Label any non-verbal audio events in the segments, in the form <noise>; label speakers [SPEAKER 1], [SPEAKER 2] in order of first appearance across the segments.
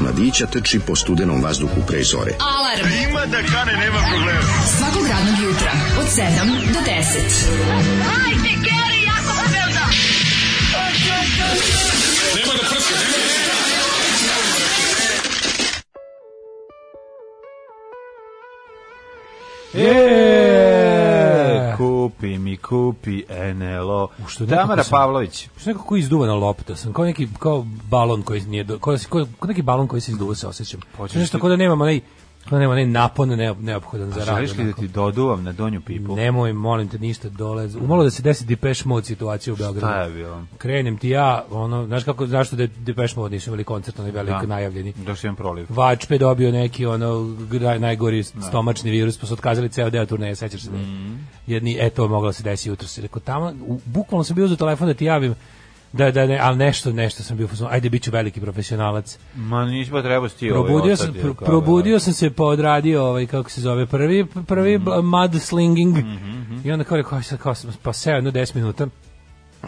[SPEAKER 1] mladića teči po studenom vazduhu pre zore.
[SPEAKER 2] Alarm!
[SPEAKER 3] A ima da kane, nema problema.
[SPEAKER 2] Svakog radnog jutra, od 7 do 10.
[SPEAKER 4] Hajde, Geri, jako se velda!
[SPEAKER 5] Nema da prska, nema da
[SPEAKER 6] E,
[SPEAKER 7] kupi mi, kupi NLO.
[SPEAKER 6] U što
[SPEAKER 7] Tamara
[SPEAKER 6] nekako sam- Da,
[SPEAKER 7] Pavlović.
[SPEAKER 6] Što nekako izduvana lopta sam, kao neki kao balon koji nije, do- kao, kao, kao neki balon koji se izduva se osjećam.
[SPEAKER 7] Hoćeš
[SPEAKER 6] Što nešto
[SPEAKER 7] ti-
[SPEAKER 6] kao da nemamo onaj, kao da nemamo onaj napon ne, neophodan za rad.
[SPEAKER 7] Želiš li da
[SPEAKER 6] onako.
[SPEAKER 7] ti doduvam na donju pipu?
[SPEAKER 6] Nemoj, molim te, ništa dole. Umalo da se desi Depeche Mode situacija u Beogradu.
[SPEAKER 7] Šta je bilo?
[SPEAKER 6] Krenem ti ja, ono, znaš kako, znaš što da Depeche Mode nisu imali koncert, onaj velik
[SPEAKER 7] Da.
[SPEAKER 6] najavljeni.
[SPEAKER 7] Došli imam proliv.
[SPEAKER 6] Vačpe dobio neki ono gra- najgori
[SPEAKER 7] Da.
[SPEAKER 6] stomačni virus, pa su otkazali ceo deo turneje, sećaš se da je
[SPEAKER 7] Mhm.
[SPEAKER 6] jedni, e to je moglo da se desi jutros. Rekao, tamo, u, bukvalno sam bio za telefon da ti javim, da, da, ne, ali nešto, nešto sam bio, u fazonu, ajde, bit ću veliki profesionalac.
[SPEAKER 7] Ma nisi pa trebao si ti ovaj
[SPEAKER 6] Probudio, sam,
[SPEAKER 7] otad,
[SPEAKER 6] pro-
[SPEAKER 7] jer kao, da.
[SPEAKER 6] probudio sam se, pa odradio, ovaj, kako se zove, prvi, prvi
[SPEAKER 7] Mhm.
[SPEAKER 6] bl- mud slinging, i onda kao rekao, aj sad kao sam, pa seo jedno 10 minuta,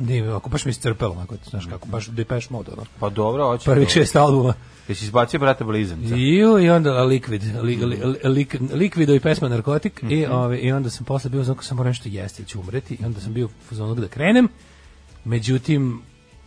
[SPEAKER 6] ne, ako baš mi je iscrpelo, onako, znaš kako, baš Depeche Mode, ono,
[SPEAKER 7] Pa dobro, hoće.
[SPEAKER 6] prvih šest albuma.
[SPEAKER 7] Jesi izbacio brata blizanca?
[SPEAKER 6] Ju, i onda Liquid, li,
[SPEAKER 7] Mhm.
[SPEAKER 6] li, lik, Liquido i pesma Narkotik i, ove, i onda sam posle bio znao sam moram nešto jesti, jer ću umreti i onda sam bio za onog da krenem, međutim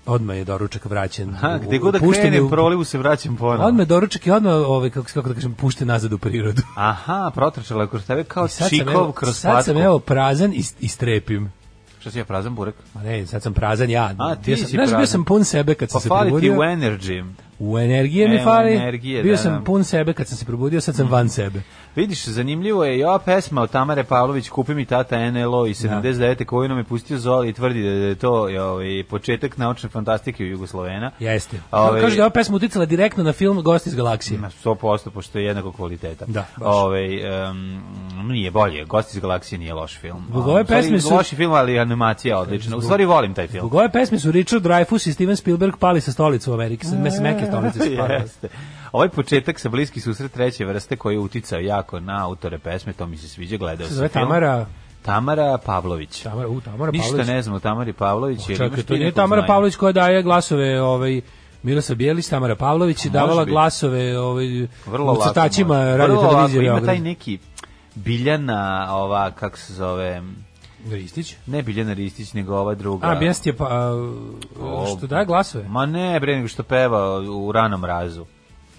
[SPEAKER 6] odmah je doručak vraćen.
[SPEAKER 7] Ha,
[SPEAKER 6] u-
[SPEAKER 7] gde god da
[SPEAKER 6] pušten je
[SPEAKER 7] krenem
[SPEAKER 6] u-
[SPEAKER 7] prolivu se vraćam ponovo.
[SPEAKER 6] Odmah je doručak i odmah, ove, kako, kako da kažem, pušten nazad u prirodu.
[SPEAKER 7] Aha, protrčala je kroz tebe kao
[SPEAKER 6] I sad sam,
[SPEAKER 7] Pa čikov
[SPEAKER 6] evo,
[SPEAKER 7] kroz
[SPEAKER 6] sad sam
[SPEAKER 7] patku.
[SPEAKER 6] evo prazan i, i strepim.
[SPEAKER 7] Šta si ja prazan burek?
[SPEAKER 6] Ma ne, sad sam prazan ja.
[SPEAKER 7] A, ti
[SPEAKER 6] Bio sam,
[SPEAKER 7] si
[SPEAKER 6] znaš, bio
[SPEAKER 7] prazan.
[SPEAKER 6] sam pun sebe kad
[SPEAKER 7] Pa
[SPEAKER 6] sam se
[SPEAKER 7] fali ti
[SPEAKER 6] probudio.
[SPEAKER 7] u energy.
[SPEAKER 6] U energije
[SPEAKER 7] E,
[SPEAKER 6] mi
[SPEAKER 7] u
[SPEAKER 6] fali.
[SPEAKER 7] energije,
[SPEAKER 6] bio
[SPEAKER 7] da,
[SPEAKER 6] sam
[SPEAKER 7] da. Mhm.
[SPEAKER 6] pun sebe kad sam se probudio, sad sam van sebe.
[SPEAKER 7] Vidiš, zanimljivo je i ova pesma od Tamare Pavlović Kupi mi tata NLO i
[SPEAKER 6] Da.
[SPEAKER 7] 79. koju nam je pustio Zoli i tvrdi da je to je, ovaj, početak naučne fantastike u Jugoslovena.
[SPEAKER 6] Jeste.
[SPEAKER 7] Ove-
[SPEAKER 6] Kaže da je ova pesma uticala direktno na film Gost iz galaksije.
[SPEAKER 7] Ima 100% pošto je jednako kvaliteta.
[SPEAKER 6] Da, baš.
[SPEAKER 7] Ove, em, nije bolje. Gost iz galaksije nije loš film. Ovaj,
[SPEAKER 6] Zbog ove
[SPEAKER 7] U stvari,
[SPEAKER 6] pesme su-
[SPEAKER 7] Loši film, ali animacija je odlična. U stvari volim taj film.
[SPEAKER 6] Zbog ove pesme su Richard Dreyfuss i Steven Spielberg pali sa stolicu u Ameriki. Sa, sa meke stolice
[SPEAKER 7] <laughs>
[SPEAKER 6] su pali.
[SPEAKER 7] Jeste. Ovaj početak sa bliski susret treće vrste koji je uticao jako na autore pesme, to mi se sviđa, gledao
[SPEAKER 6] Se
[SPEAKER 7] sam
[SPEAKER 6] zove
[SPEAKER 7] film.
[SPEAKER 6] Tamara... Da.
[SPEAKER 7] Tamara Pavlović.
[SPEAKER 6] Tamara, u, Tamara
[SPEAKER 7] Ništa
[SPEAKER 6] Pavlović.
[SPEAKER 7] ne znam o Tamari Pavlović. jer imaš da
[SPEAKER 6] Čekaj,
[SPEAKER 7] ti
[SPEAKER 6] to nije
[SPEAKER 7] nekog
[SPEAKER 6] Tamara
[SPEAKER 7] znanja?
[SPEAKER 6] Pavlović koja daje glasove ovaj, Mirosa Bijelić, Tamara Pavlović je davala
[SPEAKER 7] biti.
[SPEAKER 6] glasove ovaj,
[SPEAKER 7] Vrlo
[SPEAKER 6] u
[SPEAKER 7] lako
[SPEAKER 6] crtačima
[SPEAKER 7] može.
[SPEAKER 6] radio
[SPEAKER 7] Vrlo lako,
[SPEAKER 6] televizije
[SPEAKER 7] Ima
[SPEAKER 6] Beograd.
[SPEAKER 7] taj neki biljana, ova, kako se zove,
[SPEAKER 6] Ristić.
[SPEAKER 7] Ne Biljana Ristić, nego ova druga.
[SPEAKER 6] A, Bjest je pa...
[SPEAKER 7] O,
[SPEAKER 6] a, što daje glasove?
[SPEAKER 7] Ma ne, bre, nego što peva u ranom razu.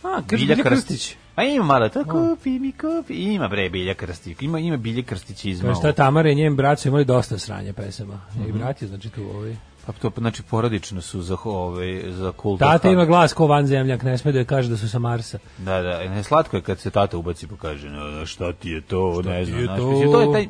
[SPEAKER 6] A, kaže Bilja Krstić.
[SPEAKER 7] A ima malo to, kupi mi, kupi. Ima, bre, Bilja Krstić. Ima, ima Bilja Krstić iz
[SPEAKER 6] Kaže, šta Tamara i njen brat su imali dosta sranja pesama. I brat je, znači, tu ovaj...
[SPEAKER 7] Pa to, znači, porodično su za, ove, za kultu.
[SPEAKER 6] Tata ima glas ko vanzemljak, ne sme da joj kaže da su sa Marsa.
[SPEAKER 7] Da, da, ne, slatko je kad se tata ubaci pa kaže, "No, no, šta ti je to, ne
[SPEAKER 6] ti
[SPEAKER 7] znam,
[SPEAKER 6] je
[SPEAKER 7] znaš,
[SPEAKER 6] to?"
[SPEAKER 7] mislim, to je taj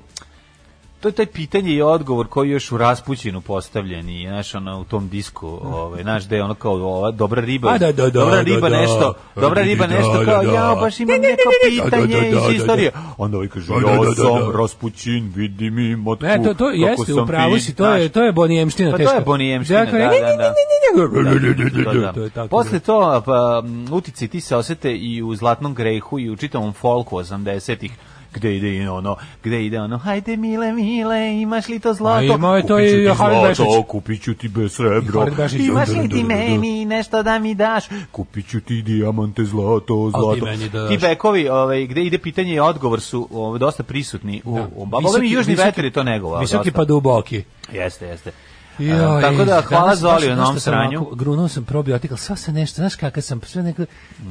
[SPEAKER 7] to je taj pitanje i odgovor koji je još u raspućinu postavljen i znaš ono u tom disku ovaj znaš da je ono kao ova dobra riba
[SPEAKER 6] A, da, da, da,
[SPEAKER 7] dobra
[SPEAKER 6] da,
[SPEAKER 7] riba
[SPEAKER 6] da.
[SPEAKER 7] nešto dobra
[SPEAKER 6] Da, da,
[SPEAKER 7] riba
[SPEAKER 6] da, da,
[SPEAKER 7] nešto
[SPEAKER 6] <laughs>
[SPEAKER 7] kao
[SPEAKER 6] da.
[SPEAKER 7] ja baš imam
[SPEAKER 6] Ne, ne,
[SPEAKER 7] neko
[SPEAKER 6] ne, ne, ne, da,
[SPEAKER 7] pitanje
[SPEAKER 6] da, da,
[SPEAKER 7] iz
[SPEAKER 6] da,
[SPEAKER 7] istorije
[SPEAKER 6] da.
[SPEAKER 7] onda ovaj kaže
[SPEAKER 6] Da, da, da,
[SPEAKER 7] ja
[SPEAKER 6] da,
[SPEAKER 7] sam
[SPEAKER 6] da."
[SPEAKER 7] raspućin vidi mi matku
[SPEAKER 6] Ne, to, to
[SPEAKER 7] kako
[SPEAKER 6] jeste,
[SPEAKER 7] sam
[SPEAKER 6] upravo
[SPEAKER 7] fin,
[SPEAKER 6] si, to je,
[SPEAKER 7] znaš.
[SPEAKER 6] to je Bonijemština
[SPEAKER 7] Pa to
[SPEAKER 6] teška.
[SPEAKER 7] je bonijemština,
[SPEAKER 6] Dakle,
[SPEAKER 7] da,
[SPEAKER 6] ne, ne,
[SPEAKER 7] da,
[SPEAKER 6] ne,
[SPEAKER 7] da.
[SPEAKER 6] ne, ne, ne, ne,
[SPEAKER 7] Da, da.
[SPEAKER 6] To je tako.
[SPEAKER 7] Posle to pa, m, utici ti se osete i u Zlatnom grehu i u čitavom folku 80-ih gde ide i ono, gde ide ono, hajde mile, mile, imaš li to zlato?
[SPEAKER 6] A imao je to
[SPEAKER 7] Kupit ću
[SPEAKER 6] i
[SPEAKER 7] ti
[SPEAKER 6] Harid
[SPEAKER 7] zlato,
[SPEAKER 6] Bešić.
[SPEAKER 7] Kupit ću ti bez
[SPEAKER 6] I
[SPEAKER 7] srebra.
[SPEAKER 6] Harid Bešić.
[SPEAKER 7] Imaš li
[SPEAKER 6] Da, da,
[SPEAKER 7] ti
[SPEAKER 6] da, da, da.
[SPEAKER 7] meni nešto da mi daš? Kupit ću ti dijamante, zlato,
[SPEAKER 6] Al ti
[SPEAKER 7] zlato.
[SPEAKER 6] meni da daš.
[SPEAKER 7] Ti bekovi, ovaj, gde ide pitanje i odgovor su ovaj, dosta prisutni. U,
[SPEAKER 6] Da.
[SPEAKER 7] u, ba- boga mi
[SPEAKER 6] Visoki-
[SPEAKER 7] južni
[SPEAKER 6] visoki-
[SPEAKER 7] vetar je to negovao.
[SPEAKER 6] Visoki
[SPEAKER 7] dosta.
[SPEAKER 6] pa duboki.
[SPEAKER 7] Jeste, jeste.
[SPEAKER 6] Joj,
[SPEAKER 7] E, tako da,
[SPEAKER 6] danas
[SPEAKER 7] hvala
[SPEAKER 6] baš
[SPEAKER 7] Zoli
[SPEAKER 6] nešto
[SPEAKER 7] na ovom
[SPEAKER 6] sam
[SPEAKER 7] sranju.
[SPEAKER 6] Onako, grunuo sam probiotik, ali sva se nešto, znaš kakav sam, sve neko,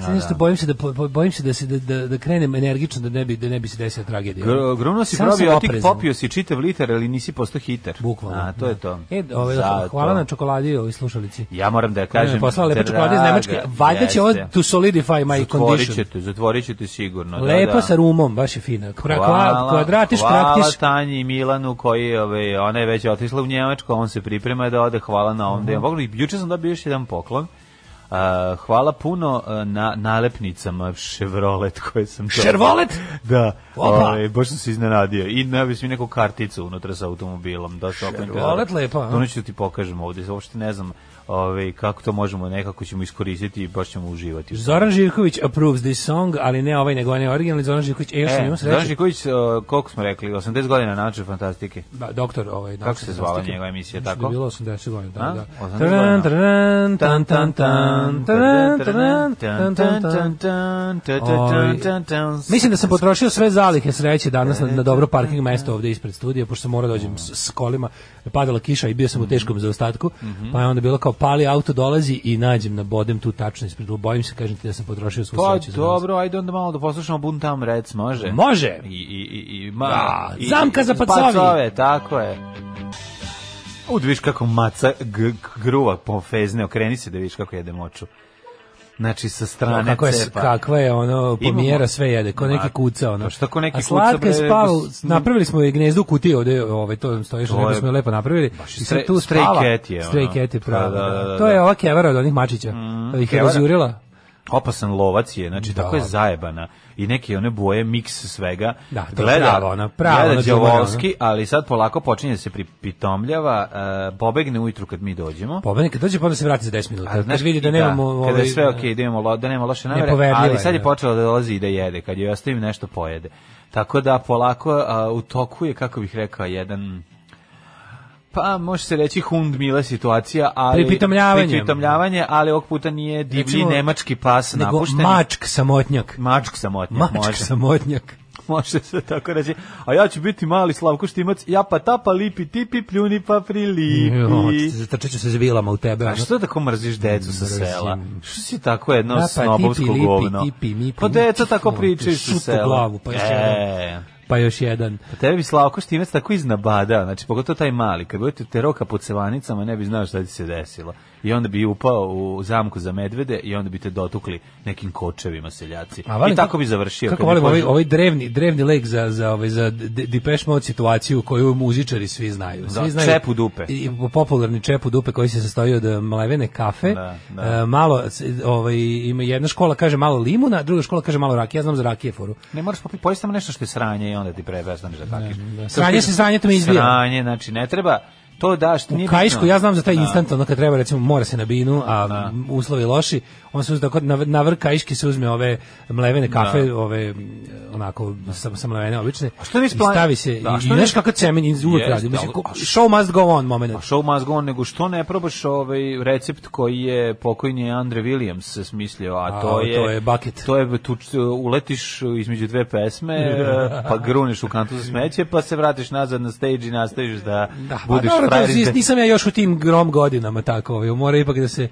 [SPEAKER 6] sve nešto bojim se da po- po- bojim se da se da, da, da krenem energično da ne bi da ne bi se desila tragedija.
[SPEAKER 7] Gr- Grunuo si
[SPEAKER 6] Sam sam
[SPEAKER 7] probio otik,
[SPEAKER 6] oprezan.
[SPEAKER 7] popio si čitav litar, ali nisi postao hiter.
[SPEAKER 6] Bukvalno.
[SPEAKER 7] A, to je to.
[SPEAKER 6] E, ovaj,
[SPEAKER 7] Zato.
[SPEAKER 6] hvala na čokoladi i ovoj slušalici.
[SPEAKER 7] Ja moram da
[SPEAKER 6] Kažem,
[SPEAKER 7] kažem...
[SPEAKER 6] je poslala lepe
[SPEAKER 7] draga,
[SPEAKER 6] čokolade iz Nemačke. Valjda će ovo
[SPEAKER 7] jeste.
[SPEAKER 6] to solidify my
[SPEAKER 7] Zatvorit
[SPEAKER 6] condition.
[SPEAKER 7] ćete, zatvorit ćete sigurno.
[SPEAKER 6] Lepa
[SPEAKER 7] da, da.
[SPEAKER 6] sa rumom, baš je fina. Kva,
[SPEAKER 7] Hvala,
[SPEAKER 6] hvala, kvadratiš,
[SPEAKER 7] hvala
[SPEAKER 6] praktiš.
[SPEAKER 7] Tanji i Milanu koji ove, ona je već otišla u Njemačku, on se priprema da ode, hvala na
[SPEAKER 6] Mhm.
[SPEAKER 7] ovom delu. Pogledaj, Juče sam dobio još jedan poklon. A, hvala puno a, na nalepnicama Chevrolet koje sam dobio.
[SPEAKER 6] Šervolet?
[SPEAKER 7] Da,
[SPEAKER 6] Opa.
[SPEAKER 7] ovaj, baš sam se iznenadio. I nabio sam i neku karticu unutra sa automobilom. Da,
[SPEAKER 6] Šervolet lepa, a?
[SPEAKER 7] Doneću ti pokažem ovdje, uopšte ne znam ovaj, kako to možemo, nekako ćemo iskoristiti i baš ćemo uživati.
[SPEAKER 6] Zoran Živković approves this song, ali ne ovaj, nego on je originalni Zoran Živković. E, još sam
[SPEAKER 7] E,
[SPEAKER 6] imao
[SPEAKER 7] Zoran
[SPEAKER 6] sreće.
[SPEAKER 7] Žiković, e, koliko smo rekli, 80 godina nače fantastike.
[SPEAKER 6] Da, doktor ovaj
[SPEAKER 7] Kako se zvala
[SPEAKER 6] fantastike.
[SPEAKER 7] njegova emisija,
[SPEAKER 6] Mislim da
[SPEAKER 7] tako?
[SPEAKER 6] je Bilo 80 godina,
[SPEAKER 7] A?
[SPEAKER 6] da, da.
[SPEAKER 7] 80
[SPEAKER 6] Taran,
[SPEAKER 7] godina.
[SPEAKER 6] taran, tan, tan, tan, taran, taran, tan, tan, tan. Mislim
[SPEAKER 7] Mislim
[SPEAKER 6] da sam potrošio sve zalihe sreće danas na, na dobro parking mesto ovde ispred studija, pošto sam morao da dođem s, s kolima, padala kiša i bio sam u teškom zaostatku,
[SPEAKER 7] Mhm.
[SPEAKER 6] pa je onda bilo kao pali auto dolazi i nađem na bodem tu tačno ispred, bojim se, kažem ti da sam potrošio svu
[SPEAKER 7] Pa
[SPEAKER 6] sreću. za danas.
[SPEAKER 7] dobro, ajde onda malo da poslušamo Bun Tam Rec, može?
[SPEAKER 6] Može!
[SPEAKER 7] I, i, i, i, ma,
[SPEAKER 6] Da,
[SPEAKER 7] i,
[SPEAKER 6] zamka za
[SPEAKER 7] i-
[SPEAKER 6] pacovi.
[SPEAKER 7] Pacove, tako je. U, da vidiš kako maca g- g- gruva pofezne, okreni se da vidiš kako jede moču. Znači, sa strane
[SPEAKER 6] Kako je,
[SPEAKER 7] cepa.
[SPEAKER 6] kakva je ono pomjera
[SPEAKER 7] Imamo-
[SPEAKER 6] sve jede, ko neki
[SPEAKER 7] Ma,
[SPEAKER 6] kuca ono.
[SPEAKER 7] pa šta ko neki
[SPEAKER 6] A
[SPEAKER 7] kuca,
[SPEAKER 6] slatka je
[SPEAKER 7] bre,
[SPEAKER 6] spav,
[SPEAKER 7] s-
[SPEAKER 6] napravili smo je gnezdu kutije ovde, ovaj to nam stoji što
[SPEAKER 7] To
[SPEAKER 6] lepo
[SPEAKER 7] je-
[SPEAKER 6] smo je lepo napravili.
[SPEAKER 7] baš
[SPEAKER 6] I sad
[SPEAKER 7] stre-
[SPEAKER 6] tu
[SPEAKER 7] stray
[SPEAKER 6] spava.
[SPEAKER 7] cat je, ono.
[SPEAKER 6] Stray cat je pravo.
[SPEAKER 7] Da, da, da, da.
[SPEAKER 6] To je ova kevara od onih mačića. Mm, ih je
[SPEAKER 7] Kevara.
[SPEAKER 6] razjurila.
[SPEAKER 7] opasan lovac je, znači
[SPEAKER 6] Da.
[SPEAKER 7] tako je zajebana i neke one boje, miks svega.
[SPEAKER 6] Da, to je prava ona, prava
[SPEAKER 7] gleda
[SPEAKER 6] ona
[SPEAKER 7] Đavolovski, ali sad polako počinje da se pripitomljava, e, pobegne ujutru kad mi dođemo.
[SPEAKER 6] Pobednik kad dođe pa onda se vrati za 10 minuta. Kad vidi da
[SPEAKER 7] i
[SPEAKER 6] nemamo
[SPEAKER 7] kada
[SPEAKER 6] ovaj,
[SPEAKER 7] je sve okej, da, imamo lo, da nemamo loše namere,
[SPEAKER 6] Nepoverljiva
[SPEAKER 7] ali
[SPEAKER 6] je,
[SPEAKER 7] sad je
[SPEAKER 6] da.
[SPEAKER 7] počela da dolazi i da jede, kad joj ostavim nešto pojede. Tako da polako a, u toku je, kako bih rekao, jedan Pa, može se reći hund mila situacija, ali...
[SPEAKER 6] Pripitomljavanje.
[SPEAKER 7] Pripitomljavanje, ali ovog puta nije divlji
[SPEAKER 6] Recimo,
[SPEAKER 7] nemački pas
[SPEAKER 6] nego
[SPEAKER 7] napušteni.
[SPEAKER 6] mačk samotnjak.
[SPEAKER 7] Mačk samotnjak,
[SPEAKER 6] Mačk
[SPEAKER 7] može.
[SPEAKER 6] samotnjak.
[SPEAKER 7] <laughs> Može se tako reći. A ja ću biti mali Slavko Štimac, ja pa tapa lipi tipi, pljuni pa
[SPEAKER 6] Jo,
[SPEAKER 7] prilipi.
[SPEAKER 6] Zatrčat ću se s vilama u tebe.
[SPEAKER 7] A
[SPEAKER 6] ono.
[SPEAKER 7] što da tako mrziš decu sa
[SPEAKER 6] Mrzim.
[SPEAKER 7] sela? Što si tako jedno
[SPEAKER 6] Da, pa
[SPEAKER 7] snobovsko
[SPEAKER 6] tipi, lipi,
[SPEAKER 7] govno?
[SPEAKER 6] tipi, mipi,
[SPEAKER 7] pa deca
[SPEAKER 6] mipi,
[SPEAKER 7] tako
[SPEAKER 6] ono,
[SPEAKER 7] pričaju
[SPEAKER 6] ti šut
[SPEAKER 7] sa
[SPEAKER 6] u
[SPEAKER 7] sela.
[SPEAKER 6] glavu, pa još
[SPEAKER 7] e,
[SPEAKER 6] jedan. Pa još jedan.
[SPEAKER 7] pa tebe bi Slavko Štimac tako iznabadao, znači pogotovo taj mali, kad budete te roka po cevanicama ne bi znao šta ti se desilo. I onda bi upao u zamku za medvede i onda bi te dotukli nekim kočevima seljaci.
[SPEAKER 6] A valim
[SPEAKER 7] I tako bi završio.
[SPEAKER 6] Kako
[SPEAKER 7] kad bi
[SPEAKER 6] volim ovaj,
[SPEAKER 7] požu-
[SPEAKER 6] ovaj drevni, drevni lek za, za, ovaj, za De- Depeche Mode situaciju koju muzičari svi znaju. Svi
[SPEAKER 7] Da,
[SPEAKER 6] znaju
[SPEAKER 7] čep u dupe.
[SPEAKER 6] I, i popularni čep u dupe koji se sastoji od e, mlevene kafe.
[SPEAKER 7] Da, da.
[SPEAKER 6] E, malo, s- ovaj, ima jedna škola kaže malo limuna, druga škola kaže malo rakije. Ja znam za rakije foru.
[SPEAKER 7] Ne moraš popiti, pojesti samo nešto što je sranje i onda ti prebestaneš da kakiš.
[SPEAKER 6] da. Sranje se sranje, to me izbija.
[SPEAKER 7] Sranje, znači ne treba, To daš, ti
[SPEAKER 6] U
[SPEAKER 7] nije
[SPEAKER 6] Kajšku,
[SPEAKER 7] bitno.
[SPEAKER 6] ja znam za taj
[SPEAKER 7] Da.
[SPEAKER 6] instant, ono kad treba, recimo, mora se na binu, a m, uslovi loši, on se uzda, na, na vrh Kajške se uzme ove
[SPEAKER 7] Da.
[SPEAKER 6] mlevene kafe, ove, m, onako, sa, sa mlevene obične,
[SPEAKER 7] A što nisi
[SPEAKER 6] i
[SPEAKER 7] plan-
[SPEAKER 6] stavi se,
[SPEAKER 7] Da, a
[SPEAKER 6] i, i
[SPEAKER 7] što
[SPEAKER 6] znaš
[SPEAKER 7] nisi-
[SPEAKER 6] kakav cemen iz- uvek
[SPEAKER 7] Jeste,
[SPEAKER 6] radi, mislim,
[SPEAKER 7] ali-
[SPEAKER 6] ko-
[SPEAKER 7] a što-
[SPEAKER 6] show must go on moment.
[SPEAKER 7] show must go on, nego što ne probaš ovaj recept koji je pokojni Andre Williams smislio, a to
[SPEAKER 6] A,
[SPEAKER 7] je
[SPEAKER 6] to je bucket.
[SPEAKER 7] To je tu uletiš između dve pesme,
[SPEAKER 6] <laughs>
[SPEAKER 7] e, pa gruniš u kantu za smeće, pa se vratiš nazad na stage i nastaviš da,
[SPEAKER 6] Da, pa
[SPEAKER 7] budeš
[SPEAKER 6] dobro, to
[SPEAKER 7] frajer.
[SPEAKER 6] nis- nisam ja još u tim grom godinama tako, ovaj, mora ipak da se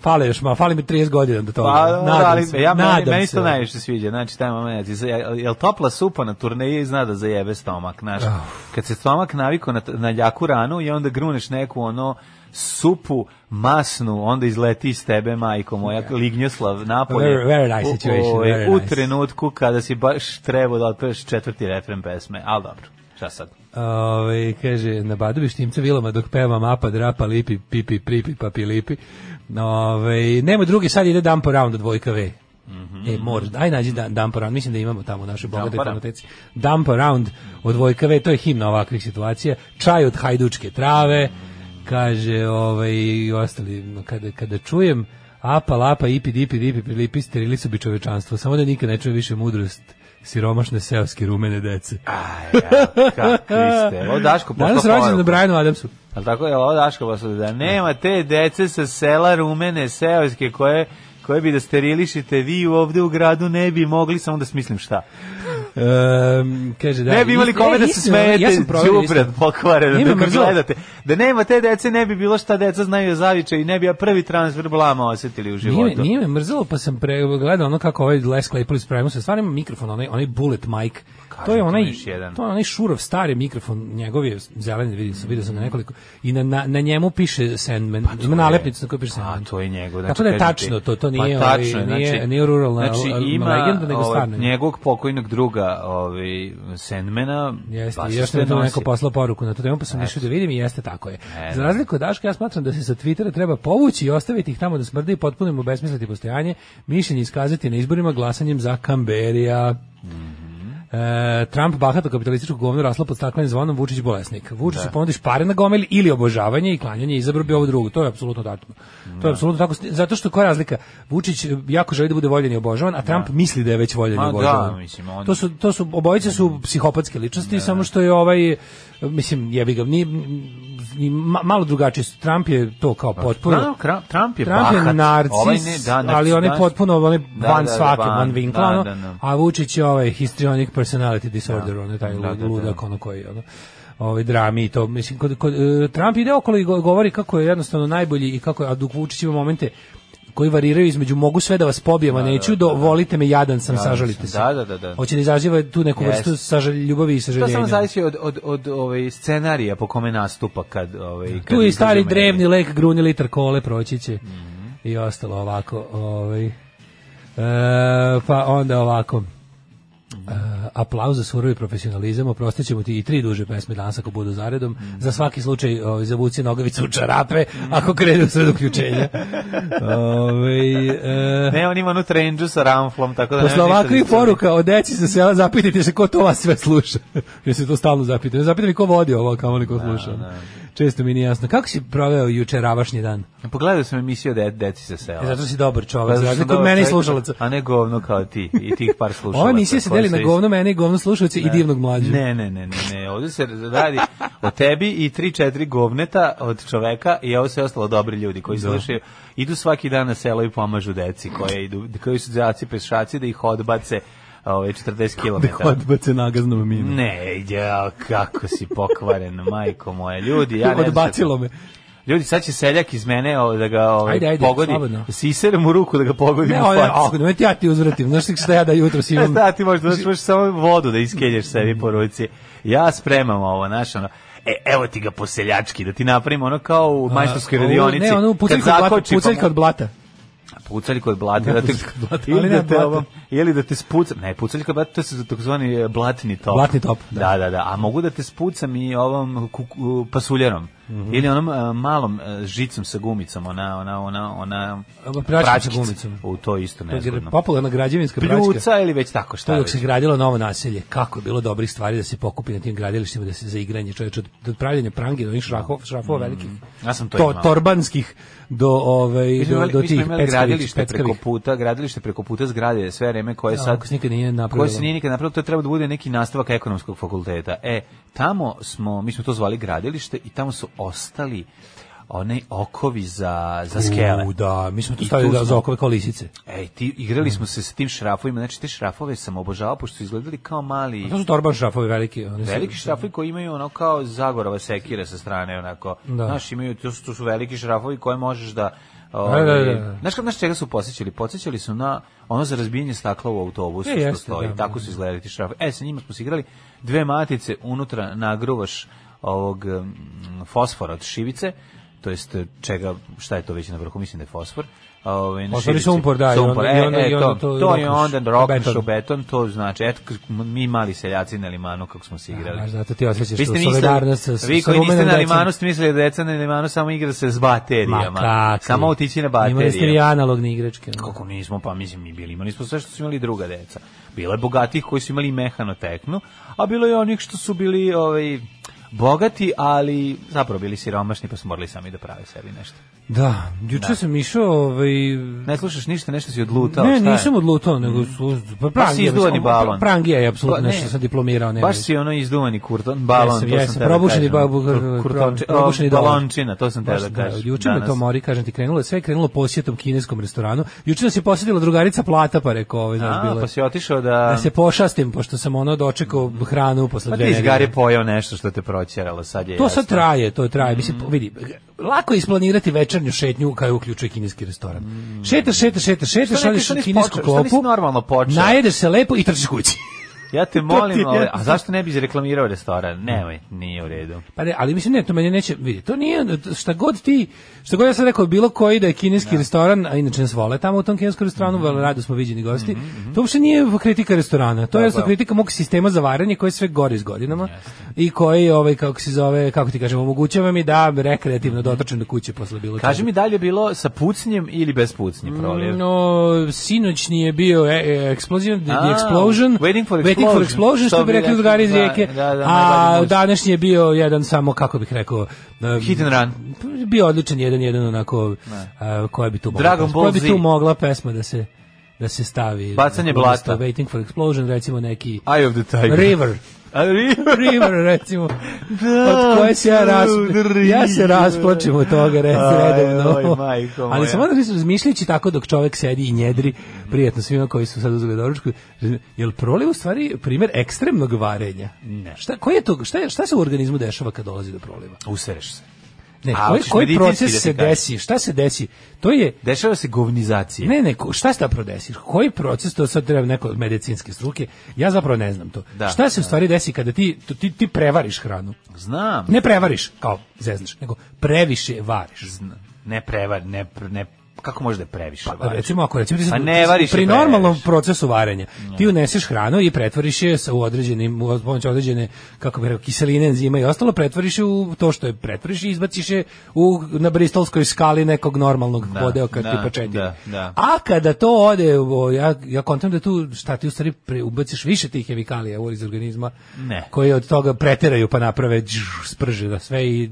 [SPEAKER 6] fale još, ma, fali mi 30 godina do toga.
[SPEAKER 7] Pa,
[SPEAKER 6] nadam
[SPEAKER 7] da, ali,
[SPEAKER 6] se,
[SPEAKER 7] ja, meni,
[SPEAKER 6] nadam
[SPEAKER 7] meni
[SPEAKER 6] se,
[SPEAKER 7] to
[SPEAKER 6] ovaj.
[SPEAKER 7] najviše sviđa, znači taj moment, iz- jel jel topla supa na turneji zna da zajebe stomak, znaš,
[SPEAKER 6] Ah.
[SPEAKER 7] kad se stomak naviko na, t- na ljaku ranu i onda gruneš neku ono supu masnu, onda izleti iz tebe, majko moja, Lignjoslav napolje.
[SPEAKER 6] Da. Very- very nice
[SPEAKER 7] U-
[SPEAKER 6] situation,
[SPEAKER 7] ovaj,
[SPEAKER 6] very
[SPEAKER 7] u
[SPEAKER 6] nice.
[SPEAKER 7] trenutku kada si baš trebao da otpeš četvrti refren pesme, ali dobro, šta
[SPEAKER 6] <laughs>
[SPEAKER 7] sad?
[SPEAKER 6] Ove, kaže, na Badovi štimca vilama dok pevam apa, drapa, lipi, pipi, pripi, papi, lipi. Ove, nema drugi, sad ide Dump Around od Vojka V. E, mora, aj nađi da, Dump Around, mislim da imamo tamo u našoj bogatoj
[SPEAKER 7] Around.
[SPEAKER 6] fonoteci. Dump Around od Vojka V, to je himna ovakvih situacija. Čaj od hajdučke trave, kaže, ovaj, i ostali, kada, kada čujem apa, lapa, ipi, dipi, dipi, prilipi, sterili su bi čovečanstvo, samo da nikad ne čujem više mudrost siromašne seoske rumene dece.
[SPEAKER 7] Kakvi ste? O, Daško, pošla
[SPEAKER 6] Danas rođen na
[SPEAKER 7] poruku.
[SPEAKER 6] Brianu Adamsu.
[SPEAKER 7] Ali tako je ovo Daško Vasović, da nema te dece sa sela rumene, seoske, koje, koje bi da sterilišite vi ovde u gradu ne bi mogli, samo da smislim šta.
[SPEAKER 6] Ehm, kaže, da,
[SPEAKER 7] ne bi imali
[SPEAKER 6] isto- e,
[SPEAKER 7] kome da se
[SPEAKER 6] istina, ono,
[SPEAKER 7] smejete,
[SPEAKER 6] ja sam provjerio
[SPEAKER 7] džubred
[SPEAKER 6] isto.
[SPEAKER 7] pokvaren,
[SPEAKER 6] Nije me
[SPEAKER 7] dok
[SPEAKER 6] mrzelo.
[SPEAKER 7] gledate. Da nema te dece ne bi bilo šta deca znaju zaviče i ne bi ja prvi transfer blama osetili u
[SPEAKER 6] Nije me,
[SPEAKER 7] životu.
[SPEAKER 6] nije me mrzelo, pa sam pre, gledao ono kako ovaj Les Claypool ispravimo se. Stvarno ima mikrofon, onaj, onaj bullet mic. to je
[SPEAKER 7] to
[SPEAKER 6] onaj,
[SPEAKER 7] je još jedan.
[SPEAKER 6] to je onaj šurov stari mikrofon, njegov je zeleni, vidio sam, vidio sam ga nekoliko. I na, na, na njemu piše Sandman, ima nalepnicu na kojoj piše
[SPEAKER 7] Pa A
[SPEAKER 6] Sandman.
[SPEAKER 7] to je njegov.
[SPEAKER 6] Tako da je
[SPEAKER 7] kažem ti-
[SPEAKER 6] tačno to, to nije,
[SPEAKER 7] pa tačno, je,
[SPEAKER 6] ovaj, nije-
[SPEAKER 7] znači,
[SPEAKER 6] nije ruralna
[SPEAKER 7] znači,
[SPEAKER 6] l-
[SPEAKER 7] ima,
[SPEAKER 6] legenda, nego
[SPEAKER 7] ovaj,
[SPEAKER 6] stvarno je.
[SPEAKER 7] njegovog pokojnog druga ovaj, Sandmana.
[SPEAKER 6] Jeste,
[SPEAKER 7] baš
[SPEAKER 6] i još
[SPEAKER 7] se
[SPEAKER 6] nam je tu neko
[SPEAKER 7] nosi.
[SPEAKER 6] poslao poruku na tu temu, pa sam išao da vidim i jeste tako je. Za razliku od Daška, ja smatram da se sa Twittera treba povući i ostaviti ih tamo da smrde i potpuno im obesmisliti postojanje, mišljenje iskazati na izborima glasanjem za Kamberija.
[SPEAKER 7] Mhm.
[SPEAKER 6] E, Trump bahato kapitalističko govno raslo pod staklenim zvonom Vučić bolesnik. Vučić da. ponudiš pare na gomili ili obožavanje i klanjanje i izabrao bi ovo drugo. To je apsolutno tačno. To
[SPEAKER 7] Da.
[SPEAKER 6] je apsolutno tako. Zato što koja je razlika? Vučić jako želi da bude voljen i obožavan, a Trump misli da je već voljen i
[SPEAKER 7] Ma da,
[SPEAKER 6] obožavan.
[SPEAKER 7] mislim, on-
[SPEAKER 6] To su to su obojice su psihopatske ličnosti,
[SPEAKER 7] Da,
[SPEAKER 6] samo što je ovaj mislim jebi ga, ni, ni ma- malo drugačiji su. Trump je to kao potpuno
[SPEAKER 7] Da, Kra- Trump je
[SPEAKER 6] Trump
[SPEAKER 7] bahat.
[SPEAKER 6] je narcis,
[SPEAKER 7] Ovaj ne- da, narcis,
[SPEAKER 6] ali on je
[SPEAKER 7] znaš.
[SPEAKER 6] potpuno on je
[SPEAKER 7] Da,
[SPEAKER 6] van
[SPEAKER 7] da, da,
[SPEAKER 6] svake,
[SPEAKER 7] van,
[SPEAKER 6] van vinkla,
[SPEAKER 7] da,
[SPEAKER 6] ono,
[SPEAKER 7] da, da.
[SPEAKER 6] a Vučić je ovaj histrionic personality disorder, on je taj
[SPEAKER 7] Da, da, da.
[SPEAKER 6] ludak, ono koji, ono, ovaj drami i to, mislim, kod, kod, e, Trump ide okolo i go- govori kako je jednostavno najbolji i kako je, a dok Vučić ima momente koji variraju između mogu sve da vas pobijem, a neću, do volite me, jadan sam, sažalite
[SPEAKER 7] da, sam,
[SPEAKER 6] se.
[SPEAKER 7] da, da, da, da.
[SPEAKER 6] Hoće da izaziva tu neku
[SPEAKER 7] Jest.
[SPEAKER 6] vrstu sažalj, ljubavi i
[SPEAKER 7] To
[SPEAKER 6] sažaljenja.
[SPEAKER 7] samo zavisi od, od, od ovaj, scenarija po kome nastupa kad... Ovaj, kad
[SPEAKER 6] Da. Tu je
[SPEAKER 7] izađe
[SPEAKER 6] stari
[SPEAKER 7] medij.
[SPEAKER 6] drevni lek, gruni litar kole, proći će.
[SPEAKER 7] Mhm.
[SPEAKER 6] I ostalo ovako. Ovaj. E, pa onda ovako.
[SPEAKER 7] Mhm.
[SPEAKER 6] E, aplauz za surovi profesionalizam, oprostit ćemo ti i tri duže pesme danas ako budu zaredom.
[SPEAKER 7] Mhm.
[SPEAKER 6] Za svaki slučaj ovaj, zavuci nogavicu u čarape ako krenu sred
[SPEAKER 7] <laughs>
[SPEAKER 6] uključenja. ovaj, e,
[SPEAKER 7] Ne, on ima onu trendžu sa ramflom, tako da...
[SPEAKER 6] Posle
[SPEAKER 7] nema ništa
[SPEAKER 6] ovakvih
[SPEAKER 7] da se-
[SPEAKER 6] poruka od deci sa sela zapitajte se ko to vas sve sluša. <laughs> Ja se to stalno zapitam. Zapitam i ko vodi ovo, kao oni ko
[SPEAKER 7] Da,
[SPEAKER 6] sluša. Često mi nije jasno. Kako si proveo jučeravašnji dan?
[SPEAKER 7] Pogledao sam emisiju de, Deci se sela.
[SPEAKER 6] E, zato si dobar
[SPEAKER 7] Pa
[SPEAKER 6] čovjek,
[SPEAKER 7] zato
[SPEAKER 6] za
[SPEAKER 7] što
[SPEAKER 6] razliku
[SPEAKER 7] sam
[SPEAKER 6] od
[SPEAKER 7] dobar
[SPEAKER 6] mene i
[SPEAKER 7] čovjek,
[SPEAKER 6] slušalaca.
[SPEAKER 7] A ne govno kao ti i tih par slušalaca.
[SPEAKER 6] <laughs> Ova emisija se
[SPEAKER 7] koji
[SPEAKER 6] deli
[SPEAKER 7] su
[SPEAKER 6] na
[SPEAKER 7] isto-
[SPEAKER 6] govno mene i govno slušalce i divnog mlađu. <laughs>
[SPEAKER 7] Ne, ne, ne, ne, ne. Ovdje se radi o tebi i tri, četiri govneta od čoveka i ovo sve ostalo dobri ljudi koji
[SPEAKER 6] Da.
[SPEAKER 7] slušaju. Idu svaki dan na selo i pomažu deci koje idu, koji su djaci pešaci da ih odbace ove, 40 km.
[SPEAKER 6] da Odbace nagaznom minu.
[SPEAKER 7] Ne, ja, kako si pokvaren, majko moje. Ljudi, ja ne znam šta-
[SPEAKER 6] Odbacilo me.
[SPEAKER 7] Ljudi, sad će seljak iz mene o, da ga o,
[SPEAKER 6] Ajde, ajde,
[SPEAKER 7] pogodi.
[SPEAKER 6] slobodno.
[SPEAKER 7] Siseram u ruku da ga pogodi
[SPEAKER 6] Ne,
[SPEAKER 7] u
[SPEAKER 6] ovo je,
[SPEAKER 7] facu.
[SPEAKER 6] ne, ja ti uzvratim. Znaš šta ja da jutro
[SPEAKER 7] <laughs>
[SPEAKER 6] si imam?
[SPEAKER 7] Da, ti možeš,
[SPEAKER 6] Znači,
[SPEAKER 7] možeš, možeš samo vodu da iskelješ sebi po ruci. Ja spremam ovo, znaš, ono, e, evo ti ga po seljački, da ti napravim ono kao u majstorskoj
[SPEAKER 6] A, ovo-
[SPEAKER 7] radionici.
[SPEAKER 6] Ne, ono
[SPEAKER 7] kad
[SPEAKER 6] pucaljka od blata.
[SPEAKER 7] zakoči, pa
[SPEAKER 6] Pucaljka
[SPEAKER 7] mu-
[SPEAKER 6] od blata.
[SPEAKER 7] pucaljka od blata.
[SPEAKER 6] Ne,
[SPEAKER 7] Da te,
[SPEAKER 6] pucaljka od blata, ali ne
[SPEAKER 7] ili, da
[SPEAKER 6] od
[SPEAKER 7] te,
[SPEAKER 6] blata.
[SPEAKER 7] ovom, ili da te spucam, ne, pucaljka od blata, to su takozvani e, blatni top.
[SPEAKER 6] Blatni top, da.
[SPEAKER 7] Da, da, da, a mogu da te spucam i ovom kuku, pasuljarom.
[SPEAKER 6] Mhm.
[SPEAKER 7] Ili onom e, malom e, žicom sa gumicom, ona, ona, ona, ona
[SPEAKER 6] Ova praćka sa
[SPEAKER 7] praćkica.
[SPEAKER 6] gumicom.
[SPEAKER 7] U to je isto
[SPEAKER 6] To je gra-
[SPEAKER 7] nezgodno.
[SPEAKER 6] popularna građevinska praćka.
[SPEAKER 7] Pljuca ili već tako šta
[SPEAKER 6] To je dok
[SPEAKER 7] već.
[SPEAKER 6] se gradilo novo naselje, kako je bilo dobrih stvari da se pokupi na tim gradilištima, da se za igranje čoveč od, od pravljenja prangi do onih šrafova, šrafova velikih,
[SPEAKER 7] Ja sam Mm. to
[SPEAKER 6] to,
[SPEAKER 7] imao.
[SPEAKER 6] torbanskih do, ovaj,
[SPEAKER 7] Mi smo
[SPEAKER 6] do,
[SPEAKER 7] imali-
[SPEAKER 6] do
[SPEAKER 7] mi smo
[SPEAKER 6] tih
[SPEAKER 7] imali
[SPEAKER 6] peckavih.
[SPEAKER 7] gradilište preko
[SPEAKER 6] peckavih.
[SPEAKER 7] puta, gradilište preko puta zgrade, sve vreme koje
[SPEAKER 6] Da,
[SPEAKER 7] sad
[SPEAKER 6] ako se nikad nije napravilo.
[SPEAKER 7] koje se nije nikad napravilo, to je trebalo da bude neki nastavak ekonomskog fakulteta. E, tamo smo, mi smo to zvali gradilište i tamo su ostali onaj okovi za, za skele.
[SPEAKER 6] U, da, mi smo tu
[SPEAKER 7] I
[SPEAKER 6] stavili
[SPEAKER 7] tu
[SPEAKER 6] da,
[SPEAKER 7] smo-
[SPEAKER 6] za Mm. okove kao lisice.
[SPEAKER 7] Ej, ti, igrali smo se s tim šrafovima, znači te šrafove sam obožavao, pošto su izgledali kao mali...
[SPEAKER 6] To su torban šrafovi veliki. Oni su-
[SPEAKER 7] Veliki šrafovi koji imaju ono kao Zagorova sekira sa strane onako.
[SPEAKER 6] Da.
[SPEAKER 7] Znaš, imaju to su, to su veliki šrafovi koje možeš da
[SPEAKER 6] da, da, da.
[SPEAKER 7] Znaš kako znaš čega su posjećali? Posjećali su na ono za razbijanje stakla u autobusu
[SPEAKER 6] E,
[SPEAKER 7] što
[SPEAKER 6] jeste,
[SPEAKER 7] stoji.
[SPEAKER 6] da, da.
[SPEAKER 7] Tako su izgledali ti šrafovi. E, sa njima smo se igrali dve matice, unutra nagruvaš ovog mm, fosfora od šivice, to jest čega, šta je to već na vrhu, mislim da je fosfor. Ovaj, na
[SPEAKER 6] Fosfor i
[SPEAKER 7] šivici.
[SPEAKER 6] sumpor, da, i onda-
[SPEAKER 7] e,
[SPEAKER 6] i onda-
[SPEAKER 7] e,
[SPEAKER 6] i onda to
[SPEAKER 7] to, to je
[SPEAKER 6] rokneš
[SPEAKER 7] onda
[SPEAKER 6] u
[SPEAKER 7] rokneš
[SPEAKER 6] beton.
[SPEAKER 7] u beton, to znači, eto, k- mi mali seljaci na limanu kako smo se igrali.
[SPEAKER 6] A, zato ti osjećaš
[SPEAKER 7] Vi
[SPEAKER 6] tu
[SPEAKER 7] ste mislili,
[SPEAKER 6] solidarnost sa,
[SPEAKER 7] vi
[SPEAKER 6] sa
[SPEAKER 7] koji niste
[SPEAKER 6] rumenom
[SPEAKER 7] na
[SPEAKER 6] decom.
[SPEAKER 7] limanu ste mislili da deca na limanu samo igra se s baterijama.
[SPEAKER 6] Ma kakvi.
[SPEAKER 7] Samo otići na
[SPEAKER 6] Imali ste
[SPEAKER 7] baterije.
[SPEAKER 6] i analogne igračke. ono.
[SPEAKER 7] Kako nismo, pa mislim mi bili, imali smo sve što su imali druga deca. Bilo je bogatih koji su imali i mehanoteknu, a bilo je onih što su bili ovaj, bogati, ali zapravo bili siromašni pa su morali sami da prave sebi nešto.
[SPEAKER 6] Da, juče sam išao, ovaj,
[SPEAKER 7] Ne slušaš ništa, nešto si odlutao,
[SPEAKER 6] ne,
[SPEAKER 7] šta je?
[SPEAKER 6] nisam odlutao, nego su, pa
[SPEAKER 7] Pa si
[SPEAKER 6] prangija,
[SPEAKER 7] izduvani balon.
[SPEAKER 6] prangija je apsolutno
[SPEAKER 7] Ba- ne,
[SPEAKER 6] nešto sam diplomirao. Ne,
[SPEAKER 7] Baš si ono izduvani kurton, balon,
[SPEAKER 6] Jesam,
[SPEAKER 7] to sam
[SPEAKER 6] jesam,
[SPEAKER 7] tebe
[SPEAKER 6] probušeni
[SPEAKER 7] kažem.
[SPEAKER 6] babu-
[SPEAKER 7] Kur- kurtonči- o,
[SPEAKER 6] probušeni dolar.
[SPEAKER 7] balončina, to sam tebe
[SPEAKER 6] Baš,
[SPEAKER 7] da
[SPEAKER 6] da,
[SPEAKER 7] kažem.
[SPEAKER 6] juče me
[SPEAKER 7] danas.
[SPEAKER 6] to mori, kažem ti, krenulo je, sve je krenulo posjetom kineskom restoranu. Juče nas je posjetila drugarica plata, pa rekao, ovaj, znaš,
[SPEAKER 7] A,
[SPEAKER 6] bilo je-
[SPEAKER 7] pa si otišao da...
[SPEAKER 6] da se pošastim, pošto sam ono dočekao hranu posle
[SPEAKER 7] Pa
[SPEAKER 6] dve
[SPEAKER 7] ti
[SPEAKER 6] nedelje.
[SPEAKER 7] izgari pojao nešto što te proćeralo, sad je
[SPEAKER 6] To
[SPEAKER 7] jasno.
[SPEAKER 6] sad traje, to traje. Mislim,
[SPEAKER 7] Mm.
[SPEAKER 6] vidi, lako je isplanirati večernju šetnju kada uključuje kineski restoran. Šetaš, šetaš, šetaš, šetaš,
[SPEAKER 7] Što
[SPEAKER 6] da
[SPEAKER 7] ne-
[SPEAKER 6] šalješ
[SPEAKER 7] što
[SPEAKER 6] u
[SPEAKER 7] nisi
[SPEAKER 6] kinesku
[SPEAKER 7] počeo? Što
[SPEAKER 6] klopu,
[SPEAKER 7] nisi normalno počeo?
[SPEAKER 6] najedeš se lepo i trčiš kući.
[SPEAKER 7] Ja te
[SPEAKER 6] To ti je
[SPEAKER 7] molim, ali, a
[SPEAKER 6] jasno.
[SPEAKER 7] zašto ne bi reklamirao restoran? Nemoj, nije u redu.
[SPEAKER 6] Pa ne, ali mislim ne, to meni neće, vidi, to nije, šta god ti, šta god ja sam rekao, bilo koji da je kineski restoran, a inače nas vole tamo u tom kineskom restoranu,
[SPEAKER 7] Mhm.
[SPEAKER 6] vrlo rado smo viđeni gosti, to uopšte nije kritika restorana, to je jednostavno
[SPEAKER 7] pa
[SPEAKER 6] kritika mog sistema za varanje koji je sve gori s godinama i koji, ovaj, kako se zove, kako ti kažem, omogućava mi da rekreativno dotrčem do kuće posle bilo čega.
[SPEAKER 7] Mhm. Kaži mi da li je bilo sa pucnjem ili bez pucnje prolijev?
[SPEAKER 6] No, sinoćni je bio e, e, explosion, the, the
[SPEAKER 7] A,
[SPEAKER 6] explosion,
[SPEAKER 7] Waiting for
[SPEAKER 6] waiting for
[SPEAKER 7] Explosion,
[SPEAKER 6] explosion što,
[SPEAKER 7] što
[SPEAKER 6] bi
[SPEAKER 7] bi
[SPEAKER 6] rekli drugari iz
[SPEAKER 7] rekli, da,
[SPEAKER 6] rijeke,
[SPEAKER 7] da, da,
[SPEAKER 6] a
[SPEAKER 7] najbolji muž.
[SPEAKER 6] današnji je bio jedan samo, kako bih rekao, um,
[SPEAKER 7] Hit and run.
[SPEAKER 6] bio odličan jedan, jedan onako, a, koja bi tu mogla,
[SPEAKER 7] Dragon
[SPEAKER 6] pesma-
[SPEAKER 7] Ball
[SPEAKER 6] koja bi
[SPEAKER 7] Z.
[SPEAKER 6] tu mogla pesma da se da se stavi
[SPEAKER 7] Bacanje
[SPEAKER 6] Umjesto
[SPEAKER 7] blata.
[SPEAKER 6] waiting for explosion recimo neki
[SPEAKER 7] Eye of the Tiger.
[SPEAKER 6] river
[SPEAKER 7] A, River.
[SPEAKER 6] river recimo
[SPEAKER 7] Da,
[SPEAKER 6] od koje se ja ras...
[SPEAKER 7] River.
[SPEAKER 6] ja se rasplačem od toga res,
[SPEAKER 7] Aj,
[SPEAKER 6] redovno
[SPEAKER 7] oj, majko moja.
[SPEAKER 6] <laughs> ali sam onda razmišljajući tako dok čovek sedi i njedri prijatno svima koji su sad uzeli doručku jel proliv u stvari primjer ekstremnog varenja ne. šta, koji je to, šta, je- šta se u organizmu dešava kad dolazi do proliva
[SPEAKER 7] Usereš se.
[SPEAKER 6] ne,
[SPEAKER 7] A,
[SPEAKER 6] koji,
[SPEAKER 7] hoćeš
[SPEAKER 6] koji
[SPEAKER 7] medicinski da
[SPEAKER 6] proces
[SPEAKER 7] ti
[SPEAKER 6] se
[SPEAKER 7] kažem?
[SPEAKER 6] desi šta se desi to je
[SPEAKER 7] Dešava se govnizacija.
[SPEAKER 6] ne, ne, ko- šta se zapravo desi? Koji proces, to sad treba neko od medicinske struke, ja zapravo ne znam to.
[SPEAKER 7] Da,
[SPEAKER 6] šta se u stvari desi kada ti, to- ti, ti prevariš hranu?
[SPEAKER 7] Znam.
[SPEAKER 6] Ne prevariš, kao zeznaš, nego previše variš.
[SPEAKER 7] Ne prevar, ne, pre- ne, kako može da je previše?
[SPEAKER 6] Pa,
[SPEAKER 7] varaš?
[SPEAKER 6] recimo ako recimo ti
[SPEAKER 7] Pa
[SPEAKER 6] sad-
[SPEAKER 7] ne variš i
[SPEAKER 6] pri
[SPEAKER 7] prevariš.
[SPEAKER 6] normalnom procesu varenja ti uneseš hranu i pretvoriš je sa u određenim uz pomoć određene kako bih rekao kiseline enzima i ostalo pretvoriš je u to što je pretvoriš i izbaciš je u na bristolskoj skali nekog normalnog
[SPEAKER 7] Da,
[SPEAKER 6] podeoka
[SPEAKER 7] da,
[SPEAKER 6] tipa četiri.
[SPEAKER 7] da, da.
[SPEAKER 6] A kada to ode o, ja ja kontam da tu šta ti u stvari pre, ubaciš više tih hemikalija u iz organizma
[SPEAKER 7] Ne.
[SPEAKER 6] koje od toga preteraju pa naprave dž, sprže da sve i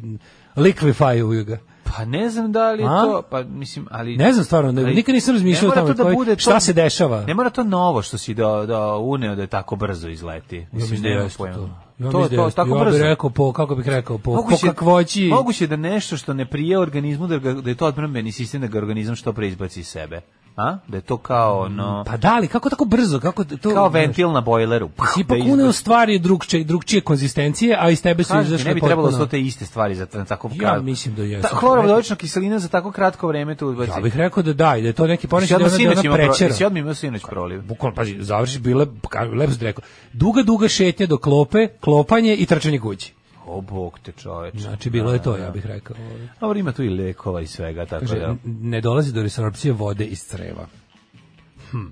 [SPEAKER 6] likvifaju ga.
[SPEAKER 7] Pa ne znam da li je
[SPEAKER 6] A?
[SPEAKER 7] to, pa mislim, ali...
[SPEAKER 6] Ne znam stvarno, ne-
[SPEAKER 7] ali
[SPEAKER 6] nikad nisam razmišljao
[SPEAKER 7] ne mora
[SPEAKER 6] o tome,
[SPEAKER 7] to
[SPEAKER 6] koji- šta se dešava.
[SPEAKER 7] Ne mora to novo što si da, da uneo da je tako brzo izleti.
[SPEAKER 6] Ja mislim da
[SPEAKER 7] nemam
[SPEAKER 6] jeste
[SPEAKER 7] pojma.
[SPEAKER 6] to. Ja
[SPEAKER 7] To, to,
[SPEAKER 6] mislim da jeste.
[SPEAKER 7] tako
[SPEAKER 6] ja
[SPEAKER 7] brzo.
[SPEAKER 6] bih rekao po, kako bih rekao, po,
[SPEAKER 7] Moguće-
[SPEAKER 6] po kakvoći.
[SPEAKER 7] Moguće da nešto što ne prije organizmu, da, ga, da je to odbrambeni sistem, da ga organizam što pre izbaci iz sebe. A? Da je to kao, ono,
[SPEAKER 6] Pa da li, kako tako brzo? Kako to,
[SPEAKER 7] kao ventil na bojleru. Pah,
[SPEAKER 6] Pa Si ipak
[SPEAKER 7] da
[SPEAKER 6] uneo
[SPEAKER 7] izbaci.
[SPEAKER 6] stvari drugčije, drugčije konzistencije, a iz tebe su
[SPEAKER 7] Kažem ti,
[SPEAKER 6] izašle
[SPEAKER 7] ne bi trebalo
[SPEAKER 6] potpuno-
[SPEAKER 7] da su te iste stvari za na tako
[SPEAKER 6] Ja
[SPEAKER 7] kratko-
[SPEAKER 6] mislim da jesu.
[SPEAKER 7] Ta, hlorovodolična kiselina za tako kratko vreme tu odbaci.
[SPEAKER 6] Ja bih rekao da da, i da je to neki
[SPEAKER 7] Jesi
[SPEAKER 6] ponešnji da je
[SPEAKER 7] odmah
[SPEAKER 6] ona, da je
[SPEAKER 7] sinoć
[SPEAKER 6] ona
[SPEAKER 7] imao pro-
[SPEAKER 6] prečera.
[SPEAKER 7] jesi odmah imao sinoć proliv.
[SPEAKER 6] Bukvalno, pazi, završi, bile, ka- lepo sam ti rekao, duga, duga šetnja do klope, klopanje i trčanje kući.
[SPEAKER 7] O, bog te čoveče. Da.
[SPEAKER 6] Znači, bilo je to, ja bih rekao. ovaj.
[SPEAKER 7] Dobro, ima tu i lekova i svega, tako
[SPEAKER 6] Kaže,
[SPEAKER 7] da.
[SPEAKER 6] Pa n- ne dolazi do resorpcije vode iz creva. Hm.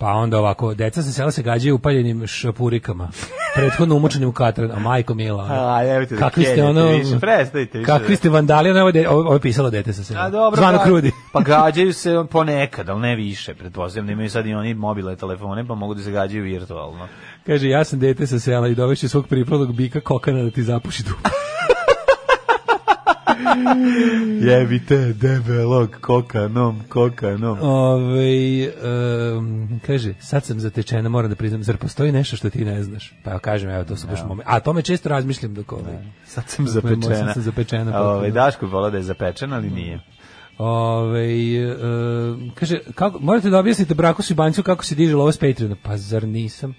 [SPEAKER 6] Pa onda ovako, deca sa sela se gađaju upaljenim šapurikama. prethodno umočenim u katran, a majko mila. ono.
[SPEAKER 7] A, nemojte da
[SPEAKER 6] kakvi ste
[SPEAKER 7] kenjate
[SPEAKER 6] ono,
[SPEAKER 7] više, prestanite više
[SPEAKER 6] Kakvi
[SPEAKER 7] da-
[SPEAKER 6] ste vandali, ono, ovo, je de- ovo, ovo je pisalo dete sa sela.
[SPEAKER 7] A dobro,
[SPEAKER 6] Zvano
[SPEAKER 7] ga-
[SPEAKER 6] krudi.
[SPEAKER 7] pa gađaju se ponekad, ali ne više. Pretpostavljam da imaju sad i oni mobilne telefone, pa mogu da se gađaju virtualno.
[SPEAKER 6] Kaže, ja sam dete sa sela i dovešću svog priplodnog bika kokana da ti zapuši dupu.
[SPEAKER 7] Jebite debelog kokanom, kokanom.
[SPEAKER 6] Ove, kaže, sad sam zatečena, moram da priznam, zar postoji nešto što ti ne znaš? Pa ja kažem, evo, to su
[SPEAKER 7] Da.
[SPEAKER 6] baš momen- A o tome često razmišljam dok ovaj.
[SPEAKER 7] Sad sam
[SPEAKER 6] Moj
[SPEAKER 7] zapečena.
[SPEAKER 6] sam se zapečena potpuno.
[SPEAKER 7] Ove, Daško je volao da je zapečena, ali nije.
[SPEAKER 6] Ovaj, e, kaže, kako, morate da objasnite braku Sibancu kako se diže ovo s Patreona. Pa zar nisam?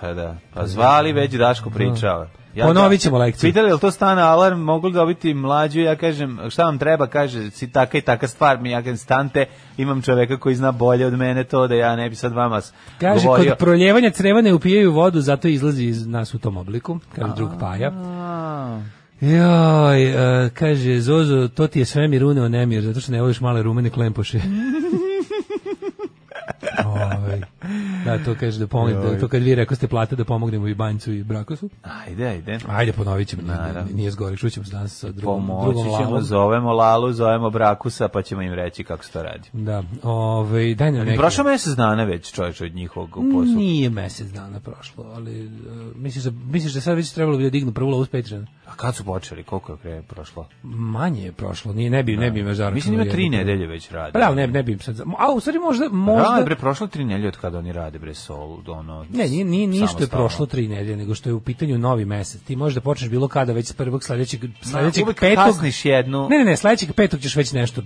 [SPEAKER 7] Pa da. Pa zvali već Daško pričao.
[SPEAKER 6] Da. Ponovit ćemo lekciju.
[SPEAKER 7] Pitali je li to stana alarm, mogu li dobiti mlađu, ja kažem, šta vam treba, kaže, si taka i taka stvar, mi ja kažem, stante, imam čoveka koji zna bolje od mene to, da ja ne bi sad vama s-
[SPEAKER 6] Kaže,
[SPEAKER 7] govorio.
[SPEAKER 6] kod proljevanja creva ne upijaju vodu, zato izlazi iz nas u tom obliku, kaže drug Paja. Joj, e, kaže, Zozo, to ti je svemir uneo nemir, zato što ne voliš male rumene
[SPEAKER 7] <laughs>
[SPEAKER 6] klempoše. Ovaj, da, to kaže da pomogne, da, to kad vi rekoste plate da pomognemo i banjcu i brakosu.
[SPEAKER 7] Ajde, ajde.
[SPEAKER 6] Ajde, ponovit ćemo, nije-
[SPEAKER 7] Naravno.
[SPEAKER 6] nije zgore, čućemo se danas sa drugom,
[SPEAKER 7] Pomoći
[SPEAKER 6] drugom
[SPEAKER 7] ćemo,
[SPEAKER 6] lavom.
[SPEAKER 7] zovemo Lalu, zovemo Brakusa, pa ćemo im reći kako se to radi.
[SPEAKER 6] Da, ovaj, daj nam neki...
[SPEAKER 7] Prošao mesec dana već čovječ od njihovog posla.
[SPEAKER 6] Nije mesec dana prošlo, ali e, misliš, da, misliš da sad već trebalo bi da dignu prvu lovu s Patreona?
[SPEAKER 7] A kad su počeli, koliko je vreme prošlo?
[SPEAKER 6] Manje je prošlo, nije, ne bi, ne bi me zaračunao.
[SPEAKER 7] Mislim da ima tri
[SPEAKER 6] jednu-
[SPEAKER 7] nedelje već radi.
[SPEAKER 6] Pa da, ali ne, ne bi im sad... za- A, u stvari možda... možda...
[SPEAKER 7] Možda... bre, prošlo je tri nedelje od kada oni rade, bre, sol, ono...
[SPEAKER 6] Ne, nije, nije ništa je
[SPEAKER 7] samostalno.
[SPEAKER 6] prošlo tri nedelje, nego što je u pitanju novi mesec. Ti možeš da počneš bilo kada, već s prvog sledećeg, sledećeg
[SPEAKER 7] uvek
[SPEAKER 6] petog...
[SPEAKER 7] kasniš jednu.
[SPEAKER 6] Ne, ne, ne, sledećeg petog ćeš već nešto...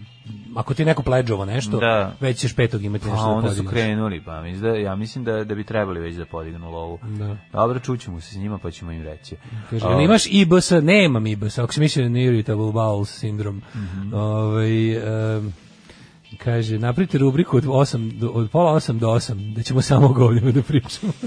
[SPEAKER 6] Ako ti je neko pledžovo nešto,
[SPEAKER 7] Da.
[SPEAKER 6] već ćeš petog imati
[SPEAKER 7] A
[SPEAKER 6] nešto da
[SPEAKER 7] onda su
[SPEAKER 6] podigneš.
[SPEAKER 7] krenuli, pa mislim da, ja mislim da, da bi trebali već da podignu lovu.
[SPEAKER 6] Da.
[SPEAKER 7] Dobro, čućemo se s njima pa ćemo im reći. Ovaj,
[SPEAKER 6] Kaže,
[SPEAKER 7] A,
[SPEAKER 6] jel imaš IBS? Nemam IBS. Ako si mislio na irritable bowel syndrome.
[SPEAKER 7] Mhm.
[SPEAKER 6] Ovaj, em, kaže, napravite rubriku od, 8, do, od pola 8 do 8, da ćemo samo o govnima da pričamo. <laughs>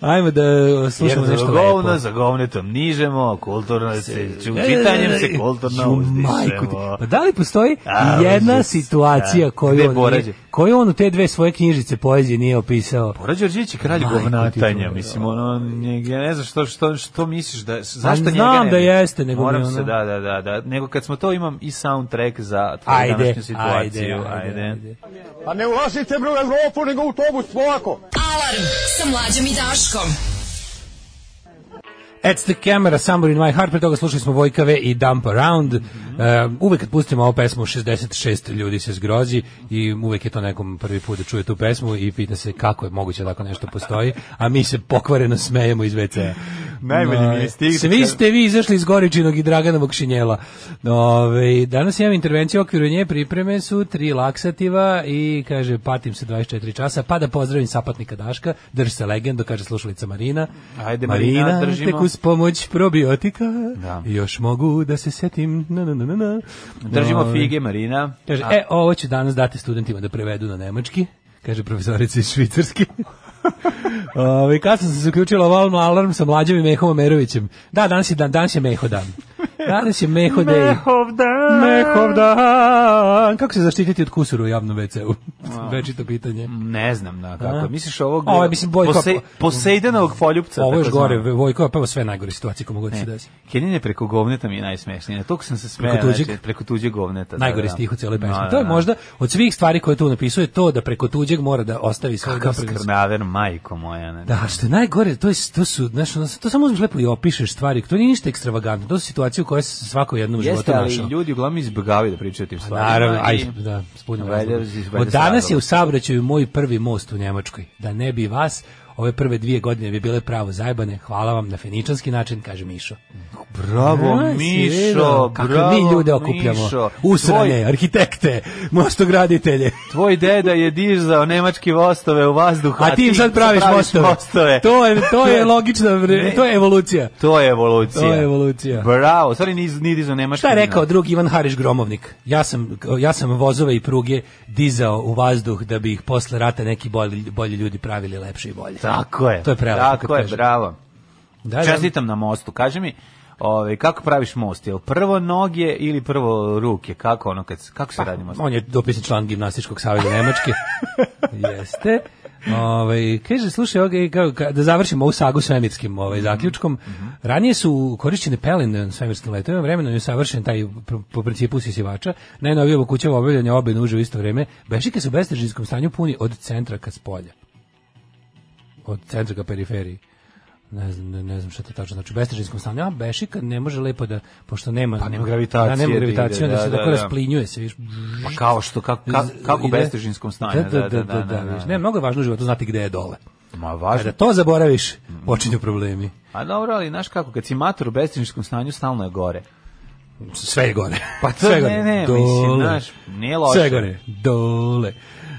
[SPEAKER 6] Ajmo da
[SPEAKER 7] Jer
[SPEAKER 6] slušamo
[SPEAKER 7] za
[SPEAKER 6] nešto
[SPEAKER 7] govno,
[SPEAKER 6] lepo.
[SPEAKER 7] za govnetom nižemo, kulturno se, ču,
[SPEAKER 6] E,
[SPEAKER 7] čitanjem se kulturno
[SPEAKER 6] Ju, majku ti.
[SPEAKER 7] uzdišemo.
[SPEAKER 6] Pa da li postoji
[SPEAKER 7] A,
[SPEAKER 6] jedna
[SPEAKER 7] užas.
[SPEAKER 6] situacija
[SPEAKER 7] Da.
[SPEAKER 6] koju
[SPEAKER 7] Gde
[SPEAKER 6] on,
[SPEAKER 7] Borađe?
[SPEAKER 6] nije- koju on u te dve svoje knjižice poezije nije opisao?
[SPEAKER 7] Porađe Đorđević je kralj
[SPEAKER 6] Majku ti
[SPEAKER 7] govnatanja,
[SPEAKER 6] dobro.
[SPEAKER 7] mislim, ono, ne, ja ne znam što, što, što misliš, da, zašto
[SPEAKER 6] Pa znam
[SPEAKER 7] njega ne
[SPEAKER 6] da
[SPEAKER 7] vidiš?
[SPEAKER 6] jeste, nego mi
[SPEAKER 7] Moram
[SPEAKER 6] ono-
[SPEAKER 7] se, da, da, da, da, nego kad smo to imam i soundtrack za tvoju
[SPEAKER 6] Ajde,
[SPEAKER 7] današnju
[SPEAKER 6] ajde,
[SPEAKER 7] situaciju,
[SPEAKER 6] ajde, ajde.
[SPEAKER 8] Pa ne ulazite bre u Evropu, nego u autobus, polako.
[SPEAKER 2] Alarm sa mlađom i Daškom.
[SPEAKER 6] It's the camera, Summer in my heart, pre toga slušali smo Vojkave i Dump Around. E, uvek kad pustimo ovu pesmu, 66 ljudi se zgrozi i uvek je to nekom prvi put da čuje tu pesmu i pita se kako je moguće da tako nešto postoji, a mi se pokvareno smejemo iz WC-a.
[SPEAKER 7] Najbolji mi je
[SPEAKER 6] No,
[SPEAKER 7] stig-
[SPEAKER 6] Svi ste Ovaj, vi izašli iz Goričinog i Draganovog šinjela. Ove, danas imam intervenciju u okviru nje, pripreme su tri laksativa i kaže patim se 24 časa, pa da pozdravim sapatnika Daška, drž se legendo, kaže slušalica Marina.
[SPEAKER 7] Ajde, Marina, držimo.
[SPEAKER 6] tek uz pomoć probiotika
[SPEAKER 7] Da.
[SPEAKER 6] još mogu da se setim. Na, na, na, na, na.
[SPEAKER 7] Držimo
[SPEAKER 6] Ove,
[SPEAKER 7] fige, Marina.
[SPEAKER 6] Kaže,
[SPEAKER 7] A-
[SPEAKER 6] e, ovo ću danas dati studentima da prevedu na nemački, kaže profesorica iz Švicarske. <laughs> Ove, kad sam se zaključila ovalno alarm sa mlađim i Mehom Omerovićem. Da, danas je, dan, danas je Meho dan. Danas je Meho
[SPEAKER 7] <laughs>
[SPEAKER 6] day.
[SPEAKER 7] Ovdan.
[SPEAKER 6] Mehov dan. Kako se zaštititi od kusura u javnom WC-u? <laughs> Večito pitanje.
[SPEAKER 7] Ne znam na kako.
[SPEAKER 6] A?
[SPEAKER 7] Misliš ovog
[SPEAKER 6] Ovo je, mislim, Bojko-
[SPEAKER 7] Posejdanovog poljupca.
[SPEAKER 6] Ovo je još
[SPEAKER 7] takozvano?
[SPEAKER 6] gore, Vojko je peva sve najgore situacije komu god se
[SPEAKER 7] Ne.
[SPEAKER 6] desi.
[SPEAKER 7] Kenin je preko govneta mi je najsmešnije. Tok sam se smejao.
[SPEAKER 6] Preko tuđeg?
[SPEAKER 7] znači, preko tuđeg govneta. da,
[SPEAKER 6] Najgore
[SPEAKER 7] da.
[SPEAKER 6] stih u cijeloj pesmi.
[SPEAKER 7] Da, da,
[SPEAKER 6] to je
[SPEAKER 7] da.
[SPEAKER 6] možda od svih stvari koje tu napisuje to da preko tuđeg mora da ostavi svoj
[SPEAKER 7] Kakav
[SPEAKER 6] doprinos.
[SPEAKER 7] skrnaver, majko moja. Ne.
[SPEAKER 6] Da, što je najgore, to, je, to su, znaš, ono, to samo uzmeš lepo i opišeš stvari, to nije ništa ekstravagantno, to su situacije u kojoj se svako jednom u životu
[SPEAKER 7] Jeste, ali
[SPEAKER 6] našao.
[SPEAKER 7] ljudi uglavnom izbjegavaju da pričaju o tim stvarima.
[SPEAKER 6] Naravno,
[SPEAKER 7] i-
[SPEAKER 6] aj, da, s punim
[SPEAKER 7] Valjda-
[SPEAKER 6] razlogom.
[SPEAKER 7] valjda
[SPEAKER 6] Od danas je
[SPEAKER 7] stradalo.
[SPEAKER 6] u saobraćaju moj prvi most u Njemačkoj. Da ne bi vas, ove prve dvije godine bi bile pravo zajbane. Hvala vam na feničanski način, kaže Mišo.
[SPEAKER 7] Bravo,
[SPEAKER 6] A, si
[SPEAKER 7] Mišo,
[SPEAKER 6] vidio? Kakve
[SPEAKER 7] bravo,
[SPEAKER 6] mi ljude okupljamo.
[SPEAKER 7] Mišo.
[SPEAKER 6] Usrane,
[SPEAKER 7] Tvoj-
[SPEAKER 6] arhitekte, mostograditelje.
[SPEAKER 7] Tvoj deda je dizao nemački vostove u vazduh,
[SPEAKER 6] A ti im sad praviš, mostove.
[SPEAKER 7] mostove.
[SPEAKER 6] To
[SPEAKER 7] <laughs>
[SPEAKER 6] je, to je logično, bre, to je evolucija.
[SPEAKER 7] To je evolucija.
[SPEAKER 6] To je evolucija.
[SPEAKER 7] Bravo, stvari ni ni dizao nemački.
[SPEAKER 6] Šta je
[SPEAKER 7] ni-
[SPEAKER 6] rekao drugi Ivan Hariš Gromovnik? Ja sam, ja sam vozove i pruge dizao u vazduh da bi ih posle rata neki bolji, bolji ljudi pravili lepše i bolje.
[SPEAKER 7] Tako je.
[SPEAKER 6] To je prelepo, kako
[SPEAKER 7] Tako je,
[SPEAKER 6] kažem.
[SPEAKER 7] bravo.
[SPEAKER 6] Da, da.
[SPEAKER 7] Čestitam na mostu. Kaži mi, ovaj kako praviš most? Jel prvo noge ili prvo ruke?
[SPEAKER 6] Pa,
[SPEAKER 7] Kako ono kad kako se radi most?
[SPEAKER 6] On je dopisni član gimnastičkog saveza Nemačke. Jeste. Ovaj kaže slušaj ovaj, kao, ka- da završimo ovu sagu svemirskim ovaj zaključkom. Ranije su korišćene pelene na svemirskim letovima, vremenom je savršen taj pr- po principu sisivača. Najnovije obućava obavljanje obe nuže u isto vreme. Bešike su u bestežinskom stanju puni od centra ka spolja. Od centra ka periferiji. Ne znam, ne, ne znam šta to tačno znači. U bestežinskom stanju, a bešika ne može lepo da, pošto nema...
[SPEAKER 7] Pa nema gravitacije
[SPEAKER 6] Da, nema
[SPEAKER 7] da
[SPEAKER 6] gravitacije,
[SPEAKER 7] ide,
[SPEAKER 6] onda
[SPEAKER 7] da,
[SPEAKER 6] se
[SPEAKER 7] da,
[SPEAKER 6] tako
[SPEAKER 7] da.
[SPEAKER 6] rasplinjuje se, viš.
[SPEAKER 7] Pa kao što, kako, ka, kako u
[SPEAKER 6] Ide-
[SPEAKER 7] bestežinskom stanju.
[SPEAKER 6] Da, da, da, da, da, viš. Ne, mnogo je važno u životu znati gde je dole.
[SPEAKER 7] Ma
[SPEAKER 6] Kada
[SPEAKER 7] važno.
[SPEAKER 6] to zaboraviš, počinju problemi.
[SPEAKER 7] A dobro, ali znaš kako, kad si mator u bestežinskom stanju, stalno je gore.
[SPEAKER 6] Sve je gore.
[SPEAKER 7] Pa to
[SPEAKER 6] Sve je gore.
[SPEAKER 7] ne, ne,
[SPEAKER 6] Dole.
[SPEAKER 7] mislim, znaš, nije loše.
[SPEAKER 6] Sve je gore. Dole.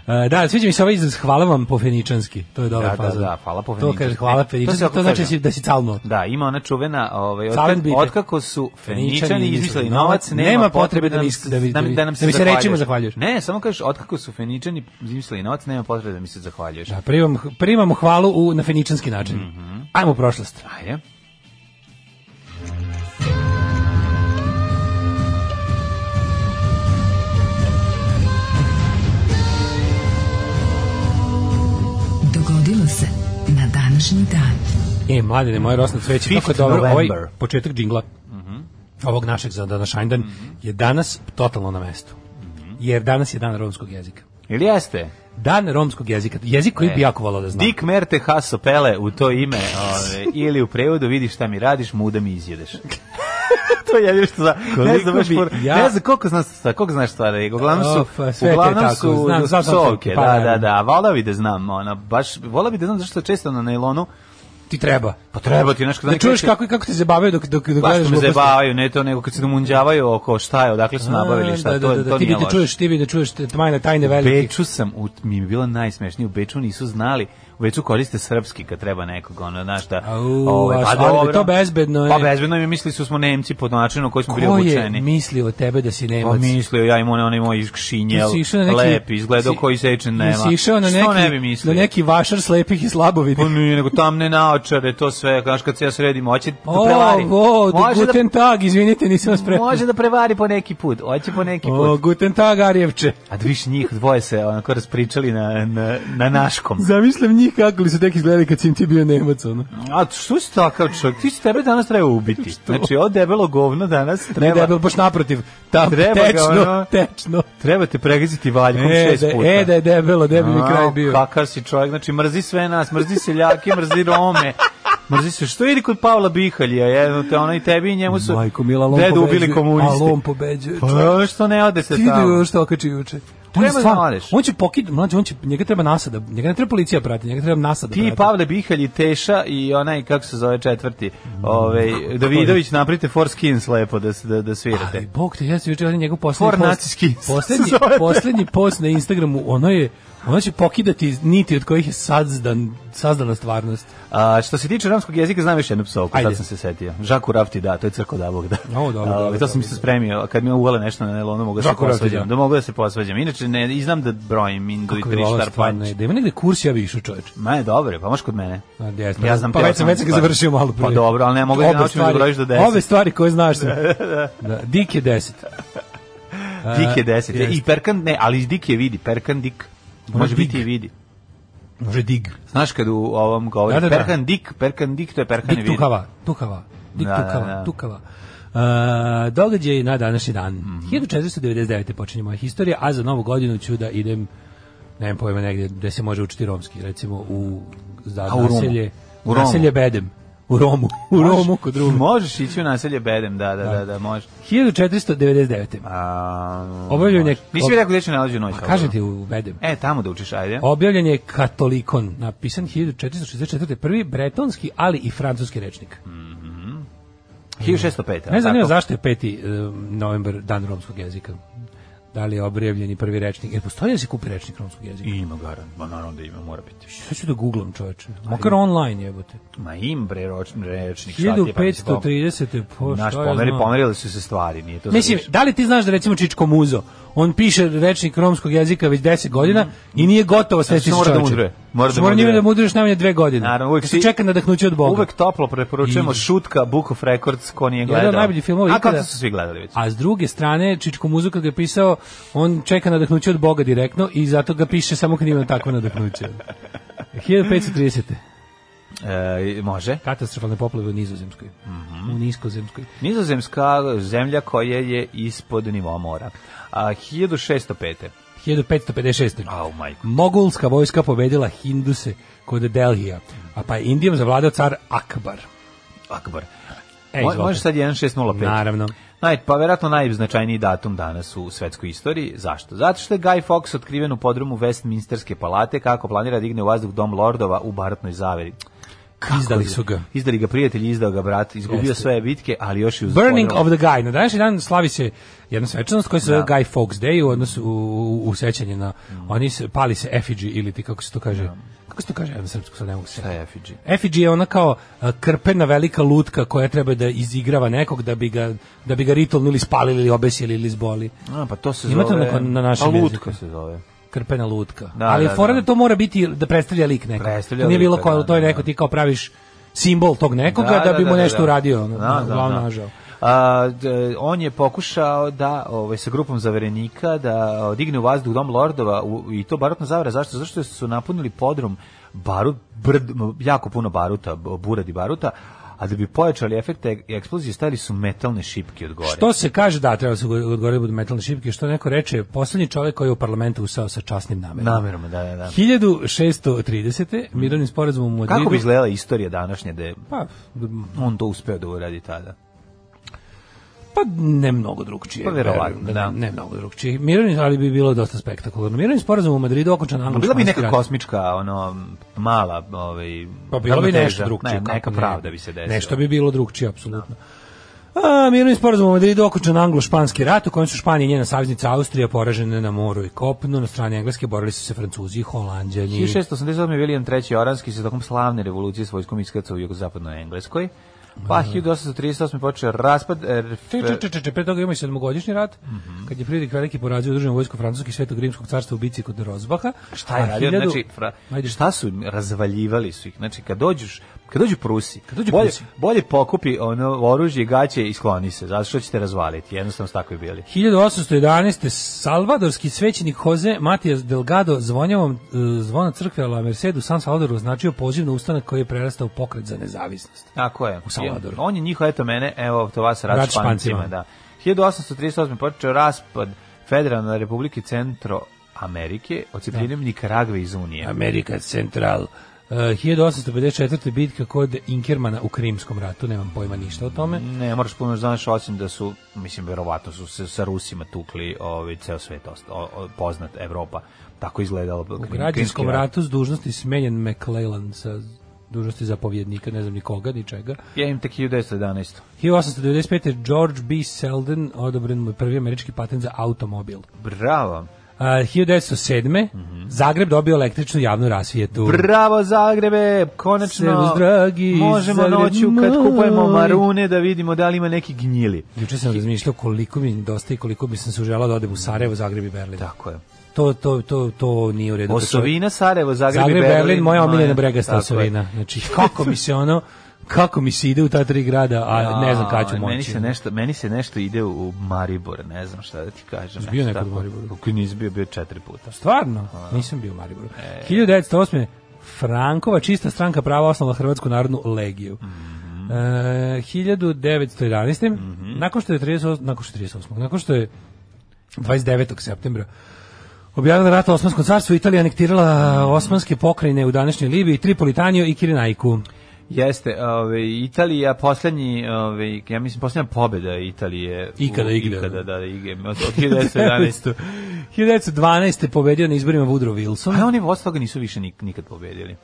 [SPEAKER 6] E, da, sviđa mi se ovaj izraz hvala vam po feničanski. To je dobra
[SPEAKER 7] Da, da,
[SPEAKER 6] faza.
[SPEAKER 7] da, hvala po feničanski.
[SPEAKER 6] To kaže hvala
[SPEAKER 7] To
[SPEAKER 6] feničanski,
[SPEAKER 7] se
[SPEAKER 6] to,
[SPEAKER 7] ovako
[SPEAKER 6] znači
[SPEAKER 7] kaže.
[SPEAKER 6] si- da si calno.
[SPEAKER 7] Da, ima ona čuvena, ovaj,
[SPEAKER 6] Calen
[SPEAKER 7] otkako,
[SPEAKER 6] Bibe.
[SPEAKER 7] otkako su Feničani izmislili novac, nema, potrebe da, mi, s-
[SPEAKER 6] da mi-
[SPEAKER 7] da, mi- da nam se
[SPEAKER 6] da mi se rečima zahvaljuješ.
[SPEAKER 7] Ne, samo kažeš, otkako su Feničani izmislili novac, nema potrebe da mi se zahvaljuješ.
[SPEAKER 6] Da, primam, primam hvalu u, na feničanski način.
[SPEAKER 7] Mhm.
[SPEAKER 6] Ajmo u prošlost.
[SPEAKER 7] Ajde.
[SPEAKER 2] Dogodilo se na današnji dan.
[SPEAKER 6] E, mladine, moje rosno cveće, kako je
[SPEAKER 7] 5th
[SPEAKER 6] dobro, ovaj
[SPEAKER 7] November. Mhm.
[SPEAKER 6] početak džingla ovog našeg za današnji dan je danas totalno na mestu.
[SPEAKER 7] Mhm.
[SPEAKER 6] Jer danas je dan romskog jezika.
[SPEAKER 7] Ili jeste?
[SPEAKER 6] Dan romskog jezika. Jezik koji bi jako volao da znam.
[SPEAKER 7] E. Dik Merte Haso Pele u to ime ove, ili u prevodu vidi šta mi radiš, muda mi izjedeš. <laughs> to je jedino što za... Ne
[SPEAKER 6] Koliko
[SPEAKER 7] znam, baš
[SPEAKER 6] bi
[SPEAKER 7] por-
[SPEAKER 6] ja-
[SPEAKER 7] ne znam koliko, znaš, stvar- koliko znaš stvari. Uglavnom su,
[SPEAKER 6] Of, sve ti je
[SPEAKER 7] uglavnom
[SPEAKER 6] tako,
[SPEAKER 7] su
[SPEAKER 6] znam, znam sam
[SPEAKER 7] psovke,
[SPEAKER 6] pa
[SPEAKER 7] da,
[SPEAKER 6] naravno.
[SPEAKER 7] da, da. A Volao bi da znam, ona, baš, volao bi da znam zašto često na nailonu
[SPEAKER 6] ti treba.
[SPEAKER 7] Pa treba ti nešto
[SPEAKER 6] Da čuješ kako, kako te zabavaju dok, dok, dok
[SPEAKER 7] Baš
[SPEAKER 6] gledaš
[SPEAKER 7] što me
[SPEAKER 6] gluposti.
[SPEAKER 7] zebavaju, ne to, nego kad se domunđavaju oko šta je, odakle su nabavili, šta,
[SPEAKER 6] A, da,
[SPEAKER 7] to,
[SPEAKER 6] da, da,
[SPEAKER 7] to
[SPEAKER 6] ti bi
[SPEAKER 7] nije
[SPEAKER 6] da
[SPEAKER 7] loše.
[SPEAKER 6] čuješ, ti bi da čuješ te tajne, tajne
[SPEAKER 7] U
[SPEAKER 6] velike.
[SPEAKER 7] Beču sam, u, mi je bilo najsmešnije, u Beču nisu znali, u Beču koriste srpski kad treba nekog, ono, znaš da...
[SPEAKER 6] Au, a šta, ali to bezbedno je.
[SPEAKER 7] Pa bezbedno je, mislili su smo Nemci po načinu koji smo bili
[SPEAKER 6] Ko je
[SPEAKER 7] obučeni.
[SPEAKER 6] mislio o tebe da si
[SPEAKER 7] Pa
[SPEAKER 6] Nemac?
[SPEAKER 7] mislio, ja imam onaj moj šinjel,
[SPEAKER 6] Ti si išao na neki-
[SPEAKER 7] lep, izgledao
[SPEAKER 6] si-
[SPEAKER 7] koji sečen nema.
[SPEAKER 6] Jesi išao na
[SPEAKER 7] Što
[SPEAKER 6] neki,
[SPEAKER 7] ne bi mislio?
[SPEAKER 6] na neki vašar slepih i slabovidi.
[SPEAKER 7] Pa nije, nego tamne naočare, to sve, znaš, kad se ja sredim, hoće da
[SPEAKER 6] O,
[SPEAKER 7] prevari.
[SPEAKER 6] o,
[SPEAKER 7] Može da
[SPEAKER 6] Oh, guten tag, izvinite, nisam vas pre...
[SPEAKER 7] Može da prevari po neki put, hoće po neki
[SPEAKER 6] O,
[SPEAKER 7] put.
[SPEAKER 6] guten tag, Arjevče.
[SPEAKER 7] A da viš njih dvoje se onako raspričali na, na, na naškom.
[SPEAKER 6] Zamislim njih kako li su tek izgledali kad si im ti bio Nemac, ono.
[SPEAKER 7] A što si takav čovjek? Ti si tebe danas treba ubiti. Znači, ovo debelo govno danas
[SPEAKER 6] Ne
[SPEAKER 7] treba...
[SPEAKER 6] debel, baš naprotiv. Tam,
[SPEAKER 7] Treba ga,
[SPEAKER 6] tečno,
[SPEAKER 7] ono.
[SPEAKER 6] tečno.
[SPEAKER 7] Treba te pregaziti valjkom
[SPEAKER 6] E,
[SPEAKER 7] šest
[SPEAKER 6] da,
[SPEAKER 7] puta.
[SPEAKER 6] e, da je debelo, da bi mi
[SPEAKER 7] A,
[SPEAKER 6] kraj bio.
[SPEAKER 7] Kakav si čovjek, znači mrzi sve nas, mrzi seljake, mrzi Rome. Mrzi se, što idi kod Pavla Bihalja, jedno te ono i tebi i njemu su
[SPEAKER 6] Majko Mila, Lom
[SPEAKER 7] dedu
[SPEAKER 6] pobeđuje.
[SPEAKER 7] ubili komunisti.
[SPEAKER 6] A Lom pobeđuje.
[SPEAKER 7] Pa, što ne ode se
[SPEAKER 6] Ti da
[SPEAKER 7] tamo?
[SPEAKER 6] još to okači juče. On, je
[SPEAKER 7] Treba da
[SPEAKER 6] stvarno-
[SPEAKER 7] odeš.
[SPEAKER 6] on će pokid, mlađe, on će, njega treba nasada, njega ne treba policija prati, njega treba nasada
[SPEAKER 7] Ti, pa
[SPEAKER 6] prati.
[SPEAKER 7] Pavle Bihalj i Teša i onaj, kako se zove četvrti, ovaj, Davidović, napravite Four Skins lepo da, se- da, da
[SPEAKER 6] Ali
[SPEAKER 7] svirate.
[SPEAKER 6] bog te, ja sam juče vidio njegov poslednji
[SPEAKER 7] For <laughs> naciski
[SPEAKER 6] post. Poslednji,
[SPEAKER 7] se zove.
[SPEAKER 6] poslednji post na Instagramu, ono je, ono će pokidati niti od kojih je sazdan, sazdana stvarnost.
[SPEAKER 7] A, što se tiče romskog jezika, znam još jednu psovku,
[SPEAKER 6] Ajde.
[SPEAKER 7] sad sam se setio. Žaku Rafti, da, to je crko da Bog, da.
[SPEAKER 6] <laughs> O, dobro,
[SPEAKER 7] A,
[SPEAKER 6] dobro,
[SPEAKER 7] to sam
[SPEAKER 6] dobro.
[SPEAKER 7] se spremio, kad mi uvale nešto na nelonu, mogu da se
[SPEAKER 6] Žaku Rafti,
[SPEAKER 7] posvađam.
[SPEAKER 6] da.
[SPEAKER 7] Da. mogu da se posvađam. Inače, ne, i znam da brojim Indu i
[SPEAKER 6] Kako bi
[SPEAKER 7] tri
[SPEAKER 6] volao
[SPEAKER 7] štar
[SPEAKER 6] stvarno,
[SPEAKER 7] panč.
[SPEAKER 6] Da ima negde kurs, ja bi išao čoveč.
[SPEAKER 7] Ma je dobro, pa možeš kod mene.
[SPEAKER 6] A, gdje sam?
[SPEAKER 7] Ja znam
[SPEAKER 6] pa
[SPEAKER 7] te
[SPEAKER 6] već sam već sam ga
[SPEAKER 7] stvari.
[SPEAKER 6] završio malo prije.
[SPEAKER 7] Pa dobro, ali ne mogu da
[SPEAKER 6] Obe
[SPEAKER 7] naučim da
[SPEAKER 6] stvari-
[SPEAKER 7] brojiš do 10.
[SPEAKER 6] Ove stvari koje znaš
[SPEAKER 7] <laughs>
[SPEAKER 6] sam. da, dik je 10.
[SPEAKER 7] Dik je 10.
[SPEAKER 6] Jeste.
[SPEAKER 7] I Perkan, ne, ali Dik je vidi, Perkan Dik. Može
[SPEAKER 6] Dig.
[SPEAKER 7] biti i vidi.
[SPEAKER 6] Može dig.
[SPEAKER 7] Znaš kad u ovom govori
[SPEAKER 6] Da, da, da.
[SPEAKER 7] Perkan Dik, Perkan Dik, to je Perkan
[SPEAKER 6] Dik
[SPEAKER 7] je vidi.
[SPEAKER 6] tukava, tukava. Dik
[SPEAKER 7] Da, da,
[SPEAKER 6] tukava,
[SPEAKER 7] da.
[SPEAKER 6] tukava. Uh, događaj na današnji dan.
[SPEAKER 7] Mhm.
[SPEAKER 6] 1499. počinje moja historija, a za novu godinu ću da idem, nemam pojma negdje, gde se može učiti romski, recimo u, za
[SPEAKER 7] A, u Romu.
[SPEAKER 6] naselje,
[SPEAKER 7] U Romu.
[SPEAKER 6] naselje Bedem. U Romu, u Romu kod Ruma.
[SPEAKER 7] Možeš ići u naselje Bedem, da, da, da, da, može.
[SPEAKER 6] 1499.
[SPEAKER 7] A,
[SPEAKER 6] Obavljaju
[SPEAKER 7] može.
[SPEAKER 6] nek-
[SPEAKER 7] Nisi mi rekao gdje će nalazi noć.
[SPEAKER 6] Kažem Pa ti u Bedem.
[SPEAKER 7] E, tamo da učiš, ajde.
[SPEAKER 6] Objavljen je Katolikon, napisan 1464. Prvi bretonski, ali i francuski rečnik.
[SPEAKER 7] 1605.
[SPEAKER 6] Ne
[SPEAKER 7] a
[SPEAKER 6] znam
[SPEAKER 7] tako?
[SPEAKER 6] zašto je 5. em, novembar dan romskog jezika. Da li je objavljeni prvi rečnik? Jer postoji da se kupi rečnik romskog jezika?
[SPEAKER 7] Ima garant, ma naravno da ima, mora biti.
[SPEAKER 6] Sad ću da googlam čoveče. Makar online jebote.
[SPEAKER 7] Ma im bre roč, rečnik, šta ti je pa mislim, to-
[SPEAKER 6] 1530. Po,
[SPEAKER 7] Znaš,
[SPEAKER 6] pa šta ja
[SPEAKER 7] pomeri, pa
[SPEAKER 6] znam.
[SPEAKER 7] pomerili su se stvari, nije to
[SPEAKER 6] Mislim,
[SPEAKER 7] sad više.
[SPEAKER 6] da li ti znaš da recimo Čičko Muzo, on piše rečnik romskog jezika već 10 godina i nije gotovo sve
[SPEAKER 7] Znači,
[SPEAKER 6] ti
[SPEAKER 7] mora da
[SPEAKER 6] čoveče.
[SPEAKER 7] mudruje.
[SPEAKER 6] Mora
[SPEAKER 7] Mora da
[SPEAKER 6] da mudruje.
[SPEAKER 7] mudruje.
[SPEAKER 6] da mudruješ najmanje dve godine.
[SPEAKER 7] Naravno, uvek
[SPEAKER 6] Jer se
[SPEAKER 7] si-
[SPEAKER 6] čeka na nadahnuće od Boga.
[SPEAKER 7] Uvek toplo preporučujemo
[SPEAKER 6] I-
[SPEAKER 7] šutka Book of Records ko nije
[SPEAKER 6] Jedan
[SPEAKER 7] gledao.
[SPEAKER 6] od najboljih filmova
[SPEAKER 7] A
[SPEAKER 6] ikada.
[SPEAKER 7] kako su svi gledali već?
[SPEAKER 6] A s druge strane, Čičko Muzu kad ga je pisao, on čeka nadahnuće od Boga direktno i zato ga piše samo kad ima takvo nadahnuće. 1530.
[SPEAKER 7] E, može.
[SPEAKER 6] Katastrofalne poplave u Nizozemskoj.
[SPEAKER 7] Mhm.
[SPEAKER 6] U Niskozemskoj.
[SPEAKER 7] Nizozemska zemlja koja je ispod nivoa mora. A 1605.
[SPEAKER 6] 1556.
[SPEAKER 7] Au, majko.
[SPEAKER 6] Mogulska vojska pobedila Hinduse kod Delhija, a pa je Indijom zavladao car Akbar.
[SPEAKER 7] Akbar.
[SPEAKER 6] E,
[SPEAKER 7] Mo-
[SPEAKER 6] izvolite.
[SPEAKER 7] Može sad 1605.
[SPEAKER 6] Naravno.
[SPEAKER 7] Naj, pa verovatno najznačajniji datum danas u svetskoj istoriji. Zašto? Zato što je Guy Fawkes otkriven u podrumu Westminsterske palate kako planira da digne u vazduh dom lordova u baratnoj zaveri.
[SPEAKER 6] Izdali su ga.
[SPEAKER 7] Izdali ga prijatelji, izdao ga brat, izgubio
[SPEAKER 6] Jeste.
[SPEAKER 7] sve bitke, ali još i uz
[SPEAKER 6] Burning of the Guy. Na današnji dan slavi se jedna svečanost koja se
[SPEAKER 7] Da.
[SPEAKER 6] zove Guy Fawkes Day u odnosu u, u, u sećanje na...
[SPEAKER 7] Mm.
[SPEAKER 6] Oni se, pali se effigy ili ti, kako se to kaže...
[SPEAKER 7] Da.
[SPEAKER 6] Kako se to kaže? Ja na srpsku sad ne mogu se.
[SPEAKER 7] Šta je effigy?
[SPEAKER 6] Effigy je ona kao a, krpena velika lutka koja treba da izigrava nekog da bi ga, da bi ga ritualno ili spalili ili obesili ili zboli.
[SPEAKER 7] A, pa to se
[SPEAKER 6] Ima to
[SPEAKER 7] zove...
[SPEAKER 6] na- na našem
[SPEAKER 7] Pa, lutka
[SPEAKER 6] jeziku.
[SPEAKER 7] se zove.
[SPEAKER 6] krpena lutka.
[SPEAKER 7] Da,
[SPEAKER 6] Ali
[SPEAKER 7] da,
[SPEAKER 6] fora
[SPEAKER 7] da.
[SPEAKER 6] da to mora biti da predstavlja lik nekog.
[SPEAKER 7] Predstavlja
[SPEAKER 6] to nije bilo
[SPEAKER 7] lika,
[SPEAKER 6] kao,
[SPEAKER 7] da,
[SPEAKER 6] to je
[SPEAKER 7] da,
[SPEAKER 6] neko
[SPEAKER 7] da.
[SPEAKER 6] ti kao praviš simbol tog nekoga da, bi mu nešto uradio. ono, uglavnom, nažao.
[SPEAKER 7] Da, A, d- on je pokušao da ovaj, sa grupom zaverenika da o, digne u vazduh dom lordova u, i to barutna zavera. Zašto? Zašto su napunili podrum barut, brd, m, jako puno baruta, b- buradi baruta, a da bi pojačali efekte eksplozije stavili su metalne šipke od gore.
[SPEAKER 6] Što se kaže, da, treba se odgovoriti da budu metalne šipke, što neko reče, poslednji čovjek koji je u parlamentu usao sa časnim namerom.
[SPEAKER 7] Namerno, da, da, da.
[SPEAKER 6] 1630. e, mirovnim sporazumom u Madridu.
[SPEAKER 7] Kako bi izgledala istorija današnja da je
[SPEAKER 6] Pa,
[SPEAKER 7] on to uspeo da uradi tada?
[SPEAKER 6] pa ne mnogo drugčije.
[SPEAKER 7] Pa verovatno,
[SPEAKER 6] verujem
[SPEAKER 7] da.
[SPEAKER 6] Ne, ne mnogo drugčije. Mirovni, ali bi bilo dosta spektakularno. Mirovni sporazum u Madridu okončan anglo
[SPEAKER 7] Bila bi neka kosmička, ono, mala, ovaj...
[SPEAKER 6] Pa bilo bi
[SPEAKER 7] ravnoteža.
[SPEAKER 6] nešto drugčije.
[SPEAKER 7] Ne,
[SPEAKER 6] kako
[SPEAKER 7] neka pravda bi se desila.
[SPEAKER 6] Nešto bi Da. bilo drugčije, apsolutno. A, mirovni sporazum u Madridu okončan anglo-španski rat u kojem su Španija i njena saveznica Austrija poražene na moru i kopnu. Na strani Engleske borili su se Francuzi i Holandjani.
[SPEAKER 7] 1688. William III. Oranski se tokom slavne revolucije s vojskom iskrcao u jugozapadnoj Engleskoj.
[SPEAKER 6] Da.
[SPEAKER 7] Pa 1838. počeo raspad... e,
[SPEAKER 6] Če, če, če,
[SPEAKER 7] rf-
[SPEAKER 6] če, če, pre toga ima i sedmogodišnji rat, kad je Fridrik Veliki porazio udruženu vojsku Francuskih svetog rimskog carstva u bici kod Rozbaha.
[SPEAKER 7] Šta je
[SPEAKER 6] A
[SPEAKER 7] radio?
[SPEAKER 6] Pa hiljadu-
[SPEAKER 7] Znači, fra-
[SPEAKER 6] Ajde.
[SPEAKER 7] šta su, im? razvaljivali su ih. Znači, kad dođuš, kad dođu Prusi, kad
[SPEAKER 6] dođu
[SPEAKER 7] bolje,
[SPEAKER 6] Prusi.
[SPEAKER 7] bolje pokupi ono oružje, gaće i skloni se, zato što ćete razvaliti. Jednostavno su tako i bili.
[SPEAKER 6] 1811. Salvadorski svećenik Jose Matijas Delgado zvonjavom e, zvona crkve La Mercedu San Salvadoru označio poziv na ustanak koji je prerastao u pokret za nezavisnost.
[SPEAKER 7] Tako je.
[SPEAKER 6] U Salvadoru.
[SPEAKER 7] On je njihov, eto mene, evo to vas rad
[SPEAKER 6] Rat
[SPEAKER 7] špancima.
[SPEAKER 6] Špancima.
[SPEAKER 7] Da. 1838. počeo raspad Federalne republike Centro Amerike,
[SPEAKER 6] Da.
[SPEAKER 7] ocipljenjem Nikaragve iz Unije.
[SPEAKER 6] Amerika Central. E, 1854. bitka kod Inkermana u Krimskom ratu, nemam pojma ništa o tome.
[SPEAKER 7] Ne, moraš puno još znaš, osim da su, mislim, verovatno su se sa Rusima tukli ovaj, ceo svet, ost- o- o- poznat Evropa. Tako je izgledalo.
[SPEAKER 6] U građanskom ratu s dužnosti smenjen McClellan sa dužnosti zapovjednika, ne znam ni koga, ni čega.
[SPEAKER 7] Ja im tek 1911.
[SPEAKER 6] 1895. George B. Selden odobren mu je prvi američki patent za automobil.
[SPEAKER 7] Bravo.
[SPEAKER 6] A, 1907. Zagreb dobio električnu javnu rasvijetu.
[SPEAKER 7] Bravo Zagrebe, konačno
[SPEAKER 6] Servus, dragi,
[SPEAKER 7] možemo
[SPEAKER 6] Zagreb
[SPEAKER 7] noću kad
[SPEAKER 6] moj.
[SPEAKER 7] kupujemo marune da vidimo da li ima neki gnjili.
[SPEAKER 6] Juče sam razmišljao koliko mi nedostaje i koliko bi sam se želao da odem u Sarajevo, Zagreb i Berlin.
[SPEAKER 7] Tako je.
[SPEAKER 6] To, to, to, to nije u redu.
[SPEAKER 7] Osovina, Sarajevo, Zagreb, i
[SPEAKER 6] da Zagreb,
[SPEAKER 7] Berlin.
[SPEAKER 6] Berlin, moja omiljena bregasta
[SPEAKER 7] Tako je.
[SPEAKER 6] osovina. Znači, kako mi se ono, kako mi se ide u ta tri grada, a ne znam kada ću
[SPEAKER 7] A,
[SPEAKER 6] moći.
[SPEAKER 7] Meni se nešto, meni se nešto ide u Maribor, ne znam šta da ti kažem.
[SPEAKER 6] bio
[SPEAKER 7] nešto
[SPEAKER 6] nekad u
[SPEAKER 7] tako.
[SPEAKER 6] Mariboru?
[SPEAKER 7] Kako nisi bio, bio četiri puta.
[SPEAKER 6] Stvarno?
[SPEAKER 7] Pa, da.
[SPEAKER 6] Nisam bio u Mariboru.
[SPEAKER 7] E.
[SPEAKER 6] 1908. Frankova čista stranka prava osnovala Hrvatsku narodnu legiju.
[SPEAKER 7] Mhm.
[SPEAKER 6] E, 1911. Nakon što je 38, nakon što je 38. Nakon što je 29. septembra objavila rat Osmanskom carstvu, Italija anektirala osmanske pokrajine u današnjoj Libiji, Tripolitaniju i Kirinajku.
[SPEAKER 7] Jeste, ovaj Italija poslednji, ovaj ja mislim poslednja pobeda Italije
[SPEAKER 6] Ikada
[SPEAKER 7] u-
[SPEAKER 6] igre.
[SPEAKER 7] ikada da, da igre od od
[SPEAKER 6] <laughs>
[SPEAKER 7] 1911.
[SPEAKER 6] 1912. je pobedio na izborima Woodrow Wilson.
[SPEAKER 7] A Pa da, oni od toga nisu više nik, nikad pobedili.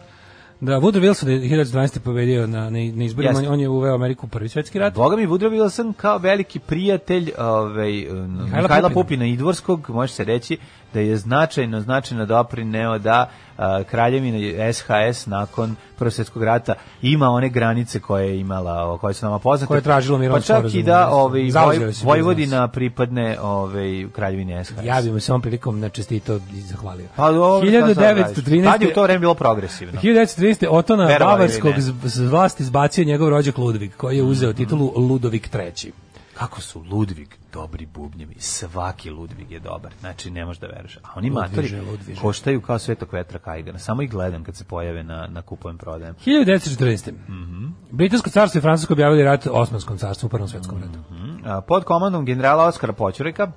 [SPEAKER 6] Da, Woodrow Wilson je 1912. pobedio na, na, na izborima,
[SPEAKER 7] Jeste.
[SPEAKER 6] on je uveo Ameriku u prvi svjetski rat.
[SPEAKER 7] Boga mi Woodrow Wilson kao veliki prijatelj ovaj, Mihajla, Mihajla
[SPEAKER 6] Pupina.
[SPEAKER 7] Pupina Idvorskog, može se reći da je značajno, značajno doprineo da a, kraljevina SHS nakon Prvog svjetskog rata ima one granice koje je imala, o, koje su nama poznate.
[SPEAKER 6] Koje je tražilo mirovno
[SPEAKER 7] Pa čak i
[SPEAKER 6] sporazum,
[SPEAKER 7] da
[SPEAKER 6] jeste.
[SPEAKER 7] ovaj,
[SPEAKER 6] Zauzeo
[SPEAKER 7] Voj-
[SPEAKER 6] se bez
[SPEAKER 7] Vojvodina pripadne ovaj, kraljevini SHS.
[SPEAKER 6] Ja bih mu se ovom prilikom na čestito i zahvalio.
[SPEAKER 7] Pa dobro, šta sad radiš?
[SPEAKER 6] 1913.
[SPEAKER 7] Tad je u to vreme bilo progresivno.
[SPEAKER 6] 1913. Otona
[SPEAKER 7] Verovali ili
[SPEAKER 6] Bavarskog
[SPEAKER 7] ne. Mhm.
[SPEAKER 6] z, z vlasti izbacio njegov rođak Ludvig, koji je uzeo titulu Ludovik III.
[SPEAKER 7] kako su Ludvig dobri bubnjevi, svaki Ludvig je dobar, znači ne možeš da veruješ. A oni matori
[SPEAKER 6] Ludviže, Ludviže.
[SPEAKER 7] koštaju kao svetog vetra kajgana, samo ih gledam kad se pojave na, na kupujem prodajem.
[SPEAKER 6] 1914. Mhm. Britansko carstvo i Francusko objavili rat Osmanskom carstvu u Prvom svetskom ratu.
[SPEAKER 7] Hmm. A, Pod komandom generala Oskara Poćureka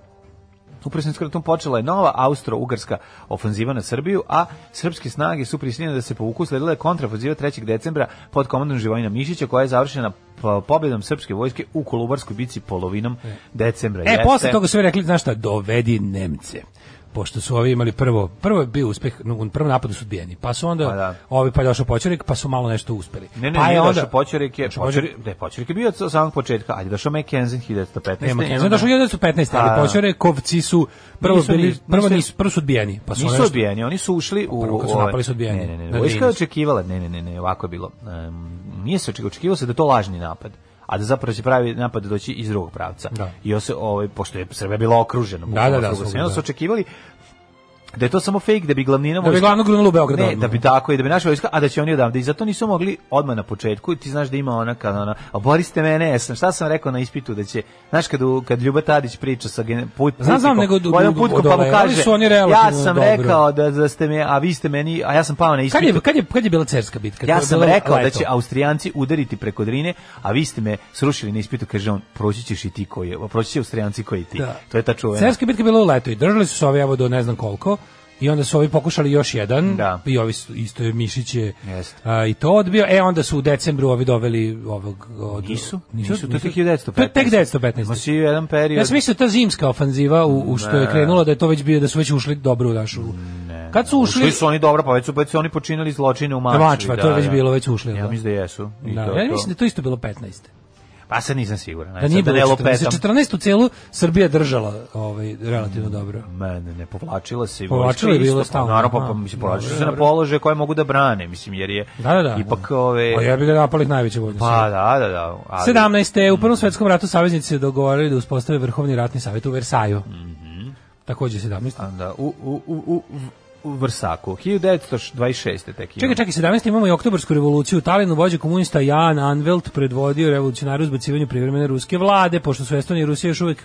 [SPEAKER 7] Upravo sam skoro tom počela je nova austro-ugarska ofanziva na Srbiju, a srpske snage su prisiljene da se povuku. Sledila je kontraofanziva 3. decembra pod komandom Živojina Mišića, koja je završena po- pobjedom srpske vojske u Kolubarskoj bici polovinom decembra.
[SPEAKER 6] E,
[SPEAKER 7] Jeste.
[SPEAKER 6] posle toga su ovi rekli, znaš šta, dovedi Nemce. Pošto su ovi imali prvo, prvo je bio uspeh, no, u prvom napadu su odbijeni, pa su onda
[SPEAKER 7] Pa da.
[SPEAKER 6] ovi pa je došao Poćurik, pa su malo nešto uspeli.
[SPEAKER 7] Ne, ne,
[SPEAKER 6] pa
[SPEAKER 7] nije
[SPEAKER 6] je Znači,
[SPEAKER 7] došao Poćurik je,
[SPEAKER 6] Došao Poćurik-
[SPEAKER 7] Poćurik, ne, Poćurik je bio od samog početka, ali došao McKenzie 1915.
[SPEAKER 6] Nema,
[SPEAKER 7] I
[SPEAKER 6] ne,
[SPEAKER 7] onda-
[SPEAKER 6] znači došao 1915,
[SPEAKER 7] Pa,
[SPEAKER 6] ali Poćurekovci su prvo
[SPEAKER 7] Nisu
[SPEAKER 6] bili,
[SPEAKER 7] ni-
[SPEAKER 6] prvo
[SPEAKER 7] nisu-
[SPEAKER 6] nisu, prvo su odbijeni, pa su
[SPEAKER 7] Nisu
[SPEAKER 6] nešto-
[SPEAKER 7] odbijeni, oni su ušli u...
[SPEAKER 6] Prvo kad su
[SPEAKER 7] ovaj-
[SPEAKER 6] napali su Da, odbijeni.
[SPEAKER 7] Ne, ne,
[SPEAKER 6] Na
[SPEAKER 7] ne, vojska je
[SPEAKER 6] Drinicu.
[SPEAKER 7] očekivala, ne, ne, ne, ne, ovako je bilo. Um, nije se očekivalo, očekivalo se da je to lažni napad a da zapravo će pravi napad doći iz drugog pravca.
[SPEAKER 6] Da.
[SPEAKER 7] I on se, ovaj, pošto je Srbija bila okružena.
[SPEAKER 6] da, da,
[SPEAKER 7] bukvalno,
[SPEAKER 6] svugdje,
[SPEAKER 7] onda su
[SPEAKER 6] da.
[SPEAKER 7] očekivali da je to samo fake, da bi glavnina
[SPEAKER 6] Da bi glavno grunulo u Beograd.
[SPEAKER 7] ne,
[SPEAKER 6] odmah.
[SPEAKER 7] da bi tako i da bi naša vojska, a da će oni odavde. I zato nisu mogli odmah na početku, ti znaš da ima ona kad ona, a boriste mene, jesam, šta sam rekao na ispitu da će, znaš kad, u- kad Ljuba Tadić priča sa gen, put,
[SPEAKER 6] Znam, znam,
[SPEAKER 7] putnikom,
[SPEAKER 6] nego du-
[SPEAKER 7] Bojan
[SPEAKER 6] du-
[SPEAKER 7] Putko, pa mu
[SPEAKER 6] odolevali
[SPEAKER 7] kaže,
[SPEAKER 6] ovaj, su oni
[SPEAKER 7] ja
[SPEAKER 6] relativno
[SPEAKER 7] sam
[SPEAKER 6] dobro."
[SPEAKER 7] rekao da, da ste me, a vi ste meni, a ja sam pao na
[SPEAKER 6] Kad je,
[SPEAKER 7] ispitu.
[SPEAKER 6] kad, je, kad je bila cerska bitka? To
[SPEAKER 7] Ja
[SPEAKER 6] je
[SPEAKER 7] sam
[SPEAKER 6] bilo
[SPEAKER 7] rekao da
[SPEAKER 6] leto.
[SPEAKER 7] će Austrijanci udariti preko Drine, a vi ste me srušili na ispitu, kaže on, proći ćeš i ti koji, je- proći će Austrijanci koji ti.
[SPEAKER 6] Da.
[SPEAKER 7] To je ta čuvena.
[SPEAKER 6] Cerska bitka je bila u leto i držali su se ovi evo do ne znam koliko i onda su ovi pokušali još jedan
[SPEAKER 7] Da.
[SPEAKER 6] i ovi su, isto je Mišić je
[SPEAKER 7] Jeste.
[SPEAKER 6] a, i to odbio. E onda su u decembru ovi doveli ovog od,
[SPEAKER 7] Nisu,
[SPEAKER 6] nisu,
[SPEAKER 7] nisu, to je tek
[SPEAKER 6] To je tek
[SPEAKER 7] 1915. Ima
[SPEAKER 6] 1915.
[SPEAKER 7] si jedan period.
[SPEAKER 6] Ja sam mislio ta zimska ofanziva u, u što je krenula da je to već bio da su već ušli dobro u našu. Kad su ušli,
[SPEAKER 7] Ušli su oni dobro, pa već su, već su oni počinili zločine u Mačvi.
[SPEAKER 6] Mačva, to je već bilo, već su ušli,
[SPEAKER 7] Ja
[SPEAKER 6] da.
[SPEAKER 7] mislim da jesu. I
[SPEAKER 6] Da,
[SPEAKER 7] to,
[SPEAKER 6] ja
[SPEAKER 7] to.
[SPEAKER 6] mislim da je to isto bilo 15.
[SPEAKER 7] Pa sad nisam siguran.
[SPEAKER 6] Da nije bilo
[SPEAKER 7] sad ne
[SPEAKER 6] 14.
[SPEAKER 7] lupetam.
[SPEAKER 6] 14 u celu Srbija držala ovaj, relativno dobro.
[SPEAKER 7] Ma, ne, ne, povlačila se. i
[SPEAKER 6] Povlačila
[SPEAKER 7] vojska
[SPEAKER 6] je bilo
[SPEAKER 7] isto, pa
[SPEAKER 6] stalno,
[SPEAKER 7] Naravno, pa,
[SPEAKER 6] aha.
[SPEAKER 7] pa mislim, povlačila
[SPEAKER 6] Dobro,
[SPEAKER 7] se na
[SPEAKER 6] dobro.
[SPEAKER 7] položaje koje mogu da brane, mislim, jer je
[SPEAKER 6] Da, da, da.
[SPEAKER 7] ipak
[SPEAKER 6] Pa
[SPEAKER 7] ove...
[SPEAKER 6] ja bih ga napalih najveće vojne sile.
[SPEAKER 7] Pa da, da, da. Ali,
[SPEAKER 6] 17. u Prvom svetskom ratu saveznici se dogovorili da uspostave Vrhovni ratni savjet u Versaju.
[SPEAKER 7] Mhm.
[SPEAKER 6] Takođe 17.
[SPEAKER 7] Da, u, u, u, u, u Vrsaku. 1926. tek
[SPEAKER 6] Čekaj,
[SPEAKER 7] imamo.
[SPEAKER 6] čekaj, 17. imamo i oktobarsku revoluciju. U Talinu vođe komunista Jan Anvelt predvodio revolucionaru zbacivanju privremene ruske vlade, pošto su Estonija i Rusija još uvek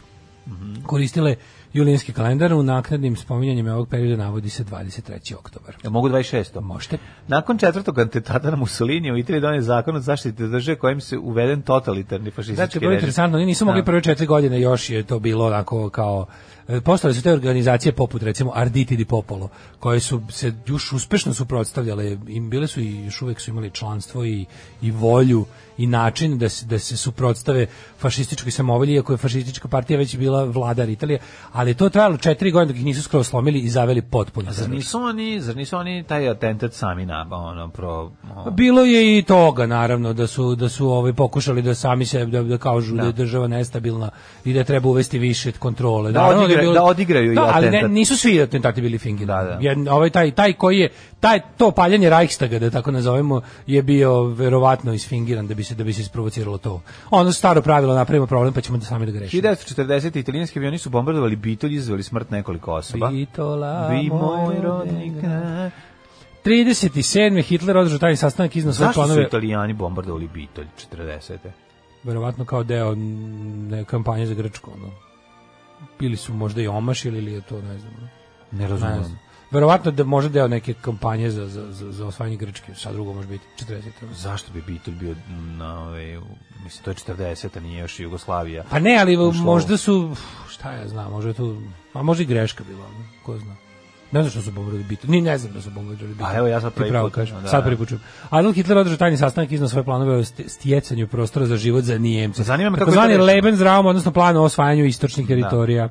[SPEAKER 7] Mhm.
[SPEAKER 6] koristile julijanski kalendar. U naknadnim spominjanjima ovog perioda navodi se 23. oktobar.
[SPEAKER 7] Jel Mogu 26.
[SPEAKER 6] Možete?
[SPEAKER 7] Nakon četvrtog atentata na Mussolini u Italiji donio zakon o zaštiti države kojim se uveden totalitarni
[SPEAKER 6] Znači,
[SPEAKER 7] fašistički
[SPEAKER 6] bilo je
[SPEAKER 7] režim.
[SPEAKER 6] interesantno, oni nisu mogli
[SPEAKER 7] Da.
[SPEAKER 6] prve četiri godine, još je to bilo onako kao... e, Postale su te organizacije poput recimo Arditi di Popolo, koje su se još uspešno suprotstavljale, im bile su i još uvek su imali članstvo i, i volju i način da se, da se suprotstave fašističkoj samovolji, iako je fašistička partija već bila vladar Italije, ali je to trajalo četiri godine dok ih nisu skoro slomili i zaveli potpuno.
[SPEAKER 7] Zar nisu oni, zar nisu oni taj atentat sami na ono pro o,
[SPEAKER 6] Pa Bilo je i toga naravno da su da su ovaj pokušali da sami se da, da kažu da. je država nestabilna i da treba uvesti više kontrole.
[SPEAKER 7] Da
[SPEAKER 6] Naravno je
[SPEAKER 7] odigra- da odigraju i
[SPEAKER 6] da, ali ne,
[SPEAKER 7] atentat.
[SPEAKER 6] nisu svi atentati bili fingirani.
[SPEAKER 7] Da, da.
[SPEAKER 6] Jedan- ovaj taj taj koji je taj to paljenje Reichstaga da tako nazovemo je bio verovatno isfingiran da bi se da bi se isprovociralo to. Ono staro pravilo napravimo problem pa ćemo da sami da ga rešimo.
[SPEAKER 7] 1940. italijanski avioni su bombardovali Bitolj i izveli smrt nekoliko osoba.
[SPEAKER 6] Bitola,
[SPEAKER 7] pa. Vi
[SPEAKER 6] moj
[SPEAKER 7] moj rodni
[SPEAKER 6] grad.
[SPEAKER 7] grad.
[SPEAKER 6] 37. Hitler održao tajni sastanak iznad sve
[SPEAKER 7] Zašto su
[SPEAKER 6] planove,
[SPEAKER 7] italijani bombardovali Bitolj 40.
[SPEAKER 6] verovatno kao deo mm, ne, kampanje za Grčku. Ono. Ili su možda i omašili ili je to, ne znam. ono.
[SPEAKER 7] Ne
[SPEAKER 6] Ne
[SPEAKER 7] razumem.
[SPEAKER 6] znam. Verovatno da može deo neke kampanje za, za, za, za osvajanje Grčke, šta drugo može biti, 40.
[SPEAKER 7] Zašto bi Bitolj bio na ove, u- mislim to je 40. nije još Jugoslavija.
[SPEAKER 6] Pa ne, ali
[SPEAKER 7] Ušlo.
[SPEAKER 6] možda su, uf, šta ja znam, možda je tu, a možda i greška bila, ono, ko zna. Ne znam što su bombardovali bitu, ni ne znam da su bombardovali bitu.
[SPEAKER 7] Pa evo, ja sad
[SPEAKER 6] Ti
[SPEAKER 7] prvi
[SPEAKER 6] pravo
[SPEAKER 7] put,
[SPEAKER 6] kažem,
[SPEAKER 7] da.
[SPEAKER 6] sad prvi put čujem. Adolf Hitler održao tajni sastanak iznao svoje planove o st- stjecanju prostora za život za Nijemce.
[SPEAKER 7] Zanima me kako je to
[SPEAKER 6] Takozvani
[SPEAKER 7] rešeno.
[SPEAKER 6] Lebensraum, odnosno plan o osvajanju istočnih teritorija.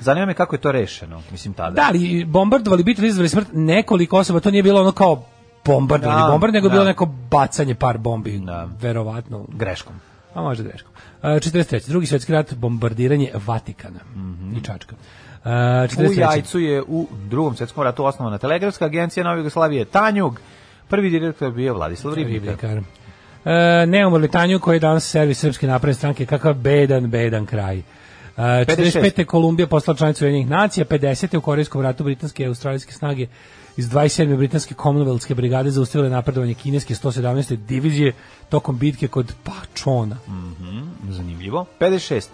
[SPEAKER 7] Zanima me kako je to rešeno, mislim tada.
[SPEAKER 6] Da, ali bombardovali bitvu izveli smrt nekoliko osoba, to nije bilo ono kao bombardovali
[SPEAKER 7] Da,
[SPEAKER 6] bombard, nego je bilo
[SPEAKER 7] da.
[SPEAKER 6] neko bacanje par bombi,
[SPEAKER 7] Da.
[SPEAKER 6] verovatno,
[SPEAKER 7] greškom.
[SPEAKER 6] a može greškom. E, 43. Drugi svjetski rat, bombardiranje Vatikana
[SPEAKER 7] Mhm.
[SPEAKER 6] i Čačka. E,
[SPEAKER 7] U
[SPEAKER 6] 43.
[SPEAKER 7] Jajcu je u drugom svjetskom ratu osnovana telegrafska agencija Nove Jugoslavije Tanjug. Prvi direktor bio Vladislav Ribnikar.
[SPEAKER 6] Ribnikar. E, neumrli Tanju koji je danas servis Srpske napredne stranke, kakav bedan, bedan kraj. E, Uh, 45. Kolumbija postala članica Ujedinjenih nacija, 50. u Korejskom ratu britanske i australijske snage iz 27. britanske Commonwealthske brigade zaustavile napredovanje kineske 117. divizije tokom bitke kod Pačona.
[SPEAKER 7] Zanimljivo. 56.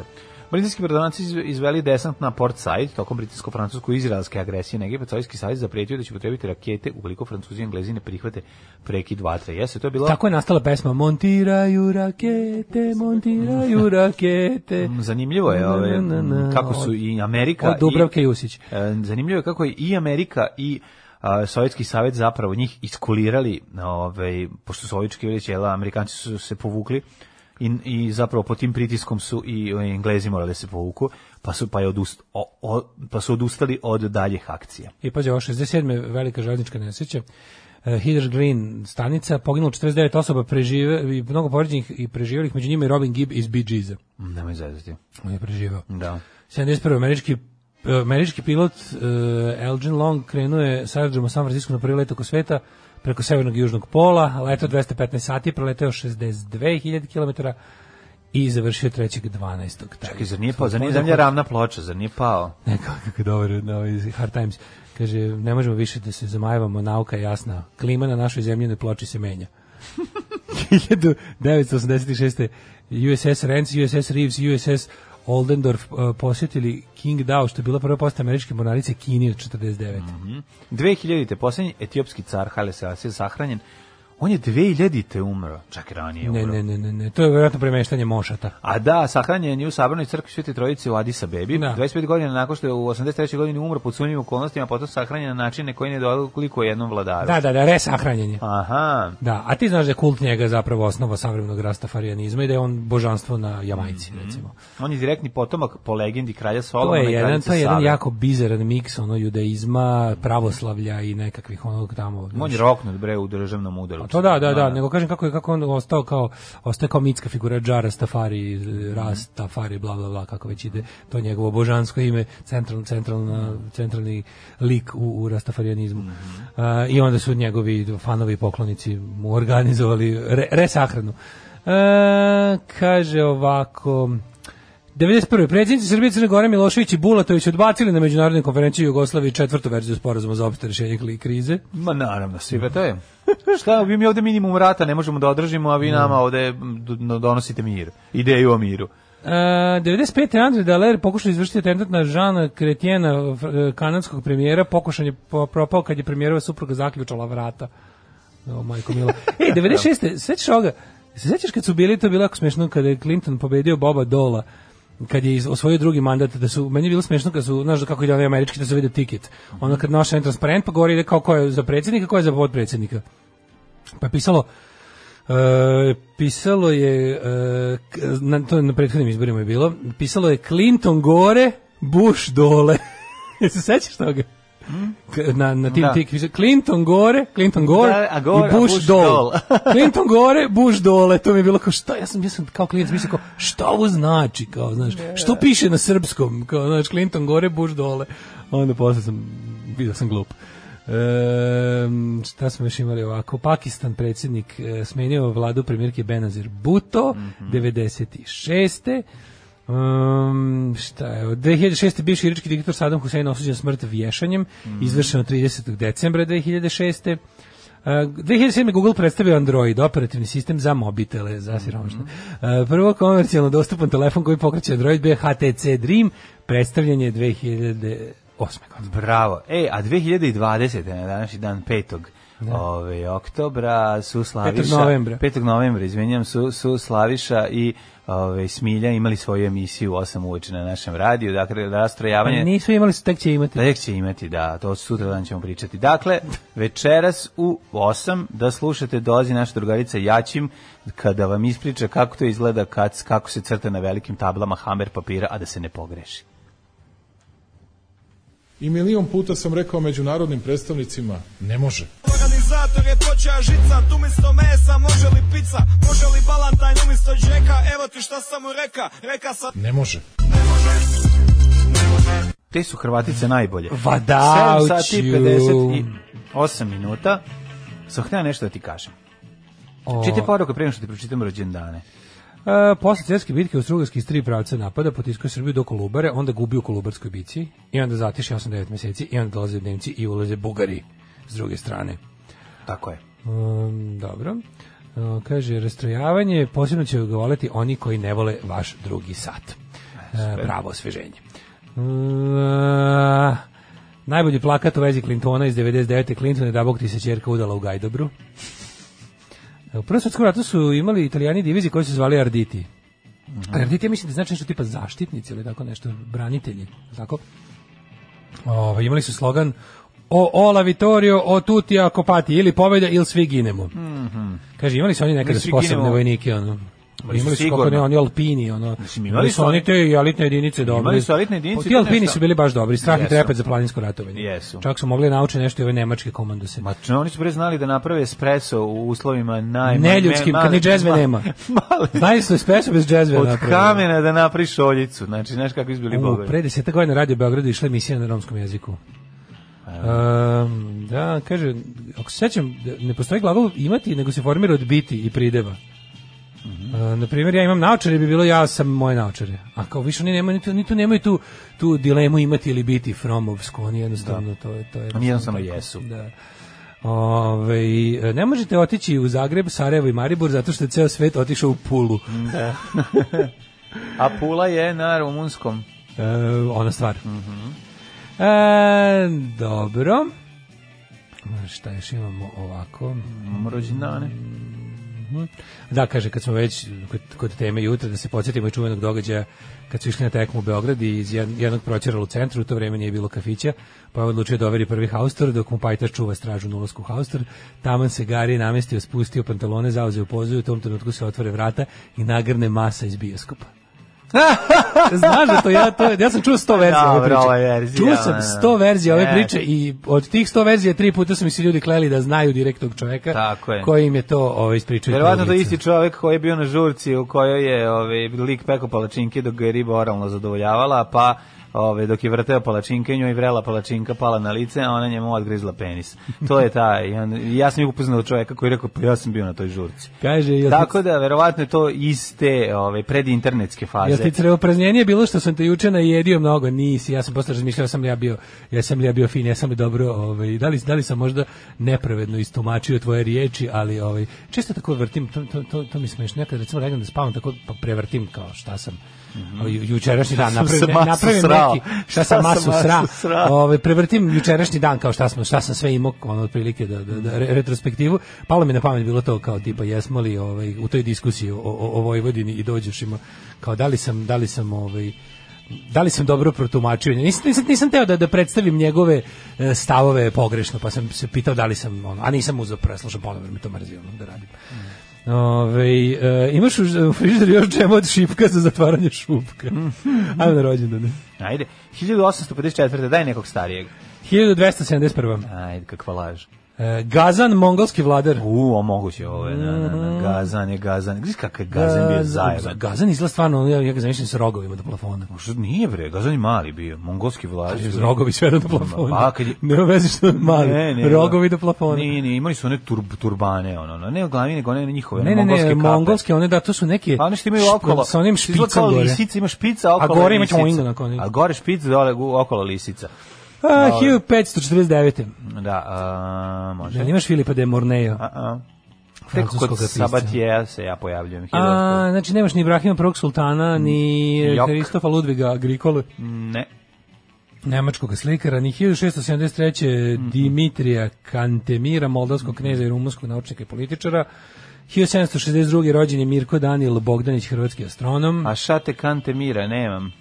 [SPEAKER 7] Britanski brodanci izve- izveli desant na Port Said tokom britansko-francusko-izraelske agresije na Egipat. Sovjetski savez zapretio da će potrebiti rakete ukoliko Francuzi i Englezi ne prihvate prekid vatre. Jeste, to je bilo...
[SPEAKER 6] Tako je nastala pesma Montiraju rakete, montiraju rakete.
[SPEAKER 7] Mm, Zanimljivo je ove,
[SPEAKER 6] Na, na, na,
[SPEAKER 7] mm,
[SPEAKER 6] na.
[SPEAKER 7] kako su i Amerika
[SPEAKER 6] Od Dubravke Jusić.
[SPEAKER 7] i, e, zanimljivo je kako je i Amerika i a, Sovjetski savez zapravo njih iskulirali ovaj, pošto su Sovjetski velić jela, Amerikanci su se povukli i, i zapravo pod tim pritiskom su i ovaj, Englezi morali da se povuku pa su, pa, je odust, o, o, pa su odustali od daljih akcija
[SPEAKER 6] I pazi, ovo 67. velika železnička nesreća. Uh, Heather Green stanica, poginulo 49 osoba, prežive, i mnogo povređenih i preživelih, među njima i Robin Gibb iz Bee Gees-a.
[SPEAKER 7] Mm, nemoj zezati
[SPEAKER 6] On je preživao.
[SPEAKER 7] da
[SPEAKER 6] 71. američki e, američki pilot uh, Elgin Long krenuo je sa aerodroma u San Francisco na prvi let oko sveta preko severnog i južnog pola, letao 215 sati, preleteo 62.000 km i završio 3.12.
[SPEAKER 7] Čekaj, zar nije pao, zar
[SPEAKER 6] da
[SPEAKER 7] nije zemlja ravna ploča, zar nije pao?
[SPEAKER 6] Ne, kako- kako je dobar, na ovaj Hard Times. Kaže, ne možemo više da se zamajevamo, nauka je jasna. Klima na našoj zemlji na ploči se menja. 1986. USS Renz, USS Reeves, USS Oldendorf uh, posjetili King Dao, što je bila prva posta američke mornarice Kini od 49.
[SPEAKER 7] 2000-te, posljednji etiopski car Haile Selassie je sahranjen. On je 2000-te umro, čak i ranije
[SPEAKER 6] Ne,
[SPEAKER 7] umro.
[SPEAKER 6] ne, ne, ne, ne, to je vjerojatno premeštanje mošata.
[SPEAKER 7] A da, sahranjen je u Sabranoj crkvi Svete Trojice u Addis Abebi.
[SPEAKER 6] Da.
[SPEAKER 7] 25 godina nakon što je u 83. godini umro pod sumnjivim okolnostima, potom sahranjen na način na koji ne doliko jednom vladaru.
[SPEAKER 6] Da, da, da, resahranjen je.
[SPEAKER 7] Aha,
[SPEAKER 6] Da, a ti znaš da je kult njega zapravo osnova savremenog rastafarijanizma i da je on božanstvo na Jamajci, recimo.
[SPEAKER 7] on je direktni potomak po legendi kralja
[SPEAKER 6] To
[SPEAKER 7] Solomona
[SPEAKER 6] je
[SPEAKER 7] i
[SPEAKER 6] jedan,
[SPEAKER 7] kraljice
[SPEAKER 6] to je jedan
[SPEAKER 7] Save.
[SPEAKER 6] jako bizaran miks ono judaizma, pravoslavlja i nekakvih onog tamo.
[SPEAKER 7] On je
[SPEAKER 6] znaš.
[SPEAKER 7] roknut bre u državnom udaru.
[SPEAKER 6] A to da, da, da, nego kažem kako je kako on ostao kao ostao kao mitska figura Džara Stafari, Rastafari, bla bla bla kako već ide to njegovo božansko ime, centralni centralna centralni lik u, u rastafarijanizmu. A, I onda su njegovi fanovi i poklonici mu organizovali re, resahranu. E, kaže ovako 91. predsjednici Srbije i Crne Gore Milošević i Bulatović odbacili na međunarodnoj konferenciji u Jugoslaviji četvrtu verziju sporazuma za opšte rješenje kli- krize.
[SPEAKER 7] Ma naravno, svi pa to je. Šta, vi mi ovde minimum rata ne možemo da održimo, a vi nama ovde m, d- donosite mir. Ideju o miru.
[SPEAKER 6] E, 95. Andrej Daler pokušao izvršiti atentat na Žana Kretjena, kanadskog premijera, pokušan je po- propao kad je premijerova supruga zaključala vrata. O, majko mila. E, 96. sećaš ovoga, se sećaš kad su bili, to je bilo jako smešno, kada je Clinton pobedio Boba Dola, kad je iz- osvojio drugi mandat, da su, meni je bilo smešno kad su, znaš da kako ide onaj američki, da su vide tiket. Ono kad noša jedan transparent, pa govori ide kao ko je za predsjednika, ko je za potpredsjednika. Pa je pisalo, E, pisalo je e, k- na, to je na prethodnim izborima je bilo pisalo je Clinton gore Bush dole <laughs> se sećaš toga K- na, na tim
[SPEAKER 7] Da.
[SPEAKER 6] tik piše Clinton gore Clinton gore
[SPEAKER 7] Da, a gore,
[SPEAKER 6] i
[SPEAKER 7] a
[SPEAKER 6] Bush,
[SPEAKER 7] Bush
[SPEAKER 6] dole
[SPEAKER 7] dole.
[SPEAKER 6] <laughs> Clinton gore Bush dole to mi je bilo kao šta ja sam, ja sam kao klinac mislio kao šta ovo znači kao znaš što piše na srpskom kao znaš Clinton gore Bush dole onda posle sam vidio sam glup Ehm, šta smo još imali ovako Pakistan predsjednik e, smenio vladu premijerke Benazir Bhutto
[SPEAKER 7] Mhm.
[SPEAKER 6] 96. Um, šta je, od 2006. bivši irački diktator Saddam Hussein osuđen smrt vješanjem, izvršeno 30. decembra 2006. Uh, 2007. je Google predstavio Android, operativni sistem za mobitele, za siromašne. Uh, prvo komercijalno dostupan telefon koji pokreće Android bio je HTC Dream, predstavljen je 2008. godine.
[SPEAKER 7] Bravo. E, a 2020. na današnji dan 5. Ove, oktobra su Slaviša...
[SPEAKER 6] 5. novembra.
[SPEAKER 7] 5. novembra, izvinjam, su, su Slaviša i ove, Smilja imali svoju emisiju u 8 uveče na našem radiju, dakle, rastrojavanje...
[SPEAKER 6] Nisu imali, tek će imati.
[SPEAKER 7] Da, tek će imati, da, to sutra dan ćemo pričati. Dakle, večeras u 8 da slušate, dolazi naša drugarica Jačim kada vam ispriča kako to izgleda kad, kako se crta na velikim tablama hamer papira, a da se ne pogreši.
[SPEAKER 9] I milion puta sam rekao međunarodnim predstavnicima, ne može.
[SPEAKER 10] Organizator je počeo žica, tu umjesto mesa može li pizza, može li balantajn umjesto džeka, evo ti šta sam mu reka, reka sam
[SPEAKER 9] Ne može.
[SPEAKER 7] Te su Hrvatice najbolje.
[SPEAKER 6] Vadauću.
[SPEAKER 7] 7 sati 58 minuta. Sam htio nešto da ti kažem.
[SPEAKER 6] O,
[SPEAKER 7] Čite poruke pre nego što ti pročitam rođendane.
[SPEAKER 6] E, posle cetske bitke Austrougarski iz tri pravca napada potiskuje Srbiju do Kolubare, onda gubi u Kolubarskoj bici i onda zatiše 8-9 meseci i onda dolaze Nemci i ulaze Bugari s druge strane.
[SPEAKER 7] Tako je.
[SPEAKER 6] Um, dobro. E, kaže, rastrojavanje posebno će ga voleti oni koji ne vole vaš drugi sat. E, pravo osveženje. E, najbolji plakat u vezi Clintona iz 99. Clinton je da bog ti se čerka udala u Gajdobru. E, U Prvom svetskom ratu su imali italijani divizije koji su se zvali Arditi.
[SPEAKER 7] Mhm.
[SPEAKER 6] Arditi, ja mislim da znači nešto tipa zaštitnici ili tako nešto, branitelji, tako? Ove, imali su slogan o Ola Vittorio, o tutti a kopati, ili pobeda ili svi ginemo. Kaže, imali su oni nekada
[SPEAKER 7] Mi svi
[SPEAKER 6] sposobne
[SPEAKER 7] Mhm. ginemo.
[SPEAKER 6] vojnike, ono.
[SPEAKER 7] su
[SPEAKER 6] Imali su kako
[SPEAKER 7] sigurno.
[SPEAKER 6] ne, oni alpini, ono.
[SPEAKER 7] Mislim, imali
[SPEAKER 6] imali su
[SPEAKER 7] su
[SPEAKER 6] oni
[SPEAKER 7] oni-
[SPEAKER 6] te i elitne jedinice dobre.
[SPEAKER 7] su elitne jedinice
[SPEAKER 6] Pa
[SPEAKER 7] i
[SPEAKER 6] Ti
[SPEAKER 7] to
[SPEAKER 6] alpini
[SPEAKER 7] nešto.
[SPEAKER 6] su bili baš dobri, strah i
[SPEAKER 7] Jesu.
[SPEAKER 6] trepet za planinsko ratovanje.
[SPEAKER 7] Jesu.
[SPEAKER 6] Čak su mogli naučiti nešto i ove nemačke komandose.
[SPEAKER 7] Ma č- oni su pre znali da naprave espresso u uslovima naj...
[SPEAKER 6] Neljudskim,
[SPEAKER 7] male-
[SPEAKER 6] kad ni džezve
[SPEAKER 7] ma-
[SPEAKER 6] nema.
[SPEAKER 7] <laughs> Male,
[SPEAKER 6] Znali <laughs> su espresso bez džezve
[SPEAKER 7] od
[SPEAKER 6] napravili.
[SPEAKER 7] kamena da napraviš oljicu. Znači, znaš kako izbili
[SPEAKER 6] U,
[SPEAKER 7] bogari.
[SPEAKER 6] pre deseta godina radio u Beogradu išla je emisija na romskom jeziku. Um, da, kaže, ako se sećam, da ne postoji glagol imati, nego se formira od biti i prideva. Uh, na primjer, ja imam naočare, bi bilo ja sam moje naočare. A kao više oni nemaju, ni tu, ni tu nemaju tu, tu dilemu imati ili biti fromovsko, oni jednostavno to je... To je
[SPEAKER 7] Da. Oni jednostavno
[SPEAKER 6] tako.
[SPEAKER 7] jesu.
[SPEAKER 6] Da. Ove, ne možete otići u Zagreb, Sarajevo i Maribor zato što je ceo svet otišao u Pulu.
[SPEAKER 7] A pula je na rumunskom.
[SPEAKER 6] E, ona stvar. e, dobro. Šta još imamo ovako?
[SPEAKER 7] Imamo rođendane.
[SPEAKER 6] <laughs> Da, kaže, kad smo već kod, kod teme jutra, da se podsjetimo i čuvenog događaja kad su išli na tekmu u Beograd i iz jed- jednog proćerala u centru, u to vreme nije bilo kafića, pa je odlučio da overi prvi haustor, dok mu pajtaš čuva stražu na ulasku u haustor, taman se Gari namestio, spustio pantalone, zauzeo pozu i u tom trenutku se otvore vrata i nagrne masa iz bioskopa. Znaš da to ja, to, ja sam čuo 100 verzija ove
[SPEAKER 7] Dobra,
[SPEAKER 6] priče.
[SPEAKER 7] ova verzija,
[SPEAKER 6] čuo
[SPEAKER 7] da,
[SPEAKER 6] sam
[SPEAKER 7] da.
[SPEAKER 6] 100 verzija ove
[SPEAKER 7] Ne.
[SPEAKER 6] priče i od tih 100 verzija tri puta su mi se ljudi kleli da znaju direktnog čoveka
[SPEAKER 7] Tako je.
[SPEAKER 6] koji im je to ovaj, ispričao. iz
[SPEAKER 7] Verovatno to je
[SPEAKER 6] prve lice.
[SPEAKER 7] isti čovjek koji je bio na žurci u kojoj je ovaj, lik peko palačinke dok ga je riba oralno zadovoljavala, pa ovaj, dok je vrteo palačinke, njoj je vrela palačinka pala na lice, a ona njemu odgrizla penis. To je taj. i on- i Ja sam ih upoznao čovjeka koji je rekao, pa ja sam bio na toj žurci.
[SPEAKER 6] Kaže, jel ti,
[SPEAKER 7] Tako da, verovatno je to iste ovaj, predinternetske faze.
[SPEAKER 6] jel ti crevopraznjenje bilo što sam te juče najedio mnogo? Nisi, ja sam posle razmišljao sam li ja bio, ja sam li ja bio fin, ja sam li dobro, ovaj, da, li, da li sam možda nepravedno istumačio tvoje riječi, ali ovaj, često tako vrtim, to, to, to, to mi smeš, nekad recimo legam da spavam, tako pa prevrtim kao šta sam, ovaj, jučerašnji dan,
[SPEAKER 7] sam se
[SPEAKER 6] napravim, ne,
[SPEAKER 7] masu
[SPEAKER 6] napravim
[SPEAKER 7] srao.
[SPEAKER 6] neki, šta sam masu sra,
[SPEAKER 7] srao.
[SPEAKER 6] ovaj, prevrtim jučerašnji dan kao šta, smo, šta sam sve imao, ono, otprilike da, da, da, re- retrospektivu, palo mi na pamet bilo to kao tipa jesmo li ovaj, u toj diskusiji o, o, o Vojvodini i dođušima, kao da li sam, da li sam ovaj, da li sam dobro protumačio nisam, nisam, nisam teo da, da predstavim njegove e, stavove pogrešno pa sam se pitao da li sam ono, a nisam uzeo preslušan ponovno jer mi to mrzio ono, da radim Ovaj, e, imaš u, ž- u frižideru još džema od šipka za zatvaranje
[SPEAKER 7] <laughs>
[SPEAKER 6] šupka ajmo na rođendane
[SPEAKER 7] Ajde, 1854. Daj nekog starijeg.
[SPEAKER 6] 1271.
[SPEAKER 7] Ajde, kakva laž.
[SPEAKER 6] E, Gazan, mongolski vladar.
[SPEAKER 7] U, a moguće ovo je, na, na, na, gazan je, gazan. Gdje kakav je gazan bio zajeban?
[SPEAKER 6] E, Gazan izgleda stvarno, ja, ja ga zamišljam sa rogovima do plafona.
[SPEAKER 7] Što nije bre, Gazan je mali bio, mongolski vlađe.
[SPEAKER 6] Uz rogovi sve do plafona.
[SPEAKER 7] Pa, kad je...
[SPEAKER 6] <laughs> Nema veze što je mali. rogovi do plafona.
[SPEAKER 7] Ne, ne, imali su one turb, turbane, ono, ono, ne glavi, nego one njihove,
[SPEAKER 6] ne, ne,
[SPEAKER 7] mongolske
[SPEAKER 6] ne,
[SPEAKER 7] kape.
[SPEAKER 6] mongolske, one da, to su neke...
[SPEAKER 7] A oni što imaju
[SPEAKER 6] šp-
[SPEAKER 7] okolo.
[SPEAKER 6] Sa onim
[SPEAKER 7] izgleda
[SPEAKER 6] špicom
[SPEAKER 7] kao
[SPEAKER 6] gore.
[SPEAKER 7] Lisica, ima špica
[SPEAKER 6] A
[SPEAKER 7] okolo
[SPEAKER 6] gore ima
[SPEAKER 7] lisica.
[SPEAKER 6] čoing onako, oni.
[SPEAKER 7] A gore špic, dole gu- okolo lisica.
[SPEAKER 6] A, 1549.
[SPEAKER 7] Da, a, može.
[SPEAKER 6] Da li imaš Filipa de Morneja?
[SPEAKER 7] A, a. Tek
[SPEAKER 6] Francuskoga
[SPEAKER 7] kod
[SPEAKER 6] pisca.
[SPEAKER 7] Sabatija se ja pojavljujem.
[SPEAKER 6] A, znači, nemaš ni Ibrahima prvog sultana, ni e,
[SPEAKER 7] Jok.
[SPEAKER 6] Kristofa Ludviga Agrikolu.
[SPEAKER 7] Ne.
[SPEAKER 6] nemačkog slikara, ni 1673. Dimitrija Kantemira, moldavskog kneza i rumunskog naučnika i političara, 1762. rođen je Mirko Danil Bogdanić, hrvatski astronom,
[SPEAKER 7] A šate kante mira, nemam.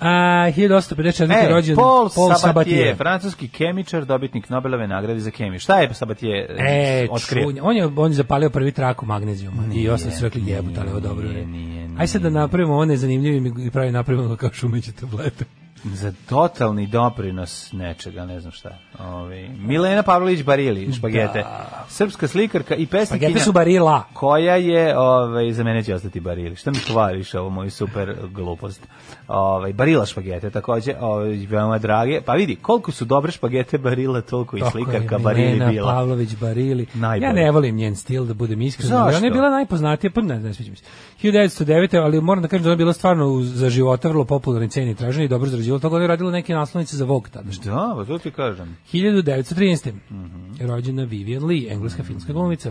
[SPEAKER 6] a 1854.
[SPEAKER 7] E,
[SPEAKER 6] rođen
[SPEAKER 7] Paul, Sabatier,
[SPEAKER 6] Sabatier.
[SPEAKER 7] francuski kemičar, dobitnik Nobelove nagrade za kemiju. Šta je Sabatier
[SPEAKER 6] E,
[SPEAKER 7] e, otkrio?
[SPEAKER 6] čunj, on je on je zapalio prvi trak u magnezijuma i osam su rekli dakle, jebote, ali ovo dobro.
[SPEAKER 7] nije,
[SPEAKER 6] je.
[SPEAKER 7] nije,
[SPEAKER 6] Aj sad da napravimo one zanimljive i pravi napravimo kao šumeće tablete.
[SPEAKER 7] za totalni doprinos nečega, ne znam šta. Ovi, Milena Pavlović Barili, špagete. Srpska slikarka i pesnikinja.
[SPEAKER 6] Da. Špagete Pa su Barila.
[SPEAKER 7] Koja je, ovaj, za mene će ostati Barili. Šta mi kvariš ovo moju super glupost? Ovaj, barila špagete takođe, ovaj, veoma drage. Pa vidi, koliko su dobre špagete Barila, toliko i
[SPEAKER 6] Tako je,
[SPEAKER 7] slikarka
[SPEAKER 6] Milena
[SPEAKER 7] Barili bila.
[SPEAKER 6] Pavlović Barili.
[SPEAKER 7] Najbolje.
[SPEAKER 6] Ja ne volim njen stil, da budem iskren.
[SPEAKER 7] Zašto?
[SPEAKER 6] Ona je bila najpoznatija, pa ne, ne sviđa mi se. 1909. ali moram da kažem da je ona bila stvarno uz- za života vrlo popularna i ceni tražena i dobro zarađivala. Toga ona je radila neke naslovnice za Vogue tada.
[SPEAKER 7] Da, pa to ti kažem.
[SPEAKER 6] 1913.
[SPEAKER 7] Mhm.
[SPEAKER 6] Rođena Vivian Lee, engleska filmska glumica.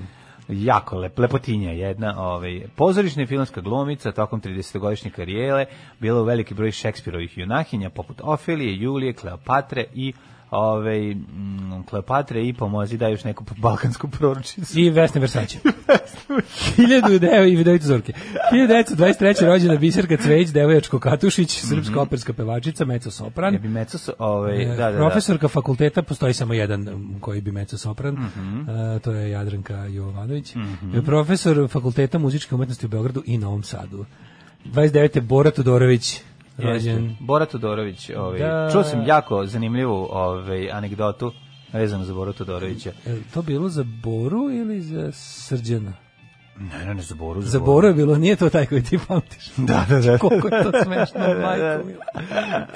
[SPEAKER 7] jako lep, lepotinja jedna, ovaj, pozorišna i filmska glumica tokom 30-godišnje karijere, bila u veliki broj Šekspirovih junahinja, poput Ofelije, Julije, Kleopatre i ovaj, mm, Kleopatre i pomozi da još neku balkansku proročicu.
[SPEAKER 6] I Vesne
[SPEAKER 7] <laughs>
[SPEAKER 6] Versace. 1909 i Vidovite Zorke. 1923. rođena Biserka Cvejić, Devojačko Katušić,
[SPEAKER 7] Mhm.
[SPEAKER 6] srpska operska pevačica, mezzo sopran.
[SPEAKER 7] Ja bi meco s- ovaj, da, da, da.
[SPEAKER 6] Profesorka fakulteta postoji samo jedan um, koji bi mezzo sopran, e, to je Jadranka Jovanović. E, Profesor fakulteta muzičke umetnosti u Beogradu i Novom Sadu. 29. Bora Todorović,
[SPEAKER 7] Jeste.
[SPEAKER 6] rođen.
[SPEAKER 7] Bora Todorović, ovaj,
[SPEAKER 6] Da.
[SPEAKER 7] čuo sam jako zanimljivu ovaj, anegdotu vezanu za Bora Todorovića.
[SPEAKER 6] Je li to bilo za Boru ili za Srđana?
[SPEAKER 7] Ne, ne, ne, za Boru.
[SPEAKER 6] Za Boru je bilo, nije to taj koji ti pamtiš.
[SPEAKER 7] Da, da, da.
[SPEAKER 6] Koliko je to smešno, majko mila.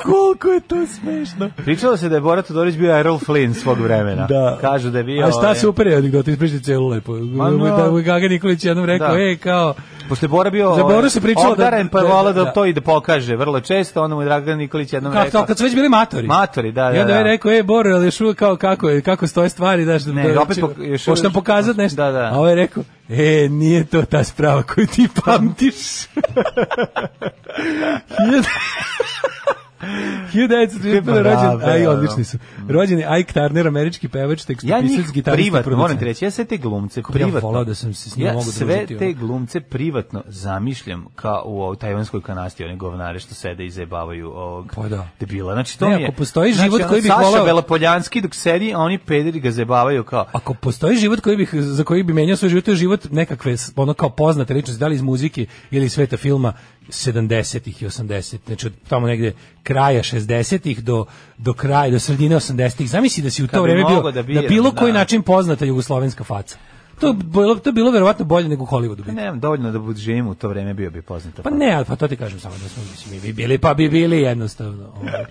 [SPEAKER 6] Koliko je to smešno.
[SPEAKER 7] Pričalo se da je Bora Todorić bio Errol Flynn svog vremena.
[SPEAKER 6] Da.
[SPEAKER 7] Kažu da je bio...
[SPEAKER 6] A šta
[SPEAKER 7] ovaj,
[SPEAKER 6] se upere anegdota, ispričati celu lepo.
[SPEAKER 7] Ma no.
[SPEAKER 6] Da mu je Gaga Nikolić jednom rekao,
[SPEAKER 7] Da.
[SPEAKER 6] ej, kao,
[SPEAKER 7] Pošto je Bora bio
[SPEAKER 6] Za Boru se pričalo da-
[SPEAKER 7] obdaren, pa je
[SPEAKER 6] da-
[SPEAKER 7] volao
[SPEAKER 6] da-
[SPEAKER 7] da, to i da pokaže vrlo često, onda mu je Dragan Nikolić jednom
[SPEAKER 6] Kako,
[SPEAKER 7] rekao...
[SPEAKER 6] to, kad su već bili matori.
[SPEAKER 7] Matori, da, da,
[SPEAKER 6] I onda je
[SPEAKER 7] da.
[SPEAKER 6] rekao, ej, Boro, ali još uvijek kao kako, je- kako stoje stvari, daš,
[SPEAKER 7] Ne,
[SPEAKER 6] da,
[SPEAKER 7] opet
[SPEAKER 6] će-
[SPEAKER 7] pok- još
[SPEAKER 6] hoćeš nam
[SPEAKER 7] uvijek-
[SPEAKER 6] pokazati nešto.
[SPEAKER 7] Da, da.
[SPEAKER 6] A ovaj je rekao, e, nije to ta sprava koju ti pamtiš.
[SPEAKER 7] <laughs>
[SPEAKER 6] 1931. rođen,
[SPEAKER 7] bravo,
[SPEAKER 6] aj,
[SPEAKER 7] ono.
[SPEAKER 6] odlični su. Rođen je Ike Turner, američki pevač,
[SPEAKER 7] da. Ja njih
[SPEAKER 6] tekstopisac, gitarista,
[SPEAKER 7] privatno,
[SPEAKER 6] producent.
[SPEAKER 7] moram ti reći, ja sve te glumce privatno...
[SPEAKER 6] volao da sam se s njim
[SPEAKER 7] ja
[SPEAKER 6] mogu
[SPEAKER 7] sve
[SPEAKER 6] družiti,
[SPEAKER 7] te
[SPEAKER 6] ono.
[SPEAKER 7] glumce privatno zamišljam kao u ovoj tajvanskoj kanasti, one govnare što sede i zajebavaju ovog
[SPEAKER 6] Pa da.
[SPEAKER 7] debila. Znači, to
[SPEAKER 6] Ne,
[SPEAKER 7] mi je...
[SPEAKER 6] ako postoji
[SPEAKER 7] znači,
[SPEAKER 6] život
[SPEAKER 7] ono,
[SPEAKER 6] koji bih
[SPEAKER 7] Saša
[SPEAKER 6] volao-
[SPEAKER 7] Belopoljanski dok sedi, a oni pederi ga zajebavaju kao...
[SPEAKER 6] Ako postoji život koji bih, za koji bi menjao svoj život, to je život nekakve, ono kao poznate ličnosti, da li iz muzike ili iz sveta filma 70-ih i 80-ih, znači od tamo negde kraja 60-ih do, do kraja, do sredine 80-ih. Zamisli da si u
[SPEAKER 7] Kad
[SPEAKER 6] to
[SPEAKER 7] bi
[SPEAKER 6] vreme bio,
[SPEAKER 7] mogao da
[SPEAKER 6] da,
[SPEAKER 7] biram,
[SPEAKER 6] bilo koji
[SPEAKER 7] da.
[SPEAKER 6] način poznata jugoslovenska faca. To je bilo, to je bilo verovatno bolje nego u Hollywoodu.
[SPEAKER 7] Pa
[SPEAKER 6] Bi.
[SPEAKER 7] nemam dovoljno da bud živim u to vreme, bio bi poznata.
[SPEAKER 6] Pa ne, ali pa to ti kažem samo da smo mislim, mi bi bili, pa bi bili jednostavno. Ovaj.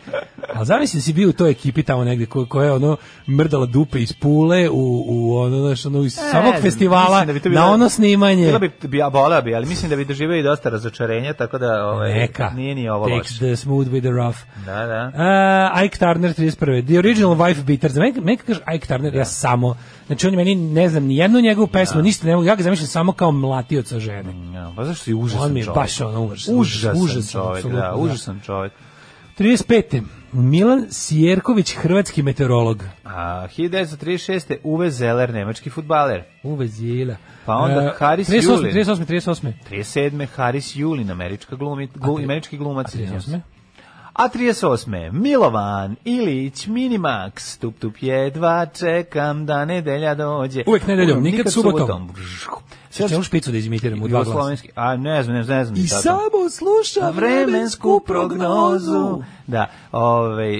[SPEAKER 6] A zamisli da si bio u toj ekipi tamo negde ko, koja je ono mrdala dupe iz pule u, u ono, znaš, ono, iz
[SPEAKER 7] E,
[SPEAKER 6] samog
[SPEAKER 7] znam,
[SPEAKER 6] festivala
[SPEAKER 7] mislim bi to
[SPEAKER 6] na ono snimanje.
[SPEAKER 7] Bilo bi, bi ja voleo bi, ali mislim da bi doživio i dosta razočarenja, tako da ovaj,
[SPEAKER 6] Neka.
[SPEAKER 7] nije ni ovo
[SPEAKER 6] Takes
[SPEAKER 7] loše.
[SPEAKER 6] the smooth with the rough.
[SPEAKER 7] Da, da.
[SPEAKER 6] Uh, Ike Turner 31. The original wife beater. Za mene, mene kad kaže Ike Turner,
[SPEAKER 7] Da.
[SPEAKER 6] ja samo, znači on meni ne znam ni jednu njegovu pesmu, ništa ne mogu, ja ga zamišljam samo kao mlatioca žene.
[SPEAKER 7] Ja, pa zašto si užasan
[SPEAKER 6] On mi je
[SPEAKER 7] čovjek?
[SPEAKER 6] baš ono užasan,
[SPEAKER 7] užasan,
[SPEAKER 6] užasan,
[SPEAKER 7] čovjek,
[SPEAKER 6] apsolutno,
[SPEAKER 7] da,
[SPEAKER 6] da.
[SPEAKER 7] užasan čovjek.
[SPEAKER 6] 35. Milan Sjerković, hrvatski meteorolog.
[SPEAKER 7] A 1936. Uwe Zeller, nemački futbaler.
[SPEAKER 6] Uve zila.
[SPEAKER 7] Pa onda
[SPEAKER 6] E,
[SPEAKER 7] Haris
[SPEAKER 6] 38,
[SPEAKER 7] Julin.
[SPEAKER 6] 38, 38.
[SPEAKER 7] 37. Haris Julin, američka glumi, glu, američki glumac. izvinjavam se.
[SPEAKER 6] 38.
[SPEAKER 7] A 38. Milovan Ilić Minimax, tup tup jedva, čekam da nedelja dođe.
[SPEAKER 6] Uvek nedeljom, nikad subotom. Sad ćemo
[SPEAKER 7] Sad
[SPEAKER 6] špicu da izimitiram u dva glasa.
[SPEAKER 7] Jugoslovenski, a ne znam, ne znam, ne znam.
[SPEAKER 6] I
[SPEAKER 7] šta to.
[SPEAKER 6] samo sluša vremensku prognozu.
[SPEAKER 7] Da, ovaj,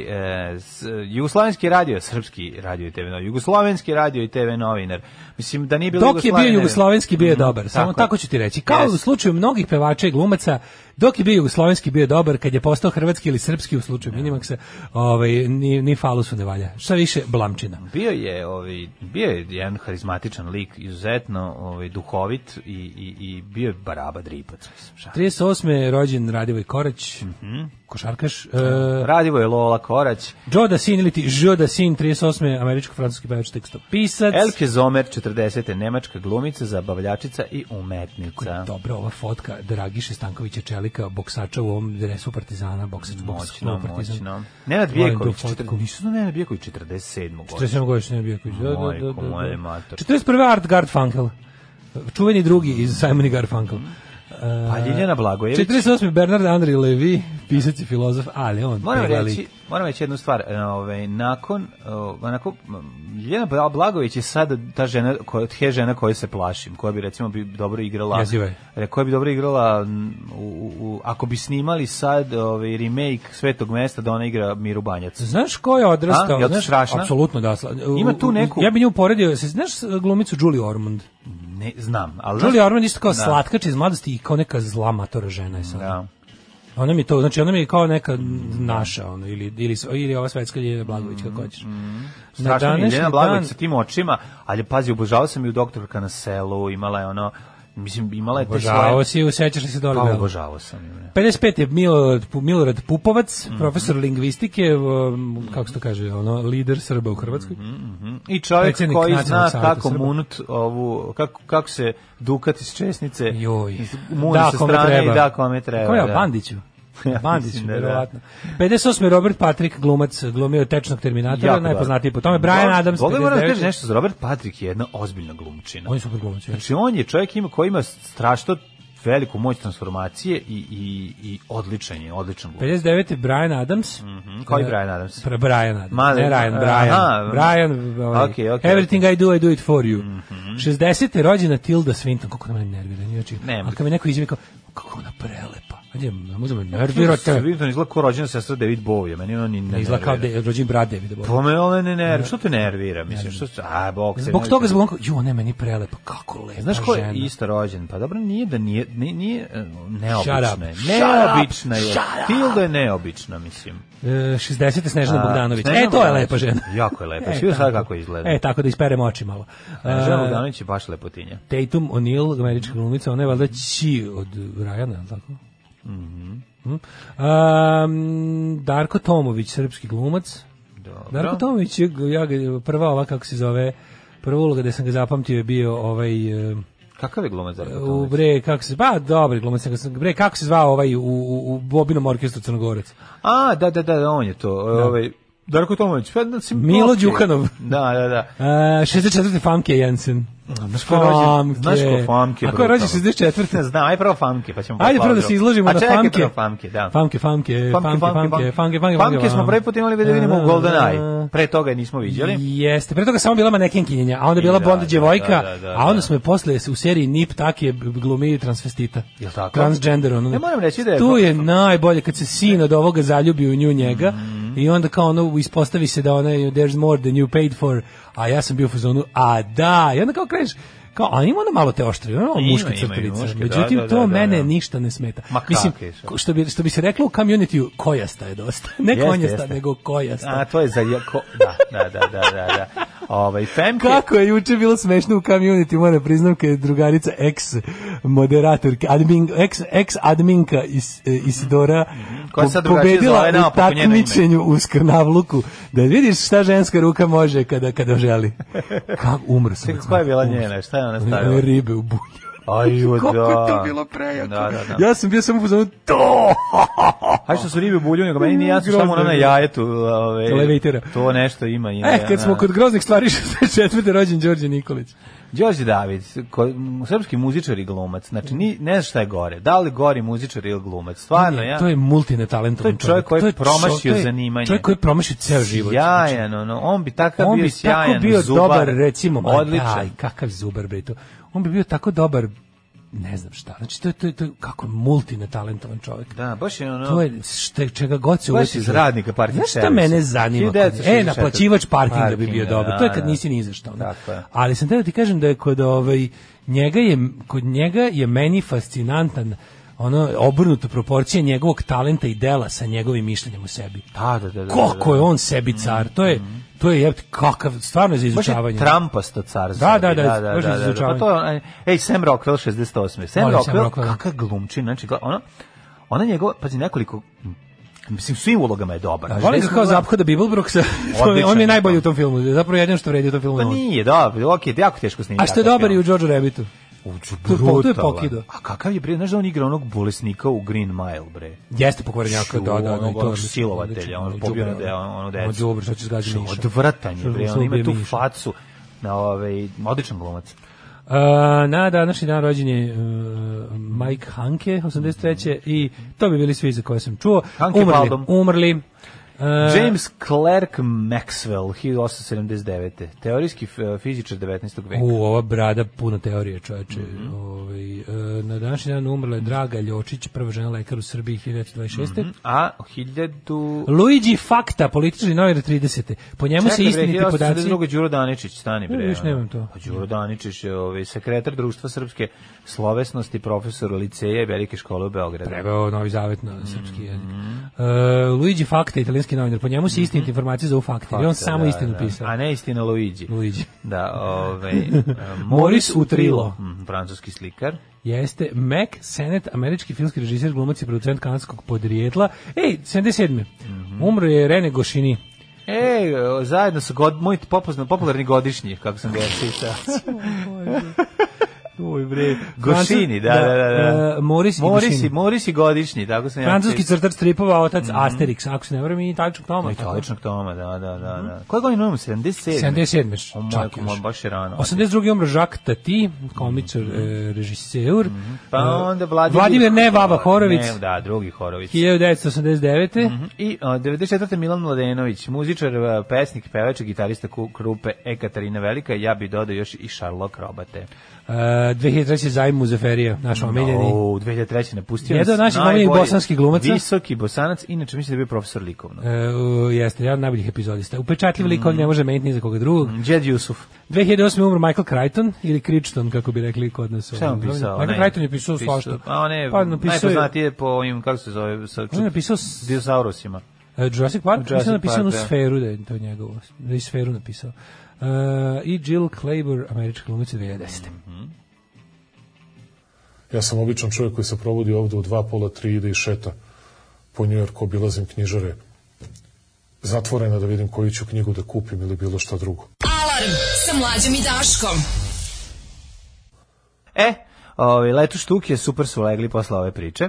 [SPEAKER 7] e, s- Jugoslovenski radio, srpski radio i TV novinar, Jugoslovenski radio i TV novinar. Mislim da nije bilo
[SPEAKER 6] Dok je bio
[SPEAKER 7] Jugoslavije, ne bi-
[SPEAKER 6] jugoslovenski bio je
[SPEAKER 7] Mhm,
[SPEAKER 6] dobar, samo
[SPEAKER 7] je.
[SPEAKER 6] tako ću ti reći. Kao u
[SPEAKER 7] Jeste.
[SPEAKER 6] slučaju mnogih pevača i glumaca, dok je bio jugoslovenski bio je dobar, kad je postao hrvatski ili srpski u
[SPEAKER 7] Da.
[SPEAKER 6] slučaju Minimaxa, ovaj, ni, ni falu su ne valja. Šta više, blamčina.
[SPEAKER 7] Bio je, ovaj, bio je jedan harizmatičan lik, izuzetno ovaj, duhovit i, i, i bio je baraba dripac. mislim, šta.
[SPEAKER 6] 38. je rođen Radivoj Korać,
[SPEAKER 7] Mhm.
[SPEAKER 6] košarkaš.
[SPEAKER 7] Da.
[SPEAKER 6] E,
[SPEAKER 7] Radivo je Lola Korać,
[SPEAKER 6] Joe Dassin ili ti Joe Da Dassin, 38. američko-francuski pevač tekstopisac.
[SPEAKER 7] Elke Zomer, 40. nemačka glumica, zabavljačica i umetnica.
[SPEAKER 6] Dobro, ova fotka Dragiše Stankovića Čelika, boksača u ovom dresu Partizana, boksač, boksač,
[SPEAKER 7] Moćno,
[SPEAKER 6] Partizan.
[SPEAKER 7] moćno. Nenad
[SPEAKER 6] Volim tu
[SPEAKER 7] Bijeković,
[SPEAKER 6] fotku.
[SPEAKER 7] 40, nisu da Nenad Bijeković 47. godine.
[SPEAKER 6] 47 godišnji Bijaković. Da, da, da, da,
[SPEAKER 7] Majko moja
[SPEAKER 6] da.
[SPEAKER 7] mater.
[SPEAKER 6] 41. Art Garfunkel. Čuveni drugi iz Simon i Garfunkel.
[SPEAKER 7] Pa Ljiljana Blagojević,
[SPEAKER 6] 48. Bernard Andri Levi, pisac i filozof, ali on
[SPEAKER 7] Moram
[SPEAKER 6] pegalit.
[SPEAKER 7] reći, moram reći jednu stvar. e, Ovaj nakon o, onako m, Jelena Bla- Blagović je sad ta žena koja od he žena koje se plašim, koja bi recimo bi dobro igrala.
[SPEAKER 6] Jeziva je.
[SPEAKER 7] Re, koja bi dobro igrala m, u, u, ako bi snimali sad ovaj remake Svetog mesta da ona igra Miru Banjac.
[SPEAKER 6] Znaš ko je
[SPEAKER 7] A, je
[SPEAKER 6] odrastao?
[SPEAKER 7] li to
[SPEAKER 6] Znaš,
[SPEAKER 7] strašna?
[SPEAKER 6] apsolutno da. sla-
[SPEAKER 7] Ima tu
[SPEAKER 6] u- u-
[SPEAKER 7] neku-
[SPEAKER 6] Ja bih nju uporedio, se znaš glumicu Julie Ormond?
[SPEAKER 7] Ne znam, ali znaš-
[SPEAKER 6] Julie Ormond isto kao
[SPEAKER 7] Da.
[SPEAKER 6] slatkač iz mladosti i kao neka zla matora žena je sad.
[SPEAKER 7] Da. Mm.
[SPEAKER 6] Ona mi to, znači ona mi je kao neka naša ono ili ili ili ova svetska Ljiljana Blagović kako hoćeš. Na
[SPEAKER 7] Strašno Mm. mi je
[SPEAKER 6] današnji
[SPEAKER 7] Jelena Blagović
[SPEAKER 6] dan-
[SPEAKER 7] sa tim očima, ali pazi, obožavao sam i u doktorka na selu, imala je ono, mislim, imala je te
[SPEAKER 6] Obožavao
[SPEAKER 7] svoje...
[SPEAKER 6] si, da. ju, sećaš li se dobro?
[SPEAKER 7] Pa
[SPEAKER 6] Bela?
[SPEAKER 7] obožavao sam ju, ne.
[SPEAKER 6] 55 je Milorad, Pu- Milorad Pupovac,
[SPEAKER 7] Mhm.
[SPEAKER 6] profesor lingvistike, um, kako se to kaže, ono, lider Srba u Hrvatskoj.
[SPEAKER 7] Mhm. I čovjek
[SPEAKER 6] Predsjednik
[SPEAKER 7] koji zna
[SPEAKER 6] Nacionalnog savjeta
[SPEAKER 7] kako
[SPEAKER 6] Srba.
[SPEAKER 7] munut ovu, kako, kako se dukat iz česnice
[SPEAKER 6] Joj.
[SPEAKER 7] muni sa strane i da kome treba.
[SPEAKER 6] Ko je,
[SPEAKER 7] da.
[SPEAKER 6] Bandiću?
[SPEAKER 7] <laughs> Ja
[SPEAKER 6] Bandić,
[SPEAKER 7] mislim da da.
[SPEAKER 6] verovatno. 58. Robert Patrick, glumac, glumio je tečnog Terminatora,
[SPEAKER 7] Jako
[SPEAKER 6] najpoznatiji
[SPEAKER 7] dobro.
[SPEAKER 6] po tome. Brian
[SPEAKER 7] Bo-
[SPEAKER 6] Adams,
[SPEAKER 7] Boga moram da kažem
[SPEAKER 6] 59.
[SPEAKER 7] nešto, za Robert Patrick je jedna ozbiljna glumčina.
[SPEAKER 6] On je super glumac. ja.
[SPEAKER 7] Znači, on je čovjek ima, koji ima strašno veliku moć transformacije i, i, i odličan je, odličan glumac.
[SPEAKER 6] 59. je Brian Adams.
[SPEAKER 7] Mhm. koji Brian Adams?
[SPEAKER 6] Pra, Brian Adams.
[SPEAKER 7] Mali-
[SPEAKER 6] ne Ryan, Brian.
[SPEAKER 7] Aha.
[SPEAKER 6] Brian, ovaj,
[SPEAKER 7] Okej, okej,
[SPEAKER 6] everything I do, I do it for you.
[SPEAKER 7] Mhm.
[SPEAKER 6] 60. je rođena Tilda Swinton, kako na mene nervira. Znači,
[SPEAKER 7] Nemoj.
[SPEAKER 6] a kad mi neko izjavi kao, kako ona prelepa. Ajde, možda me
[SPEAKER 7] Sa
[SPEAKER 6] nervirate.
[SPEAKER 7] Vinton izgleda ko rođena sestra David Bowie, meni ona ni ne
[SPEAKER 6] Izgleda kao da
[SPEAKER 7] nervira.
[SPEAKER 6] je rođen brat Davida Bowie.
[SPEAKER 7] Pa me ona ne nervira, što te nervira, mislim, što se, a, bok se.
[SPEAKER 6] Zbog
[SPEAKER 7] ne-
[SPEAKER 6] toga, zbog onoga, ju, ona je meni prelepa, kako lepa
[SPEAKER 7] Znaš ko je
[SPEAKER 6] žena.
[SPEAKER 7] isto rođen? Pa dobro, nije da nije, nije, nije e, neobična
[SPEAKER 6] Shut up.
[SPEAKER 7] je.
[SPEAKER 6] Shut
[SPEAKER 7] Neobična
[SPEAKER 6] up.
[SPEAKER 7] je.
[SPEAKER 6] Shut up.
[SPEAKER 7] Tilda je neobična, mislim.
[SPEAKER 6] E, 60. Snežana
[SPEAKER 7] A,
[SPEAKER 6] Bogdanović.
[SPEAKER 7] Snežana
[SPEAKER 6] E, to je
[SPEAKER 7] Bogdanović.
[SPEAKER 6] lepa žena.
[SPEAKER 7] Jako je lepa.
[SPEAKER 6] E,
[SPEAKER 7] Svi joj sad
[SPEAKER 6] tako.
[SPEAKER 7] kako izgleda.
[SPEAKER 6] E, tako da isperem oči malo.
[SPEAKER 7] Žena
[SPEAKER 6] E,
[SPEAKER 7] Bogdanović je baš lepotinja.
[SPEAKER 6] Tatum O'Neal, američka glumica, ona je valjda Ći od Rajana, je li tako? Mhm. Um, Darko Tomović, srpski glumac.
[SPEAKER 7] Dobro.
[SPEAKER 6] Darko Tomović, je, ja, ga- prva ova, kako se zove, prva uloga gde sam ga zapamtio je bio ovaj... e,
[SPEAKER 7] Kakav je glumac Darko
[SPEAKER 6] U
[SPEAKER 7] Tomić?
[SPEAKER 6] bre, kako se, pa dobri glumac, nego sam- bre, kako se zvao ovaj u, u, u Bobinom orkestru Crnogorac?
[SPEAKER 7] A, da, da, da, on je to. Da. Ovaj, Darko Tomović. Pa, da, si-
[SPEAKER 6] Milo
[SPEAKER 7] okej.
[SPEAKER 6] Đukanov.
[SPEAKER 7] Da, da, da.
[SPEAKER 6] Uh, 64. Famke Jensen.
[SPEAKER 7] Znaš ko je rođen? Znaš ko Famke? Da.
[SPEAKER 6] Ako je rođen
[SPEAKER 7] brutalno?
[SPEAKER 6] 64.
[SPEAKER 7] Ne znam, aj prvo Famke, pa ćemo
[SPEAKER 6] Ajde
[SPEAKER 7] pa
[SPEAKER 6] prvo da se
[SPEAKER 7] drugo.
[SPEAKER 6] izložimo
[SPEAKER 7] A
[SPEAKER 6] na
[SPEAKER 7] čekaj,
[SPEAKER 6] famke.
[SPEAKER 7] prvo Famke, da.
[SPEAKER 6] Famke, famke, famke, famke, famke, famke.
[SPEAKER 7] Famke smo prvi put imali da vidimo u
[SPEAKER 6] da,
[SPEAKER 7] GoldenEye. Pre toga je nismo viđali.
[SPEAKER 6] Jeste, pre toga samo bila manekenkinjenja, a onda bila
[SPEAKER 7] Da,
[SPEAKER 6] Bonda
[SPEAKER 7] da,
[SPEAKER 6] djevojka,
[SPEAKER 7] da, da, da,
[SPEAKER 6] a onda
[SPEAKER 7] da.
[SPEAKER 6] smo je posle u seriji Nip take glumi transvestita.
[SPEAKER 7] Jel tako?
[SPEAKER 6] Transgender. Ono.
[SPEAKER 7] Ne, moram reći da je-
[SPEAKER 6] Tu je najbolje kad se sin od ovoga zaljubi u nju njega
[SPEAKER 7] Mhm.
[SPEAKER 6] i onda kao ono ispostavi se da ona je there's more than you paid for, a ja sam bio u fazonu, a da, i onda kao kreneš, kao, a ima ona malo te oštre, ima malo
[SPEAKER 7] Ima,
[SPEAKER 6] muške
[SPEAKER 7] ima i
[SPEAKER 6] crtelice.
[SPEAKER 7] muške, da,
[SPEAKER 6] Međutim,
[SPEAKER 7] da, da,
[SPEAKER 6] to
[SPEAKER 7] da,
[SPEAKER 6] mene
[SPEAKER 7] da.
[SPEAKER 6] ništa ne smeta.
[SPEAKER 7] Ma
[SPEAKER 6] Mislim,
[SPEAKER 7] kakve su.
[SPEAKER 6] ko- što bi, što bi se reklo u community kojasta je dosta. <laughs> Ne
[SPEAKER 7] Jeste,
[SPEAKER 6] konjasta,
[SPEAKER 7] jeste.
[SPEAKER 6] nego kojasta.
[SPEAKER 7] A, to je za... Jako, da, da, da, da, da. da. Ovaj, Femke,
[SPEAKER 6] Kako je juče bilo smešno u community, moram da priznam, kad je drugarica ex moderatorka, admin, ex, ex adminka is, e, Isidora
[SPEAKER 7] Mhm. Koja
[SPEAKER 6] po-
[SPEAKER 7] sad drugačije
[SPEAKER 6] pobedila
[SPEAKER 7] zove
[SPEAKER 6] u
[SPEAKER 7] naopako njeno ime.
[SPEAKER 6] takmičenju u skrnavluku. Da vidiš šta ženska ruka može kada, kada želi. Kako umro sam.
[SPEAKER 7] Čekaj,
[SPEAKER 6] od
[SPEAKER 7] koja
[SPEAKER 6] smeha,
[SPEAKER 7] je bila
[SPEAKER 6] umro
[SPEAKER 7] njena? Šta je ona
[SPEAKER 6] sam. One-
[SPEAKER 7] stavila?
[SPEAKER 6] one Ribe u bulju.
[SPEAKER 7] Ajde,
[SPEAKER 6] Kako
[SPEAKER 7] da.
[SPEAKER 6] je to bilo prejako.
[SPEAKER 7] Da, da, da.
[SPEAKER 6] Ja sam bio samo pozvan, to!
[SPEAKER 7] Hajde što su ribe u bulju, nego meni nije jasno šta mu ona na jajetu. Ove,
[SPEAKER 6] Levitira.
[SPEAKER 7] To nešto ima. ima
[SPEAKER 6] E, kad smo
[SPEAKER 7] da.
[SPEAKER 6] kod groznih stvari, <laughs> 64. rođen Đorđe Nikolić.
[SPEAKER 7] Đorđe David, ko, m, srpski muzičar i glumac. Znači, ni, ne znaš šta je gore. Da li gori muzičar ili glumac? Stvarno, da, ja...
[SPEAKER 6] To je multinatalentovan
[SPEAKER 7] To je čovjek koji
[SPEAKER 6] To
[SPEAKER 7] je promašio
[SPEAKER 6] čo- to je
[SPEAKER 7] zanimanje.
[SPEAKER 6] Čovjek koji je promašio ceo život. Znači,
[SPEAKER 7] Sjajan, ono, on bi takav
[SPEAKER 6] on
[SPEAKER 7] bio
[SPEAKER 6] bi
[SPEAKER 7] sjajan,
[SPEAKER 6] tako bio
[SPEAKER 7] zubar,
[SPEAKER 6] dobar, recimo, ma
[SPEAKER 7] odličan.
[SPEAKER 6] daj, kakav zubar bre to. On bi bio tako dobar, ne znam šta. Znači to je to je, to je kako je multinatalentovan čovjek.
[SPEAKER 7] Da, baš je ono...
[SPEAKER 6] To je šte, čega god se
[SPEAKER 7] Baš
[SPEAKER 6] uvjeti.
[SPEAKER 7] iz
[SPEAKER 6] za-
[SPEAKER 7] radnika parking
[SPEAKER 6] Znaš šta
[SPEAKER 7] servisa.
[SPEAKER 6] mene zanima? kod njega?
[SPEAKER 7] 1964.
[SPEAKER 6] E, naplaćivač parkinga bi bio
[SPEAKER 7] Parkinga,
[SPEAKER 6] dobar. To je
[SPEAKER 7] da,
[SPEAKER 6] kad
[SPEAKER 7] da.
[SPEAKER 6] nisi ni za šta. ono.
[SPEAKER 7] Tako je.
[SPEAKER 6] Ali sam teo da ti kažem da je kod ovaj njega je kod njega je meni fascinantan ono obrnuta proporcija njegovog talenta i dela sa njegovim mišljenjem o sebi.
[SPEAKER 7] Da, da, da, da,
[SPEAKER 6] Kako je on sebi car? To je to je jebote, kakav stvarno je za
[SPEAKER 7] Mm-hmm. Baš
[SPEAKER 6] izučavanje.
[SPEAKER 7] je Trumpasto car.
[SPEAKER 6] Da, da,
[SPEAKER 7] sebi,
[SPEAKER 6] da, baš je
[SPEAKER 7] Pa
[SPEAKER 6] izučavanje.
[SPEAKER 7] to je, onaj- ej, Sam Rockwell 68. Sam
[SPEAKER 6] Volim Sam da.
[SPEAKER 7] Rockwell,
[SPEAKER 6] Rockwella.
[SPEAKER 7] kakav glumčin, znači, gleda- ono, ona njegova, pazi, nekoliko, mislim, svim ulogama je dobar.
[SPEAKER 6] Da,
[SPEAKER 7] Znači,
[SPEAKER 6] volim ga
[SPEAKER 7] recimo,
[SPEAKER 6] kao zaphoda Bibelbroksa. To mi- <laughs> on mi je
[SPEAKER 7] Odličan. da.
[SPEAKER 6] najbolji u tom filmu. Zapravo jedino što vredi u tom filmu.
[SPEAKER 7] Pa
[SPEAKER 6] je on.
[SPEAKER 7] nije, dobro, okej, jako teško snimati.
[SPEAKER 6] A što je dobar i u George Rabbitu.
[SPEAKER 7] Uđu,
[SPEAKER 6] to je po- to je
[SPEAKER 7] brutalan.
[SPEAKER 6] pokido.
[SPEAKER 7] A kakav je, bre, znaš da on igra onog bolesnika u Green Mile, bre?
[SPEAKER 6] Jeste pokvarenjaka, da, da, da,
[SPEAKER 7] Onog
[SPEAKER 6] i to je
[SPEAKER 7] silovatelja, ono, pobio
[SPEAKER 6] da,
[SPEAKER 7] na deo, ono, decu.
[SPEAKER 6] Ono đubre, šta će zgađati
[SPEAKER 7] Što
[SPEAKER 6] da Miša. da
[SPEAKER 7] Odvratan je,
[SPEAKER 6] Što
[SPEAKER 7] bre,
[SPEAKER 6] se
[SPEAKER 7] on ima
[SPEAKER 6] ubije
[SPEAKER 7] tu
[SPEAKER 6] Miša.
[SPEAKER 7] facu. Na ovaj, odličan glumac.
[SPEAKER 6] E, na današnji dan rođen je e, Mike Hanke, 83. I to bi bili svi za koje sam čuo.
[SPEAKER 7] Hanke
[SPEAKER 6] umrli,
[SPEAKER 7] Baldom.
[SPEAKER 6] umrli. E,
[SPEAKER 7] James Clerk Maxwell, 1879. Teorijski f- fizičar 19. veka.
[SPEAKER 6] U, ova brada puna teorije, čoveče.
[SPEAKER 7] Mhm.
[SPEAKER 6] Ovaj, e, na današnji dan umrla je Draga Ljočić, prva žena lekar u Srbiji 1926.
[SPEAKER 7] A 1000...
[SPEAKER 6] Luigi Fakta, političar i novinar 30. Po njemu se istiniti podaci...
[SPEAKER 7] Drugo Đuro Daničić, stani bre.
[SPEAKER 6] Ne, još nemam to.
[SPEAKER 7] Pa Đuro Daničić je ovaj sekretar društva srpske slovesnosti, profesor liceja i velike škole u Beogradu.
[SPEAKER 6] Preveo Novi Zavet na srpski jezik.
[SPEAKER 7] Mhm.
[SPEAKER 6] E, Luigi Fakta, italijanski novinar. Po njemu se istiniti informacije za u Fakta. I on samo
[SPEAKER 7] da,
[SPEAKER 6] istinu
[SPEAKER 7] da.
[SPEAKER 6] pisao.
[SPEAKER 7] A ne istina Luigi.
[SPEAKER 6] Luigi.
[SPEAKER 7] Da,
[SPEAKER 6] <laughs>
[SPEAKER 7] ovaj
[SPEAKER 6] Moris Utrilo.
[SPEAKER 7] Mhm, francuski slikar.
[SPEAKER 6] Jeste Mac Sennett, američki filmski režiser, glumac i producent kanadskog podrijetla. Ej, 77.
[SPEAKER 7] Mhm.
[SPEAKER 6] Umro je Rene Gošini.
[SPEAKER 7] E, zajedno sa god, moj popozna, popularni godišnji, kako sam ga ja
[SPEAKER 6] <laughs>
[SPEAKER 7] čitao. Oj bre, Gošini, da, da, da. da.
[SPEAKER 6] E, Moris i
[SPEAKER 7] Morisi, Mhm.
[SPEAKER 6] Gošini.
[SPEAKER 7] Morisi godišnji, tako sam ja
[SPEAKER 6] Francuski
[SPEAKER 7] čitao.
[SPEAKER 6] crtač stripova, otac Asterix, ako se ne varam, i italičnog Toma.
[SPEAKER 7] Moj čovječnog toma, da, da, da. da. Koje godine imamo? 77?
[SPEAKER 6] 77.
[SPEAKER 7] O, majko
[SPEAKER 6] Mhm. čak još.
[SPEAKER 7] moja, baš Mhm. je rano.
[SPEAKER 6] 82. umro Jacques Tati, komičar, e, režiseur.
[SPEAKER 7] Pa onda Vladimir...
[SPEAKER 6] Vladimir ne, Vava Horović,
[SPEAKER 7] Ne, da, drugi Horović.
[SPEAKER 6] 1989.
[SPEAKER 7] Mhm. I a, 94. Milan Mladenović, muzičar, a, pesnik, pevač, i gitarista ku- krupe Ekaterina Velika, ja bi dodao još i Sherlock Robate.
[SPEAKER 6] E, 2003. zajm Muzeferija, naš omiljeni.
[SPEAKER 7] O, 2003. napustio
[SPEAKER 6] Jedan od naših
[SPEAKER 7] najbolji
[SPEAKER 6] omiljenih bosanskih glumaca.
[SPEAKER 7] Visoki bosanac, inače mislim da je bio profesor likovno.
[SPEAKER 6] E, u, jeste, jedan od najboljih epizodista. Upečatljiv lik,
[SPEAKER 7] Mhm.
[SPEAKER 6] on ne može meniti ni za koga drugog.
[SPEAKER 7] Džed Jusuf.
[SPEAKER 6] 2008. umro Michael Crichton, ili Crichton, kako bi rekli kod nas.
[SPEAKER 7] Šta je on
[SPEAKER 6] Ovaj,
[SPEAKER 7] pisao?
[SPEAKER 6] Michael
[SPEAKER 7] Ne,
[SPEAKER 6] Crichton je pisao svašta.
[SPEAKER 7] A on je
[SPEAKER 6] Pa napisao je
[SPEAKER 7] najpoznatije po ovim, kako se zove, sa
[SPEAKER 6] On je napisao s-
[SPEAKER 7] dinosaurusima.
[SPEAKER 6] e, Jurassic Park, Jurassic
[SPEAKER 7] Jurassic
[SPEAKER 6] mislim da je napisao
[SPEAKER 7] Park,
[SPEAKER 6] onu
[SPEAKER 7] da.
[SPEAKER 6] sferu, da je to njegovo, da je sferu napisao. E, I Jill Clayburgh, američka glumica 2010.
[SPEAKER 7] Mm-hmm.
[SPEAKER 9] Ja sam običan čovjek koji se provodi ovde u dva pola, tri ide i šeta po Njujorku, obilazim knjižare zatvorena da vidim koju ću knjigu da kupim ili bilo šta drugo.
[SPEAKER 2] Alarm sa mlađom i Daškom.
[SPEAKER 7] E, ovaj, letu štuke super su legli posle ove priče.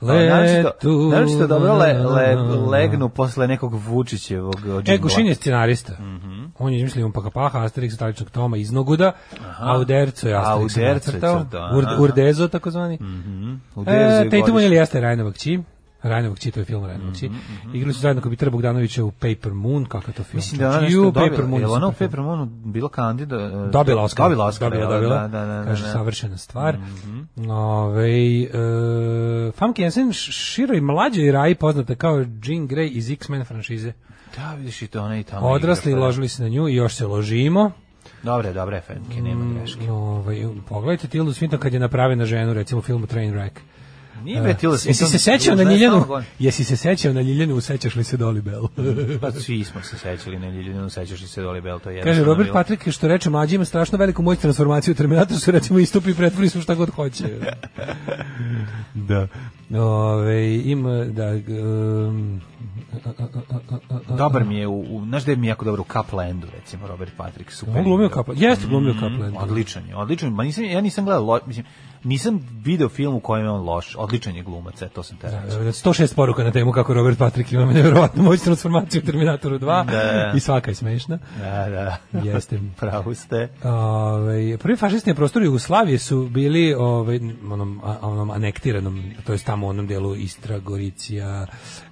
[SPEAKER 6] Letu-
[SPEAKER 7] Naročito- Naročito dobro le, le, legnu posle nekog Vučićevog džingla.
[SPEAKER 6] E, Gušin je scenarista.
[SPEAKER 7] Mm-hmm.
[SPEAKER 6] On je izmislio um Paha, Asterix, Taličnog Toma iz Noguda, a Uderco je Asterix
[SPEAKER 7] Uderco je da,
[SPEAKER 6] nacrtao,
[SPEAKER 7] crtao,
[SPEAKER 6] Ur,
[SPEAKER 7] aha.
[SPEAKER 6] Urdezo takozvani.
[SPEAKER 7] Mm-hmm. Mhm. U
[SPEAKER 6] E, Tatum
[SPEAKER 7] Derzi godišnje. Mm-hmm,
[SPEAKER 6] ili jeste Rajnovak Či, Rajnovak Či, to je film Rajnovak Či. Igrali su zajedno kao Petra Bogdanovića u Paper Moon, kakav je to film.
[SPEAKER 7] Mislim da je ona
[SPEAKER 6] Ju,
[SPEAKER 7] nešto
[SPEAKER 6] Paper
[SPEAKER 7] dobila.
[SPEAKER 6] Moon je
[SPEAKER 7] Je ona u
[SPEAKER 6] super film.
[SPEAKER 7] Paper Moonu bila kandida? e,
[SPEAKER 6] Dobila Oscar.
[SPEAKER 7] Dobila Oscar,
[SPEAKER 6] Dobila,
[SPEAKER 7] da,
[SPEAKER 6] dobila.
[SPEAKER 7] Da, da, da, da,
[SPEAKER 6] Kaže,
[SPEAKER 7] da. Mm-hmm.
[SPEAKER 6] savršena stvar. Ovej, e, Famke Jensen š- široj mlađoj raji poznata kao Jean Grey iz X-Men franšize.
[SPEAKER 7] Da, vidiš i to ona i tamo.
[SPEAKER 6] Odrasli
[SPEAKER 7] igra, pa da.
[SPEAKER 6] ložili se na nju i još se ložimo.
[SPEAKER 7] Dobre, dobre, Fenke, nema greške.
[SPEAKER 6] Ovaj, pogledajte Tildu Swinton kad je napravena ženu, recimo u filmu Trainwreck.
[SPEAKER 7] Nije me tilo
[SPEAKER 6] E, Jesi se sećao na Ljiljanu? Jesi se sećao na Ljiljanu, sećaš li se Doli Bell?
[SPEAKER 7] Pa svi smo se sećali na Ljiljanu, sećaš li se Doli Bel, to je
[SPEAKER 6] Kaže
[SPEAKER 7] jednostavno
[SPEAKER 6] Robert
[SPEAKER 7] bilo.
[SPEAKER 6] Patrick što reče mlađi ima strašno veliku moć transformacije u Terminatoru su recimo istupi i pretvori smo šta god hoće. da. <laughs> Ove, ima da um,
[SPEAKER 7] Dobar mi je, u, u, znaš da je mi jako dobro u Kaplandu, recimo, Robert Patrick, super.
[SPEAKER 6] on glumio
[SPEAKER 7] igrao.
[SPEAKER 6] Kaplan. Jeste glumio Kaplan.
[SPEAKER 7] Mm, odličan je, odličan. Ma nisam, ja nisam gledao, lo- mislim, nisam video film u kojem je on loš. Odličan je glumac, e, to sam
[SPEAKER 6] Da,
[SPEAKER 7] te rekao.
[SPEAKER 6] 106 poruka na temu kako Robert Patrick ima nevjerovatnu moć transformacije u Terminatoru 2
[SPEAKER 7] Da.
[SPEAKER 6] i svaka je smešna.
[SPEAKER 7] Da, da.
[SPEAKER 6] Jeste.
[SPEAKER 7] <laughs> Pravu ste.
[SPEAKER 6] Ovaj prvi fašisti na prostoru Jugoslavije su bili ovaj onom a- onom anektiranom, to jest tamo u onom delu Istra, Goricija,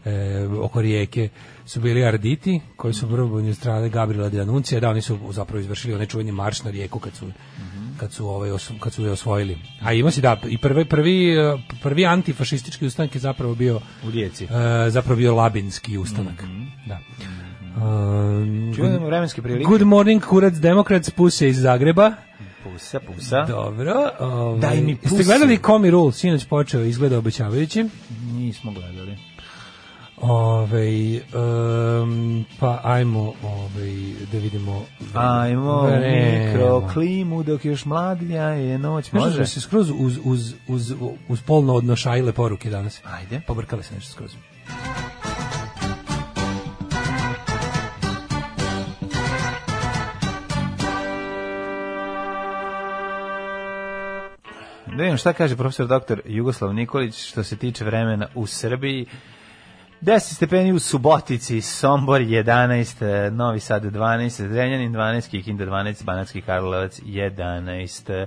[SPEAKER 6] e, oko rijeke su bili Arditi koji su probojni strane Gabriela de Anuncija, da oni su zapravo izvršili onaj čuveni marš na rijeku kad su kad su ovaj os- kad su je osvojili. A ima se da i prvi prvi e, prvi antifašistički ustanak je zapravo bio
[SPEAKER 7] U Rijeci.
[SPEAKER 6] e, zapravo bio labinski ustanak. Da. Um,
[SPEAKER 7] Čuvamo vremenske prilike.
[SPEAKER 6] Good morning, kurac demokrat, puse iz Zagreba.
[SPEAKER 7] Pusa, pusa.
[SPEAKER 6] Dobro. Ovaj,
[SPEAKER 7] Da. Daj mi
[SPEAKER 6] Ste
[SPEAKER 7] puse.
[SPEAKER 6] gledali Komi Rule, sinoć počeo, izgleda obećavajući.
[SPEAKER 7] Nismo gledali.
[SPEAKER 6] Ovaj em, pa ajmo ovaj, da vidimo. Da,
[SPEAKER 7] Ajmo u
[SPEAKER 6] Vreme.
[SPEAKER 7] mikroklimu dok još mladlja je noć.
[SPEAKER 6] Znaš
[SPEAKER 7] Može?
[SPEAKER 6] da se skroz uz, uz, uz, uz polno odnošajile poruke danas.
[SPEAKER 7] Ajde.
[SPEAKER 6] Pobrkale se nešto skroz.
[SPEAKER 7] Da vidim šta kaže profesor doktor Jugoslav Nikolić što se tiče vremena u Srbiji. 10 stepeni u Subotici, Sombor 11, eh, Novi Sad 12, Zrenjanin 12, Kikinda 12, Banatski Karlovac 11,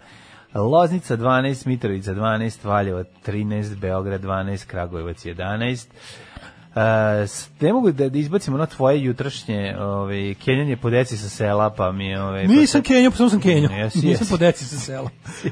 [SPEAKER 7] Loznica 12, Mitrovica 12, Valjevo 13, Beograd 12, Kragujevac 11. Eh, s- ne mogu da, da izbacimo ono tvoje jutrašnje ovaj, kenjanje po deci sa sela, pa mi... Ovaj, pa
[SPEAKER 6] Nisam
[SPEAKER 7] se-
[SPEAKER 6] Kenjo, pa samo sam Kenjo.
[SPEAKER 7] Jesi,
[SPEAKER 6] Nisam
[SPEAKER 7] jesi.
[SPEAKER 6] po deci sa sela.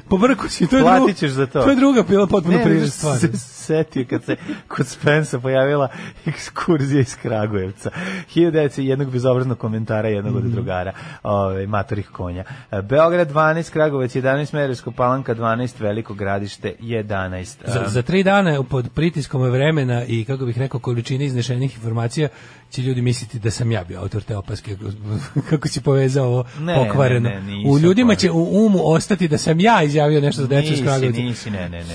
[SPEAKER 6] Pobrko si, to je druga.
[SPEAKER 7] Platit ćeš za to.
[SPEAKER 6] To je druga bila potpuno
[SPEAKER 7] Ne,
[SPEAKER 6] prirodna
[SPEAKER 7] nego
[SPEAKER 6] stvar.
[SPEAKER 7] se setio kad se kod Spensa pojavila ekskurzija iz Kragujevca. Hiljadeci jednog bezobraznog komentara jednog
[SPEAKER 6] Mhm.
[SPEAKER 7] od drugara, ovaj, matorih konja. E, Beograd 12, Kragujevac 11, Merovsko palanka 12, Veliko gradište 11.
[SPEAKER 6] Za,
[SPEAKER 7] E,
[SPEAKER 6] za tri dana pod pritiskom vremena i kako bih rekao količine iznešenih informacija će ljudi misliti da sam ja bio autor te opaske <laughs> kako- kako si povezao ovo
[SPEAKER 7] Ne,
[SPEAKER 6] pokvareno.
[SPEAKER 7] ne, ne, nisam
[SPEAKER 6] u ljudima
[SPEAKER 7] pokvaren.
[SPEAKER 6] će u umu ostati da sam ja izjavio nešto za decu iz e,
[SPEAKER 7] Nisi,
[SPEAKER 6] Kragujevca.
[SPEAKER 7] nisi, ne, ne, ne, ne.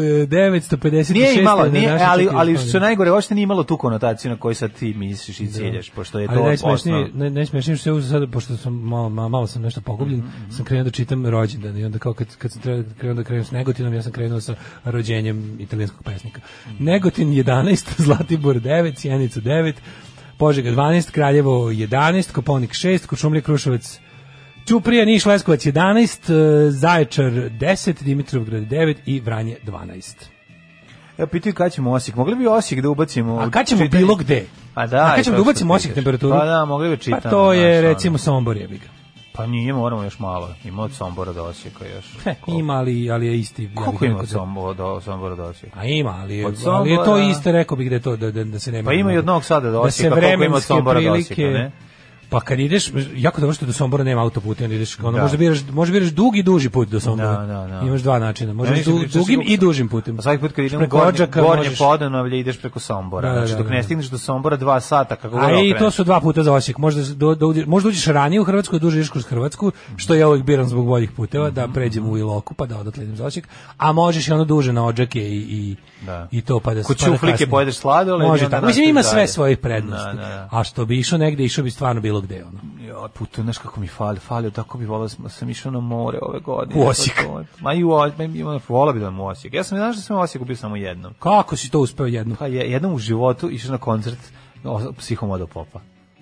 [SPEAKER 6] 1956.
[SPEAKER 7] Nije imalo,
[SPEAKER 6] na
[SPEAKER 7] nije,
[SPEAKER 6] našem
[SPEAKER 7] e, ali,
[SPEAKER 6] četiri
[SPEAKER 7] ali
[SPEAKER 6] spomenu.
[SPEAKER 7] što je najgore, uopšte nije imalo tu konotaciju na koju sad ti misliš i ciljaš, pošto je to
[SPEAKER 6] Da. Ali
[SPEAKER 7] osnov.
[SPEAKER 6] najsmešnije, naj, najsmešnije što se uzeo sada, pošto sam malo, malo, malo sam nešto pogubljen,
[SPEAKER 7] Mhm,
[SPEAKER 6] sam krenuo da čitam rođendan i onda kao kad, kad sam trebao da krenuo da krenem s Negotinom, ja sam krenuo sa rođenjem italijanskog pesnika.
[SPEAKER 7] Mhm.
[SPEAKER 6] Negotin 11, <laughs> Zlatibor 9, Sjenica 9, Požega 12, Kraljevo 11, Koponik 6, Kočumlje Kruševac Ćuprija, Niš, Leskovac 11, eh, Zaječar 10, Dimitrovgrad 9 i Vranje 12.
[SPEAKER 7] Ja pitaju kada ćemo Osijek. Mogli bi Osijek da ubacimo...
[SPEAKER 6] A
[SPEAKER 7] u
[SPEAKER 6] kad ćemo
[SPEAKER 7] čitanje?
[SPEAKER 6] bilo gde?
[SPEAKER 7] A da,
[SPEAKER 6] A
[SPEAKER 7] i
[SPEAKER 6] kad ćemo
[SPEAKER 7] to
[SPEAKER 6] da
[SPEAKER 7] što
[SPEAKER 6] ubacimo
[SPEAKER 7] pitaš.
[SPEAKER 6] Osijek temperaturu?
[SPEAKER 7] Pa da, mogli bi čitati.
[SPEAKER 6] Pa to je recimo Sombor jebiga.
[SPEAKER 7] Pa nije, moramo još malo. Ima od Sombora do Osijeka još.
[SPEAKER 6] He,
[SPEAKER 7] Koliko?
[SPEAKER 6] ima, ali, ali je isti. ja bih
[SPEAKER 7] Koliko ima
[SPEAKER 6] rekao
[SPEAKER 7] od
[SPEAKER 6] da-
[SPEAKER 7] Sombora do, Sombora do Osijeka?
[SPEAKER 6] A ima, ali, je-
[SPEAKER 7] Od
[SPEAKER 6] ali je to
[SPEAKER 7] Sombora-
[SPEAKER 6] isto, rekao bih da je to da, da, da se nema.
[SPEAKER 7] Pa ima i od Novog Sada do
[SPEAKER 6] da se
[SPEAKER 7] Osijeka, koliko ima od
[SPEAKER 6] vremenske
[SPEAKER 7] Sombora do Osijeka,
[SPEAKER 6] prilike-
[SPEAKER 7] ne?
[SPEAKER 6] Pa kad ideš, jako dobro što do Sombora nema autoputa, onda ideš, ono,
[SPEAKER 7] Da.
[SPEAKER 6] možda biraš, možda biraš dugi i duži put do Sombora.
[SPEAKER 7] Da, da, da.
[SPEAKER 6] Imaš dva načina, možeš
[SPEAKER 7] mislim, da
[SPEAKER 6] du,
[SPEAKER 7] pričao si
[SPEAKER 6] dugim
[SPEAKER 7] kako-
[SPEAKER 6] i dužim putem.
[SPEAKER 7] Pa svaki put kad idem u
[SPEAKER 6] Preko
[SPEAKER 7] Gornje,
[SPEAKER 6] Odžaka
[SPEAKER 7] gornje
[SPEAKER 6] možeš-
[SPEAKER 7] Podunavlje ideš preko Sombora.
[SPEAKER 6] Da, da,
[SPEAKER 7] znači, dok
[SPEAKER 6] da,
[SPEAKER 7] ne
[SPEAKER 6] da.
[SPEAKER 7] stigneš do Sombora dva sata, kako god
[SPEAKER 6] A i
[SPEAKER 7] okreneš.
[SPEAKER 6] to su dva puta za Osijek. Možda do, do, možda uđeš ranije u Hrvatsku, duže ideš kroz Hrvatsku, što ja uvijek biram zbog boljih puteva,
[SPEAKER 7] Mhm.
[SPEAKER 6] da pređem u Iloku, pa da odatle idem za Osijek. A možeš i ono duže na Odžake i, i,
[SPEAKER 7] Da.
[SPEAKER 6] i to, pa da
[SPEAKER 7] Ko
[SPEAKER 6] pa da
[SPEAKER 7] ćuflike
[SPEAKER 6] kasnije.
[SPEAKER 7] pojedeš sladoled i
[SPEAKER 6] Može
[SPEAKER 7] onda
[SPEAKER 6] tako. Mislim, ima
[SPEAKER 7] nastaviš
[SPEAKER 6] sve
[SPEAKER 7] dalje.
[SPEAKER 6] svoje prednosti.
[SPEAKER 7] Da, da, da.
[SPEAKER 6] A što bi išao negde, išao bi stvarno bilo gde. Ono.
[SPEAKER 7] Ja, putu, znaš kako mi fali, falio, tako bi volao da sam, sam išao na more ove godine. Pa
[SPEAKER 6] U Osijek.
[SPEAKER 7] To- to- Ma i u Osijek, ma i- ma, volao bi da idem u Osijek. Ja sam, znaš da sam u Osijeku bio samo jednom.
[SPEAKER 6] Kako si to uspeo jedno?
[SPEAKER 7] Pa je, jednom u životu išao na koncert o- psihomodo popa.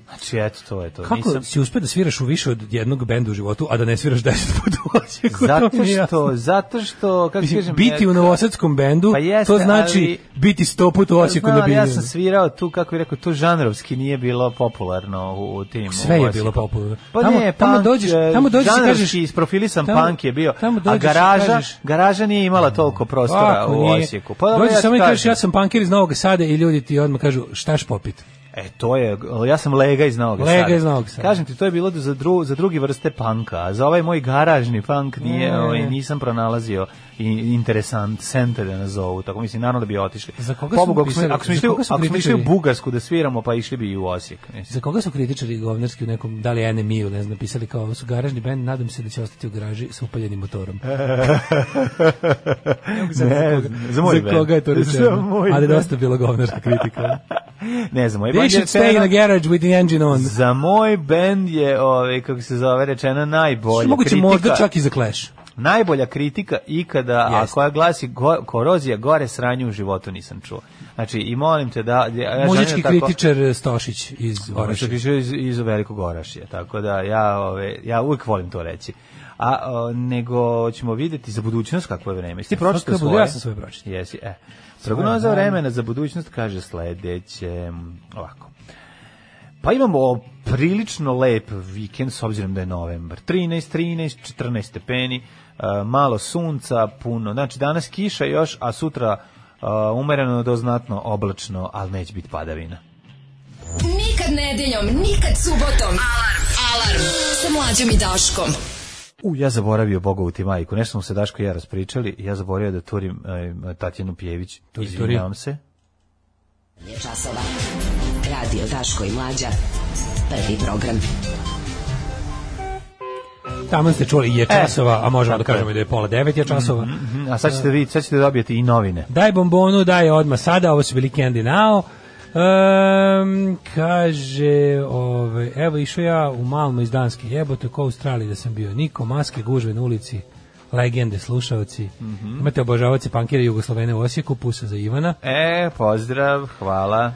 [SPEAKER 7] Znači, eto, to je to.
[SPEAKER 6] Kako <laughs>
[SPEAKER 7] Nisam-
[SPEAKER 6] si uspeo da sviraš u više od jednog benda u životu, a da ne sviraš deset <laughs> puta u Osijeku? To mi
[SPEAKER 7] Zato
[SPEAKER 6] je jasno.
[SPEAKER 7] što, zato što, kako ti
[SPEAKER 6] Mislim,
[SPEAKER 7] kažem...
[SPEAKER 6] biti
[SPEAKER 7] ja-
[SPEAKER 6] u novosadskom bendu,
[SPEAKER 7] Pa jeste,
[SPEAKER 6] to znači
[SPEAKER 7] ali-
[SPEAKER 6] biti sto puta u Osijeku
[SPEAKER 7] Znam,
[SPEAKER 6] na
[SPEAKER 7] ali Ja
[SPEAKER 6] biljenu.
[SPEAKER 7] sam svirao tu, kako bi rekao, tu žanrovski nije bilo popularno u, u tim.
[SPEAKER 6] Sve
[SPEAKER 7] u
[SPEAKER 6] je
[SPEAKER 7] Osijeku.
[SPEAKER 6] bilo popularno.
[SPEAKER 7] Pa
[SPEAKER 6] Tamo-
[SPEAKER 7] ne,
[SPEAKER 6] tamo
[SPEAKER 7] punk,
[SPEAKER 6] dođeš-
[SPEAKER 7] e,
[SPEAKER 6] tamo dođeš i
[SPEAKER 7] žanrovski
[SPEAKER 6] kažeš-
[SPEAKER 7] isprofilisan
[SPEAKER 6] tamo-
[SPEAKER 7] punk je bio,
[SPEAKER 6] tamo
[SPEAKER 7] a
[SPEAKER 6] dođeš i
[SPEAKER 7] garaža,
[SPEAKER 6] kažeš-
[SPEAKER 7] garaža nije imala toliko prostora
[SPEAKER 6] Kako
[SPEAKER 7] u
[SPEAKER 6] nije?
[SPEAKER 7] Osijeku. Pa, dobro,
[SPEAKER 6] Dođi
[SPEAKER 7] ja ti
[SPEAKER 6] samo i kažeš
[SPEAKER 7] kažem.
[SPEAKER 6] ja sam punkir iz Novog Sada i ljudi ti odmah kažu štaš popit.
[SPEAKER 7] E, to je, ja sam lega iz Novog
[SPEAKER 6] Lega
[SPEAKER 7] Sada.
[SPEAKER 6] iz Novog Sada.
[SPEAKER 7] Kažem ti, to je bilo za, dru, za drugi vrste panka, a za ovaj moj garažni punk nije,
[SPEAKER 6] Ne.
[SPEAKER 7] ovaj, nisam pronalazio i interesant sente da nazovu, tako mislim, naravno da bi otišli.
[SPEAKER 6] Za koga su
[SPEAKER 7] Pobogu, ako smo-
[SPEAKER 6] pisali-
[SPEAKER 7] ako smo
[SPEAKER 6] za
[SPEAKER 7] išli, u-
[SPEAKER 6] koga su
[SPEAKER 7] ako smo išli u
[SPEAKER 6] kritičari?
[SPEAKER 7] Bugarsku da sviramo, pa išli bi i u Osijek. mislim. <laughs>
[SPEAKER 6] Za koga su kritičari govnarski u nekom, da li NMI-u, ne znam, napisali kao ovo su garažni bend, nadam se da će ostati u garaži sa upaljenim motorom.
[SPEAKER 7] Ne, za moj
[SPEAKER 6] Za koga je to
[SPEAKER 7] band. Za
[SPEAKER 6] rečeno?
[SPEAKER 7] moj
[SPEAKER 6] Ali
[SPEAKER 7] band. E, pa
[SPEAKER 6] dosta je bilo govnarska kritika.
[SPEAKER 7] <laughs> Ne znam, moj
[SPEAKER 6] They
[SPEAKER 7] band je
[SPEAKER 6] should stay in
[SPEAKER 7] rečeno-
[SPEAKER 6] a garage with the engine on.
[SPEAKER 7] Za moj band je, ovaj, kako se zove, rečena najbolja
[SPEAKER 6] Moguće
[SPEAKER 7] kritika. E,
[SPEAKER 6] možda čak i za Clash.
[SPEAKER 7] najbolja kritika ikada, a
[SPEAKER 6] Jeste.
[SPEAKER 7] koja glasi go, korozija gore sranje u životu nisam čuo. Znači, i molim te da... Ja želim
[SPEAKER 6] Muzički
[SPEAKER 7] da tako-
[SPEAKER 6] kritičar Stošić iz Oraša.
[SPEAKER 7] Orašija. iz, iz velikog Orašija, tako da ja, ove, ja uvijek volim to reći. A o, nego ćemo vidjeti za budućnost kakvo je vreme. Jesi ti pročitao
[SPEAKER 6] Kako bude?
[SPEAKER 7] svoje?
[SPEAKER 6] Ja sam svoje pročitao.
[SPEAKER 7] Jesi, e. Prognoza vremena za budućnost kaže sledeće, ovako. Pa imamo prilično lep vikend s obzirom da je novembar. 13, 13, 14 stepeni, e, malo sunca, puno. Znači danas kiša još, a sutra e, umereno do znatno oblačno, ali neće biti padavina.
[SPEAKER 2] Nikad nedeljom, nikad subotom. Alarm. Alarm. Sa mlađom i Daškom.
[SPEAKER 7] U, ja zaboravio Bogovu ti majku. Nešto smo se Daško i ja raspričali. Ja zaboravio da turim e, Tatjanu Pjević.
[SPEAKER 6] Turi,
[SPEAKER 7] Izvinjavam se.
[SPEAKER 2] Je časova. Radio Daško i Mlađa. Prvi program.
[SPEAKER 6] Tamo ste čuli je časova, a možemo da
[SPEAKER 7] E, tako je.
[SPEAKER 6] kažemo i da je pola devet je časova.
[SPEAKER 7] Mhm, A sad ćete, vidjeti, sad ćete dobijeti i novine.
[SPEAKER 6] Daj bombonu, daj je odmah sada, ovo su bili Candy Now. Ehm, kaže, ovaj, ove, evo išao ja u Malmo iz Danske jebote, ko u Australiji da sam bio, niko, maske, gužve na ulici, legende, slušaoci. Imate obožavaoce pankira Jugoslovene u Osijeku, pusa za Ivana.
[SPEAKER 7] E, pozdrav, hvala.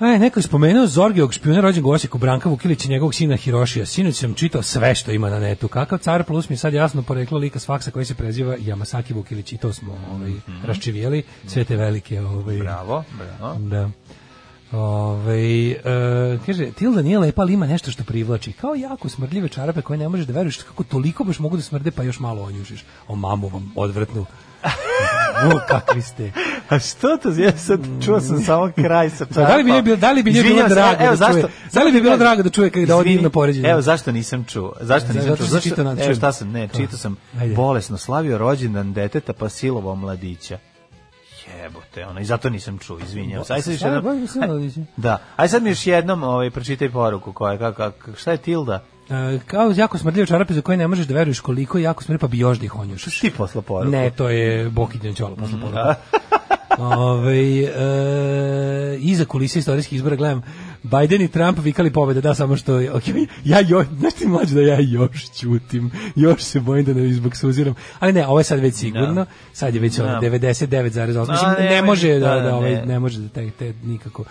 [SPEAKER 6] E, neko je spomenuo Zorgijevog špijuna rođenog u Osijeku, Branka Vukilić i njegovog sina Hirošija. Sinoć sam čitao sve što ima na netu. Kakav car plus mi je sad jasno poreklo lika s faksa koji se preziva Yamasaki Vukilić i to smo ovaj, raščivijeli. Sve te velike ovaj,
[SPEAKER 7] Bravo, bravo.
[SPEAKER 6] Da. Ove, e, kaže, Tilda nije lepa, ali ima nešto što privlači. Kao jako smrdljive čarape koje ne možeš da veruješ kako toliko baš mogu da smrde, pa još malo onjušiš. O mamu vam odvrtnu. O, kakvi ste. E,
[SPEAKER 7] A što to je sad? Čuo sam samo kraj sa
[SPEAKER 6] Da li bi njoj bilo, da li bi njoj bilo
[SPEAKER 7] Izvinjavam se,
[SPEAKER 6] drago
[SPEAKER 7] evo,
[SPEAKER 6] da čuje?
[SPEAKER 7] zašto-
[SPEAKER 6] Da li bi bilo drago da čuje kada ovo
[SPEAKER 7] Izvini,
[SPEAKER 6] divno poređenje?
[SPEAKER 7] Evo zašto nisam čuo. Zašto nisam
[SPEAKER 6] Zato
[SPEAKER 7] čuo?
[SPEAKER 6] što si
[SPEAKER 7] Zašto?
[SPEAKER 6] čitao na-
[SPEAKER 7] evo
[SPEAKER 6] čujem.
[SPEAKER 7] šta sam, ne,
[SPEAKER 6] To.
[SPEAKER 7] čitao sam.
[SPEAKER 6] Ajde.
[SPEAKER 7] Bolesno slavio rođendan deteta pa silovao mladića. Jebote, ono, i zato nisam čuo, izvinjam se. Aj sad još
[SPEAKER 6] Slavio
[SPEAKER 7] jednom-
[SPEAKER 6] Božić silovao mladića.
[SPEAKER 7] Da, aj sad mi još jednom ovaj, pročitaj poruku koja je, kak, kak, šta je Tilda?
[SPEAKER 6] E, kao jako smrdljive čarape za koje ne možeš da veruješ koliko je jako smrdljive, pa bi još da ih onjušiš.
[SPEAKER 7] Ti posla poruku.
[SPEAKER 6] Ne, to je Bokiđan Ćolo
[SPEAKER 7] Mhm.
[SPEAKER 6] posle poruka. Ove, e, iza kulise istorijskih izbora gledam Biden i Trump vikali pobede, da, samo što je, okay, ja jo, znaš ti mlađe da ja još ćutim, još se bojim da ne izboksuziram, ali ne, ovo je sad već sigurno,
[SPEAKER 7] Da.
[SPEAKER 6] sad je već ono
[SPEAKER 7] Da.
[SPEAKER 6] 99,8, mislim,
[SPEAKER 7] A,
[SPEAKER 6] ne,
[SPEAKER 7] nemoj,
[SPEAKER 6] može da,
[SPEAKER 7] da,
[SPEAKER 6] da,
[SPEAKER 7] da,
[SPEAKER 6] ovaj,
[SPEAKER 7] ne.
[SPEAKER 6] ne može da te, te nikako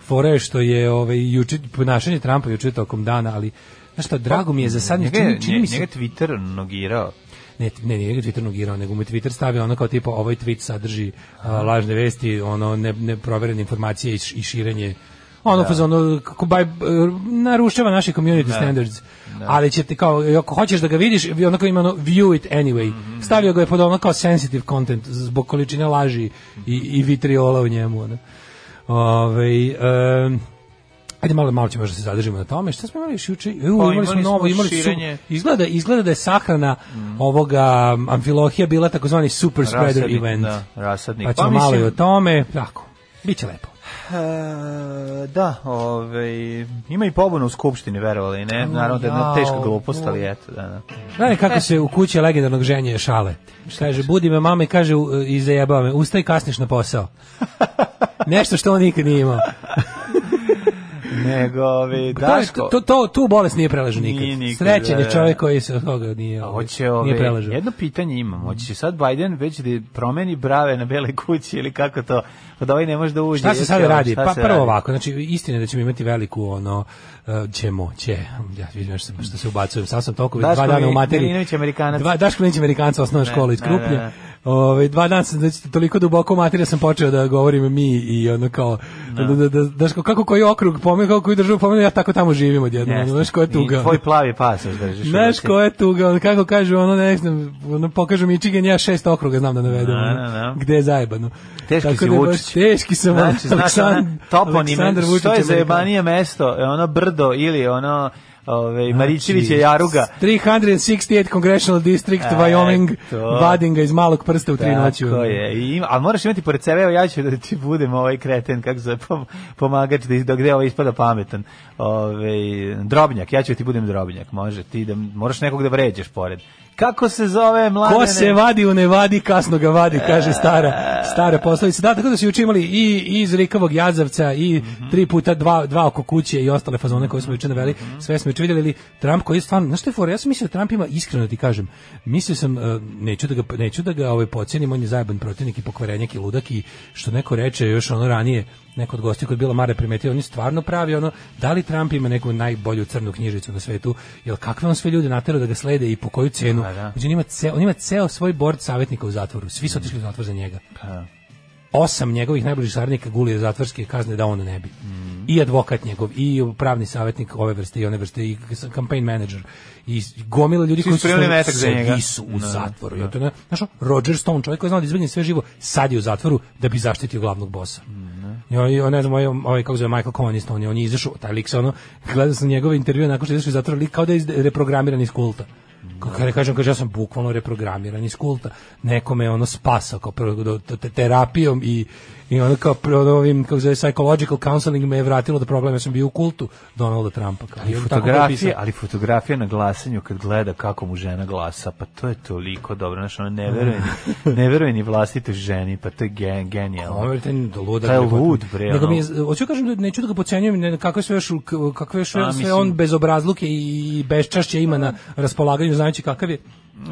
[SPEAKER 6] fora je što je ovaj, juče, ponašanje Trumpa juče tokom dana, ali Znaš šta, drago mi je za sad,
[SPEAKER 7] Pa, Njega,
[SPEAKER 6] čini,
[SPEAKER 7] je-
[SPEAKER 6] čini mi se...
[SPEAKER 7] njega je Twitter nogirao.
[SPEAKER 6] Ne, ne, nije ga Twitter nogirao, nego mu je Twitter stavio ono kao tipa ovaj tweet sadrži a, lažne vesti, ono ne, neproverene informacije i, š- i širenje ono da. ono kako baj, narušava naše community standards. Ali će ti kao ako hoćeš da ga vidiš, vi onako ima ono view it anyway. Stavio ga je pod ono kao sensitive content zbog količine laži i i vitriola u njemu, ono. Ovaj em, Ajde malo malo ćemo još da se zadržimo na tome. Šta smo imali još juče? U, Pa imali,
[SPEAKER 7] imali
[SPEAKER 6] smo
[SPEAKER 7] smo
[SPEAKER 6] novo, imali su,
[SPEAKER 7] širenje.
[SPEAKER 6] izgleda izgleda da je sahrana ovoga um, amfilohija bila takozvani super spreader
[SPEAKER 7] Rasadnik,
[SPEAKER 6] event.
[SPEAKER 7] da, rasadnik.
[SPEAKER 6] Pa
[SPEAKER 7] Pa
[SPEAKER 6] ćemo malo i
[SPEAKER 7] mislim-
[SPEAKER 6] o tome, tako. Biće lepo.
[SPEAKER 7] E, da, ovaj, ima i pobuna u skupštini, verovali, ne? Naravno da je jedna
[SPEAKER 6] jao,
[SPEAKER 7] teška glupost, ali eto, da, da.
[SPEAKER 6] Znaš kako se u kući legendarnog ženje šale. Kaže, budi me mama i kaže, u- e, i zajebava me, ustaj kasniš na
[SPEAKER 7] <laughs>
[SPEAKER 6] posao. Nešto što on nikad nije imao.
[SPEAKER 7] Nego, ovaj,
[SPEAKER 6] Pa To, je-
[SPEAKER 7] Daško,
[SPEAKER 6] to, to, tu bolest nije preležao nikad.
[SPEAKER 7] Nije nikad,
[SPEAKER 6] Srećen
[SPEAKER 7] da,
[SPEAKER 6] je
[SPEAKER 7] da.
[SPEAKER 6] čovjek koji se od toga nije, ovaj,
[SPEAKER 7] hoće, ovaj,
[SPEAKER 6] nije preležao.
[SPEAKER 7] jedno pitanje imam, hoće sad Biden već da promeni brave na bele kući ili kako to, pa da ovaj ne može da uđe.
[SPEAKER 6] Šta se
[SPEAKER 7] jeste,
[SPEAKER 6] sad
[SPEAKER 7] ono,
[SPEAKER 6] radi?
[SPEAKER 7] šta
[SPEAKER 6] Pa
[SPEAKER 7] se
[SPEAKER 6] prvo
[SPEAKER 7] radi?
[SPEAKER 6] ovako, znači istina je da ćemo imati veliku ono uh, ćemo, će. Ja vidim što, sam- što se ubacujem, sad sam toliko već
[SPEAKER 7] Daško
[SPEAKER 6] dva dana u
[SPEAKER 7] Mi-
[SPEAKER 6] materiji.
[SPEAKER 7] Milinović je Amerikanac.
[SPEAKER 6] Dva, Daško Milinović je Amerikanca osnovna škola iz
[SPEAKER 7] ne, ne,
[SPEAKER 6] Krupnje.
[SPEAKER 7] ne.
[SPEAKER 6] Ovaj dva dana sam znači toliko duboko u materiju sam počeo da govorim mi i ono kao da, da, da, Daško kako koji okrug pomenu, kako koju državu pomenu, ja tako tamo živim odjednom.
[SPEAKER 7] Jeste.
[SPEAKER 6] ono, Znaš koja je tuga.
[SPEAKER 7] I tvoj plavi pas još držiš. u
[SPEAKER 6] Znaš
[SPEAKER 7] ruci.
[SPEAKER 6] ko je tuga, ono, kako kažu, ono ne znam, ono pokažu mi Michigan, ja šest okruga znam da navedem,
[SPEAKER 7] Da,
[SPEAKER 6] ono,
[SPEAKER 7] da, da.
[SPEAKER 6] gde je zajebano.
[SPEAKER 7] Teški
[SPEAKER 6] Tako
[SPEAKER 7] si
[SPEAKER 6] da je baš
[SPEAKER 7] Vučić.
[SPEAKER 6] Teški sam, ono,
[SPEAKER 7] Znači, znaš,
[SPEAKER 6] Aleksandar-
[SPEAKER 7] ona, toponim,
[SPEAKER 6] Aleksandar Vučić
[SPEAKER 7] što je
[SPEAKER 6] Amerikan.
[SPEAKER 7] zajebanije mesto, je ono brdo ili ono,
[SPEAKER 6] Znači,
[SPEAKER 7] ovaj, Marićević je Jaruga.
[SPEAKER 6] 368 Congressional District,
[SPEAKER 7] E,
[SPEAKER 6] Wyoming,
[SPEAKER 7] to.
[SPEAKER 6] vadim ga iz malog prsta u tri noći.
[SPEAKER 7] Tako
[SPEAKER 6] ono.
[SPEAKER 7] je. I ima, ali moraš imati pored sebe, evo ja ću da ti budem ovaj kreten, kako se pom- pomagač, da, da gde ovo ispada pametan. Ove, drobnjak, ja ću da ti budem drobnjak, može. Ti da, moraš nekog da vređaš pored. Kako se zove mladene?
[SPEAKER 6] Ko se vadi u nevadi, kasno ga vadi, kaže stara, stara poslovica. Da, tako da su juče imali i, i iz rikavog jazavca i tri puta dva, dva oko kuće i ostale fazone koje smo juče naveli. Sve smo juče vidjeli. ali Trump koji je stvarno, znaš što je fora? Ja sam mislio da Trump ima, iskreno ti kažem, mislio sam, e, neću da ga, neću da ga ovaj, pocijenim, on je zajeban protivnik i pokvarenjak i ludak i što neko reče još ono ranije, neko od gosti koji je bila Mare primetio, on je stvarno pravi ono, da li Trump ima neku najbolju crnu knjižicu na svetu, jel kakve on sve ljude natjerao da ga slede i po koju cenu,
[SPEAKER 7] Pa da.
[SPEAKER 6] Međutim, Znači, on ima ceo, on ima ceo svoj bord savjetnika u zatvoru. Svi su otišli u zatvor za njega.
[SPEAKER 7] Mm. Pa.
[SPEAKER 6] Osam njegovih najbližih saradnika gulije zatvorske kazne da on ne bi.
[SPEAKER 7] Mm.
[SPEAKER 6] I advokat njegov, i pravni savjetnik ove vrste i one vrste, i s- campaign manager. I gomila ljudi
[SPEAKER 7] Svi
[SPEAKER 6] koji su,
[SPEAKER 7] su primili
[SPEAKER 6] svoj-
[SPEAKER 7] metak za
[SPEAKER 6] svi
[SPEAKER 7] njega.
[SPEAKER 6] su u
[SPEAKER 7] Da,
[SPEAKER 6] zatvoru. Ja to ne, znaš, ono, Roger Stone, čovjek koji je znao da izbegne sve živo, sad je u zatvoru da bi zaštitio glavnog bosa.
[SPEAKER 7] Mm.
[SPEAKER 6] Ja, ja ne znam, ovaj, ovaj kako se zove Michael Cohen isto, on je, on je izašao, taj lik se ono, gledao sam njegove intervjue nakon što je izašao iz zatvora, lik kao da je iz- reprogramiran iz kulta. Kako kada kažem, kaže, ja sam bukvalno reprogramiran iz kulta. Neko me ono spasao kao prvo, do- te- terapijom i, i ono kao pro- ovim, kako se zove, psychological counseling me je vratilo do problema, ja sam bio u kultu Donalda Trumpa. Kao,
[SPEAKER 7] Ali
[SPEAKER 6] I on tako
[SPEAKER 7] fotografija,
[SPEAKER 6] potpisao.
[SPEAKER 7] ali fotografija na glasanju kad gleda kako mu žena glasa, pa to je toliko dobro, znači ona ne veruje, ni-
[SPEAKER 6] <laughs>
[SPEAKER 7] ne veruje ni vlastitoj ženi, pa to je gen,
[SPEAKER 6] On
[SPEAKER 7] genijalno.
[SPEAKER 6] je ten do luda.
[SPEAKER 7] Taj
[SPEAKER 6] bre,
[SPEAKER 7] lud,
[SPEAKER 6] potpuno.
[SPEAKER 7] bre,
[SPEAKER 6] Nego mi je,
[SPEAKER 7] ono.
[SPEAKER 6] hoću kažem da neću da ga podcenjujem, ne, kakve sve još kakve još
[SPEAKER 7] A,
[SPEAKER 6] sve
[SPEAKER 7] mislim-
[SPEAKER 6] on bezobrazluke i bezčašće ima na raspolaganju znajući kakav je.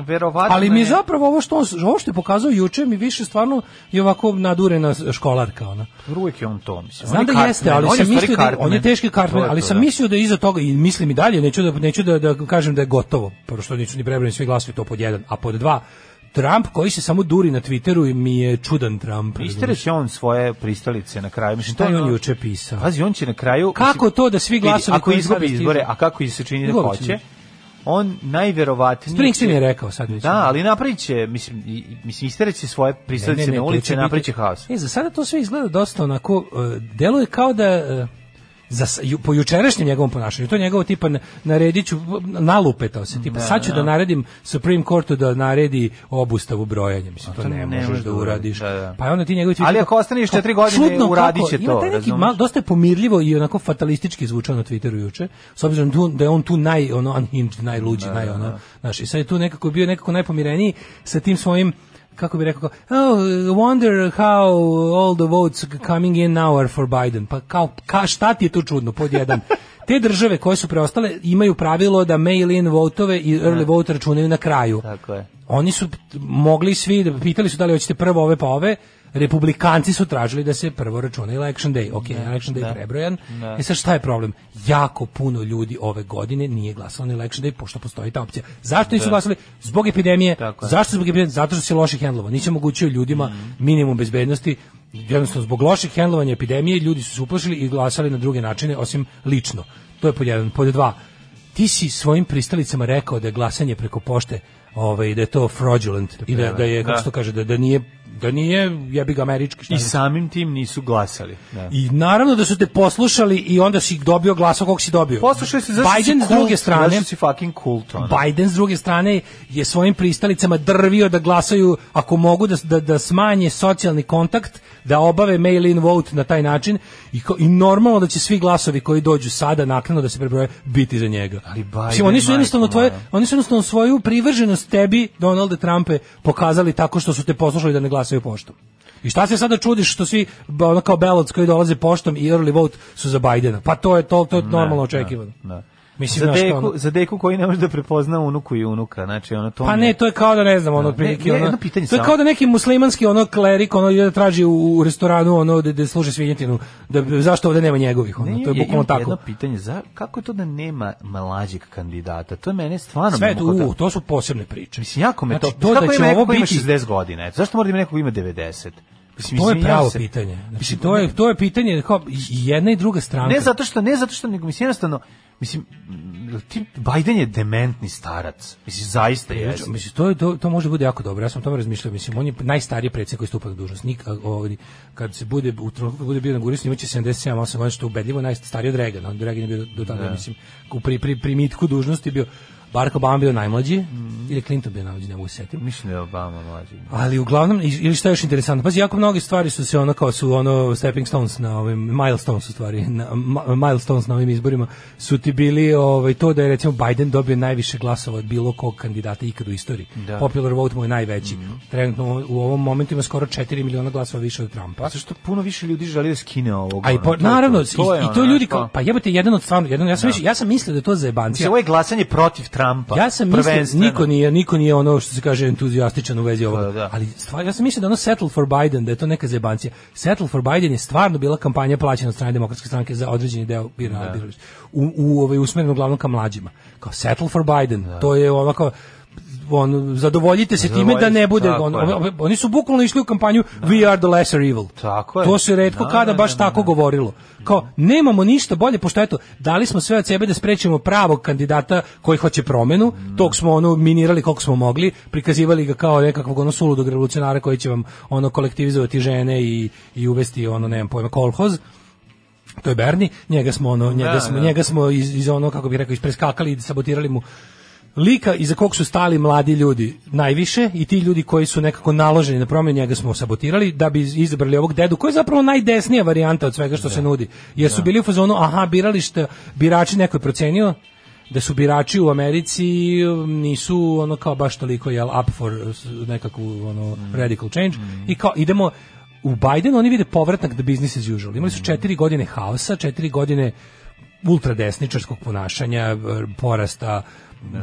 [SPEAKER 7] verovatno da
[SPEAKER 6] Ali mi je
[SPEAKER 7] je
[SPEAKER 6] zapravo ovo što, on, ovo što je pokazao juče mi više stvarno je ovako nadurena školarka. Ona.
[SPEAKER 7] Uvijek je on to, mislim.
[SPEAKER 6] Znam
[SPEAKER 7] On je
[SPEAKER 6] da jeste,
[SPEAKER 7] Cartman,
[SPEAKER 6] ali
[SPEAKER 7] on je
[SPEAKER 6] sam
[SPEAKER 7] u stvari
[SPEAKER 6] mislio da, on je
[SPEAKER 7] Cartman.
[SPEAKER 6] teški kartman,
[SPEAKER 7] To je
[SPEAKER 6] ali
[SPEAKER 7] to,
[SPEAKER 6] sam
[SPEAKER 7] da.
[SPEAKER 6] mislio da je iza toga i mislim i dalje, neću da neću da, da kažem da je gotovo, pošto što neću ni prebrojim svi glasovi to pod jedan, a pod dva Trump koji se samo duri na Twitteru i mi je čudan Trump. razumeš?
[SPEAKER 7] Istereć je on svoje pristalice na kraju. Mislim,
[SPEAKER 6] Šta
[SPEAKER 7] to
[SPEAKER 6] je on juče pisao?
[SPEAKER 7] Pazi, on će na kraju...
[SPEAKER 6] Kako to da svi
[SPEAKER 7] Vidi,
[SPEAKER 6] glasovi
[SPEAKER 7] Ako
[SPEAKER 6] koji
[SPEAKER 7] izgubi
[SPEAKER 6] sada
[SPEAKER 7] izbore,
[SPEAKER 6] stižu?
[SPEAKER 7] a kako se čini da
[SPEAKER 6] Izgubit će
[SPEAKER 7] hoće,
[SPEAKER 6] izbore.
[SPEAKER 7] on najverovatnije...
[SPEAKER 6] Springsteen
[SPEAKER 7] će-
[SPEAKER 6] je rekao sad već.
[SPEAKER 7] Da, ali napravit će, mislim, i- mislim istereći će svoje pristalice na
[SPEAKER 6] to će
[SPEAKER 7] ulici,
[SPEAKER 6] biti-
[SPEAKER 7] napravit će haos.
[SPEAKER 6] E, za sada to sve izgleda dosta onako, uh, deluje kao da... e, za, s- ju, po jučerašnjem njegovom ponašanju, to je njegovo tipa na- naredit ću, nalupetao se, tipa sad ću da naredim Supreme Courtu da naredi obustavu brojanja, mislim, to, ne možeš da uradiš.
[SPEAKER 7] Pa da, da.
[SPEAKER 6] Pa je onda ti njegovi
[SPEAKER 7] Ali
[SPEAKER 6] tweetovi-
[SPEAKER 7] ako ostaneš
[SPEAKER 6] kao, pa
[SPEAKER 7] četiri godine,
[SPEAKER 6] čudno kako,
[SPEAKER 7] uradit će
[SPEAKER 6] ima
[SPEAKER 7] to,
[SPEAKER 6] taj neki
[SPEAKER 7] razumeš?
[SPEAKER 6] mal, dosta je pomirljivo i onako fatalistički zvučao na Twitteru juče, s obzirom tu, da je on tu naj, ono, unhinged, najluđi, naj, ono, znaš, i sad je tu nekako bio nekako najpomireniji sa tim svojim kako bi rekao, kao, oh, wonder how all the votes coming in now are for Biden. Pa kao, ka, šta ti je tu čudno, pod jedan. Te države koje su preostale imaju pravilo da mail-in votove i early vote računaju na kraju.
[SPEAKER 7] Tako je.
[SPEAKER 6] Oni su t- mogli svi, da- pitali su da li hoćete prvo ove pa ove, republikanci su tražili da se prvo računa election day. Ok, election day prebrojan. E sad šta je problem? Jako puno ljudi ove godine nije glasalo na election day pošto postoji ta opcija. Zašto nisu glasali? Zbog epidemije.
[SPEAKER 7] Da. Tako je.
[SPEAKER 6] Zašto zbog epidemije? Zato što se loše hendlovao. Nisi omogućio ljudima minimum bezbednosti. Jednostavno, zbog loših hendlovanja epidemije ljudi su se uplašili i glasali na druge načine, osim lično. To je pod jedan. Pod dva, ti si svojim pristalicama rekao da je glasanje preko pošte ovaj da je to fraudulent i da, da je kako
[SPEAKER 7] Da.
[SPEAKER 6] se to kaže da, da nije da nije jebi ga američki šta
[SPEAKER 7] I
[SPEAKER 6] je.
[SPEAKER 7] samim tim nisu glasali. Da.
[SPEAKER 6] I naravno da su te poslušali i onda si dobio glasa kog si dobio.
[SPEAKER 7] Poslušaj se, zašto
[SPEAKER 6] Biden
[SPEAKER 7] si
[SPEAKER 6] s
[SPEAKER 7] kult,
[SPEAKER 6] druge strane,
[SPEAKER 7] Zašto si fucking kult, ono?
[SPEAKER 6] Biden s druge strane je svojim pristalicama drvio da glasaju ako mogu da, da, da smanje socijalni kontakt, da obave mail-in vote na taj način i, ko- i normalno da će svi glasovi koji dođu sada naknadno da se prebroje biti za njega.
[SPEAKER 7] Ali Biden,
[SPEAKER 6] Mislim, oni su jednostavno
[SPEAKER 7] majko
[SPEAKER 6] tvoje,
[SPEAKER 7] moja.
[SPEAKER 6] oni su jednostavno svoju privrženost tebi Donalde Trumpe pokazali tako što su te poslušali da ne glasaju poštom. I šta se sada čudiš što svi ba, ono kao ballots koji dolaze poštom i early vote su za Bajdena? Pa to je to, to je normalno očekivano.
[SPEAKER 7] Da.
[SPEAKER 6] Mislim,
[SPEAKER 7] za,
[SPEAKER 6] znaš, kao
[SPEAKER 7] deku,
[SPEAKER 6] ono-
[SPEAKER 7] za deku koji ne može da prepozna unuku i unuka, znači ono to
[SPEAKER 6] Pa
[SPEAKER 7] mi je-
[SPEAKER 6] ne, to je kao da ne znam, ono
[SPEAKER 7] Da.
[SPEAKER 6] otprilike
[SPEAKER 7] Ne, ne,
[SPEAKER 6] ono.
[SPEAKER 7] jedno pitanje
[SPEAKER 6] To je
[SPEAKER 7] samo.
[SPEAKER 6] kao da neki muslimanski ono klerik ono ide da traži u, u restoranu ono da, da služi svinjetinu, da zašto ovde nema njegovih, ono.
[SPEAKER 7] Ne,
[SPEAKER 6] to je
[SPEAKER 7] ja
[SPEAKER 6] bukvalno
[SPEAKER 7] imam Jedno
[SPEAKER 6] tako.
[SPEAKER 7] pitanje, za, kako je to da nema mlađeg kandidata? To je mene stvarno...
[SPEAKER 6] Sve je to,
[SPEAKER 7] mukotrpno.
[SPEAKER 6] u, to su posebne priče.
[SPEAKER 7] Mislim, jako me
[SPEAKER 6] znači,
[SPEAKER 7] to... Kako
[SPEAKER 6] da
[SPEAKER 7] ima
[SPEAKER 6] će
[SPEAKER 7] neko
[SPEAKER 6] ovo
[SPEAKER 7] ko ima
[SPEAKER 6] biti
[SPEAKER 7] 60 godina? Eto, zašto mora da ima neko ko ima 90? Mislim,
[SPEAKER 6] To je
[SPEAKER 7] izvinjavam
[SPEAKER 6] pravo
[SPEAKER 7] se.
[SPEAKER 6] pitanje. Znači,
[SPEAKER 7] Mislim,
[SPEAKER 6] to je to je pitanje kao i jedna i druga strana.
[SPEAKER 7] Ne zato što, ne zato što, nego mislim, jednostavno, mislim, m, ti Biden je dementni starac. Mislim, zaista je.
[SPEAKER 6] Znači, mislim, to, je- to, to može bude jako dobro. Ja sam o tome razmišljao. Mislim, on je najstariji predsjednik koji stupa na dužnost. Nik, a, ovaj, kad se bude, u trenutku kad bude bio na gurisu, imaće 77-8 godina, što je ubedljivo najstariji od Regana. On Regan je bio do tada, mislim, u pri, pri, primitku dužnosti bio Barack Obama bio najmlađi, ili Clinton bio najmlađi, ne mogu se setiti.
[SPEAKER 7] Mislim da je Obama mlađi.
[SPEAKER 6] Ali uglavnom, i- ili šta je još interesantno, pazi, jako mnoge stvari su se ono kao su ono stepping stones na ovim, milestones u stvari, na, ma- milestones na ovim izborima, su ti bili ovaj, to da je recimo Biden dobio najviše glasova od bilo kog kandidata ikad u istoriji.
[SPEAKER 7] Da.
[SPEAKER 6] Popular vote mu je najveći.
[SPEAKER 7] Mhm.
[SPEAKER 6] Trenutno u ovom momentu ima skoro 4 miliona glasova više od Trumpa.
[SPEAKER 7] Zato što puno više ljudi želi da skine ovog.
[SPEAKER 6] Pa- A i
[SPEAKER 7] ono,
[SPEAKER 6] po,
[SPEAKER 7] Pa to je to.
[SPEAKER 6] naravno, i,
[SPEAKER 7] je
[SPEAKER 6] i to
[SPEAKER 7] ono,
[SPEAKER 6] ljudi
[SPEAKER 7] to-
[SPEAKER 6] kao, pa jebote, jedan od stvarno, jedan, ja sam, više, ja sam mislio da je to za
[SPEAKER 7] Mislim,
[SPEAKER 6] jebancija.
[SPEAKER 7] ovo je glasanje protiv Trumpa.
[SPEAKER 6] Ja sam mislio,
[SPEAKER 7] Pa, prvenstveno.
[SPEAKER 6] niko nije, niko nije ono što se kaže entuzijastičan u vezi ovoga,
[SPEAKER 7] Pa, da.
[SPEAKER 6] ali stvar, ja sam mislio da ono Settle for Biden, da je to neka zebancija. Settle for Biden je stvarno bila kampanja plaćena od strane demokratske stranke za određeni deo bira,
[SPEAKER 7] Da.
[SPEAKER 6] birališta. U, u, ovaj, usmjereno uglavnom ka mlađima. Kao Settle for Biden,
[SPEAKER 7] Da.
[SPEAKER 6] to je ovako, on, zadovoljite se time da ne bude
[SPEAKER 7] Tako
[SPEAKER 6] on-
[SPEAKER 7] je.
[SPEAKER 6] on- oni su bukvalno išli u kampanju we are the lesser evil
[SPEAKER 7] Tako je.
[SPEAKER 6] to se retko
[SPEAKER 7] Da,
[SPEAKER 6] kada
[SPEAKER 7] da,
[SPEAKER 6] baš
[SPEAKER 7] da,
[SPEAKER 6] tako
[SPEAKER 7] da.
[SPEAKER 6] govorilo kao nemamo ništa bolje pošto eto dali smo sve od sebe da sprečimo pravog kandidata koji hoće promenu tog smo ono minirali koliko smo mogli prikazivali ga kao nekakvog ono suludog revolucionara koji će vam ono kolektivizovati žene i, i uvesti ono nemam pojma kolhoz to je Berni, njega smo ono njega
[SPEAKER 7] Da,
[SPEAKER 6] smo
[SPEAKER 7] da.
[SPEAKER 6] njega smo iz, iz ono kako bih rekao ispreskakali i sabotirali mu lika iza kog su stali mladi ljudi najviše i ti ljudi koji su nekako naloženi na promjenu njega smo sabotirali da bi izabrali ovog dedu koji je zapravo najdesnija varijanta od svega što se nudi jer su bili u fazonu aha biralište birači neko je procenio da su birači u Americi um, nisu ono kao baš toliko jel up for s- nekakvu ono radical change i kao idemo u Biden oni vide povratak the business as usual. Imali su četiri godine haosa, četiri godine ultradesničarskog ponašanja, r- e, porasta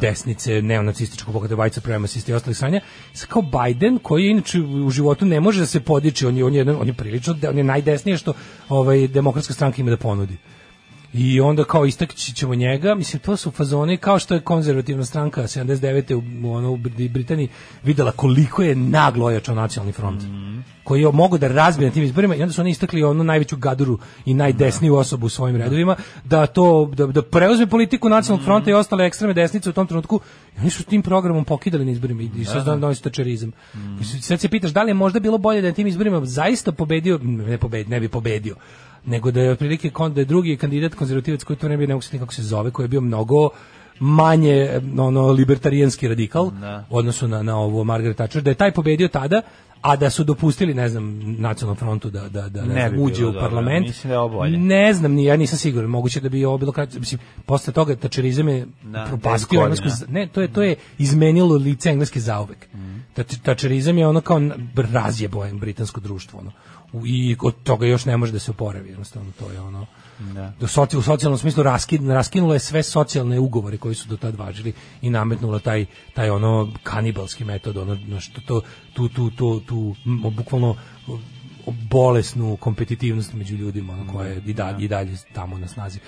[SPEAKER 6] desnice, neonacističkog pokreta, white supremacista i ostalih sranja, sa kao Biden, koji je inače u životu ne može da se podiči, on je, on je, jedan- on je prilično, de- on je najdesnije što ovaj, demokratska stranka ima da ponudi. I onda kao istakći ćemo njega, mislim to su fazoni kao što je konzervativna stranka 79. u, u ono, u Br- Britaniji videla koliko je naglo ojačao nacionalni front. koji je mogao da razbije na tim izborima i onda su oni istakli onu najveću gaduru i najdesniju osobu u svojim redovima da to da, da preuzme politiku nacionalnog fronta i ostale ekstremne desnice u tom trenutku i oni su tim programom pokidali na izborima i, i sad da. nosi tačerizam. I sad se pitaš da li je možda bilo bolje da je na tim izborima zaista pobedio, ne, pobedi, ne bi pobedio, nego da je otprilike kon, da je drugi kandidat konzervativac koji to ne bi ne mogu se kako se zove, koji je bio mnogo manje eh, ono libertarijanski radikal
[SPEAKER 7] Da.
[SPEAKER 6] u odnosu na na ovo Margaret Thatcher da je taj pobedio tada a da su dopustili ne znam nacionalnom frontu da da da ne,
[SPEAKER 7] Ne
[SPEAKER 6] znam,
[SPEAKER 7] bi bilo
[SPEAKER 6] uđe u
[SPEAKER 7] dobro,
[SPEAKER 6] parlament
[SPEAKER 7] mislim da je ovo bolje.
[SPEAKER 6] ne znam ni ja nisam siguran moguće da bi ovo bilo kraće mislim posle toga Thatcherizam je
[SPEAKER 7] Da,
[SPEAKER 6] propastio
[SPEAKER 7] deset
[SPEAKER 6] englesku
[SPEAKER 7] godina.
[SPEAKER 6] ne, to je to je izmenilo lice engleske zauvek. Tač- Tačerizam je ono kao n- br- razjebo je britansko društvo ono. U- I od toga još ne može da se oporavi, jednostavno to je ono. Do soci, u socijalnom smislu raskin, raskinula je sve socijalne ugovore koji su do tad važili i nametnula taj taj ono kanibalski metod ono no što to tu tu tu tu m, bukvalno bolesnu kompetitivnost među ljudima ono, koja je i dalje, i dalje tamo na snazi.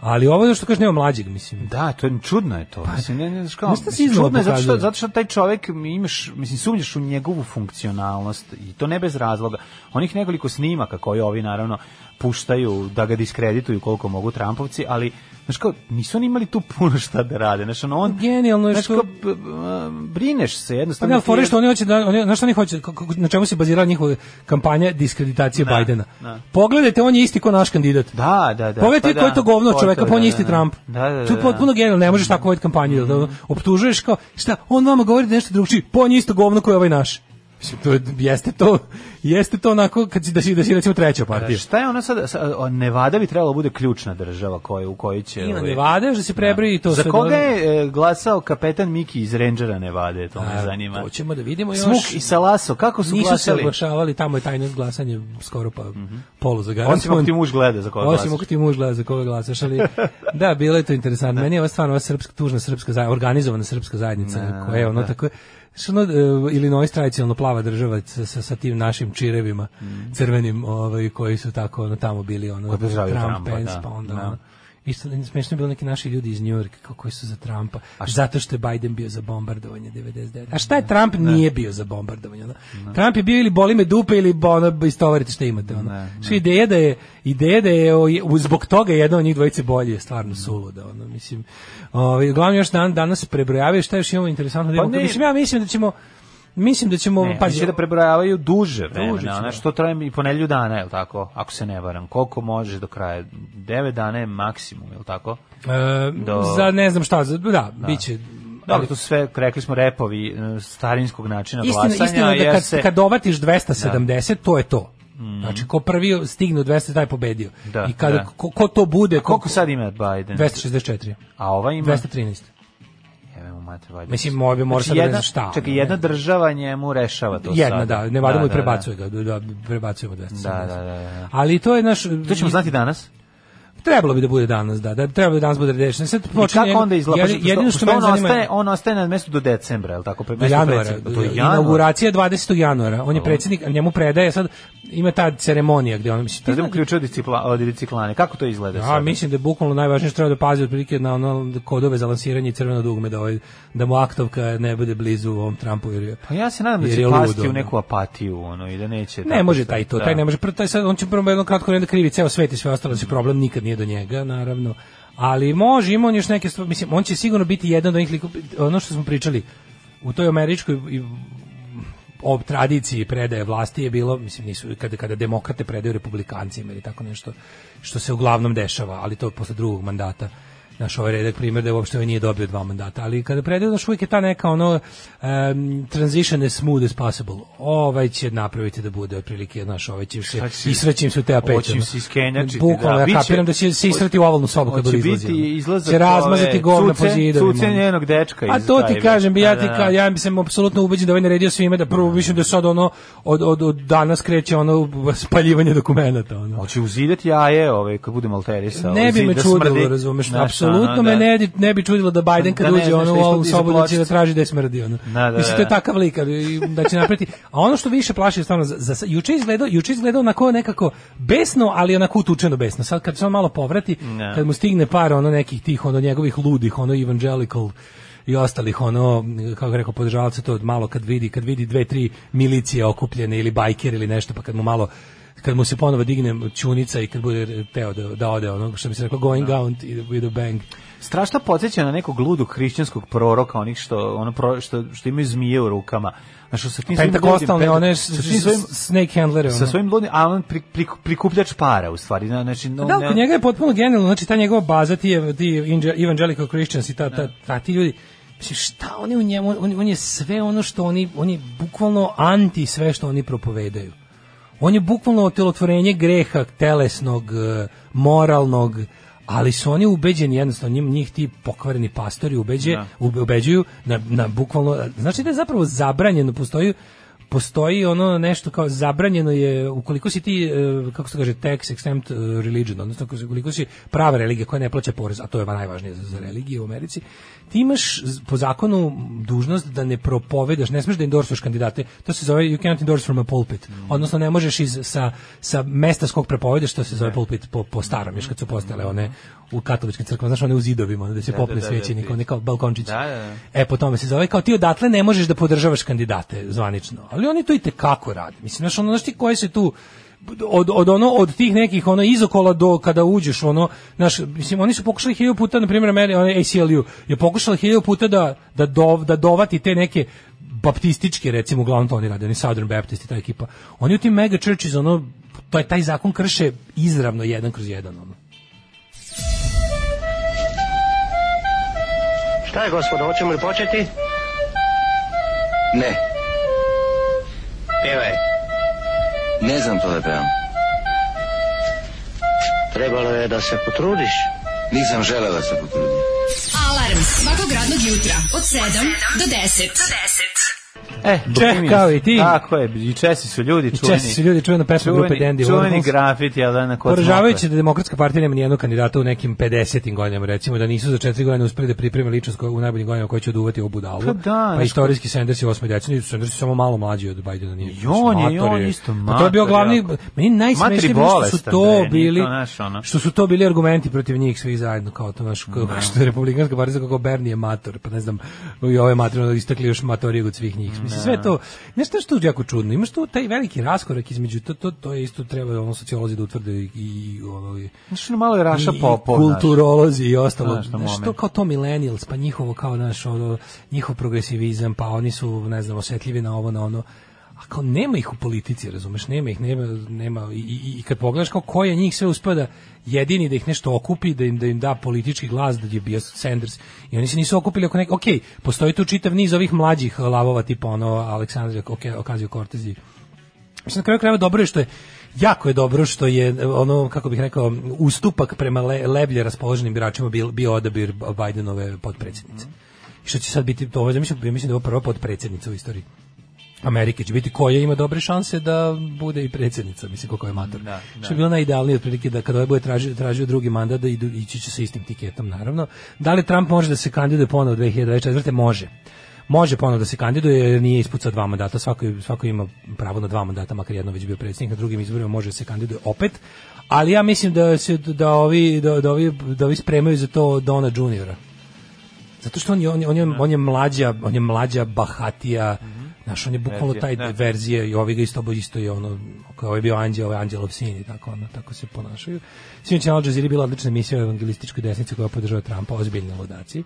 [SPEAKER 6] Ali ovo je što kaže nema mlađeg mislim.
[SPEAKER 7] Da, to je čudno je to. Mislim, ne, ne znaš kao,
[SPEAKER 6] Pa, znaš šta se
[SPEAKER 7] mislim,
[SPEAKER 6] iznova
[SPEAKER 7] čudno je zato što,
[SPEAKER 6] pokazuje?
[SPEAKER 7] zato što taj čovjek mi imaš, mislim, sumnjaš u njegovu funkcionalnost i to ne bez razloga. Onih nekoliko snimaka koji ovi naravno puštaju da ga diskredituju koliko mogu Trumpovci, ali znaš kao, nisu oni imali tu puno šta da rade. Znaš, ono, on,
[SPEAKER 6] Genijalno je
[SPEAKER 7] znaš
[SPEAKER 6] što-
[SPEAKER 7] kao, b- b- brineš se
[SPEAKER 6] Pa
[SPEAKER 7] jednostavno.
[SPEAKER 6] ne, ali
[SPEAKER 7] ti
[SPEAKER 6] fora je
[SPEAKER 7] je-
[SPEAKER 6] što oni hoće da oni na šta oni hoće kako- kako- na čemu se bazira njihova kampanja diskreditacije
[SPEAKER 7] Da,
[SPEAKER 6] Bajdena.
[SPEAKER 7] da.
[SPEAKER 6] Pogledajte, on je isti ko naš kandidat.
[SPEAKER 7] Da, da, da.
[SPEAKER 6] Pogledajte
[SPEAKER 7] pa
[SPEAKER 6] ko je to govno od
[SPEAKER 7] Ko
[SPEAKER 6] čoveka,
[SPEAKER 7] to,
[SPEAKER 6] pa on
[SPEAKER 7] da,
[SPEAKER 6] je isti
[SPEAKER 7] da.
[SPEAKER 6] Trump.
[SPEAKER 7] Da, da, da. Mm-hmm.
[SPEAKER 6] To je potpuno genijalno, ne možeš tako voditi kampanju. Da, optužuješ kao, šta, on vama govori da je nešto drugčije, pa on je isto govno koji ovaj naš. Mislim, to je- jeste to, jeste to onako kad si, da, si, da si recimo treća partija.
[SPEAKER 7] Šta je ona sad, sa- o, Nevada bi trebala da bude ključna država koja, u kojoj će...
[SPEAKER 6] Ima
[SPEAKER 7] ovaj,
[SPEAKER 6] Nevada, da se prebroji to
[SPEAKER 7] Za
[SPEAKER 6] sve
[SPEAKER 7] koga
[SPEAKER 6] do-
[SPEAKER 7] je e, glasao kapetan Miki iz Rangera Nevade, to me
[SPEAKER 6] A,
[SPEAKER 7] zanima.
[SPEAKER 6] To ćemo da vidimo još.
[SPEAKER 7] Smuk i Salaso, kako su
[SPEAKER 6] Nisu se
[SPEAKER 7] glasali?
[SPEAKER 6] oglašavali, tamo je tajno glasanje skoro pa polu zagarantovan.
[SPEAKER 7] Mhm. Osim ako ti muž gleda za koga glasaš.
[SPEAKER 6] Osim ako ti muž gleda za koga glasaš, ali da, bilo je to interesantno. Meni je ova stvarno ova srpska, tužna srpska zajednica, organizovana srpska zajednica, koja je ono tako, što ono, e, Illinois tradicionalno plava država sa, sa, sa tim našim čirevima
[SPEAKER 7] Mm.
[SPEAKER 6] crvenim, ovaj, koji su tako ono, tamo bili, ono,
[SPEAKER 7] podržavaju Trumpa,
[SPEAKER 6] Pence,
[SPEAKER 7] da,
[SPEAKER 6] pa onda
[SPEAKER 7] da.
[SPEAKER 6] ono, Isto smešno je bilo neki naši ljudi iz Njujorka kao koji su za Trumpa, zato što je Biden bio za bombardovanje Da. 99. A šta je Trump nije bio za bombardovanje? Ono? Trump je bio ili boli me dupe ili bo, ono, istovarite šta imate. Ono. Što ideja da je, ideja da je o, je- zbog toga jedna od njih dvojice bolje je stvarno suluda. Ono, mislim, ovaj, uglavnom još dan, danas se prebrojavaju šta još imamo interesantno. da imamo.
[SPEAKER 7] ne-
[SPEAKER 6] mislim, ja mislim da ćemo Mislim da ćemo
[SPEAKER 7] Ne,
[SPEAKER 6] pa
[SPEAKER 7] oni će da prebrojavaju duže
[SPEAKER 6] Duže
[SPEAKER 7] vremena,
[SPEAKER 6] će,
[SPEAKER 7] ona
[SPEAKER 6] da.
[SPEAKER 7] što traje i po nedelju dana, je li tako? Ako se ne varam, koliko možeš do kraja? 9 dana je maksimum, je li tako?
[SPEAKER 6] e,
[SPEAKER 7] Do-
[SPEAKER 6] za ne znam šta, za, da, biće
[SPEAKER 7] Da, ali to su sve, rekli smo, repovi e, starinskog načina
[SPEAKER 6] Istina,
[SPEAKER 7] glasanja,
[SPEAKER 6] istina da
[SPEAKER 7] jer
[SPEAKER 6] kad,
[SPEAKER 7] se...
[SPEAKER 6] kad dovatiš 270, to je to. Znači, ko prvi stigne u 200, taj je pobedio.
[SPEAKER 7] Da,
[SPEAKER 6] I kada,
[SPEAKER 7] da.
[SPEAKER 6] ko, ko to bude... ko-
[SPEAKER 7] Koliko sad ima Biden?
[SPEAKER 6] 264.
[SPEAKER 7] A ova ima...
[SPEAKER 6] 213.
[SPEAKER 7] Jebemo mater, valjda.
[SPEAKER 6] Mislim, moj bi mora sad da ne
[SPEAKER 7] jedna,
[SPEAKER 6] znam šta.
[SPEAKER 7] Čekaj, jedna država njemu rešava to
[SPEAKER 6] Jedna,
[SPEAKER 7] sad.
[SPEAKER 6] da, ne vadimo i prebacuje ga, da, prebacujemo 270.
[SPEAKER 7] Da, da, da, da.
[SPEAKER 6] Ali to je naš...
[SPEAKER 7] To ćemo znati danas.
[SPEAKER 6] Trebalo bi da bude danas, da, da trebalo bi danas bude rešeno. Sad
[SPEAKER 7] I
[SPEAKER 6] počinje-
[SPEAKER 7] kako onda izgleda?
[SPEAKER 6] jedi- Jedino što, mene
[SPEAKER 7] on
[SPEAKER 6] zanima...
[SPEAKER 7] ostaje, on ostaje na mestu do decembra, je li tako? Pre,
[SPEAKER 6] Do
[SPEAKER 7] mesto
[SPEAKER 6] januara. da,
[SPEAKER 7] predsjednika. To je januar.
[SPEAKER 6] Inauguracija je 20. januara. On je predsjednik, a njemu predaje sad, ima ta ceremonija gde on mislim, ti
[SPEAKER 7] Sad
[SPEAKER 6] znaš-
[SPEAKER 7] idemo uključio discipla- od reciklane. Kako to izgleda
[SPEAKER 6] Ja
[SPEAKER 7] sad?
[SPEAKER 6] mislim da je bukvalno najvažnije što treba da pazi otprilike na ono kodove za lansiranje i crveno dugme da ovaj da mu aktovka ne bude blizu ovom Trumpu jer je-
[SPEAKER 7] Pa ja se nadam da
[SPEAKER 6] jer
[SPEAKER 7] će
[SPEAKER 6] je
[SPEAKER 7] pasti
[SPEAKER 6] ludo,
[SPEAKER 7] u
[SPEAKER 6] ono.
[SPEAKER 7] neku apatiju, ono, i da neće...
[SPEAKER 6] Ne
[SPEAKER 7] tako
[SPEAKER 6] može
[SPEAKER 7] sad,
[SPEAKER 6] taj to,
[SPEAKER 7] da.
[SPEAKER 6] taj ne može. Prvo taj sad on će prvo jedno kratko vreme da krivi ceo svet i sve ostalo, da se problem nikad nije do njega, naravno. Ali može, ima on još neke stvari, mislim, on će sigurno biti jedan od onih likova, ono što smo pričali u toj američkoj i o tradiciji predaje vlasti je bilo, mislim, nisu, kada, kada demokrate predaju republikancima ili tako nešto, što se uglavnom dešava, ali to je posle drugog mandata. Naš ovaj redak primjer da je uopšte ovaj nije dobio dva mandata, ali kada predaju, naš uvijek je ta neka ono em, transition as smooth as possible. Ovaj će napraviti da bude otprilike, naš ovaj će se,
[SPEAKER 7] Šta će-
[SPEAKER 6] isrećim se u te apeće.
[SPEAKER 7] Hoće im se iskenjačiti,
[SPEAKER 6] Bukvalno,
[SPEAKER 7] da.
[SPEAKER 6] ja
[SPEAKER 7] Biće-
[SPEAKER 6] kapiram da će se israti u ovalnu sobu kad bude
[SPEAKER 7] Hoće
[SPEAKER 6] izlazio.
[SPEAKER 7] biti izlazak...
[SPEAKER 6] Će razmazati
[SPEAKER 7] ove
[SPEAKER 6] govna po
[SPEAKER 7] cuce-
[SPEAKER 6] zidovima.
[SPEAKER 7] Cuce njenog dečka
[SPEAKER 6] A
[SPEAKER 7] iz
[SPEAKER 6] to ti
[SPEAKER 7] Dajbe.
[SPEAKER 6] kažem, bi ja
[SPEAKER 7] Da,
[SPEAKER 6] ti
[SPEAKER 7] da,
[SPEAKER 6] ka, ja sam apsolutno ubeđen da ovaj naredio svime da prvo mislim da sad ono od, od, od danas kreće ono spaljivanje dokumenata ono.
[SPEAKER 7] Hoće uzidati jaje, ovaj, kad budem alterisao.
[SPEAKER 6] Ne bi
[SPEAKER 7] zid
[SPEAKER 6] me
[SPEAKER 7] da
[SPEAKER 6] čudilo,
[SPEAKER 7] smrdi.
[SPEAKER 6] razumeš,
[SPEAKER 7] Znaš,
[SPEAKER 6] apsolutno
[SPEAKER 7] ono,
[SPEAKER 6] me
[SPEAKER 7] da.
[SPEAKER 6] ne, ne bi čudilo da Biden kad
[SPEAKER 7] Da ne
[SPEAKER 6] uđe
[SPEAKER 7] znaš
[SPEAKER 6] ono u
[SPEAKER 7] ništa
[SPEAKER 6] ovu
[SPEAKER 7] iza
[SPEAKER 6] sobu da će da
[SPEAKER 7] pločice.
[SPEAKER 6] traži gde je smrdio. ono.
[SPEAKER 7] Da, da,
[SPEAKER 6] Mislim, to je
[SPEAKER 7] da.
[SPEAKER 6] takav lik, ali da će napreti. A ono što više plaši je stvarno, za, za, juče izgledao, juče izgledao onako nekako besno, ali onako utučeno besno. Sad kad se on malo povrati,
[SPEAKER 7] Ne.
[SPEAKER 6] kad mu stigne par ono nekih tih, ono njegovih ludih, ono evangelical i ostalih ono kako bih rekao podržavaca to malo kad vidi kad vidi dve tri milicije okupljene ili bajker ili nešto pa kad mu malo kad mu se ponovo digne čunica i kad bude teo da, da ode ono što bi se reklo going
[SPEAKER 7] Da.
[SPEAKER 6] out with a bang
[SPEAKER 7] strašno podsjeća na nekog ludog hrišćanskog proroka, onih što ono pro, što što imaju zmije u rukama. A što sa tim svojim
[SPEAKER 6] pentakostalne
[SPEAKER 7] ludim-
[SPEAKER 6] one
[SPEAKER 7] sa svim svojim
[SPEAKER 6] snake handlere
[SPEAKER 7] sa
[SPEAKER 6] ono.
[SPEAKER 7] svojim ludim, a on pri, pri, prikupljač para u stvari. na- Znači, no,
[SPEAKER 6] Da, kod njega je potpuno genijalno, znači ta njegova baza, ti, je- ti inđe- evangelical Christians i ta, ta, ta ti ljudi, mislim, šta oni u njemu, on, on je sve ono što oni, on je bukvalno anti sve što oni propovedaju. On je bukvalno otelotvorenje greha, telesnog, e, moralnog, ali su oni ubeđeni jednostavno njim njih ti pokvareni pastori ubeđe ube- ubeđuju na, na bukvalno znači da je zapravo zabranjeno postoji postoji ono nešto kao zabranjeno je ukoliko si ti e, kako se kaže tax exempt e, religion odnosno ukoliko si prava religija koja ne plaća porez a to je najvažnije za, za religije u Americi ti imaš z- po zakonu dužnost da ne propovedaš ne smeš da endorsuješ kandidate to se zove you cannot endorse from a pulpit
[SPEAKER 7] Mhm.
[SPEAKER 6] odnosno ne možeš iz sa sa mesta s kog propovedaš što se zove pulpit po, po starom još kad su postale one u katoličkim crkvama znaš one u zidovima ono, da se popne
[SPEAKER 7] da, da,
[SPEAKER 6] svećenik
[SPEAKER 7] da.
[SPEAKER 6] one kao balkončić
[SPEAKER 7] Da, da, da.
[SPEAKER 6] E, po tome se zove, kao ti odatle ne možeš da podržavaš kandidate zvanično, ali oni to i tekako rade. Mislim, znaš, ono, znaš ti koje se tu od, od ono od tih nekih ono izokola do kada uđeš ono znaš mislim oni su pokušali hiljadu puta na primjer meni onaj ACLU je pokušala hiljadu puta da da dov, da dovati te neke baptističke recimo uglavnom to oni rade oni Southern Baptist i ta ekipa oni u tim mega churches ono to je taj zakon krše izravno jedan kroz jedan ono
[SPEAKER 8] Šta je, gospodo, hoćemo li početi?
[SPEAKER 1] Ne,
[SPEAKER 8] Pevaj.
[SPEAKER 1] ne znam to da pevam.
[SPEAKER 8] Trebalo je da se potrudiš.
[SPEAKER 1] Nisam želeo da se potrudim.
[SPEAKER 2] Alarm svakog radnog jutra od 7 do 10.
[SPEAKER 7] E, Bohemians.
[SPEAKER 6] kao i ti.
[SPEAKER 7] Tako je, i Česi su ljudi čuveni.
[SPEAKER 6] Česi su ljudi, čuvena pesma grupe Dandy
[SPEAKER 7] Čuveni
[SPEAKER 6] Warhols.
[SPEAKER 7] grafit, jel da, na kod
[SPEAKER 6] Poražavajuće da demokratska partija nema nijednog kandidata u nekim 50. godinama, recimo da nisu za 4 godine uspeli da pripreme ličnost koja u najboljim godinama koja će oduvati ovu budalu.
[SPEAKER 7] Pa da,
[SPEAKER 6] pa
[SPEAKER 7] znaš-
[SPEAKER 6] istorijski Sanders je osmi decenij, Sanders je samo malo mlađi od Bidena. Nije,
[SPEAKER 7] I on je, i
[SPEAKER 6] Mator
[SPEAKER 7] on isto,
[SPEAKER 6] Pa to je bio
[SPEAKER 7] mator
[SPEAKER 6] glavni,
[SPEAKER 7] jako.
[SPEAKER 6] meni najsmešnije
[SPEAKER 7] Materi
[SPEAKER 6] bilo što su
[SPEAKER 7] bolestan,
[SPEAKER 6] to
[SPEAKER 7] bre, nije
[SPEAKER 6] bili,
[SPEAKER 7] to, znaš, ono. Da.
[SPEAKER 6] što su to bili argumenti protiv njih svih zajedno, kao to, znaš, kao, što je republikanska partija kako Bernie je mator, pa ne znam, i ovo je matorno istakli još matorijeg od svih njih. Mislim, sve
[SPEAKER 7] Da.
[SPEAKER 6] to, znaš što je tu jako čudno, imaš tu taj veliki raskorak između, to, to, to je isto treba ono sociolozi da utvrde i, i ovaj, ono, i-
[SPEAKER 7] Znaš, ono malo je Raša
[SPEAKER 6] i
[SPEAKER 7] Popov. znaš.
[SPEAKER 6] kulturolozi i ostalo.
[SPEAKER 7] Znaš, na
[SPEAKER 6] Znaš, to
[SPEAKER 7] moment.
[SPEAKER 6] kao to millennials, pa njihovo kao naš, ono, njihov progresivizam, pa oni su, ne znam, osjetljivi na ovo, na ono. A kao nema ih u politici, razumeš, nema ih, nema, nema. I, i, i kad pogledaš kao ko je njih sve uspeo da jedini da ih nešto okupi, da im, da im da politički glas, da je bio Sanders. I oni se nisu okupili oko neke, ok, postoji tu čitav niz ovih mlađih lavova, tipa ono Aleksandra Ocasio-Cortez i Mislim, na kraju krajeva dobro je što je jako je dobro što je e, ono kako bih rekao ustupak prema le, leblje raspoloženim biračima bio, bio odabir Bidenove potpredsjednice. I što će sad biti to, ja mislim, ja mislim da je ovo prva potpredsjednica u istoriji. Amerike će biti koja ima dobre šanse da bude i predsjednica, mislim koliko je mator. Što je bilo najidealnije otprilike da kada ovaj bude tražio, tražio drugi mandat da idu, ići će sa istim tiketom naravno. Da li Trump može da se kandiduje ponovo 2024. Može. Može ponovo da se kandiduje jer nije ispucao dva mandata, svako, svako ima pravo na dva mandata, makar jedno već bio predsjednik, na drugim izborima može da se kandiduje opet, ali ja mislim da se da ovi da, da ovi da ovi spremaju za to Dona Juniora. Zato što on je, on je, on
[SPEAKER 7] Da.
[SPEAKER 6] je, on je mlađa, on je mlađa bahatija, znaš, on je bukvalno taj
[SPEAKER 7] Mhm. Verzija, da.
[SPEAKER 6] verzije i ovi ga isto, isto je ono, kao ovaj je bio anđel, ovaj anđelov sin i tako, ono, tako se ponašaju. Sinoć je na Al Jazeera bila odlična emisija o evangelističkoj desnici koja podržava Trumpa, ozbiljni ludaci.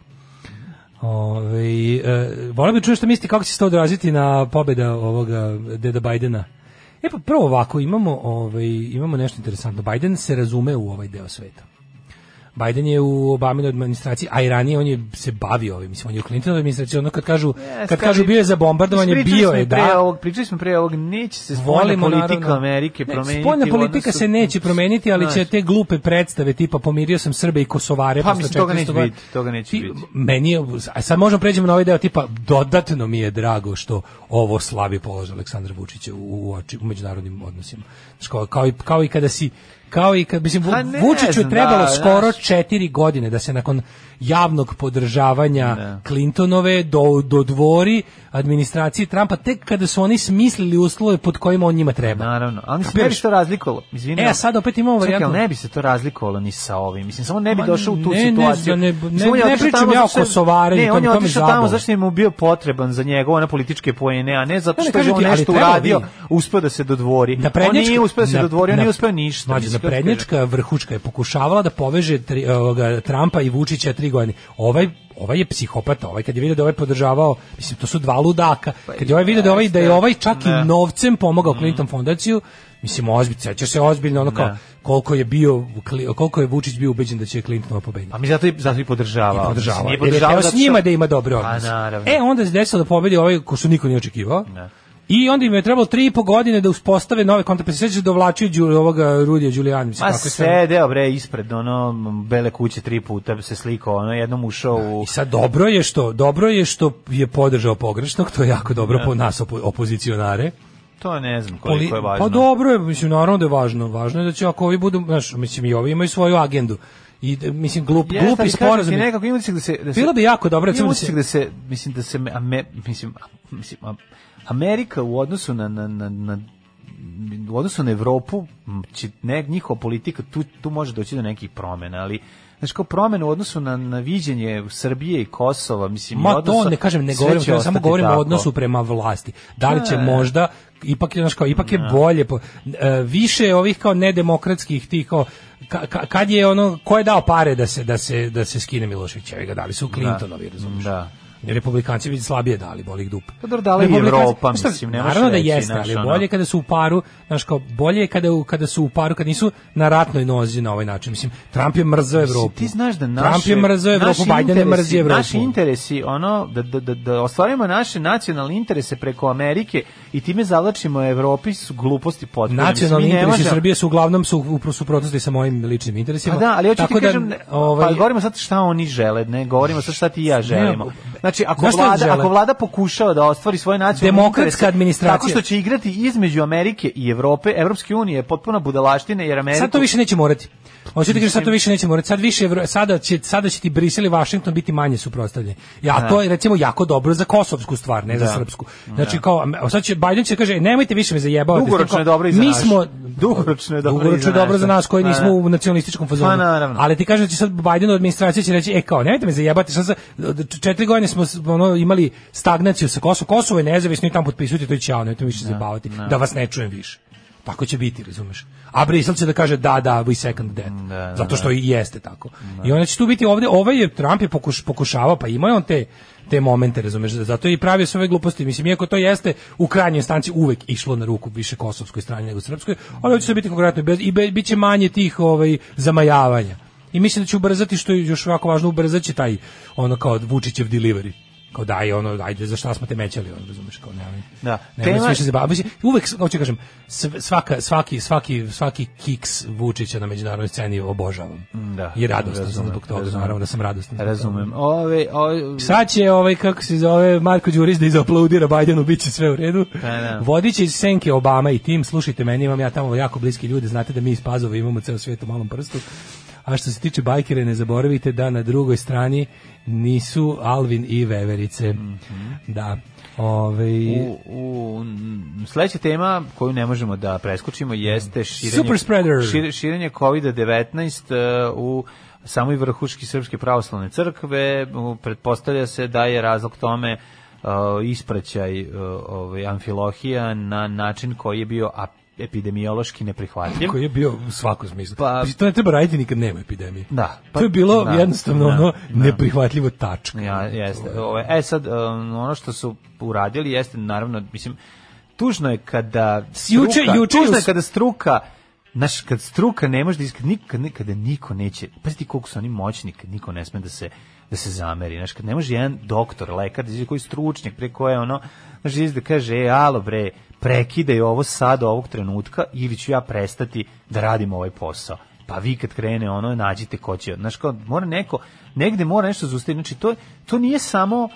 [SPEAKER 6] Ove, e, volio bih čuti što mislite kako će se to odraziti na pobeda ovoga deda Bajdena. E pa prvo ovako, imamo, ovaj, imamo nešto interesantno. Bajden se razume u ovaj deo sveta. Biden je u Obaminoj administraciji, a i ranije on je se bavio ovim, mislim, on je u Clintonovoj administraciji, ono kad kažu, kad kažu bio je za bombardovanje,
[SPEAKER 7] Ispričali
[SPEAKER 6] bio
[SPEAKER 7] smo
[SPEAKER 6] je,
[SPEAKER 7] i Pre
[SPEAKER 6] da,
[SPEAKER 7] ovog, pričali smo pre ovog, neće se spoljna
[SPEAKER 6] volimo
[SPEAKER 7] politika
[SPEAKER 6] naravno.
[SPEAKER 7] Amerike
[SPEAKER 6] Ne,
[SPEAKER 7] promeniti.
[SPEAKER 6] Spoljna
[SPEAKER 7] u
[SPEAKER 6] politika
[SPEAKER 7] odnosu-
[SPEAKER 6] se neće promeniti, ali će
[SPEAKER 7] Znaš,
[SPEAKER 6] te glupe predstave tipa pomirio sam Srbe i Kosovare
[SPEAKER 7] Pa,
[SPEAKER 6] posle
[SPEAKER 7] mislim, toga
[SPEAKER 6] 400
[SPEAKER 7] neće
[SPEAKER 6] godina.
[SPEAKER 7] biti, toga neće
[SPEAKER 6] Ti-
[SPEAKER 7] biti.
[SPEAKER 6] Meni je, a sad možemo pređemo na ovaj deo tipa dodatno mi je drago što ovo slabi položaj Aleksandra Vučića u, u, oči- u međunarodnim odnosima. Znaš, kao, kao, i, kao i kada si kao i kad, mislim,
[SPEAKER 7] Pa ne
[SPEAKER 6] Vučiću je
[SPEAKER 7] znam,
[SPEAKER 6] trebalo
[SPEAKER 7] da,
[SPEAKER 6] skoro
[SPEAKER 7] znaš,
[SPEAKER 6] četiri godine da se nakon javnog podržavanja
[SPEAKER 7] Da.
[SPEAKER 6] Clintonove do, dodvori administraciji Trumpa tek kada su oni smislili uslove pod kojima on njima treba.
[SPEAKER 7] Naravno, ali mislim,
[SPEAKER 6] Kapiraš?
[SPEAKER 7] ne bi se to razlikovalo. Izvini,
[SPEAKER 6] E, a sad opet imamo
[SPEAKER 7] Čekaj,
[SPEAKER 6] varijantu-
[SPEAKER 7] ali ne bi se to razlikovalo ni sa ovim. Mislim, samo ne bi
[SPEAKER 6] Ma,
[SPEAKER 7] došao u tu
[SPEAKER 6] ne, ne,
[SPEAKER 7] situaciju.
[SPEAKER 6] ne,
[SPEAKER 7] Mislim,
[SPEAKER 6] ne,
[SPEAKER 7] on je
[SPEAKER 6] ne
[SPEAKER 7] otišao
[SPEAKER 6] pričam
[SPEAKER 7] tamo
[SPEAKER 6] ja o
[SPEAKER 7] zato što-
[SPEAKER 6] Kosovarenju,
[SPEAKER 7] Ne,
[SPEAKER 6] to-
[SPEAKER 7] on je
[SPEAKER 6] to mi je
[SPEAKER 7] otišao tamo
[SPEAKER 6] zabavno.
[SPEAKER 7] zato što je mu bio potreban za njega, one političke poene, a ne zato
[SPEAKER 6] Ne, ne,
[SPEAKER 7] što je
[SPEAKER 6] kažem
[SPEAKER 7] on
[SPEAKER 6] ti, ali
[SPEAKER 7] nešto
[SPEAKER 6] trebao
[SPEAKER 7] uradio,
[SPEAKER 6] bi.
[SPEAKER 7] uspeo da se dodvori.
[SPEAKER 6] Da
[SPEAKER 7] on
[SPEAKER 6] prednjačka-
[SPEAKER 7] nije uspeo da se
[SPEAKER 6] na-
[SPEAKER 7] dodvori, on
[SPEAKER 6] na-
[SPEAKER 7] nije uspeo ništa.
[SPEAKER 6] Mlađe,
[SPEAKER 7] mislim,
[SPEAKER 6] da
[SPEAKER 7] kako ti kažem.
[SPEAKER 6] prednjačka vrhuška je pokušavala da poveže tri, ovoga, Trumpa i Vučića tri godine. Ovaj ovaj je psihopata, ovaj kad je vidio da je ovaj podržavao, mislim to su dva ludaka. Kad je ovaj video da je ovaj da je ovaj čak i novcem pomogao
[SPEAKER 7] Mhm.
[SPEAKER 6] Clinton fondaciju, mislim ozbiljno, sećaš se ozbiljno ono
[SPEAKER 7] Da.
[SPEAKER 6] kao koliko je bio Cli- koliko je Vučić bio ubeđen da će Clinton pobediti.
[SPEAKER 7] Pa mi zato i, zato i podržavao.
[SPEAKER 6] I
[SPEAKER 7] Pa, Mislim,
[SPEAKER 6] podržavao.
[SPEAKER 7] nije
[SPEAKER 6] Jer je
[SPEAKER 7] podržavao
[SPEAKER 6] hteo s
[SPEAKER 7] zato
[SPEAKER 6] njima
[SPEAKER 7] što-
[SPEAKER 6] da ima dobre odnose.
[SPEAKER 7] Pa, naravno.
[SPEAKER 6] E, onda se desilo da pobedi ovaj ko što niko nije očekivao. I onda im je trebalo tri i po godine da uspostave nove kontakte. Se sećaš da ovlačio Đu, ovoga Rudija Đulijana. Mislim,
[SPEAKER 7] Ma
[SPEAKER 6] kako je sve-
[SPEAKER 7] sedeo bre ispred ono bele kuće tri puta se slikao, ono jednom ušao u
[SPEAKER 6] I sad dobro je što dobro je što je podržao pogrešnog, to je jako dobro po nas opo- opozicionare.
[SPEAKER 7] to ne znam koliko je
[SPEAKER 6] Poli-
[SPEAKER 7] važno.
[SPEAKER 6] Pa dobro je, mislim naravno da je važno, važno je da će ako ovi budu, znaš, mislim i ovi imaju svoju agendu. I da, mislim glup,
[SPEAKER 7] Jeste,
[SPEAKER 6] glupi
[SPEAKER 7] ali kažem ti,
[SPEAKER 6] sporazum. je-
[SPEAKER 7] Nekako imam utisak da se da se
[SPEAKER 6] Bilo bi jako dobro,
[SPEAKER 7] Imam
[SPEAKER 6] recimo da se-
[SPEAKER 7] utisak da se mislim da se me- ame, mislim a- mislim a- Amerika u odnosu na na na, na u odnosu na Evropu m, će ne, njihova politika tu, tu može doći do nekih promena, ali znači kao promena u odnosu na, na viđenje Srbije i Kosova, mislim i
[SPEAKER 6] Ma
[SPEAKER 7] odnosa,
[SPEAKER 6] to ne kažem, ne
[SPEAKER 7] sve
[SPEAKER 6] govorim,
[SPEAKER 7] će
[SPEAKER 6] to, samo
[SPEAKER 7] ostati
[SPEAKER 6] govorim o
[SPEAKER 7] tako. E.
[SPEAKER 6] odnosu prema vlasti. Da li će
[SPEAKER 7] Ne.
[SPEAKER 6] možda ipak je znaš kao, ipak
[SPEAKER 7] Da.
[SPEAKER 6] je bolje po- e, više je ovih kao nedemokratskih tih kao ka- ka- kad je ono ko je dao pare da se da se da se skine Milošević, evi ga dali su Clintonovi, razumiješ?
[SPEAKER 7] Da.
[SPEAKER 6] Republikanci bi slabije dali, boli ih dupe.
[SPEAKER 7] Pa dobro, dala i
[SPEAKER 6] Republikanci-
[SPEAKER 7] Evropa,
[SPEAKER 6] Šta,
[SPEAKER 7] mislim, ne možeš
[SPEAKER 6] Naravno da
[SPEAKER 7] reći,
[SPEAKER 6] jeste,
[SPEAKER 7] znaš,
[SPEAKER 6] ali
[SPEAKER 7] ono.
[SPEAKER 6] bolje kada su u paru, znaš kao, bolje je kada, u- kada su u paru, kad nisu na ratnoj nozi na ovaj način. Mislim, Trump je mrzao
[SPEAKER 7] Mislim,
[SPEAKER 6] Evropu.
[SPEAKER 7] Ti znaš da naše,
[SPEAKER 6] Trump je mrzao Evropu,
[SPEAKER 7] naši
[SPEAKER 6] Biden je
[SPEAKER 7] interesi-
[SPEAKER 6] mrzio Evropu.
[SPEAKER 7] Naši interesi, ono, da, da, da, da ostvarimo naše nacionalne interese preko Amerike i time zavlačimo Evropi su gluposti potpuno.
[SPEAKER 6] Nacionalni
[SPEAKER 7] Mislim, mi ne
[SPEAKER 6] interesi
[SPEAKER 7] možemo-
[SPEAKER 6] Srbije su uglavnom su u u suprotnosti sa mojim ličnim interesima.
[SPEAKER 7] Pa da, ali hoću ti
[SPEAKER 6] Tako da,
[SPEAKER 7] kažem, ne, pa govorimo sad šta oni žele, ne, govorimo sad šta ti i ja želimo. Znači, ako
[SPEAKER 6] Znaš šta
[SPEAKER 7] vlada,
[SPEAKER 6] žele?
[SPEAKER 7] ako vlada pokušava da ostvari svoje nacionalne
[SPEAKER 6] Demokratska
[SPEAKER 7] interese
[SPEAKER 6] administracija.
[SPEAKER 7] tako što će igrati između Amerike i Evrope, Evropske unije je potpuna budalaština jer Amerika
[SPEAKER 6] Sad to više neće morati. Hoću ti kažem, sad to više neće morati. Sad više Evro- sada će sada će ti Brisel i Washington biti manje suprotstavljeni. Ja
[SPEAKER 7] Da.
[SPEAKER 6] a to je recimo jako dobro za kosovsku stvar, ne za srpsku. Znači kao a sad će Bajden će kaže "E, nemojte više me zajebavati.
[SPEAKER 7] Dugoročno je dobro i za
[SPEAKER 6] mi
[SPEAKER 7] nas.
[SPEAKER 6] smo
[SPEAKER 7] Dugoročno je dobro i
[SPEAKER 6] Dugoročno
[SPEAKER 7] za
[SPEAKER 6] je dobro za
[SPEAKER 7] nas.
[SPEAKER 6] nas koji
[SPEAKER 7] Pa,
[SPEAKER 6] nismo
[SPEAKER 7] da.
[SPEAKER 6] u nacionalističkom fazonu.
[SPEAKER 7] Pa, naravno.
[SPEAKER 6] Ali ti kažem da će sad Bajdenova administracija će reći e kao nemojte me zajebati, sad za od četiri godine smo s- ono imali stagnaciju sa Kosovo, Kosovo je nezavisno i tamo potpisujete to i ćao, nemojte me više zajebavati, da vas ne čujem više. Tako će biti, razumeš. A Brisel će da kaže da, da, we second that. Zato što i jeste tako. I onda će tu biti ovdje, ovaj je Trump je pokuš, pokušavao, pa imao je on te te momente, razumeš, zato je i pravio sve ove gluposti. Mislim, iako to jeste u krajnjoj stanci uvek išlo na ruku više kosovskoj strani nego srpskoj, ali hoće se biti konkretno i bez- i be- bit će manje tih ovaj, zamajavanja. I mislim da će ubrzati, što je još ovako važno, ubrzat će taj, ono kao Vučićev delivery. Kao daj, ono, ajde, za šta smo te mećali, ono, razumeš, kao nemoj.
[SPEAKER 7] Da.
[SPEAKER 6] nemoj
[SPEAKER 7] Tema-
[SPEAKER 6] se više zabaviti. Mislim, uvek, hoću da kažem, sv- svaka, svaki, svaki, svaki kiks Vučića na međunarodnoj sceni obožavam.
[SPEAKER 7] Da.
[SPEAKER 6] I radostan sam
[SPEAKER 7] Razumem,
[SPEAKER 6] zbog toga,
[SPEAKER 7] razumem.
[SPEAKER 6] naravno da sam radostan.
[SPEAKER 7] Razumem. Ove, ove,
[SPEAKER 6] Sad će ovaj, kako se zove, Marko Đurić da izaplaudira Bajdenu, bit će sve u redu.
[SPEAKER 7] da.
[SPEAKER 6] Vodit će iz senke Obama i tim, slušajte meni, imam ja tamo jako bliski ljudi, znate da mi iz Pazova imamo ceo svijet u malom prstu. A što se tiče bajkere, ne zaboravite da na drugoj strani nisu Alvin i Veverice. Da. Ovaj, Ove,
[SPEAKER 7] Mhm. U, u, mm, sledeća tema koju ne možemo da preskočimo jeste širenje,
[SPEAKER 6] Mm. Super spreader.
[SPEAKER 7] šir- širenje COVID-19 e, u samoj vrhuški Srpske pravoslavne crkve. U, Pretpostavlja se da je razlog tome e, ispraćaj e, ovaj, amfilohija na način koji je bio ap- epidemiološki neprihvatljiv.
[SPEAKER 6] koji je bio u svakom smislu.
[SPEAKER 7] Pa-
[SPEAKER 6] Pa, to ne treba raditi nikad nema epidemije.
[SPEAKER 7] Da, pa-
[SPEAKER 6] to je bilo
[SPEAKER 7] da,
[SPEAKER 6] jednostavno
[SPEAKER 7] da,
[SPEAKER 6] ono
[SPEAKER 7] da.
[SPEAKER 6] neprihvatljivo tačka.
[SPEAKER 7] Ja, jeste. Ovaj, e sad, um, ono što su uradili jeste, naravno, mislim, tužno je kada struka,
[SPEAKER 6] Juče- juče
[SPEAKER 7] tužno je
[SPEAKER 6] us-
[SPEAKER 7] kada struka Znaš, kad struka ne može da iskad, nikad, nikada niko neće, pazi ti koliko su oni moćni, kad niko ne sme da se, da se zameri, znaš, kad ne može jedan doktor, lekar, da izađe koji je stručnjak, pre koje ono, znaš, da izađe da kaže, e, alo bre, prekidaj ovo sad, ovog trenutka, ili ću ja prestati da radim ovaj posao pa vi kad krene ono nađite ko će znaš kao mora neko negde mora nešto zaustaviti znači to to nije samo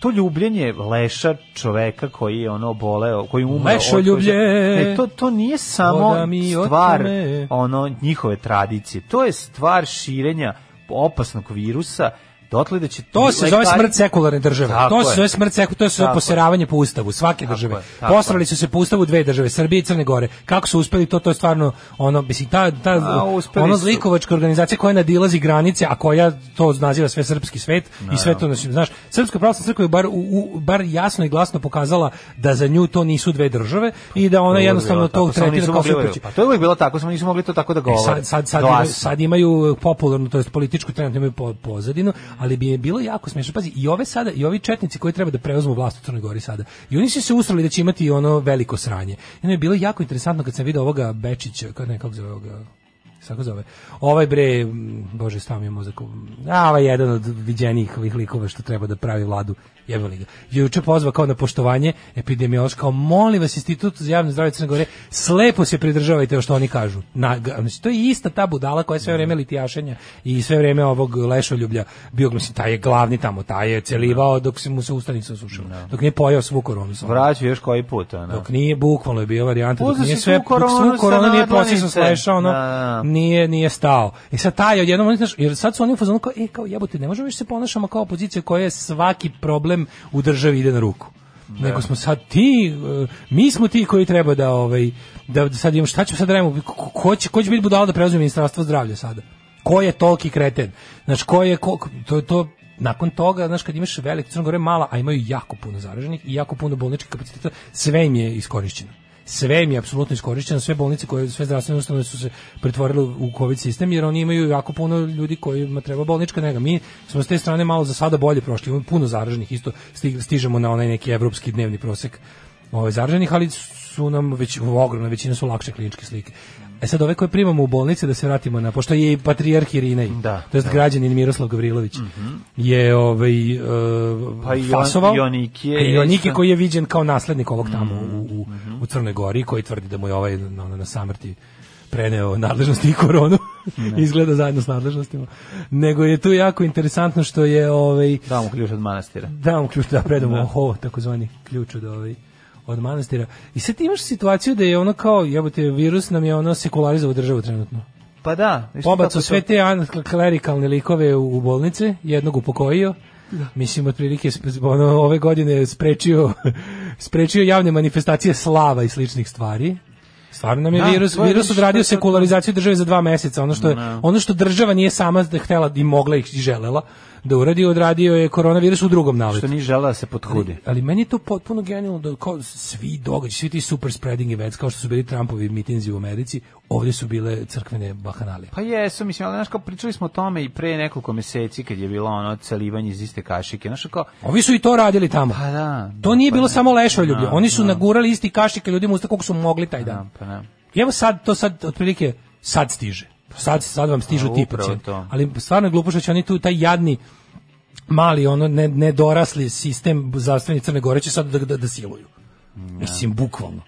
[SPEAKER 7] to ljubljenje leša čoveka koji je ono boleo, koji je umro.
[SPEAKER 6] Lešo
[SPEAKER 7] od-
[SPEAKER 6] ljublje,
[SPEAKER 7] Ne, to, to nije samo
[SPEAKER 6] voda mi
[SPEAKER 7] stvar
[SPEAKER 6] otme.
[SPEAKER 7] ono njihove tradicije. To je stvar širenja opasnog virusa dotle da će
[SPEAKER 6] To se zove
[SPEAKER 7] lekari-
[SPEAKER 6] smrt sekularne države.
[SPEAKER 7] Tako
[SPEAKER 6] to se
[SPEAKER 7] je.
[SPEAKER 6] zove smrt sekularne, to se zove
[SPEAKER 7] Tako je.
[SPEAKER 6] poseravanje po ustavu svake države.
[SPEAKER 7] je, tako
[SPEAKER 6] Posrali su se po ustavu dve države, Srbije i Crne Gore. Kako su uspeli to, to je stvarno ono mislim ta ta
[SPEAKER 7] A, uspeli
[SPEAKER 6] ono
[SPEAKER 7] su.
[SPEAKER 6] zlikovačka organizacija koja nadilazi granice, a koja to naziva sve srpski svet i sve to znači, znaš, Srpska pravoslavna crkva je bar u, u- bar jasno i glasno pokazala da za nju to nisu dve države i da ona
[SPEAKER 7] Uvijek
[SPEAKER 6] jednostavno
[SPEAKER 7] bilo tako,
[SPEAKER 6] to
[SPEAKER 7] samo
[SPEAKER 6] tretira
[SPEAKER 7] nisu
[SPEAKER 6] kao
[SPEAKER 7] mogli-
[SPEAKER 6] svoju kuću.
[SPEAKER 7] Pa to je uvijek bilo tako, samo nisu mogli to tako da
[SPEAKER 6] E,
[SPEAKER 7] govore.
[SPEAKER 6] sad, sad, sad, imaju,
[SPEAKER 7] Glasno.
[SPEAKER 6] sad imaju popularnu, to jest političku trenutno imaju po- pozadinu, ali bi je bilo jako smiješno. Pazi, i ove sada, i ovi četnici koji treba da preuzmu vlast u Crnoj Gori sada, i oni su se usrali da će imati ono veliko sranje. I ono je bilo jako interesantno kad sam vidio ovoga Bečića, kako ne, kako zove ovoga, kako zove, ovaj bre, m, bože, stao mi je mozak, a ovaj jedan od viđenijih ovih likova što treba da pravi vladu, jebali ga. Juče pozva kao na poštovanje epidemiološko, kao molim vas institut za javno zdravlje Crne Gore, slepo se pridržavajte o što oni kažu. Na, ga- znači, to je ista ta budala koja je sve vreme litijašenja i sve vreme ovog lešoljublja bio, mislim, taj je glavni tamo, taj je celivao dok se mu se ustanica osušila, dok nije pojao svu koronu. sa onom.
[SPEAKER 7] Vraćaju još koji put, ono.
[SPEAKER 6] Dok nije bukvalno je bio varijanta, dok
[SPEAKER 7] Uzeo
[SPEAKER 6] nije
[SPEAKER 7] si
[SPEAKER 6] sve
[SPEAKER 7] svu koronu
[SPEAKER 6] dok svu
[SPEAKER 7] sa
[SPEAKER 6] koronu nije
[SPEAKER 7] nadlanice.
[SPEAKER 6] posisao slešao, ono,
[SPEAKER 7] Da, da.
[SPEAKER 6] nije, nije stao. I sad taj odjednom, oni, znaš, jer sad su oni u fazonu kao, e, kao jebote, ne možemo više se ponašamo kao opozicija koja je svaki problem u državi ide na ruku.
[SPEAKER 7] Da.
[SPEAKER 6] Nego smo sad ti, e, mi smo ti koji treba da, ovaj, da sad imamo, šta ćemo sad da radimo, ko, ko će, ko će biti budala da preuzme ministarstvo zdravlja sada? Ko je toliki kreten? Znaš, ko je, ko, to, to, nakon toga, znaš, kad imaš velik, Crna Gora je mala, a imaju jako puno zaraženih i jako puno bolničkih kapaciteta, sve im je iskorišćeno sve im je apsolutno iskorišćeno, sve bolnice koje sve zdravstvene ustanove su se pretvorile u covid sistem jer oni imaju jako puno ljudi kojima treba bolnička nega. Mi smo s te strane malo za sada bolje prošli, imamo puno zaraženih, isto stig- stižemo na onaj neki evropski dnevni prosek ovaj zaraženih, ali su nam već ogromna većina su lakše kliničke slike. E sad ove koje primamo u bolnici da se vratimo na pošto je i patrijarh Irinej,
[SPEAKER 7] Da, Mhm.
[SPEAKER 6] to jest građanin Miroslav Gavrilović je ovaj e,
[SPEAKER 7] Pa i on-
[SPEAKER 6] fasovao
[SPEAKER 7] i Mhm, Jonikije
[SPEAKER 6] E,
[SPEAKER 7] je
[SPEAKER 6] Jonikije
[SPEAKER 7] isto.
[SPEAKER 6] koji je viđen kao naslednik ovog tamo u, u, u Crnoj Gori koji tvrdi da mu je ovaj na, na, na samrti preneo nadležnosti i koronu <laughs> izgleda zajedno s nadležnostima nego je tu jako interesantno što je ovaj
[SPEAKER 7] Da mu ključ od manastira.
[SPEAKER 6] da mu ključ da predamo da. ho takozvani ključ od ovaj od manastira i sad imaš situaciju da je ono kao jebote virus nam je ono sekularizovao državu trenutno
[SPEAKER 7] Pa da. viš kako
[SPEAKER 6] Pobacu
[SPEAKER 7] to-
[SPEAKER 6] sve te anklerikalne likove u, u bolnice, jednog upokojio.
[SPEAKER 7] Da.
[SPEAKER 6] Mislim, otprilike, sp- ono, ove godine je sprečio, <laughs> sprečio javne manifestacije slava i sličnih stvari. Stvarno nam je
[SPEAKER 7] Da,
[SPEAKER 6] virus,
[SPEAKER 7] to je Da.
[SPEAKER 6] virus
[SPEAKER 7] nešto
[SPEAKER 6] odradio
[SPEAKER 7] što-
[SPEAKER 6] sekularizaciju države za dva meseca. Ono što, je, ono što država nije sama da htela i mogla i želela da uradi, odradio je koronavirus u drugom naletu.
[SPEAKER 7] Što nije žela da se pothudi.
[SPEAKER 6] Ali meni je to potpuno genijalno da kao svi događaji, svi ti super spreading events kao što su bili Trumpovi mitinzi u Americi, ovdje su bile crkvene bahanalije.
[SPEAKER 7] Pa jesu, mislim, ali znaš kao pričali smo o tome i pre nekoliko meseci kad je bilo ono celivanje iz iste kašike. Znaš kao,
[SPEAKER 6] Ovi su i to radili tamo.
[SPEAKER 7] pa da.
[SPEAKER 6] To nije
[SPEAKER 7] pa
[SPEAKER 6] bilo
[SPEAKER 7] da.
[SPEAKER 6] samo lešoljublje.
[SPEAKER 7] Da,
[SPEAKER 6] Oni su
[SPEAKER 7] da.
[SPEAKER 6] nagurali isti kašike ljudima u usta koliko su mogli taj
[SPEAKER 7] Da,
[SPEAKER 6] dan.
[SPEAKER 7] pa da.
[SPEAKER 6] I evo sad, to sad, otprilike, sad stiže. Sad, sad vam stižu
[SPEAKER 7] A,
[SPEAKER 6] ti
[SPEAKER 7] upravo
[SPEAKER 6] pacijenti.
[SPEAKER 7] to.
[SPEAKER 6] Ali stvarno je glupo što će oni tu, taj jadni, mali, ono, ne, nedorasli sistem zdravstveni Crne Gore će sad da, da, da siluju. Mislim, bukvalno.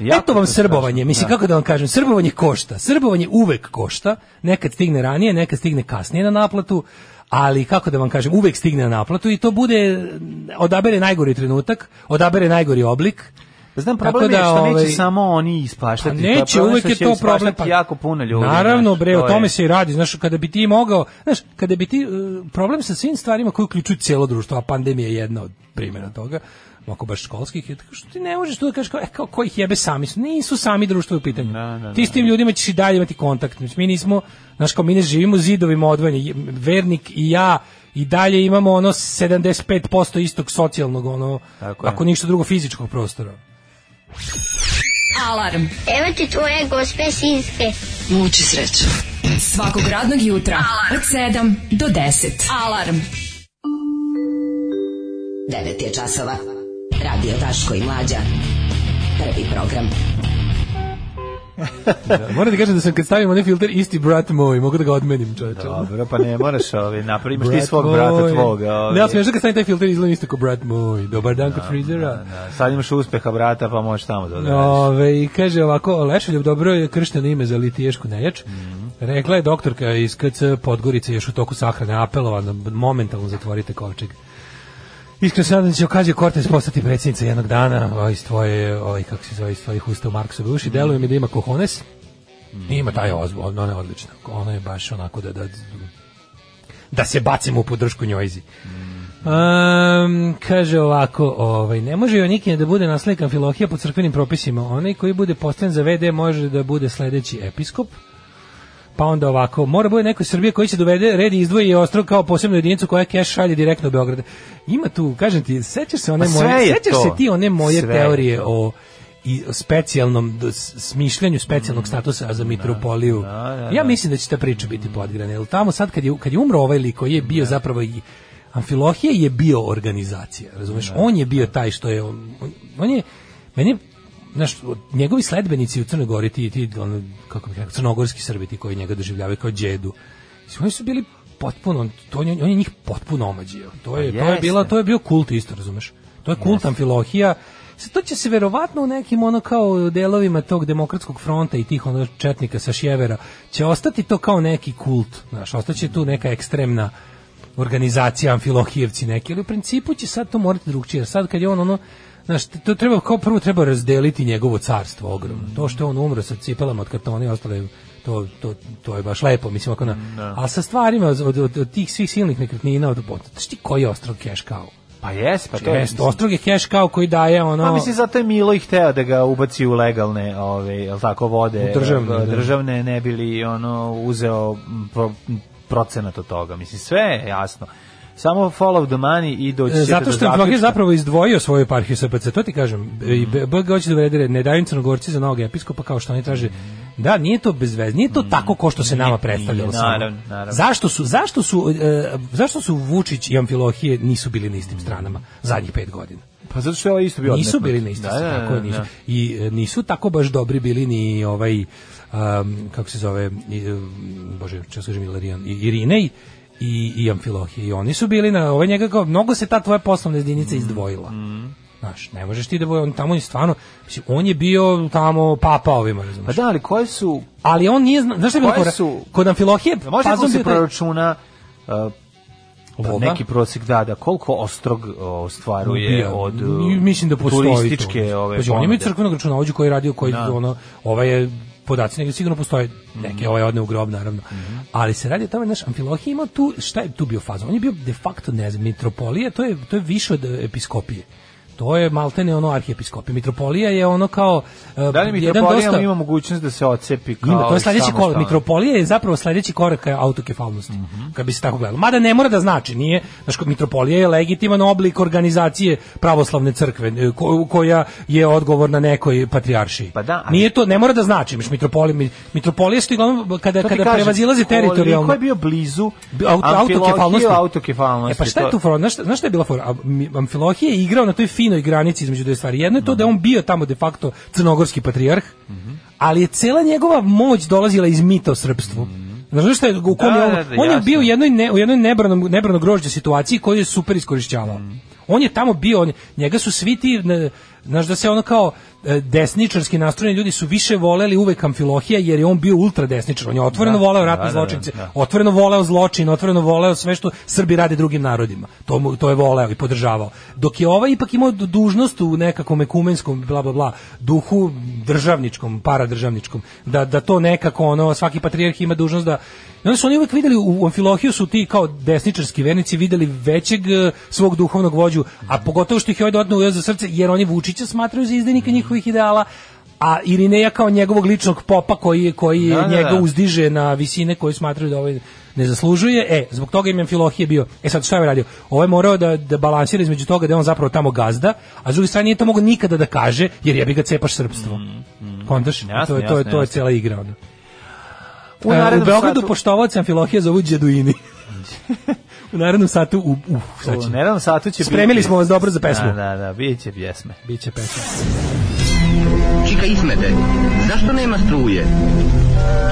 [SPEAKER 7] Jako
[SPEAKER 6] Eto vam
[SPEAKER 7] to strašno.
[SPEAKER 6] srbovanje, mislim kako da vam kažem, srbovanje košta. Srbovanje uvek košta, nekad stigne ranije, nekad stigne kasnije na naplatu, ali kako da vam kažem, uvek stigne na naplatu i to bude odabere najgori trenutak, odabere najgori oblik.
[SPEAKER 7] Znam, problem
[SPEAKER 6] Tako
[SPEAKER 7] je što
[SPEAKER 6] da,
[SPEAKER 7] neće
[SPEAKER 6] ovaj,
[SPEAKER 7] samo oni ispaštati.
[SPEAKER 6] Pa
[SPEAKER 7] to je
[SPEAKER 6] neće,
[SPEAKER 7] problem
[SPEAKER 6] uvek
[SPEAKER 7] što
[SPEAKER 6] je
[SPEAKER 7] će
[SPEAKER 6] to
[SPEAKER 7] ispaštati
[SPEAKER 6] problem. Pa,
[SPEAKER 7] jako puno ljudi.
[SPEAKER 6] Naravno,
[SPEAKER 7] znaš,
[SPEAKER 6] bre,
[SPEAKER 7] to
[SPEAKER 6] o
[SPEAKER 7] je-
[SPEAKER 6] tome se i radi. Znaš, kada bi ti mogao, znaš, kada bi ti, e, problem sa svim stvarima koji uključuju cijelo društvo, a pandemija je jedna od primjera toga, ako baš školskih, je tako što ti ne možeš tu da kažeš kao, e, kao koji ih jebe sami su. Nisu sami društvo u pitanju.
[SPEAKER 7] Da, da,
[SPEAKER 6] ti s tim ljudima ćeš i dalje imati kontakt. Mislim, Mi nismo, znaš, kao mi ne živimo u zidovima odvojeni. Je- Vernik i ja i dalje imamo ono 75% istog socijalnog, ono,
[SPEAKER 7] Tako je.
[SPEAKER 6] ako ništa drugo fizičkog prostora.
[SPEAKER 2] Alarm.
[SPEAKER 4] Evo ti tvoje gospe sinske.
[SPEAKER 2] Muči sreću. Svakog radnog jutra od 7 do 10. Alarm. 9 je časova. Radio Daško i Mlađa. Prvi program.
[SPEAKER 6] Da, moram ti kažem da sam kad stavim onaj filter isti brat moj, mogu da ga odmenim, čoveče.
[SPEAKER 7] Dobro, pa ne moraš, ovaj, napravi, imaš ti
[SPEAKER 6] Brat
[SPEAKER 7] svog
[SPEAKER 6] moj. Da,
[SPEAKER 7] brata tvoga.
[SPEAKER 6] Ne,
[SPEAKER 7] Ovaj.
[SPEAKER 6] ali smiješno kad stavim taj filter izgledam isto ko brat moj. Dobar dan kod frizera.
[SPEAKER 7] Da, Sad imaš uspeha brata, pa možeš tamo da odrediš.
[SPEAKER 6] Ove, i kaže ovako, Lešoljub dobro je kršteno ime za litiješku nejač.
[SPEAKER 7] Mhm.
[SPEAKER 6] Rekla je doktorka iz KC Podgorice još u toku sahrane apelova da momentalno zatvorite kovčeg. Iskreno se nadam da će Okazio Cortez postati predsjednica jednog dana, ovaj, iz tvoje, ovaj, kako se zove, iz tvojih usta u Marksove uši,
[SPEAKER 7] Mhm.
[SPEAKER 6] deluje mi da ima kohones, ima taj ozbo, ona je odlična, ona je baš onako da, da, da se bacimo u podršku njojzi. Um, kaže ovako, ovaj, ne može Jonikine da bude naslekan Filohija po crkvenim propisima. Onaj koji bude postavljen za VD može da bude sledeći episkop. Pa onda ovako, mora bude neko iz Srbije koji će dovede red i izdvoji i ostrog kao posebnu jedinicu koja keš šalje direktno u Beograd. Ima tu, kažem ti, sećaš se one
[SPEAKER 7] Ma sve
[SPEAKER 6] moje,
[SPEAKER 7] je
[SPEAKER 6] sećaš
[SPEAKER 7] to.
[SPEAKER 6] se ti one moje
[SPEAKER 7] Sve je
[SPEAKER 6] teorije o i o specijalnom d- s- smišljanju specijalnog statusa za mitropoliju. Ja mislim Mm, da će ta priča biti podgrana. Jer tamo sad kad je kad je umro ovaj lik koji je bio zapravo i Amfilohije je bio organizacija, razumeš? On je bio taj što je on, on- on je meni je, znaš, od- njegovi sledbenici u Crnoj Gori, ti, ti ono, kako bih rekao, crnogorski Srbi ti koji njega doživljavaju kao džedu. Mislim, Oni su bili potpuno, on- to, on, je- on je njih potpuno omađio. To je, to je
[SPEAKER 7] jeste.
[SPEAKER 6] bila, to je bio kult isto, razumeš? To je kult Amfilohija. Sad, to će se verovatno u nekim ono kao delovima tog demokratskog fronta i tih ono četnika sa sjevera će ostati to kao neki kult, znaš, ostaće tu neka ekstremna organizacija Amfilohijevci neki, ali u principu će sad to morati drugčije. jer Sad kad je on ono Znaš, t- to treba, kao prvo treba razdeliti njegovo carstvo ogromno. To što je on umro sa cipelama od kartona i ostalo je, to, to, to je baš lepo, mislim, ako na...
[SPEAKER 7] Da.
[SPEAKER 6] Ali sa stvarima od, od, od, od tih svih silnih nekretnina, od, od, znaš ti koji je ostrog cash kao?
[SPEAKER 7] Pa jes, pa to je.
[SPEAKER 6] Jest, ostrog je cash kao koji daje ono...
[SPEAKER 7] Pa mislim zato je Milo i hteo da ga ubaci u legalne, ove, jel tako vode,
[SPEAKER 6] U državne,
[SPEAKER 7] e,
[SPEAKER 6] da.
[SPEAKER 7] državne ne bili ono uzeo m, pro, m, procenat od toga. Mislim sve je jasno. Samo follow the money i doći ćete
[SPEAKER 6] Zato
[SPEAKER 7] do
[SPEAKER 6] što je Amfilohije
[SPEAKER 7] zaključka.
[SPEAKER 6] zapravo izdvojio svoju eparhiju SPC, to ti kažem. I B- BG hoće da uvede red, ne daju im crnogorci za novog episkopa kao što oni traže. Da, nije to bez veze, nije to tako ko što se nama predstavljalo.
[SPEAKER 7] Mm, nije,
[SPEAKER 6] samo.
[SPEAKER 7] naravno, naravno.
[SPEAKER 6] Zašto su, zašto su, e, zašto su Vučić i Amfilohije nisu bili na istim stranama zadnjih pet godina?
[SPEAKER 7] Pa zato što je ovaj isto bio
[SPEAKER 6] Nisu
[SPEAKER 7] odmetnut.
[SPEAKER 6] bili na istoj
[SPEAKER 7] Da, da,
[SPEAKER 6] strani, tako je,
[SPEAKER 7] da,
[SPEAKER 6] nisu.
[SPEAKER 7] da.
[SPEAKER 6] I e, nisu tako baš dobri bili ni ovaj um, kako se zove i, um, bože, čas kažem Ilarion, i Irinej i, i Amfilohije. I oni su bili na ovaj njega kao, mnogo se ta tvoja poslovna
[SPEAKER 7] Mm,
[SPEAKER 6] jedinica izdvojila. Znaš, ne možeš ti da bude, on tamo je stvarno, mislim, on je bio tamo papa ovima, razumiješ.
[SPEAKER 7] Pa da, ali koje su
[SPEAKER 6] Ali on nije, zna- znaš šta je bilo
[SPEAKER 7] Koje
[SPEAKER 6] fora?
[SPEAKER 7] su-
[SPEAKER 6] Kod Amfilohije,
[SPEAKER 7] Možda mu
[SPEAKER 6] fazon
[SPEAKER 7] Da, se
[SPEAKER 6] bio taj-
[SPEAKER 7] proračuna uh,
[SPEAKER 6] Loba?
[SPEAKER 7] neki prosek da, da, koliko ostrog uh, ostvaruje
[SPEAKER 6] Bio.
[SPEAKER 7] od uh,
[SPEAKER 6] Mi- mislim da postoji
[SPEAKER 7] turističke
[SPEAKER 6] to.
[SPEAKER 7] ove
[SPEAKER 6] Pazi, oni imaju
[SPEAKER 7] ponude.
[SPEAKER 6] crkvenog računovođu koji je radio koji
[SPEAKER 7] Da. Mhm.
[SPEAKER 6] ono ovaj je podaci nego sigurno postoje neke ovaj odne u grob naravno ali se radi o tome naš Amfilohije imao tu šta je tu bio faza on je bio de facto ne znam mitropolija to je to je više od e, episkopije to je maltene ono arhiepiskopija mitropolija je ono kao e,
[SPEAKER 7] Da li
[SPEAKER 6] jedan dosta
[SPEAKER 7] mitropolija ima mogućnost da se ocepi kao
[SPEAKER 6] ima, to je sledeći korak.
[SPEAKER 7] samostalna?
[SPEAKER 6] Mitropolija je zapravo sledeći korak ka autokefalnosti,
[SPEAKER 7] Mhm.
[SPEAKER 6] kad bi se tako gledalo. Mada ne mora da znači, nije, znaš, kao mitropolija je legitiman oblik organizacije pravoslavne crkve, e, ko- koja je odgovorna nekoj patrijaršiji.
[SPEAKER 7] Pa da, ali-
[SPEAKER 6] Nije to, ne mora da znači, miš, mitropolija, mi- mitropolija što je uglavnom, kada,
[SPEAKER 7] To ti
[SPEAKER 6] kada
[SPEAKER 7] kažem,
[SPEAKER 6] prevazilazi
[SPEAKER 7] Koliko
[SPEAKER 6] teritorijalno...
[SPEAKER 7] je bio blizu
[SPEAKER 6] Bi- Auto,
[SPEAKER 7] Amfilohiju,
[SPEAKER 6] autokefalnosti.
[SPEAKER 7] autokefalnosti.
[SPEAKER 6] E pa šta je
[SPEAKER 7] to-
[SPEAKER 6] tu fora? Znaš, šta- znaš šta je bila fora? A, mi- Amfilohije je igrao na toj finoj granici između dve stvari. Jedno je
[SPEAKER 7] Mhm.
[SPEAKER 6] to da je on bio tamo de facto crnogorski patrijarh, ali je cela njegova moć dolazila iz mita o srpstvu. Znaš šta je, u kom
[SPEAKER 7] Mhm. Da,
[SPEAKER 6] je on,
[SPEAKER 7] da, da,
[SPEAKER 6] on je
[SPEAKER 7] jasno.
[SPEAKER 6] bio u jednoj, ne, u jednoj nebranom, nebrano grožđe situaciji koju je super iskorišćavao.
[SPEAKER 7] Mhm.
[SPEAKER 6] On je tamo bio, on, njega su svi ti, ne, znaš da se ono kao e, desničarski nastrojeni ljudi su više voleli uvek Amfilohija jer je on bio ultra desničar, on je otvoreno
[SPEAKER 7] Da,
[SPEAKER 6] voleo ratne
[SPEAKER 7] da, da,
[SPEAKER 6] zločince,
[SPEAKER 7] da.
[SPEAKER 6] otvoreno voleo zločin, otvoreno voleo sve što Srbi rade drugim narodima. To, mu, to je voleo i podržavao. Dok je ovaj ipak imao du- dužnost u nekakvom ekumenskom bla bla bla duhu državničkom, paradržavničkom, da, da to nekako ono, svaki patrijarh ima dužnost da I onda su oni uvek videli, u Amfilohiju su ti kao desničarski vernici videli većeg e, svog duhovnog vođu, a pogotovo što ih je ovaj dodatno ujeo za srce, jer oni Vučića smatraju za izdajnika njihovih ideala, a Irineja kao njegovog ličnog popa koji, koji
[SPEAKER 7] Da, da,
[SPEAKER 6] njega
[SPEAKER 7] da.
[SPEAKER 6] uzdiže na visine koje smatraju da ovaj ne zaslužuje. E, zbog toga im je Amfilohije bio. E sad šta je ovaj radio? Ovo je morao da, da balansira između toga da je on zapravo tamo gazda, a s druge strane nije to mogao nikada da kaže, jer jebi ga cepaš srpstvo. Kontaš?
[SPEAKER 7] Mm, Jasno,
[SPEAKER 6] to je, to je,
[SPEAKER 7] jasno,
[SPEAKER 6] to je
[SPEAKER 7] jasno.
[SPEAKER 6] cela igra. Onda.
[SPEAKER 7] U
[SPEAKER 6] E,
[SPEAKER 7] narednom
[SPEAKER 6] u Beogradu
[SPEAKER 7] satu-
[SPEAKER 6] poštovaoci Amfilohije zovu
[SPEAKER 7] <laughs>
[SPEAKER 6] Đeduini. u narednom satu, u, uh, sad
[SPEAKER 7] U
[SPEAKER 6] će-
[SPEAKER 7] narednom satu će
[SPEAKER 6] Spremili
[SPEAKER 7] biti-
[SPEAKER 6] smo vas dobro za pesmu.
[SPEAKER 7] Da, da, da, vidjet će pjesme.
[SPEAKER 6] Biće pesma.
[SPEAKER 11] Čika Ismete, zašto nema struje?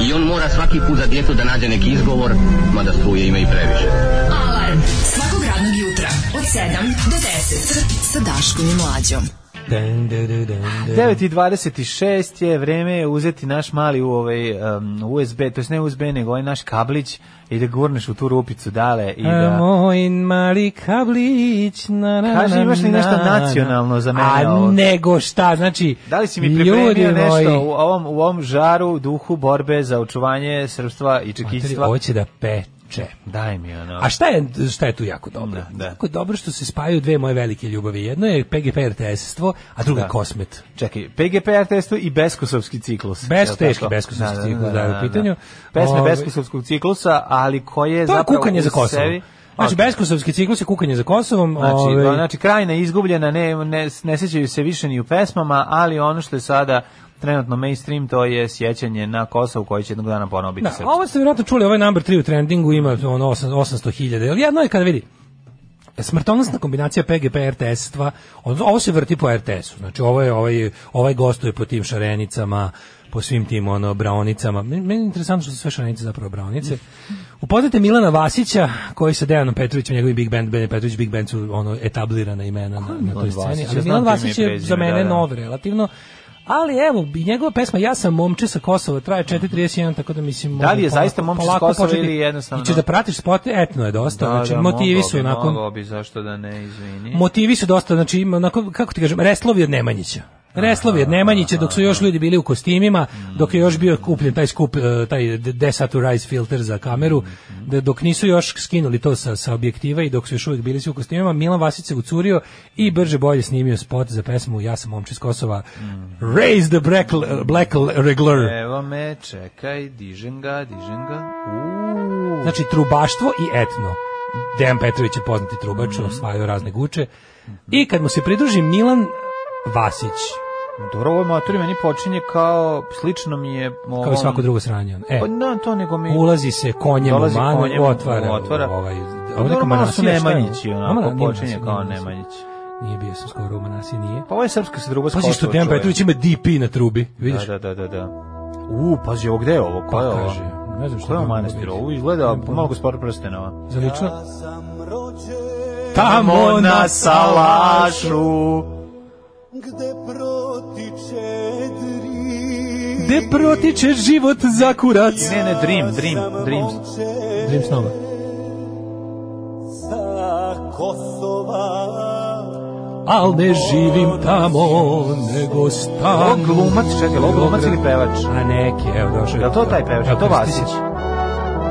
[SPEAKER 11] I on mora svaki put za djecu da nađe neki izgovor, mada struje ima i previše.
[SPEAKER 2] Alarm. Svakog radnog jutra od 7 do 10.
[SPEAKER 12] sa Daškom i Mlađom.
[SPEAKER 6] Dun, dun, dun, dun, dun.
[SPEAKER 7] 9.26 je vreme uzeti naš mali u ovaj, um, USB, to je ne USB, nego ovaj naš kablić i da gurneš u tu rupicu dale i
[SPEAKER 6] A
[SPEAKER 7] da...
[SPEAKER 6] Moj mali kablić na, na,
[SPEAKER 7] Kaži,
[SPEAKER 6] na,
[SPEAKER 7] imaš li nešto
[SPEAKER 6] na, na.
[SPEAKER 7] nacionalno za mene
[SPEAKER 6] A
[SPEAKER 7] ovog?
[SPEAKER 6] nego šta, znači
[SPEAKER 7] Da li si mi
[SPEAKER 6] ljudi
[SPEAKER 7] pripremio
[SPEAKER 6] moji,
[SPEAKER 7] nešto u ovom, u ovom žaru, duhu borbe za očuvanje srpstva i
[SPEAKER 6] Materi,
[SPEAKER 7] čekistva?
[SPEAKER 6] ovo će da peče.
[SPEAKER 7] Daj mi ono.
[SPEAKER 6] A šta je, šta je tu jako dobro?
[SPEAKER 7] Da, da.
[SPEAKER 6] Jako je dobro što se spajaju dve moje velike ljubavi. Jedno je PGP RTS-stvo, a druga
[SPEAKER 7] Da.
[SPEAKER 6] Kosmet.
[SPEAKER 7] Čekaj, PGPR testu i Beskosovski ciklus.
[SPEAKER 6] Bes-
[SPEAKER 7] Je li tako?
[SPEAKER 6] teški Beskosovski ciklus, da, je u pitanju.
[SPEAKER 7] Pesme
[SPEAKER 6] Ovaj-
[SPEAKER 7] Beskosovskog ciklusa, ali koje je
[SPEAKER 6] To je
[SPEAKER 7] zapravo
[SPEAKER 6] kukanje za
[SPEAKER 7] u
[SPEAKER 6] Kosovo.
[SPEAKER 7] sebi-
[SPEAKER 6] Znači,
[SPEAKER 7] Ok.
[SPEAKER 6] beskosovski ciklus je kukanje za Kosovom.
[SPEAKER 7] Znači,
[SPEAKER 6] ovaj,
[SPEAKER 7] ba- znači krajina je izgubljena, ne, ne, ne sećaju se više ni u pesmama, ali ono što je sada trenutno mainstream, to je sjećanje na Kosovo koje će jednog dana ponovo biti
[SPEAKER 6] Da,
[SPEAKER 7] srpsko.
[SPEAKER 6] ovo ste vjerojatno čuli, ovaj number 3 u trendingu ima ono 800.000, ali jedno je kada vidi, E, smrtonosna kombinacija PGP RTS-stva, on- ovo se vrti po RTS-u, znači ovo je, ovaj, ovaj gostuje po tim šarenicama, po svim tim ono braunicama. Meni meni je interesantno što su sve šarenice zapravo braunice. Upoznate Milana Vasića, koji sa Dejanom Petrovićem, njegovi Big Band, Ben Petrović Big Band su ono etablirana imena na, na toj
[SPEAKER 7] Milan
[SPEAKER 6] sceni.
[SPEAKER 7] Vasić? Ja
[SPEAKER 6] Ali
[SPEAKER 7] znam
[SPEAKER 6] Milan
[SPEAKER 7] to ime i
[SPEAKER 6] Vasić je
[SPEAKER 7] prezime,
[SPEAKER 6] za mene
[SPEAKER 7] da, da.
[SPEAKER 6] nov relativno. Ali evo, i njegova pesma Ja sam momče sa Kosova traje 4.31, tako da mislim...
[SPEAKER 7] Da li je
[SPEAKER 6] možda polako-
[SPEAKER 7] zaista momče sa
[SPEAKER 6] polako
[SPEAKER 7] Kosova
[SPEAKER 6] početi.
[SPEAKER 7] ili jednostavno-
[SPEAKER 6] I
[SPEAKER 7] Da,
[SPEAKER 6] ćeš da pratiš spot, etno je dosta, znači motivi su onako...
[SPEAKER 7] Mogao bi, zašto da ne, izvini.
[SPEAKER 6] Mm. Motivi su dosta, znači ima onako, kako ti kažem, reslovi od Nemanjića. Reslovi od Nemanjića dok su još ljudi bili u kostimima, dok je još bio kupljen taj skup, eh, taj desaturize filter za kameru, da dok nisu još skinuli to sa, sa objektiva i dok su još uvijek bili svi u kostimima, Milan Vasić se ucurio i brže bolje snimio spot za pesmu Ja sam momče iz Kosova, Raise the Black, black Regular.
[SPEAKER 7] Evo me, čekaj, dižem ga, dižem ga.
[SPEAKER 6] Znači trubaštvo i etno. Dejan Petrović je poznati trubač, osvajao razne guče. I kad mu se pridruži Milan Vasić,
[SPEAKER 7] Dobro, ovo motor meni počinje kao, slično mi je... Ovom,
[SPEAKER 6] kao i svako drugo sranje. ono. E,
[SPEAKER 7] Pa da, to nego mi...
[SPEAKER 6] ulazi se konjem u
[SPEAKER 7] Dolazi
[SPEAKER 6] manu,
[SPEAKER 7] konjem,
[SPEAKER 6] otvara,
[SPEAKER 7] otvara.
[SPEAKER 6] ovaj,
[SPEAKER 7] Pa
[SPEAKER 6] neko
[SPEAKER 7] dobro, malo su
[SPEAKER 6] manasija, šta je?
[SPEAKER 7] Nemanjići, onako,
[SPEAKER 6] Ono, nije
[SPEAKER 7] počinje
[SPEAKER 6] manasija, nije
[SPEAKER 7] kao
[SPEAKER 6] manasija.
[SPEAKER 7] Nemanjić.
[SPEAKER 6] Nije bio sam skoro u Manasi, nije.
[SPEAKER 7] Pa ovo je srpska se druga
[SPEAKER 6] Pazi što Dejan Petrović ima DP na trubi, vidiš?
[SPEAKER 7] Da, da, da, da. U, pazi, ovo gde je ovo? Ko
[SPEAKER 6] Pa
[SPEAKER 7] je ovo?
[SPEAKER 6] kaže, ne znam šta da
[SPEAKER 7] Ko je ovo
[SPEAKER 6] bi moglo
[SPEAKER 7] manastir?
[SPEAKER 6] biti.
[SPEAKER 7] Ovo izgleda
[SPEAKER 6] Nemam
[SPEAKER 7] malo
[SPEAKER 6] pojma.
[SPEAKER 7] gospodar prstenova.
[SPEAKER 6] Za lično? Tamo na salašu Gde protiče život za kurac
[SPEAKER 7] Ne, ne, Dream, Dream, Dream.
[SPEAKER 6] Dream snova Al ne živim tamo Nego
[SPEAKER 7] Ovo
[SPEAKER 6] stanu
[SPEAKER 7] glumac, čekaj, ovo glumac ili pevač?
[SPEAKER 6] A neki, evo došao
[SPEAKER 7] Je li to taj pevač? Je li to
[SPEAKER 6] Evo,
[SPEAKER 7] Vasić?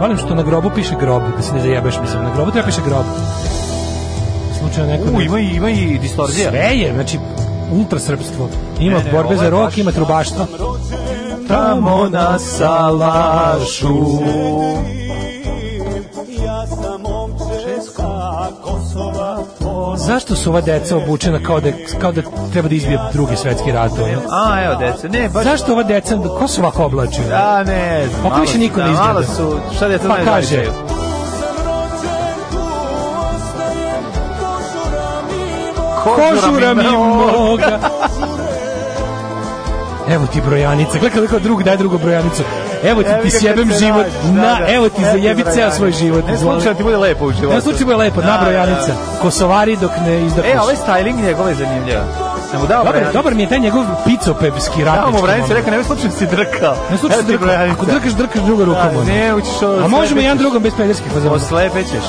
[SPEAKER 6] Volim što na grobu piše grob, da se ne zajebeš, mislim, na grobu treba piše grob. Slučajno neko... da-
[SPEAKER 7] U, ima i, ima i distorzija.
[SPEAKER 6] Sve je, znači, ultrasrpstvo. Ima
[SPEAKER 7] E, Ne, ne,
[SPEAKER 6] borbe
[SPEAKER 7] ovo
[SPEAKER 6] za
[SPEAKER 7] je
[SPEAKER 6] rok,
[SPEAKER 7] baš-
[SPEAKER 6] ima trubaštva.
[SPEAKER 7] Tamo na salašu.
[SPEAKER 6] Zašto su ova deca obučena kao da, kao da treba da izbije drugi svetski rat? Ono?
[SPEAKER 7] A, evo, dece, ne, baš...
[SPEAKER 6] Zašto ova deca, ko se ovako oblači?
[SPEAKER 7] A, ne, znam,
[SPEAKER 6] Pa
[SPEAKER 7] malo
[SPEAKER 6] više
[SPEAKER 7] su-
[SPEAKER 6] niko ne
[SPEAKER 7] da, Malo
[SPEAKER 6] izgleda.
[SPEAKER 7] su, šta djeca
[SPEAKER 6] Pa
[SPEAKER 7] znaju da
[SPEAKER 6] kaže.
[SPEAKER 7] pričaju?
[SPEAKER 6] Kožura mi moga. Evo ti brojanica, gledaj kako drug daje drugu brojanicu. Evo ti,
[SPEAKER 7] Evo
[SPEAKER 6] ti
[SPEAKER 7] ga kad
[SPEAKER 6] sjebem
[SPEAKER 7] se
[SPEAKER 6] život,
[SPEAKER 7] nađe, da,
[SPEAKER 6] na,
[SPEAKER 7] da.
[SPEAKER 6] evo ti
[SPEAKER 7] Evo ti
[SPEAKER 6] zajebi ceo
[SPEAKER 7] brojanicu.
[SPEAKER 6] svoj život.
[SPEAKER 7] Ne
[SPEAKER 6] izvoli.
[SPEAKER 7] slučaj ti bude lepo u životu.
[SPEAKER 6] Ne slučaj je lepo, na
[SPEAKER 7] Da,
[SPEAKER 6] brojanica.
[SPEAKER 7] da.
[SPEAKER 6] Kosovari dok ne izdahnuš.
[SPEAKER 7] E, ovaj styling njegov je zanimljiv. Sam mu dao
[SPEAKER 6] Dobar,
[SPEAKER 7] brojanicu.
[SPEAKER 6] dobar mi je taj njegov picopepski ratnički.
[SPEAKER 7] Dao mu brojanicu,
[SPEAKER 6] moment.
[SPEAKER 7] rekao, nemoj slučajno si drkao.
[SPEAKER 6] Ne slučaj
[SPEAKER 7] Evo
[SPEAKER 6] se
[SPEAKER 7] ti
[SPEAKER 6] drkaš,
[SPEAKER 7] brojanica.
[SPEAKER 6] ako drkaš, drkaš druga rukom.
[SPEAKER 7] Da,
[SPEAKER 6] ono.
[SPEAKER 7] ne, učiš ovo
[SPEAKER 6] A možemo
[SPEAKER 7] slepećeš.
[SPEAKER 6] jedan drugom bez pederskih fazona.
[SPEAKER 7] Oslepećeš.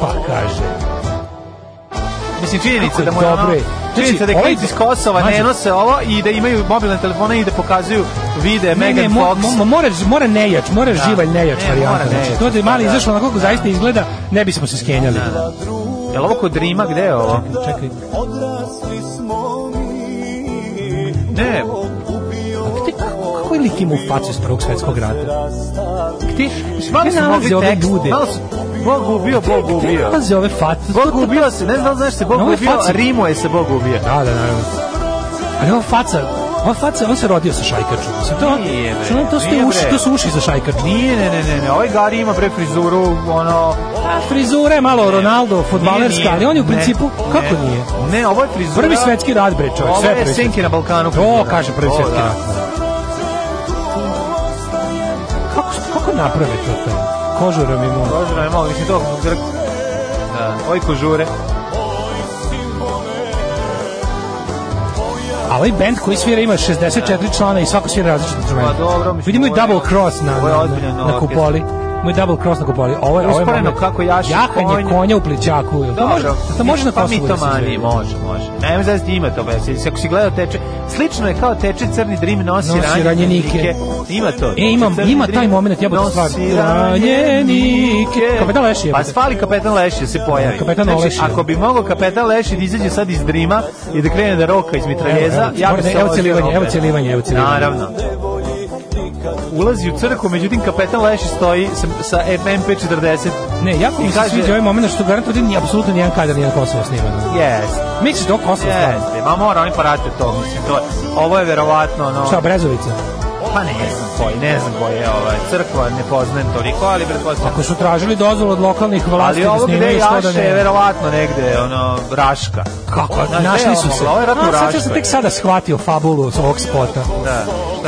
[SPEAKER 6] Pa kaže.
[SPEAKER 7] Mislim, činjenica
[SPEAKER 6] Kako je
[SPEAKER 7] da mu je ono...
[SPEAKER 6] dobro je.
[SPEAKER 7] Činjenica da
[SPEAKER 6] Znači,
[SPEAKER 7] klinci iz
[SPEAKER 6] ovaj-
[SPEAKER 7] Kosova ne
[SPEAKER 6] Mađo-
[SPEAKER 7] nose ovo i da imaju mobilne telefone i da pokazuju vide
[SPEAKER 6] Ne, ne,
[SPEAKER 7] Megan
[SPEAKER 6] mo,
[SPEAKER 7] Fox. Da.
[SPEAKER 6] mo, mo- mora, mora nejač, mora živalj nejač
[SPEAKER 7] Ne,
[SPEAKER 6] varijanta.
[SPEAKER 7] mora nejač,
[SPEAKER 6] Znači, to da je mali
[SPEAKER 7] da.
[SPEAKER 6] izašlo onako kako zaista izgleda, ne bismo se skenjali.
[SPEAKER 7] Jel ovo kod Rima, gde je ovo?
[SPEAKER 6] Čekaj,
[SPEAKER 7] Ne,
[SPEAKER 6] a gde, kako je lik ima u facu iz prvog svetskog rata? Gde,
[SPEAKER 7] malo
[SPEAKER 6] gde
[SPEAKER 7] su
[SPEAKER 6] nalaze
[SPEAKER 7] mogli
[SPEAKER 6] ove
[SPEAKER 7] tekst,
[SPEAKER 6] ljude?
[SPEAKER 7] malo su... Bog ubio, Bog
[SPEAKER 6] Gde
[SPEAKER 7] ubio.
[SPEAKER 6] nalaze ove facu?
[SPEAKER 7] Bog ubio se, ne znam znaš se, Bog
[SPEAKER 6] Na ovoj
[SPEAKER 7] ubio,
[SPEAKER 6] faci.
[SPEAKER 7] Rimu je se Bog ubio.
[SPEAKER 6] Da, da, naravno. Ali ova faca, ova faca, on se rodio sa šajkačom. Mislim, to,
[SPEAKER 7] Nije, bre,
[SPEAKER 6] što on- to, su te
[SPEAKER 7] nije,
[SPEAKER 6] uši,
[SPEAKER 7] bre.
[SPEAKER 6] to su uši za šajkaču.
[SPEAKER 7] Nije, ne, ne, ne, ne, ovaj Gari ima pre frizuru, ono...
[SPEAKER 6] A frizura je malo Ronaldo,
[SPEAKER 7] Nije,
[SPEAKER 6] fudbalerska,
[SPEAKER 7] nije.
[SPEAKER 6] ali on je u
[SPEAKER 7] Ne,
[SPEAKER 6] principu,
[SPEAKER 7] ne.
[SPEAKER 6] kako nije?
[SPEAKER 7] Ne, ovo je frizura...
[SPEAKER 6] Prvi svetski rat, bre, čovjek,
[SPEAKER 7] Ovo
[SPEAKER 6] sve
[SPEAKER 7] je
[SPEAKER 6] prvi
[SPEAKER 7] Senki na Balkanu.
[SPEAKER 6] To kaže prvi
[SPEAKER 7] O,
[SPEAKER 6] svetski
[SPEAKER 7] da.
[SPEAKER 6] rat. Kako, kako naprave to tamo? Kožura mi mora.
[SPEAKER 7] Kožura je malo, mislim to grk. Da, oj kožure.
[SPEAKER 6] A ovaj band koji svira ima 64 člana i svako svira različite instrumente.
[SPEAKER 7] Pa dobro, mislim,
[SPEAKER 6] Vidimo i
[SPEAKER 7] ovo je-
[SPEAKER 6] double cross na,
[SPEAKER 7] ovo je
[SPEAKER 6] na,
[SPEAKER 7] ozbiljan
[SPEAKER 6] na, na
[SPEAKER 7] orkestar.
[SPEAKER 6] kupoli. Moj double cross na kupoli. Ovo je, ovo je
[SPEAKER 7] Usporeno
[SPEAKER 6] moment.
[SPEAKER 7] kako jaši
[SPEAKER 6] Jahanje
[SPEAKER 7] konj.
[SPEAKER 6] konja u plećaku. Jel To može, jel to može na
[SPEAKER 7] pa
[SPEAKER 6] Kosovu da se
[SPEAKER 7] mitomani,
[SPEAKER 6] izvede?
[SPEAKER 7] može, može. Nema znači ima to veze. Ako si gledao teče, slično je kao teče crni drim nosi,
[SPEAKER 6] Nosi ranjenike.
[SPEAKER 7] Ima to.
[SPEAKER 6] E, ima,
[SPEAKER 7] Crni
[SPEAKER 6] ima
[SPEAKER 7] Drim
[SPEAKER 6] taj moment, jebote stvar.
[SPEAKER 7] nosi ranjenike.
[SPEAKER 6] Kapetan Leš je, jebote.
[SPEAKER 7] Pa svali kapetan Leš da se pojavi.
[SPEAKER 6] Kapetan Oleš
[SPEAKER 7] znači,
[SPEAKER 6] je.
[SPEAKER 7] ako bi mogao kapetan Leš da izađe sad iz drima i da krene da roka iz mitraljeza,
[SPEAKER 6] Evo, evo,
[SPEAKER 7] ja
[SPEAKER 6] ne,
[SPEAKER 7] bi se
[SPEAKER 6] evo
[SPEAKER 7] ložio
[SPEAKER 6] celivanje,
[SPEAKER 7] opet.
[SPEAKER 6] evo celivanje, evo celivanje.
[SPEAKER 7] Naravno. Ulazi u crku, međutim kapetan Leš stoji sa, sa MP40.
[SPEAKER 6] Ne, jako
[SPEAKER 7] I
[SPEAKER 6] mi se
[SPEAKER 7] kaže-
[SPEAKER 6] sviđa ovaj moment što garantuje da nije apsolutno nijedan kadar nije na Kosovo sniman.
[SPEAKER 7] Yes.
[SPEAKER 6] Misliš da je ovo Kosovo stvarno?
[SPEAKER 7] Jeste, ma mora oni parate to, mislim, to je, ovo je verovatno, ono,
[SPEAKER 6] Šta, Brezovica?
[SPEAKER 7] pa ne znam koji, ne znam koji je ovaj, crkva, ne poznajem toliko, ali pretpostavljam.
[SPEAKER 6] Ako su tražili dozvolu od lokalnih vlasti
[SPEAKER 7] Ali
[SPEAKER 6] da
[SPEAKER 7] ovo gde
[SPEAKER 6] snimaju što da
[SPEAKER 7] jaše je
[SPEAKER 6] ne...
[SPEAKER 7] verovatno negde, ono, Raška.
[SPEAKER 6] Kako?
[SPEAKER 7] Znaš,
[SPEAKER 6] Našli
[SPEAKER 7] gde
[SPEAKER 6] su
[SPEAKER 7] je
[SPEAKER 6] se.
[SPEAKER 7] ovo? Ovo je ratno
[SPEAKER 6] A, sad
[SPEAKER 7] Raška.
[SPEAKER 6] sam tek sada shvatio fabulu s ovog spota.
[SPEAKER 7] Da.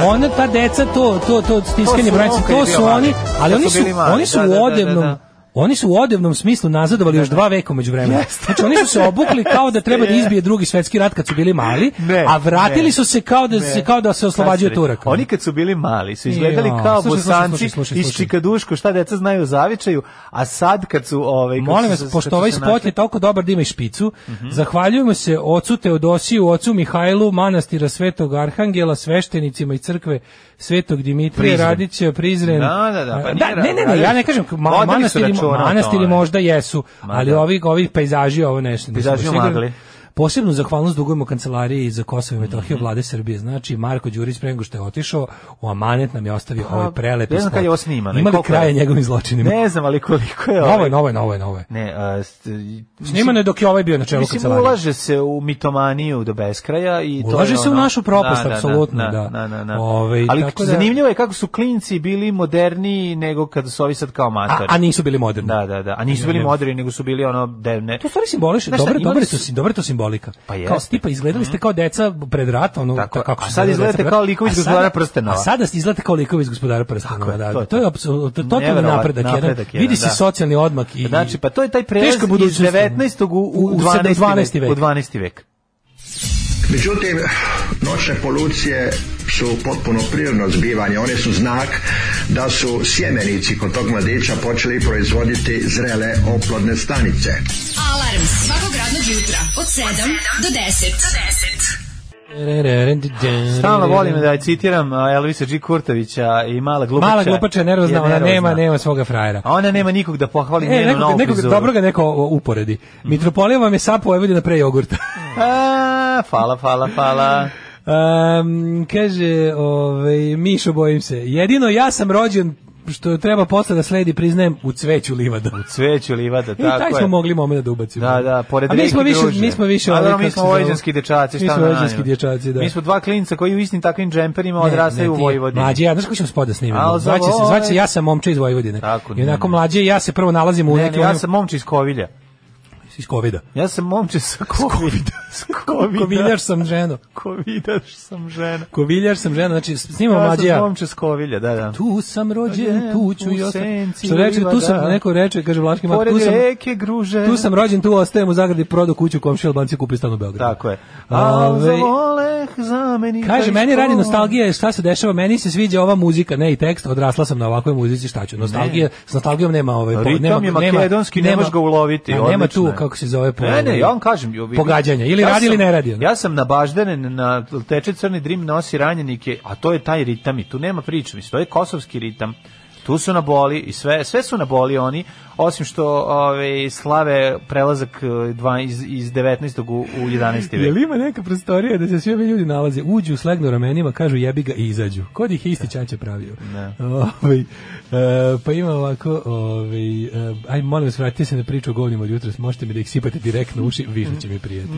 [SPEAKER 6] Ona, ta deca, to, to, to stiskanje
[SPEAKER 7] To su
[SPEAKER 6] branice,
[SPEAKER 7] on kad je
[SPEAKER 6] to
[SPEAKER 7] bio
[SPEAKER 6] su
[SPEAKER 7] mali.
[SPEAKER 6] oni, ali
[SPEAKER 7] Kad
[SPEAKER 6] oni
[SPEAKER 7] su
[SPEAKER 6] su,
[SPEAKER 7] bili mali.
[SPEAKER 6] oni su
[SPEAKER 7] Da, da, da,
[SPEAKER 6] u
[SPEAKER 7] da,
[SPEAKER 6] odevnom,
[SPEAKER 7] da.
[SPEAKER 6] oni su u odevnom smislu nazadovali još dva veka među vremena. Znači oni su se obukli kao da
[SPEAKER 7] <laughs>
[SPEAKER 6] treba da izbije drugi svetski rat kad su bili mali,
[SPEAKER 7] Ne,
[SPEAKER 6] a vratili
[SPEAKER 7] ne,
[SPEAKER 6] su se kao da, se, kao da se oslobađaju
[SPEAKER 7] Sad ste
[SPEAKER 6] Turaka.
[SPEAKER 7] rekli, Oni kad su bili mali su izgledali
[SPEAKER 6] Jo,
[SPEAKER 7] kao
[SPEAKER 6] slušaj, slušaj,
[SPEAKER 7] bosanci
[SPEAKER 6] slušaj, slušaj,
[SPEAKER 7] iz
[SPEAKER 6] slušaj.
[SPEAKER 7] Čikaduško, šta deca znaju o zavičaju, a sad kad su... Ovaj, kad
[SPEAKER 6] Molim
[SPEAKER 7] su
[SPEAKER 6] vas,
[SPEAKER 7] se- kad
[SPEAKER 6] pošto
[SPEAKER 7] su
[SPEAKER 6] ovaj
[SPEAKER 7] se
[SPEAKER 6] spot
[SPEAKER 7] našli-
[SPEAKER 6] je toliko dobar da ima i špicu,
[SPEAKER 7] Mhm.
[SPEAKER 6] zahvaljujemo se ocu Teodosiju, ocu Mihajlu, manastira Svetog Arhangela, sveštenicima i crkve Svetog Dimitrija
[SPEAKER 7] Prizren.
[SPEAKER 6] Radića, Prizren.
[SPEAKER 7] Da, da, da, pa
[SPEAKER 6] A,
[SPEAKER 7] nije
[SPEAKER 6] ne, ne, ne, ja ne kažem, ma-
[SPEAKER 7] Vodili su
[SPEAKER 6] manastiri,
[SPEAKER 7] računa o tome.
[SPEAKER 6] manastiri možda jesu,
[SPEAKER 7] Ma
[SPEAKER 6] ali
[SPEAKER 7] da.
[SPEAKER 6] ovi, ovi pejzaži, ovo nešto. nisam
[SPEAKER 7] Pejzaži
[SPEAKER 6] siguran.
[SPEAKER 7] omagli.
[SPEAKER 6] Posebnu zahvalnost dugujemo kancelariji za Kosovo i Metohiju
[SPEAKER 7] Mhm.
[SPEAKER 6] vlade Srbije. Znači, Marko Đurić pre nego što je otišao, u amanet nam je ostavio ovaj prelepi
[SPEAKER 7] Pa, ne znam
[SPEAKER 6] spot.
[SPEAKER 7] kad je ovo snimano i
[SPEAKER 6] Ima li
[SPEAKER 7] koliko je?
[SPEAKER 6] kraja njegovim zločinima?
[SPEAKER 7] Ne znam, ali koliko je...
[SPEAKER 6] Novo
[SPEAKER 7] ovaj-
[SPEAKER 6] je, novo je, novo je, novo je.
[SPEAKER 7] Ne, a, st-
[SPEAKER 6] Snimano je dok je ovaj bio na čelu
[SPEAKER 7] Mislim,
[SPEAKER 6] kancelarije.
[SPEAKER 7] ulaže se u mitomaniju do beskraja i to
[SPEAKER 6] Ulaže
[SPEAKER 7] je
[SPEAKER 6] se u
[SPEAKER 7] ono-
[SPEAKER 6] našu propast, apsolutno, da.
[SPEAKER 7] da, da, da.
[SPEAKER 6] Ovaj,
[SPEAKER 7] Ali
[SPEAKER 6] tako da-
[SPEAKER 7] zanimljivo je kako su klinci bili moderniji nego kada su ovi sad kao
[SPEAKER 6] A,
[SPEAKER 7] matori.
[SPEAKER 6] a nisu bili moderni.
[SPEAKER 7] Da, da, da. A nisu bili moderni, nego su bili ono devne.
[SPEAKER 6] To stvari simboliše,
[SPEAKER 7] Znaš šta,
[SPEAKER 6] dobro,
[SPEAKER 7] imali
[SPEAKER 6] dobro
[SPEAKER 7] su-
[SPEAKER 6] su, dobro to simbolika.
[SPEAKER 7] Pa
[SPEAKER 6] kao
[SPEAKER 7] jeste.
[SPEAKER 6] tipa izgledali ste kao deca pred rat, ono
[SPEAKER 7] Tako je.
[SPEAKER 6] kako
[SPEAKER 7] A
[SPEAKER 6] se
[SPEAKER 7] sad
[SPEAKER 6] zove,
[SPEAKER 7] izgledate
[SPEAKER 6] deca pred-
[SPEAKER 7] kao likovi iz
[SPEAKER 6] A sada-
[SPEAKER 7] Gospodara prstenova.
[SPEAKER 6] A sada ste izgledate kao likovi iz gospodara prstenova,
[SPEAKER 7] je,
[SPEAKER 6] da.
[SPEAKER 7] to je
[SPEAKER 6] To je apsolutno to je totalni
[SPEAKER 7] Neverovatan
[SPEAKER 6] napredak, jedan.
[SPEAKER 7] napredak jedan,
[SPEAKER 6] Vidi se
[SPEAKER 7] da.
[SPEAKER 6] socijalni odmak i
[SPEAKER 7] Znači, pa to je taj prelaz
[SPEAKER 6] Teška
[SPEAKER 7] iz
[SPEAKER 6] budućnost.
[SPEAKER 7] 19. u, u,
[SPEAKER 6] U
[SPEAKER 7] 12.
[SPEAKER 6] 12. vek. Da,
[SPEAKER 7] U 12. vek.
[SPEAKER 1] Međutim, noćne polucije su potpuno prirodno zbivanje. One su znak da su sjemenici kod tog mladića počeli proizvoditi zrele oplodne stanice.
[SPEAKER 2] Alarm svakog radnog jutra od 7 do 10.
[SPEAKER 7] Stalno volim da citiram a, Elvisa G. Kurtovića i Mala glupača.
[SPEAKER 6] Mala glupača je nervozna,
[SPEAKER 7] je
[SPEAKER 6] ona nema
[SPEAKER 7] nervozna.
[SPEAKER 6] nema svoga frajera.
[SPEAKER 7] A ona nema nikog da pohvali
[SPEAKER 6] E,
[SPEAKER 7] njenu novu
[SPEAKER 6] nekog, nekog
[SPEAKER 7] frizuru.
[SPEAKER 6] dobro ga neko o, uporedi. Mitropolija vam je sapo Vojvodina pre jogurta.
[SPEAKER 7] A, fala, fala, fala.
[SPEAKER 6] Um, kaže, ovaj, Mišo, bojim se. Jedino ja sam rođen, što treba posle da sledi, priznajem, u cveću livada.
[SPEAKER 7] U cveću livada,
[SPEAKER 6] I E, taj
[SPEAKER 7] <laughs> tako
[SPEAKER 6] smo
[SPEAKER 7] je.
[SPEAKER 6] mogli moment da ubacimo.
[SPEAKER 7] Da, da, pored
[SPEAKER 6] A mi smo
[SPEAKER 7] Riki
[SPEAKER 6] više,
[SPEAKER 7] druže.
[SPEAKER 6] mi smo više...
[SPEAKER 7] A
[SPEAKER 6] ovaj,
[SPEAKER 7] dobro, mi
[SPEAKER 6] kako
[SPEAKER 7] smo
[SPEAKER 6] se zove?
[SPEAKER 7] vojvođanski dečaci, šta
[SPEAKER 6] Mi smo
[SPEAKER 7] na
[SPEAKER 6] vojvođanski
[SPEAKER 7] nama?
[SPEAKER 6] dečaci, da.
[SPEAKER 7] Mi smo dva klinca koji u istim takvim džemperima odrastaju u
[SPEAKER 6] ti-
[SPEAKER 7] Vojvodini.
[SPEAKER 6] Mlađe, ja, znaš ko ćemo spod da snimimo?
[SPEAKER 7] Al, za
[SPEAKER 6] Zvaće se,
[SPEAKER 7] voj-
[SPEAKER 6] zvaće se, ja sam momče iz Vojvodine.
[SPEAKER 7] Tako,
[SPEAKER 6] I onako
[SPEAKER 7] ne.
[SPEAKER 6] mlađe, i ja se prvo nalazim u
[SPEAKER 7] Ne, ne,
[SPEAKER 6] nekim...
[SPEAKER 7] ja
[SPEAKER 6] onim-
[SPEAKER 7] sam momče iz Kovilja.
[SPEAKER 6] Iz Covida.
[SPEAKER 7] Ja sam momče sa Kovilja. S Kovida.
[SPEAKER 6] Koviljaš sam ženo.
[SPEAKER 7] Kovidaš sam žena.
[SPEAKER 6] Koviljaš sam ženo, znači snimamo
[SPEAKER 7] Ja
[SPEAKER 6] mlađe
[SPEAKER 7] sam
[SPEAKER 6] ja.
[SPEAKER 7] momče s Kovilja, da, da.
[SPEAKER 6] Tu sam rođen, tu ću
[SPEAKER 7] U
[SPEAKER 6] i ostajem.
[SPEAKER 7] senci
[SPEAKER 6] Što reče, tu sam,
[SPEAKER 7] livada.
[SPEAKER 6] neko reče, kaže Vlaški Mat,
[SPEAKER 7] Pored
[SPEAKER 6] tu sam,
[SPEAKER 7] reke Gruže.
[SPEAKER 6] tu sam rođen, tu ostajem u Zagradi, prodo kuću, komšija Albanci kupi stan u Beogradu.
[SPEAKER 7] Tako je. Al
[SPEAKER 6] Ove,
[SPEAKER 7] zavoleh zameni.
[SPEAKER 6] kaže,
[SPEAKER 7] taj
[SPEAKER 6] meni radi
[SPEAKER 7] škol.
[SPEAKER 6] nostalgija, šta se dešava, meni se sviđa ova muzika, ne i tekst, odrasla sam na ovakvoj muzici, šta ću, nostalgija, s nostalgijom nema ove...
[SPEAKER 7] Ritam je makedonski, ne možeš ga uloviti,
[SPEAKER 6] a nema
[SPEAKER 7] odlično
[SPEAKER 6] tu,
[SPEAKER 7] je.
[SPEAKER 6] kako se zove, ovaj- po,
[SPEAKER 7] Ne, ne, ja vam kažem. Jo, vi-
[SPEAKER 6] pogađanja, ili radi
[SPEAKER 7] sam-
[SPEAKER 6] ili ne radi. ono.
[SPEAKER 7] Ja sam na baždaren, na teče crni drim nosi ranjenike, a to je taj ritam i tu nema priče, mislim, to je kosovski ritam. Tu su na boli i sve, sve su na boli oni, osim što ove, slave prelazak e, dva, iz, iz 19. u, u 11.
[SPEAKER 6] Jel
[SPEAKER 7] vek.
[SPEAKER 6] ima neka prostorija da se svi ovi ljudi nalaze, uđu, slegnu ramenima, kažu jebi ga i izađu. Kod ih je
[SPEAKER 7] Da.
[SPEAKER 6] isti čanče pravio.
[SPEAKER 7] Ne.
[SPEAKER 6] Ovaj, e, pa ima ovako, ovaj, e, aj molim vas, vratite se na priču o govnima od jutros, možete mi da ih sipate direktno u uši, više će mi prijeti.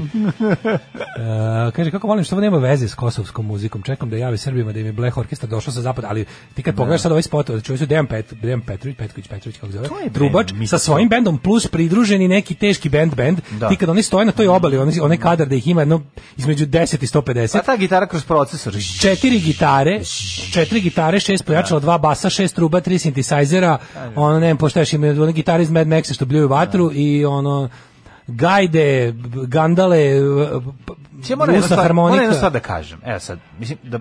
[SPEAKER 6] E, kaže, kako volim što ovo nema veze s kosovskom muzikom, čekam da jave Srbima da im je Bleh orkestar došao sa zapada, ali ti
[SPEAKER 7] Da.
[SPEAKER 6] kad pogledaš sad ovaj spot, čuo su Dejan, Pet, Dejan Petrović, Petković, Petrović, kako zove,
[SPEAKER 7] To je bre,
[SPEAKER 6] trubač,
[SPEAKER 7] mi-
[SPEAKER 6] sa svojim bendom plus pridruženi neki teški band band,
[SPEAKER 7] Da.
[SPEAKER 6] ti kad oni stoje na toj obali, oni, onaj kadar da ih ima jedno između 10 i 150,
[SPEAKER 7] Pa ta gitara kroz procesor.
[SPEAKER 6] četiri gitare, četiri gitare, šest pojačala, dva basa, šest truba, tri sintisajzera, ono, ne znam, pošto još imaju one gitare iz Mad Maxa što bljuju vatru i ono, gajde, b- gandale, p- p-
[SPEAKER 7] Če mora
[SPEAKER 6] Rusa harmonika.
[SPEAKER 7] Moram jednu stvar da kažem. Evo sad, mislim da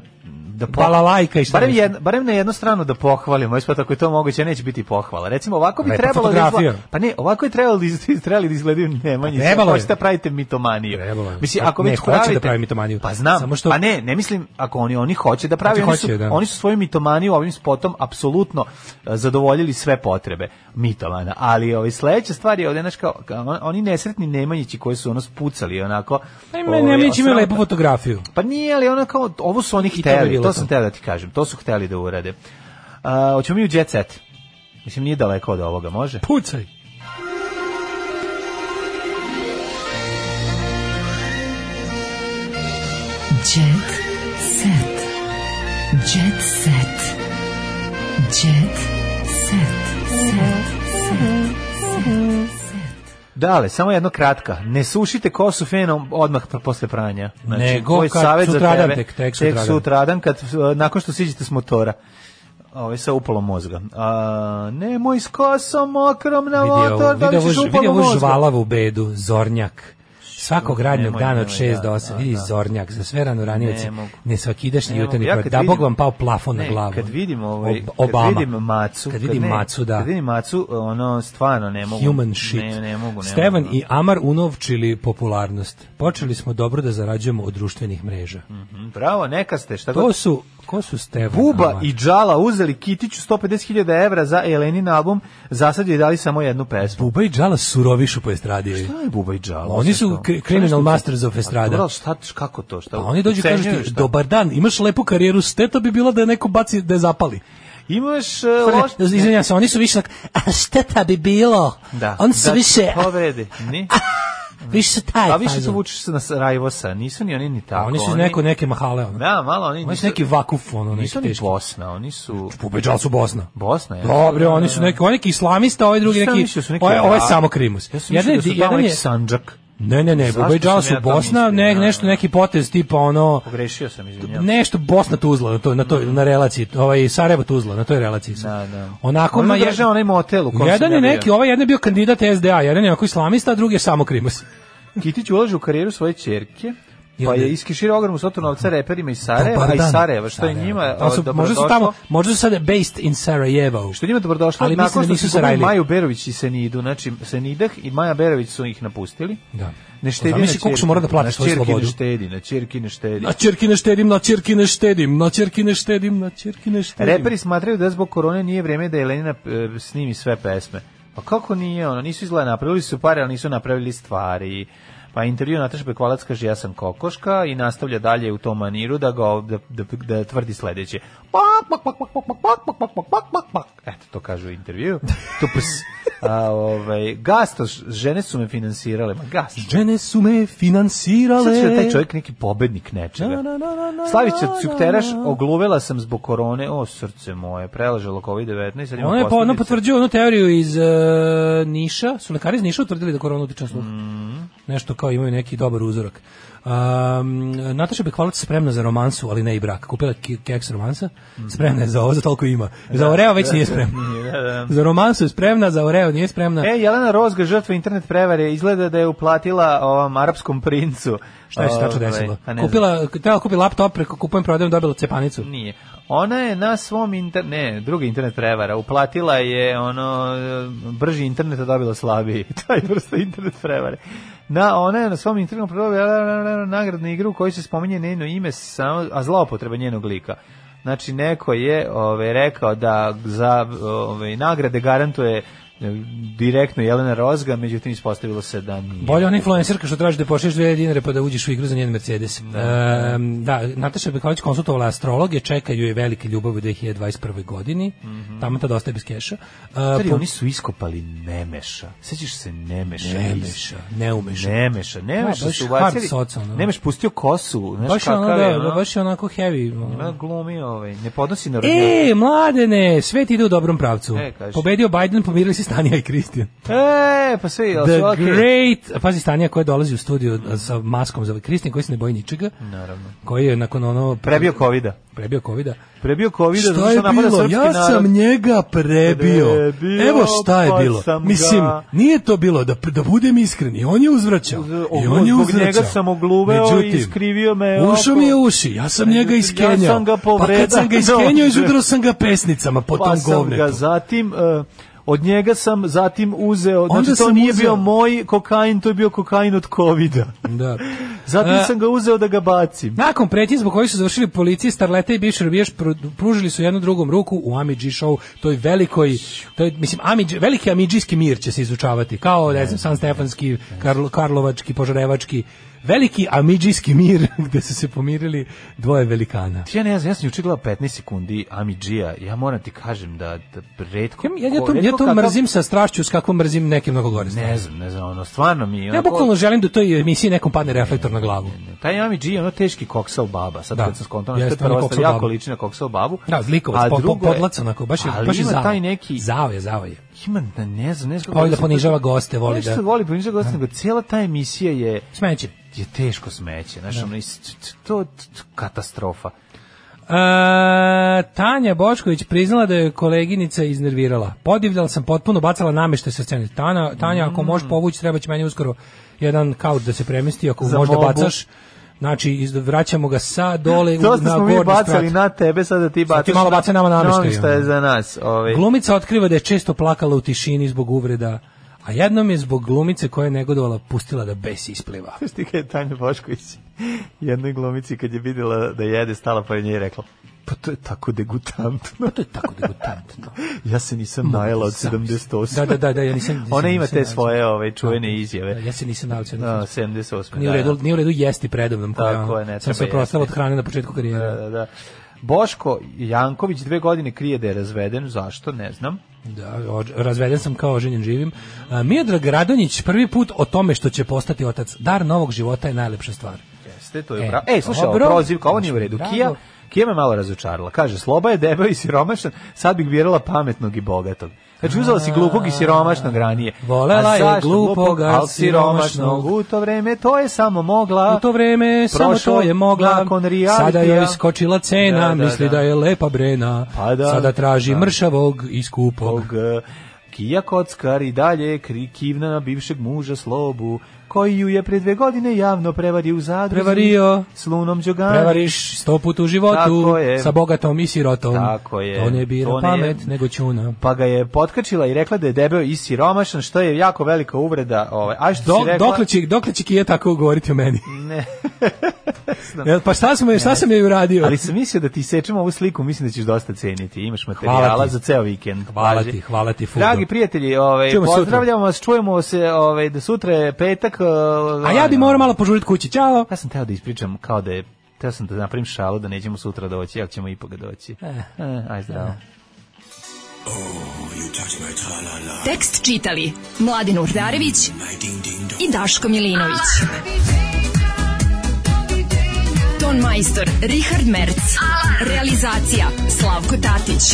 [SPEAKER 7] da
[SPEAKER 6] Balalajka i šta
[SPEAKER 7] barem
[SPEAKER 6] nešto.
[SPEAKER 7] jedno, barem na jednu stranu da pohvalim, ovaj spot ako je to moguće neće biti pohvala. Recimo ovako bi
[SPEAKER 6] Lepa
[SPEAKER 7] trebalo da
[SPEAKER 6] fotografija.
[SPEAKER 7] izgleda, pa ne, ovako je trebalo da izgleda, <laughs> trebali da izgledaju Nemanji.
[SPEAKER 6] Pa trebalo je.
[SPEAKER 7] Hoćete da pravite mitomaniju.
[SPEAKER 6] Trebalo je.
[SPEAKER 7] Mislim
[SPEAKER 6] Pa
[SPEAKER 7] ako
[SPEAKER 6] ne,
[SPEAKER 7] već
[SPEAKER 6] hoće da
[SPEAKER 7] pravite
[SPEAKER 6] pravi mitomaniju.
[SPEAKER 7] Pa znam,
[SPEAKER 6] Samo što-
[SPEAKER 7] pa ne, ne mislim ako oni oni hoće da prave,
[SPEAKER 6] Oni
[SPEAKER 7] oni,
[SPEAKER 6] hoće,
[SPEAKER 7] su
[SPEAKER 6] da.
[SPEAKER 7] oni su svoju mitomaniju ovim spotom apsolutno e, zadovoljili sve potrebe mitomana. Ali ovaj sledeća stvar je ovde znači kao kao on- oni nesretni Nemanjići koji su nas pucali onako.
[SPEAKER 6] Pa ima
[SPEAKER 7] ovaj,
[SPEAKER 6] Nemlić ima
[SPEAKER 7] sram-
[SPEAKER 6] lepu fotografiju.
[SPEAKER 7] Pa nije, ali ono kao, ovo su oni
[SPEAKER 6] bi
[SPEAKER 7] hteli,
[SPEAKER 6] bilo
[SPEAKER 7] to,
[SPEAKER 6] to.
[SPEAKER 7] sam teo da ti kažem, to su hteli da urade. A, hoćemo mi u Jet Set. Mislim, nije daleko od ovoga, može?
[SPEAKER 6] Pucaj.
[SPEAKER 2] Jet set. Jet set. Jet set.
[SPEAKER 7] Dale, samo jedno kratka. Ne sušite kosu fenom odmah pre- posle pranja. Znači,
[SPEAKER 6] Nego
[SPEAKER 7] to je
[SPEAKER 6] kad
[SPEAKER 7] savjet za
[SPEAKER 6] sutradan
[SPEAKER 7] tebe.
[SPEAKER 6] tek, tek sutradan.
[SPEAKER 7] sutradan kad, e, nakon što siđete s motora. Ove, sa upalom mozga. A, nemoj s kosom mokrom na
[SPEAKER 6] Vidio,
[SPEAKER 7] motor, da li
[SPEAKER 6] vidio,
[SPEAKER 7] ćeš
[SPEAKER 6] ovu-
[SPEAKER 7] upalom
[SPEAKER 6] vidio ovu
[SPEAKER 7] mozga.
[SPEAKER 6] žvalavu bedu, zornjak. Svakog radnog
[SPEAKER 7] nemoj,
[SPEAKER 6] dana od
[SPEAKER 7] nemoj,
[SPEAKER 6] 6 do
[SPEAKER 7] da,
[SPEAKER 6] 8,
[SPEAKER 7] da,
[SPEAKER 6] vidi
[SPEAKER 7] da.
[SPEAKER 6] zornjak, za sve rano ranioci,
[SPEAKER 7] Ne mogu.
[SPEAKER 6] ne svakidašnji
[SPEAKER 7] Ne mogu.
[SPEAKER 6] jutarnji
[SPEAKER 7] Ja
[SPEAKER 6] program.
[SPEAKER 7] kad
[SPEAKER 6] Da
[SPEAKER 7] vidim-
[SPEAKER 6] Bog vam pao plafon na
[SPEAKER 7] Ne,
[SPEAKER 6] glavu.
[SPEAKER 7] Kad vidim ovaj
[SPEAKER 6] Ob- Obama.
[SPEAKER 7] kad vidim macu,
[SPEAKER 6] Kad vidim
[SPEAKER 7] ne,
[SPEAKER 6] macu, da.
[SPEAKER 7] Kad vidim macu, ono stvarno ne mogu.
[SPEAKER 6] Human shit.
[SPEAKER 7] Ne, ne mogu, da. ne.
[SPEAKER 6] Stevan
[SPEAKER 7] mogu.
[SPEAKER 6] i Amar unovčili popularnost. Počeli smo dobro da zarađujemo od društvenih mreža.
[SPEAKER 7] Mhm, Bravo, neka ste, šta
[SPEAKER 6] To
[SPEAKER 7] god.
[SPEAKER 6] su ko su Stevan
[SPEAKER 7] Buba
[SPEAKER 6] Amar?
[SPEAKER 7] i Džala uzeli Kitiću 150.000 evra za Elenin album, za sad je dali samo jednu pesmu.
[SPEAKER 6] Buba i Džala surovišu po estradi.
[SPEAKER 7] Šta je Buba i Džala?
[SPEAKER 6] Oni su
[SPEAKER 7] Šta je to?
[SPEAKER 6] cri- criminal
[SPEAKER 7] Šta je to?
[SPEAKER 6] masters of estrada.
[SPEAKER 7] A dobro, ali šta, kako to? Šta?
[SPEAKER 6] Pa oni dođu i kažu
[SPEAKER 7] ucenjuju,
[SPEAKER 6] ti,
[SPEAKER 7] šta?
[SPEAKER 6] dobar dan, imaš lepu karijeru, steta bi bila da je neko baci, da je zapali.
[SPEAKER 7] Imaš e, loš...
[SPEAKER 6] Loš... Izvinjam da se, oni su više tak, a šteta bi bilo.
[SPEAKER 7] Da.
[SPEAKER 6] Oni su
[SPEAKER 7] da
[SPEAKER 6] više,
[SPEAKER 7] To vredi.
[SPEAKER 6] <laughs>
[SPEAKER 7] Ni.
[SPEAKER 6] više su taj.
[SPEAKER 7] A više se
[SPEAKER 6] fazon.
[SPEAKER 7] vučeš se na s- Rajvosa. Nisu ni oni ni
[SPEAKER 6] A
[SPEAKER 7] tako.
[SPEAKER 6] Pa Oni su iz neko, neke mahale, ono.
[SPEAKER 7] Da, malo oni
[SPEAKER 6] Oni su neki vakuf, ono, neki
[SPEAKER 7] Nisu oni
[SPEAKER 6] teški.
[SPEAKER 7] Bosna, oni su...
[SPEAKER 6] Pubeđal su Bosna.
[SPEAKER 7] Bosna, ja.
[SPEAKER 6] Dobro, oni su neki, oni neki islamista, ovaj drugi
[SPEAKER 7] Šta
[SPEAKER 6] neki,
[SPEAKER 7] mislio, su neki
[SPEAKER 6] ovaj, ovaj
[SPEAKER 7] Arapi?
[SPEAKER 6] samo krimus.
[SPEAKER 7] Ja sam mislio da su tamo neki Sanđak.
[SPEAKER 6] Ne, ne, ne,
[SPEAKER 7] Zašto
[SPEAKER 6] Bubejdžal
[SPEAKER 7] sam
[SPEAKER 6] su
[SPEAKER 7] ja to
[SPEAKER 6] Bosna,
[SPEAKER 7] mislio?
[SPEAKER 6] ne,
[SPEAKER 7] Da,
[SPEAKER 6] nešto,
[SPEAKER 7] da.
[SPEAKER 6] neki potez tipa ono,
[SPEAKER 7] Pogrešio sam, izvinjavam.
[SPEAKER 6] nešto Bosna Tuzla na toj na toj na relaciji, ovaj Sarajevo Tuzla na toj relaciji. su.
[SPEAKER 7] Da, da.
[SPEAKER 6] Onako
[SPEAKER 7] Oni
[SPEAKER 6] ma je
[SPEAKER 7] drže onaj motel u kom
[SPEAKER 6] Jedan
[SPEAKER 7] sam
[SPEAKER 6] je
[SPEAKER 7] ja bio.
[SPEAKER 6] neki, ovaj jedan je bio kandidat SDA, jedan je onako islamista, a drugi je samo krimus.
[SPEAKER 7] Kitić ulaže u karijeru svoje čerke,
[SPEAKER 6] I
[SPEAKER 7] pa
[SPEAKER 6] onda-
[SPEAKER 7] je iskiširao ogromnu svotu novca reperima iz Sarajeva,
[SPEAKER 6] Dobar
[SPEAKER 7] a iz
[SPEAKER 6] dan.
[SPEAKER 7] Sarajeva, što je
[SPEAKER 6] Pa, da. Sarajevo.
[SPEAKER 7] njima
[SPEAKER 6] Tamo su-
[SPEAKER 7] o,
[SPEAKER 6] možda su
[SPEAKER 7] dobrodošlo.
[SPEAKER 6] tamo, možda su sada based in Sarajevo.
[SPEAKER 7] Što je njima dobrodošlo,
[SPEAKER 6] Ali
[SPEAKER 7] ali
[SPEAKER 6] mislim
[SPEAKER 7] nakon
[SPEAKER 6] da
[SPEAKER 7] što
[SPEAKER 6] nisu
[SPEAKER 7] su izgubili
[SPEAKER 6] Sarajli.
[SPEAKER 7] Maju Berović i Senidu, znači Senidah i Maja Berović su ih napustili.
[SPEAKER 6] Da.
[SPEAKER 7] Ne štedi na
[SPEAKER 6] Zamisli
[SPEAKER 7] čerki.
[SPEAKER 6] koliko su morali da plate
[SPEAKER 7] na
[SPEAKER 6] svoju
[SPEAKER 7] čerki
[SPEAKER 6] slobodu.
[SPEAKER 7] ne štedi, na čerki ne štedi.
[SPEAKER 6] Na čerki ne štedim, na čerki ne štedim, na čerki ne štedim, na čerki ne štedim.
[SPEAKER 7] Reperi smatraju da zbog korone nije vrijeme da Jelenina e, snimi sve pesme. Pa kako nije ono? Nisu izgleda napravili su pare, ali nisu napravili stvari. Pa intervju Nataša Bekvalac kaže ja sam kokoška i nastavlja dalje u tom maniru da ga da, da, da tvrdi sledeće. Pak, pak, pak, pak, pak, pak, pak, pak, pak, pak, pak, pak, pak. Eto, to kaže u intervju. Tups. A, ovaj, gasto, ž- žene su me finansirale. Ma gasto.
[SPEAKER 6] Žene su me
[SPEAKER 7] Sad
[SPEAKER 6] finansirale.
[SPEAKER 7] će da taj čovjek neki pobednik nečega.
[SPEAKER 6] Na, na, na, na, na,
[SPEAKER 7] Slavića
[SPEAKER 6] na, na,
[SPEAKER 7] Cukteraš,
[SPEAKER 6] na.
[SPEAKER 7] ogluvela sam zbog korone, o srce moje, prelažalo COVID-19, sad ima
[SPEAKER 6] Ona je po, ona
[SPEAKER 7] posledice.
[SPEAKER 6] potvrđuje onu teoriju iz e, Niša, su lekari iz Niša utvrdili da korona utiče na sluh.
[SPEAKER 7] Mhm.
[SPEAKER 6] Nešto kao imaju neki dobar uzorak. Um, Nataša Bekvalac spremna za romansu, ali ne i brak. Kupila ki- keks romansa,
[SPEAKER 7] Mhm.
[SPEAKER 6] spremna je za ovo, za toliko ima.
[SPEAKER 7] Da.
[SPEAKER 6] Za Oreo već
[SPEAKER 7] <laughs>
[SPEAKER 6] nije spremna. za romansu je spremna, za Oreo nije spremna.
[SPEAKER 7] E, Jelena Rozga, žrtva internet prevare, izgleda da je uplatila ovom arapskom princu.
[SPEAKER 6] Šta je se tačno
[SPEAKER 7] Ovaj,
[SPEAKER 6] desilo?
[SPEAKER 7] pa ne znam.
[SPEAKER 6] Kupila, trebala kupi laptop, preko kupujem, prodajem, dobila cepanicu.
[SPEAKER 7] Nije. Ona je na svom internet, ne, druga internet prevara, uplatila je ono, e, brži internet, a dobila slabiji. <laughs> Taj vrsta internet prevare. Na, ona je na svom internetu prevara nagradnu igru u kojoj se spominje njeno ime, samo, a zloupotreba njenog lika. Znači, neko je ove, rekao da za ove, nagrade garantuje e, direktno Jelena Rozga, međutim ispostavilo se da nije.
[SPEAKER 6] Bolje ona influencerka što traži da pošliš 2000 dinara pa da uđeš u igru za njen Mercedes. Da, da Nataša Bekvalić konsultovala astrologe, čekaju je velike ljubav u 2021. godini. Tamo tad ostaje bez keša. E,
[SPEAKER 7] Mhm. Stari,
[SPEAKER 6] po-
[SPEAKER 7] oni su iskopali Nemeša. Sećaš se Nemeša?
[SPEAKER 6] Nemeša, neumeša.
[SPEAKER 7] Nemeša, Nemeša
[SPEAKER 6] Da, baš
[SPEAKER 7] su
[SPEAKER 6] hard
[SPEAKER 7] ubacili.
[SPEAKER 6] socijalno.
[SPEAKER 7] Nemeš pustio kosu, znaš
[SPEAKER 6] Baš je, ono,
[SPEAKER 7] kakav je,
[SPEAKER 6] da, da,
[SPEAKER 7] ono.
[SPEAKER 6] baš je onako heavy.
[SPEAKER 7] Ima glumi, ovaj, ne podnosi na rodnjak.
[SPEAKER 6] E, mladene, svet ide u dobrom pravcu.
[SPEAKER 7] E, kaži.
[SPEAKER 6] Pobedio Biden, pomirili se Stanija i Kristijan.
[SPEAKER 7] E, pa sve, jel
[SPEAKER 6] The
[SPEAKER 7] su okej?
[SPEAKER 6] Great, pazi Stanija koja dolazi u studiju sa maskom za Kristijan koji se ne boji ničega,
[SPEAKER 7] Naravno.
[SPEAKER 6] koji je nakon ono
[SPEAKER 7] Prebio covida.
[SPEAKER 6] prebio covida.
[SPEAKER 7] Prebio covida
[SPEAKER 6] Šta
[SPEAKER 7] zato
[SPEAKER 6] je
[SPEAKER 7] što napada
[SPEAKER 6] bilo?
[SPEAKER 7] srpski
[SPEAKER 6] Ja
[SPEAKER 7] narod.
[SPEAKER 6] sam njega prebio.
[SPEAKER 7] Prebio,
[SPEAKER 6] Evo šta je
[SPEAKER 7] pa
[SPEAKER 6] bilo.
[SPEAKER 7] sam ga-
[SPEAKER 6] Mislim, nije to bilo da da budem iskren, i on je uzvraćao. I on je
[SPEAKER 7] Zbog
[SPEAKER 6] uzvraćao.
[SPEAKER 7] njega sam ogluveo i
[SPEAKER 6] Međutim,
[SPEAKER 7] iskrivio me.
[SPEAKER 6] Ušao
[SPEAKER 7] oko.
[SPEAKER 6] mi je uši, ja sam
[SPEAKER 7] Međutim,
[SPEAKER 6] njega
[SPEAKER 7] ja
[SPEAKER 6] iskenjao.
[SPEAKER 7] sam ga
[SPEAKER 6] pa kad sam ga
[SPEAKER 7] povredio. <laughs>
[SPEAKER 6] iskenjao, izudrao sam ga pesnicama po
[SPEAKER 7] pa
[SPEAKER 6] tom
[SPEAKER 7] sam ga
[SPEAKER 6] govnetu.
[SPEAKER 7] zatim... e, od njega sam zatim uzeo,
[SPEAKER 6] Onda
[SPEAKER 7] znači to
[SPEAKER 6] sam
[SPEAKER 7] nije
[SPEAKER 6] uzeo-
[SPEAKER 7] bio moj kokain, to je bio kokain od
[SPEAKER 6] <laughs>
[SPEAKER 7] covida.
[SPEAKER 6] Da.
[SPEAKER 7] Zatim
[SPEAKER 6] E,
[SPEAKER 7] sam ga uzeo da ga bacim.
[SPEAKER 6] Nakon pretnji zbog kojih su završili policije, Starleta i bivši robijaš pru- pružili su jednu drugom ruku u Amidži show, toj velikoj, toj, mislim, Amidži, veliki Amidžijski mir će se izučavati, kao, ne znam, San Stefanski, Karlo, Karlovački, Požarevački, veliki Amidžijski mir, <laughs> gde su se pomirili dvoje velikana.
[SPEAKER 7] Ja ne znam, ja sam juče gledao 15 sekundi Amidžija, ja moram ti kažem da, da redko...
[SPEAKER 6] Ja, ja, ja to, ja
[SPEAKER 7] redko
[SPEAKER 6] to
[SPEAKER 7] kakav-
[SPEAKER 6] mrzim sa strašću s kakvom mrzim neke mnogo gore stvari.
[SPEAKER 7] Ne znam, ne znam, ono, stvarno mi je...
[SPEAKER 6] Ja
[SPEAKER 7] onako-
[SPEAKER 6] bukvalno želim da u toj emisiji nekom padne reflektor na glavu.
[SPEAKER 7] Taj Amidži je ono teški koksal baba, sad
[SPEAKER 6] Da.
[SPEAKER 7] kad sam skontao, što je
[SPEAKER 6] Jeste, ono
[SPEAKER 7] prva stvar,
[SPEAKER 6] koksal
[SPEAKER 7] jako
[SPEAKER 6] baba.
[SPEAKER 7] liči na koksal babu.
[SPEAKER 6] Da, zlikovac,
[SPEAKER 7] A
[SPEAKER 6] po, po,
[SPEAKER 7] drugo je-
[SPEAKER 6] podlac, onako, baš je,
[SPEAKER 7] ali
[SPEAKER 6] baš je
[SPEAKER 7] ima
[SPEAKER 6] zao.
[SPEAKER 7] taj neki...
[SPEAKER 6] Zao je, zao je.
[SPEAKER 7] Ima, da ne znam, ne znam... kako
[SPEAKER 6] Voli da
[SPEAKER 7] se-
[SPEAKER 6] ponižava goste, voli
[SPEAKER 7] Ne što
[SPEAKER 6] da-
[SPEAKER 7] voli ponižava goste, nego cijela ta emisija je
[SPEAKER 6] Smeće.
[SPEAKER 7] je teško smeće, znaš,
[SPEAKER 6] Da.
[SPEAKER 7] ono, is- t- t- to t- t- katastrofa.
[SPEAKER 6] E, Tanja Bošković priznala da je koleginica iznervirala. Podivljala sam potpuno, bacala nameštaj sa scene. Tana, Tanja,
[SPEAKER 7] Mm.
[SPEAKER 6] ako možeš povući, treba će meni uskoro jedan kauč da se premesti, ako
[SPEAKER 7] Za
[SPEAKER 6] možda
[SPEAKER 7] mobu.
[SPEAKER 6] bacaš. Znači, iz- vraćamo ga sa dole u, na
[SPEAKER 7] To što
[SPEAKER 6] gornju
[SPEAKER 7] smo mi bacali
[SPEAKER 6] sprat.
[SPEAKER 7] na tebe, sad da ti
[SPEAKER 6] Sad
[SPEAKER 7] bacaš
[SPEAKER 6] ti malo bacaj nama nameštaj,
[SPEAKER 7] Nameštaj
[SPEAKER 6] ono.
[SPEAKER 7] je za nas. Ovaj.
[SPEAKER 6] Glumica otkriva da je često plakala u tišini zbog uvreda, a jednom je zbog glumice koja je negodovala pustila da bes ispliva.
[SPEAKER 7] Znaš ti kada je Tanja Bošković jednoj glumici kad je videla da jede, stala pored nje i rekla pa to je tako degutantno.
[SPEAKER 6] To je tako degutantno.
[SPEAKER 7] <laughs> Ja se nisam najela od
[SPEAKER 6] Zamisli.
[SPEAKER 7] 78.
[SPEAKER 6] Da, da, da, da, ja
[SPEAKER 7] <laughs>
[SPEAKER 6] nisam... nisam-
[SPEAKER 7] Ona ima
[SPEAKER 6] nisam
[SPEAKER 7] te
[SPEAKER 6] nađen.
[SPEAKER 7] svoje ove, čuvene
[SPEAKER 6] Da,
[SPEAKER 7] izjave.
[SPEAKER 6] ja se nisam naučio.
[SPEAKER 7] Da, 78.
[SPEAKER 6] Nije u
[SPEAKER 7] da,
[SPEAKER 6] redu,
[SPEAKER 7] da.
[SPEAKER 6] nije u redu jesti predomnom koja
[SPEAKER 7] Tako
[SPEAKER 6] ono,
[SPEAKER 7] je, ne
[SPEAKER 6] sam se
[SPEAKER 7] treba
[SPEAKER 6] prostala od
[SPEAKER 7] jesti.
[SPEAKER 6] hrane na početku karijere.
[SPEAKER 7] Da, da, da. Boško Janković dve godine krije da je razveden, zašto, ne znam.
[SPEAKER 6] Da, ođ- razveden sam kao oženjen živim. A, Miodrag Radonjić prvi put o tome što će postati otac. Dar novog života je najlepša stvar.
[SPEAKER 7] Jeste, to je
[SPEAKER 6] E,
[SPEAKER 7] e, bravo. E, slušaj, ovo
[SPEAKER 6] dobro. znači,
[SPEAKER 7] prozivka, ovo nije u redu.
[SPEAKER 6] Bravo.
[SPEAKER 7] Kija, Kija me malo razočarala. Kaže, sloba je debel i siromašan, sad bih birala pametnog i bogatog. Znači, uzela si glupog i siromašnog ranije.
[SPEAKER 6] Volela
[SPEAKER 7] A
[SPEAKER 6] je
[SPEAKER 7] zašto
[SPEAKER 6] glupoga,
[SPEAKER 7] ali siromašnog.
[SPEAKER 6] siromašnog.
[SPEAKER 7] U to vreme to je samo mogla.
[SPEAKER 6] U to vreme samo
[SPEAKER 7] Prošao
[SPEAKER 6] to je mogla,
[SPEAKER 7] nakon realitija.
[SPEAKER 6] sada joj skočila cena,
[SPEAKER 7] Da, da,
[SPEAKER 6] misli
[SPEAKER 7] da.
[SPEAKER 6] da je lepa brena,
[SPEAKER 7] Pa da,
[SPEAKER 6] sada traži
[SPEAKER 7] da.
[SPEAKER 6] mršavog i skupog.
[SPEAKER 7] Tog, eh, Kija Kockar i dalje kri- kivna na bivšeg muža Slobu, koji ju je pred dve godine javno prevario u zadruzi.
[SPEAKER 6] Prevario.
[SPEAKER 7] S Lunom Đogani.
[SPEAKER 6] Prevariš sto put u životu,
[SPEAKER 7] Tako je.
[SPEAKER 6] sa bogatom i sirotom.
[SPEAKER 7] Tako je.
[SPEAKER 6] To ne bira
[SPEAKER 7] To ne-
[SPEAKER 6] pamet, nego čuna.
[SPEAKER 7] Pa ga je potkačila i rekla da je debeo i siromašan, što je jako velika uvreda. Ovaj. A što
[SPEAKER 6] Do,
[SPEAKER 7] si rekla?
[SPEAKER 6] dokle, će, dokle će Kija tako govoriti o meni?
[SPEAKER 7] Ne.
[SPEAKER 6] Jel, pa šta sam, je- šta sam joj uradio?
[SPEAKER 7] Ali sam mislio da ti sečemo ovu sliku, mislim da ćeš dosta ceniti. Imaš
[SPEAKER 6] Hvala
[SPEAKER 7] materijala
[SPEAKER 6] ti.
[SPEAKER 7] za ceo vikend.
[SPEAKER 6] Hvala
[SPEAKER 7] Važi.
[SPEAKER 6] ti, hvala ti, Fudo.
[SPEAKER 7] Dragi prijatelji, ovaj,
[SPEAKER 6] Čujemo sutra.
[SPEAKER 7] pozdravljamo vas, čujemo se ovaj, da sutra je petak. ovaj,
[SPEAKER 6] A ja bi morao malo požuriti kući. Ćao!
[SPEAKER 7] Ja sam teo da ispričam kao da je, teo sam da napravim šalu da nećemo sutra doći, ali ćemo ipak doći. Eh, aj zdravo.
[SPEAKER 2] Tekst čitali Mladin Urdarević i Daško Milinović. Ton majstor Richard Merc. Realizacija Slavko Tatić.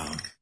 [SPEAKER 2] 10.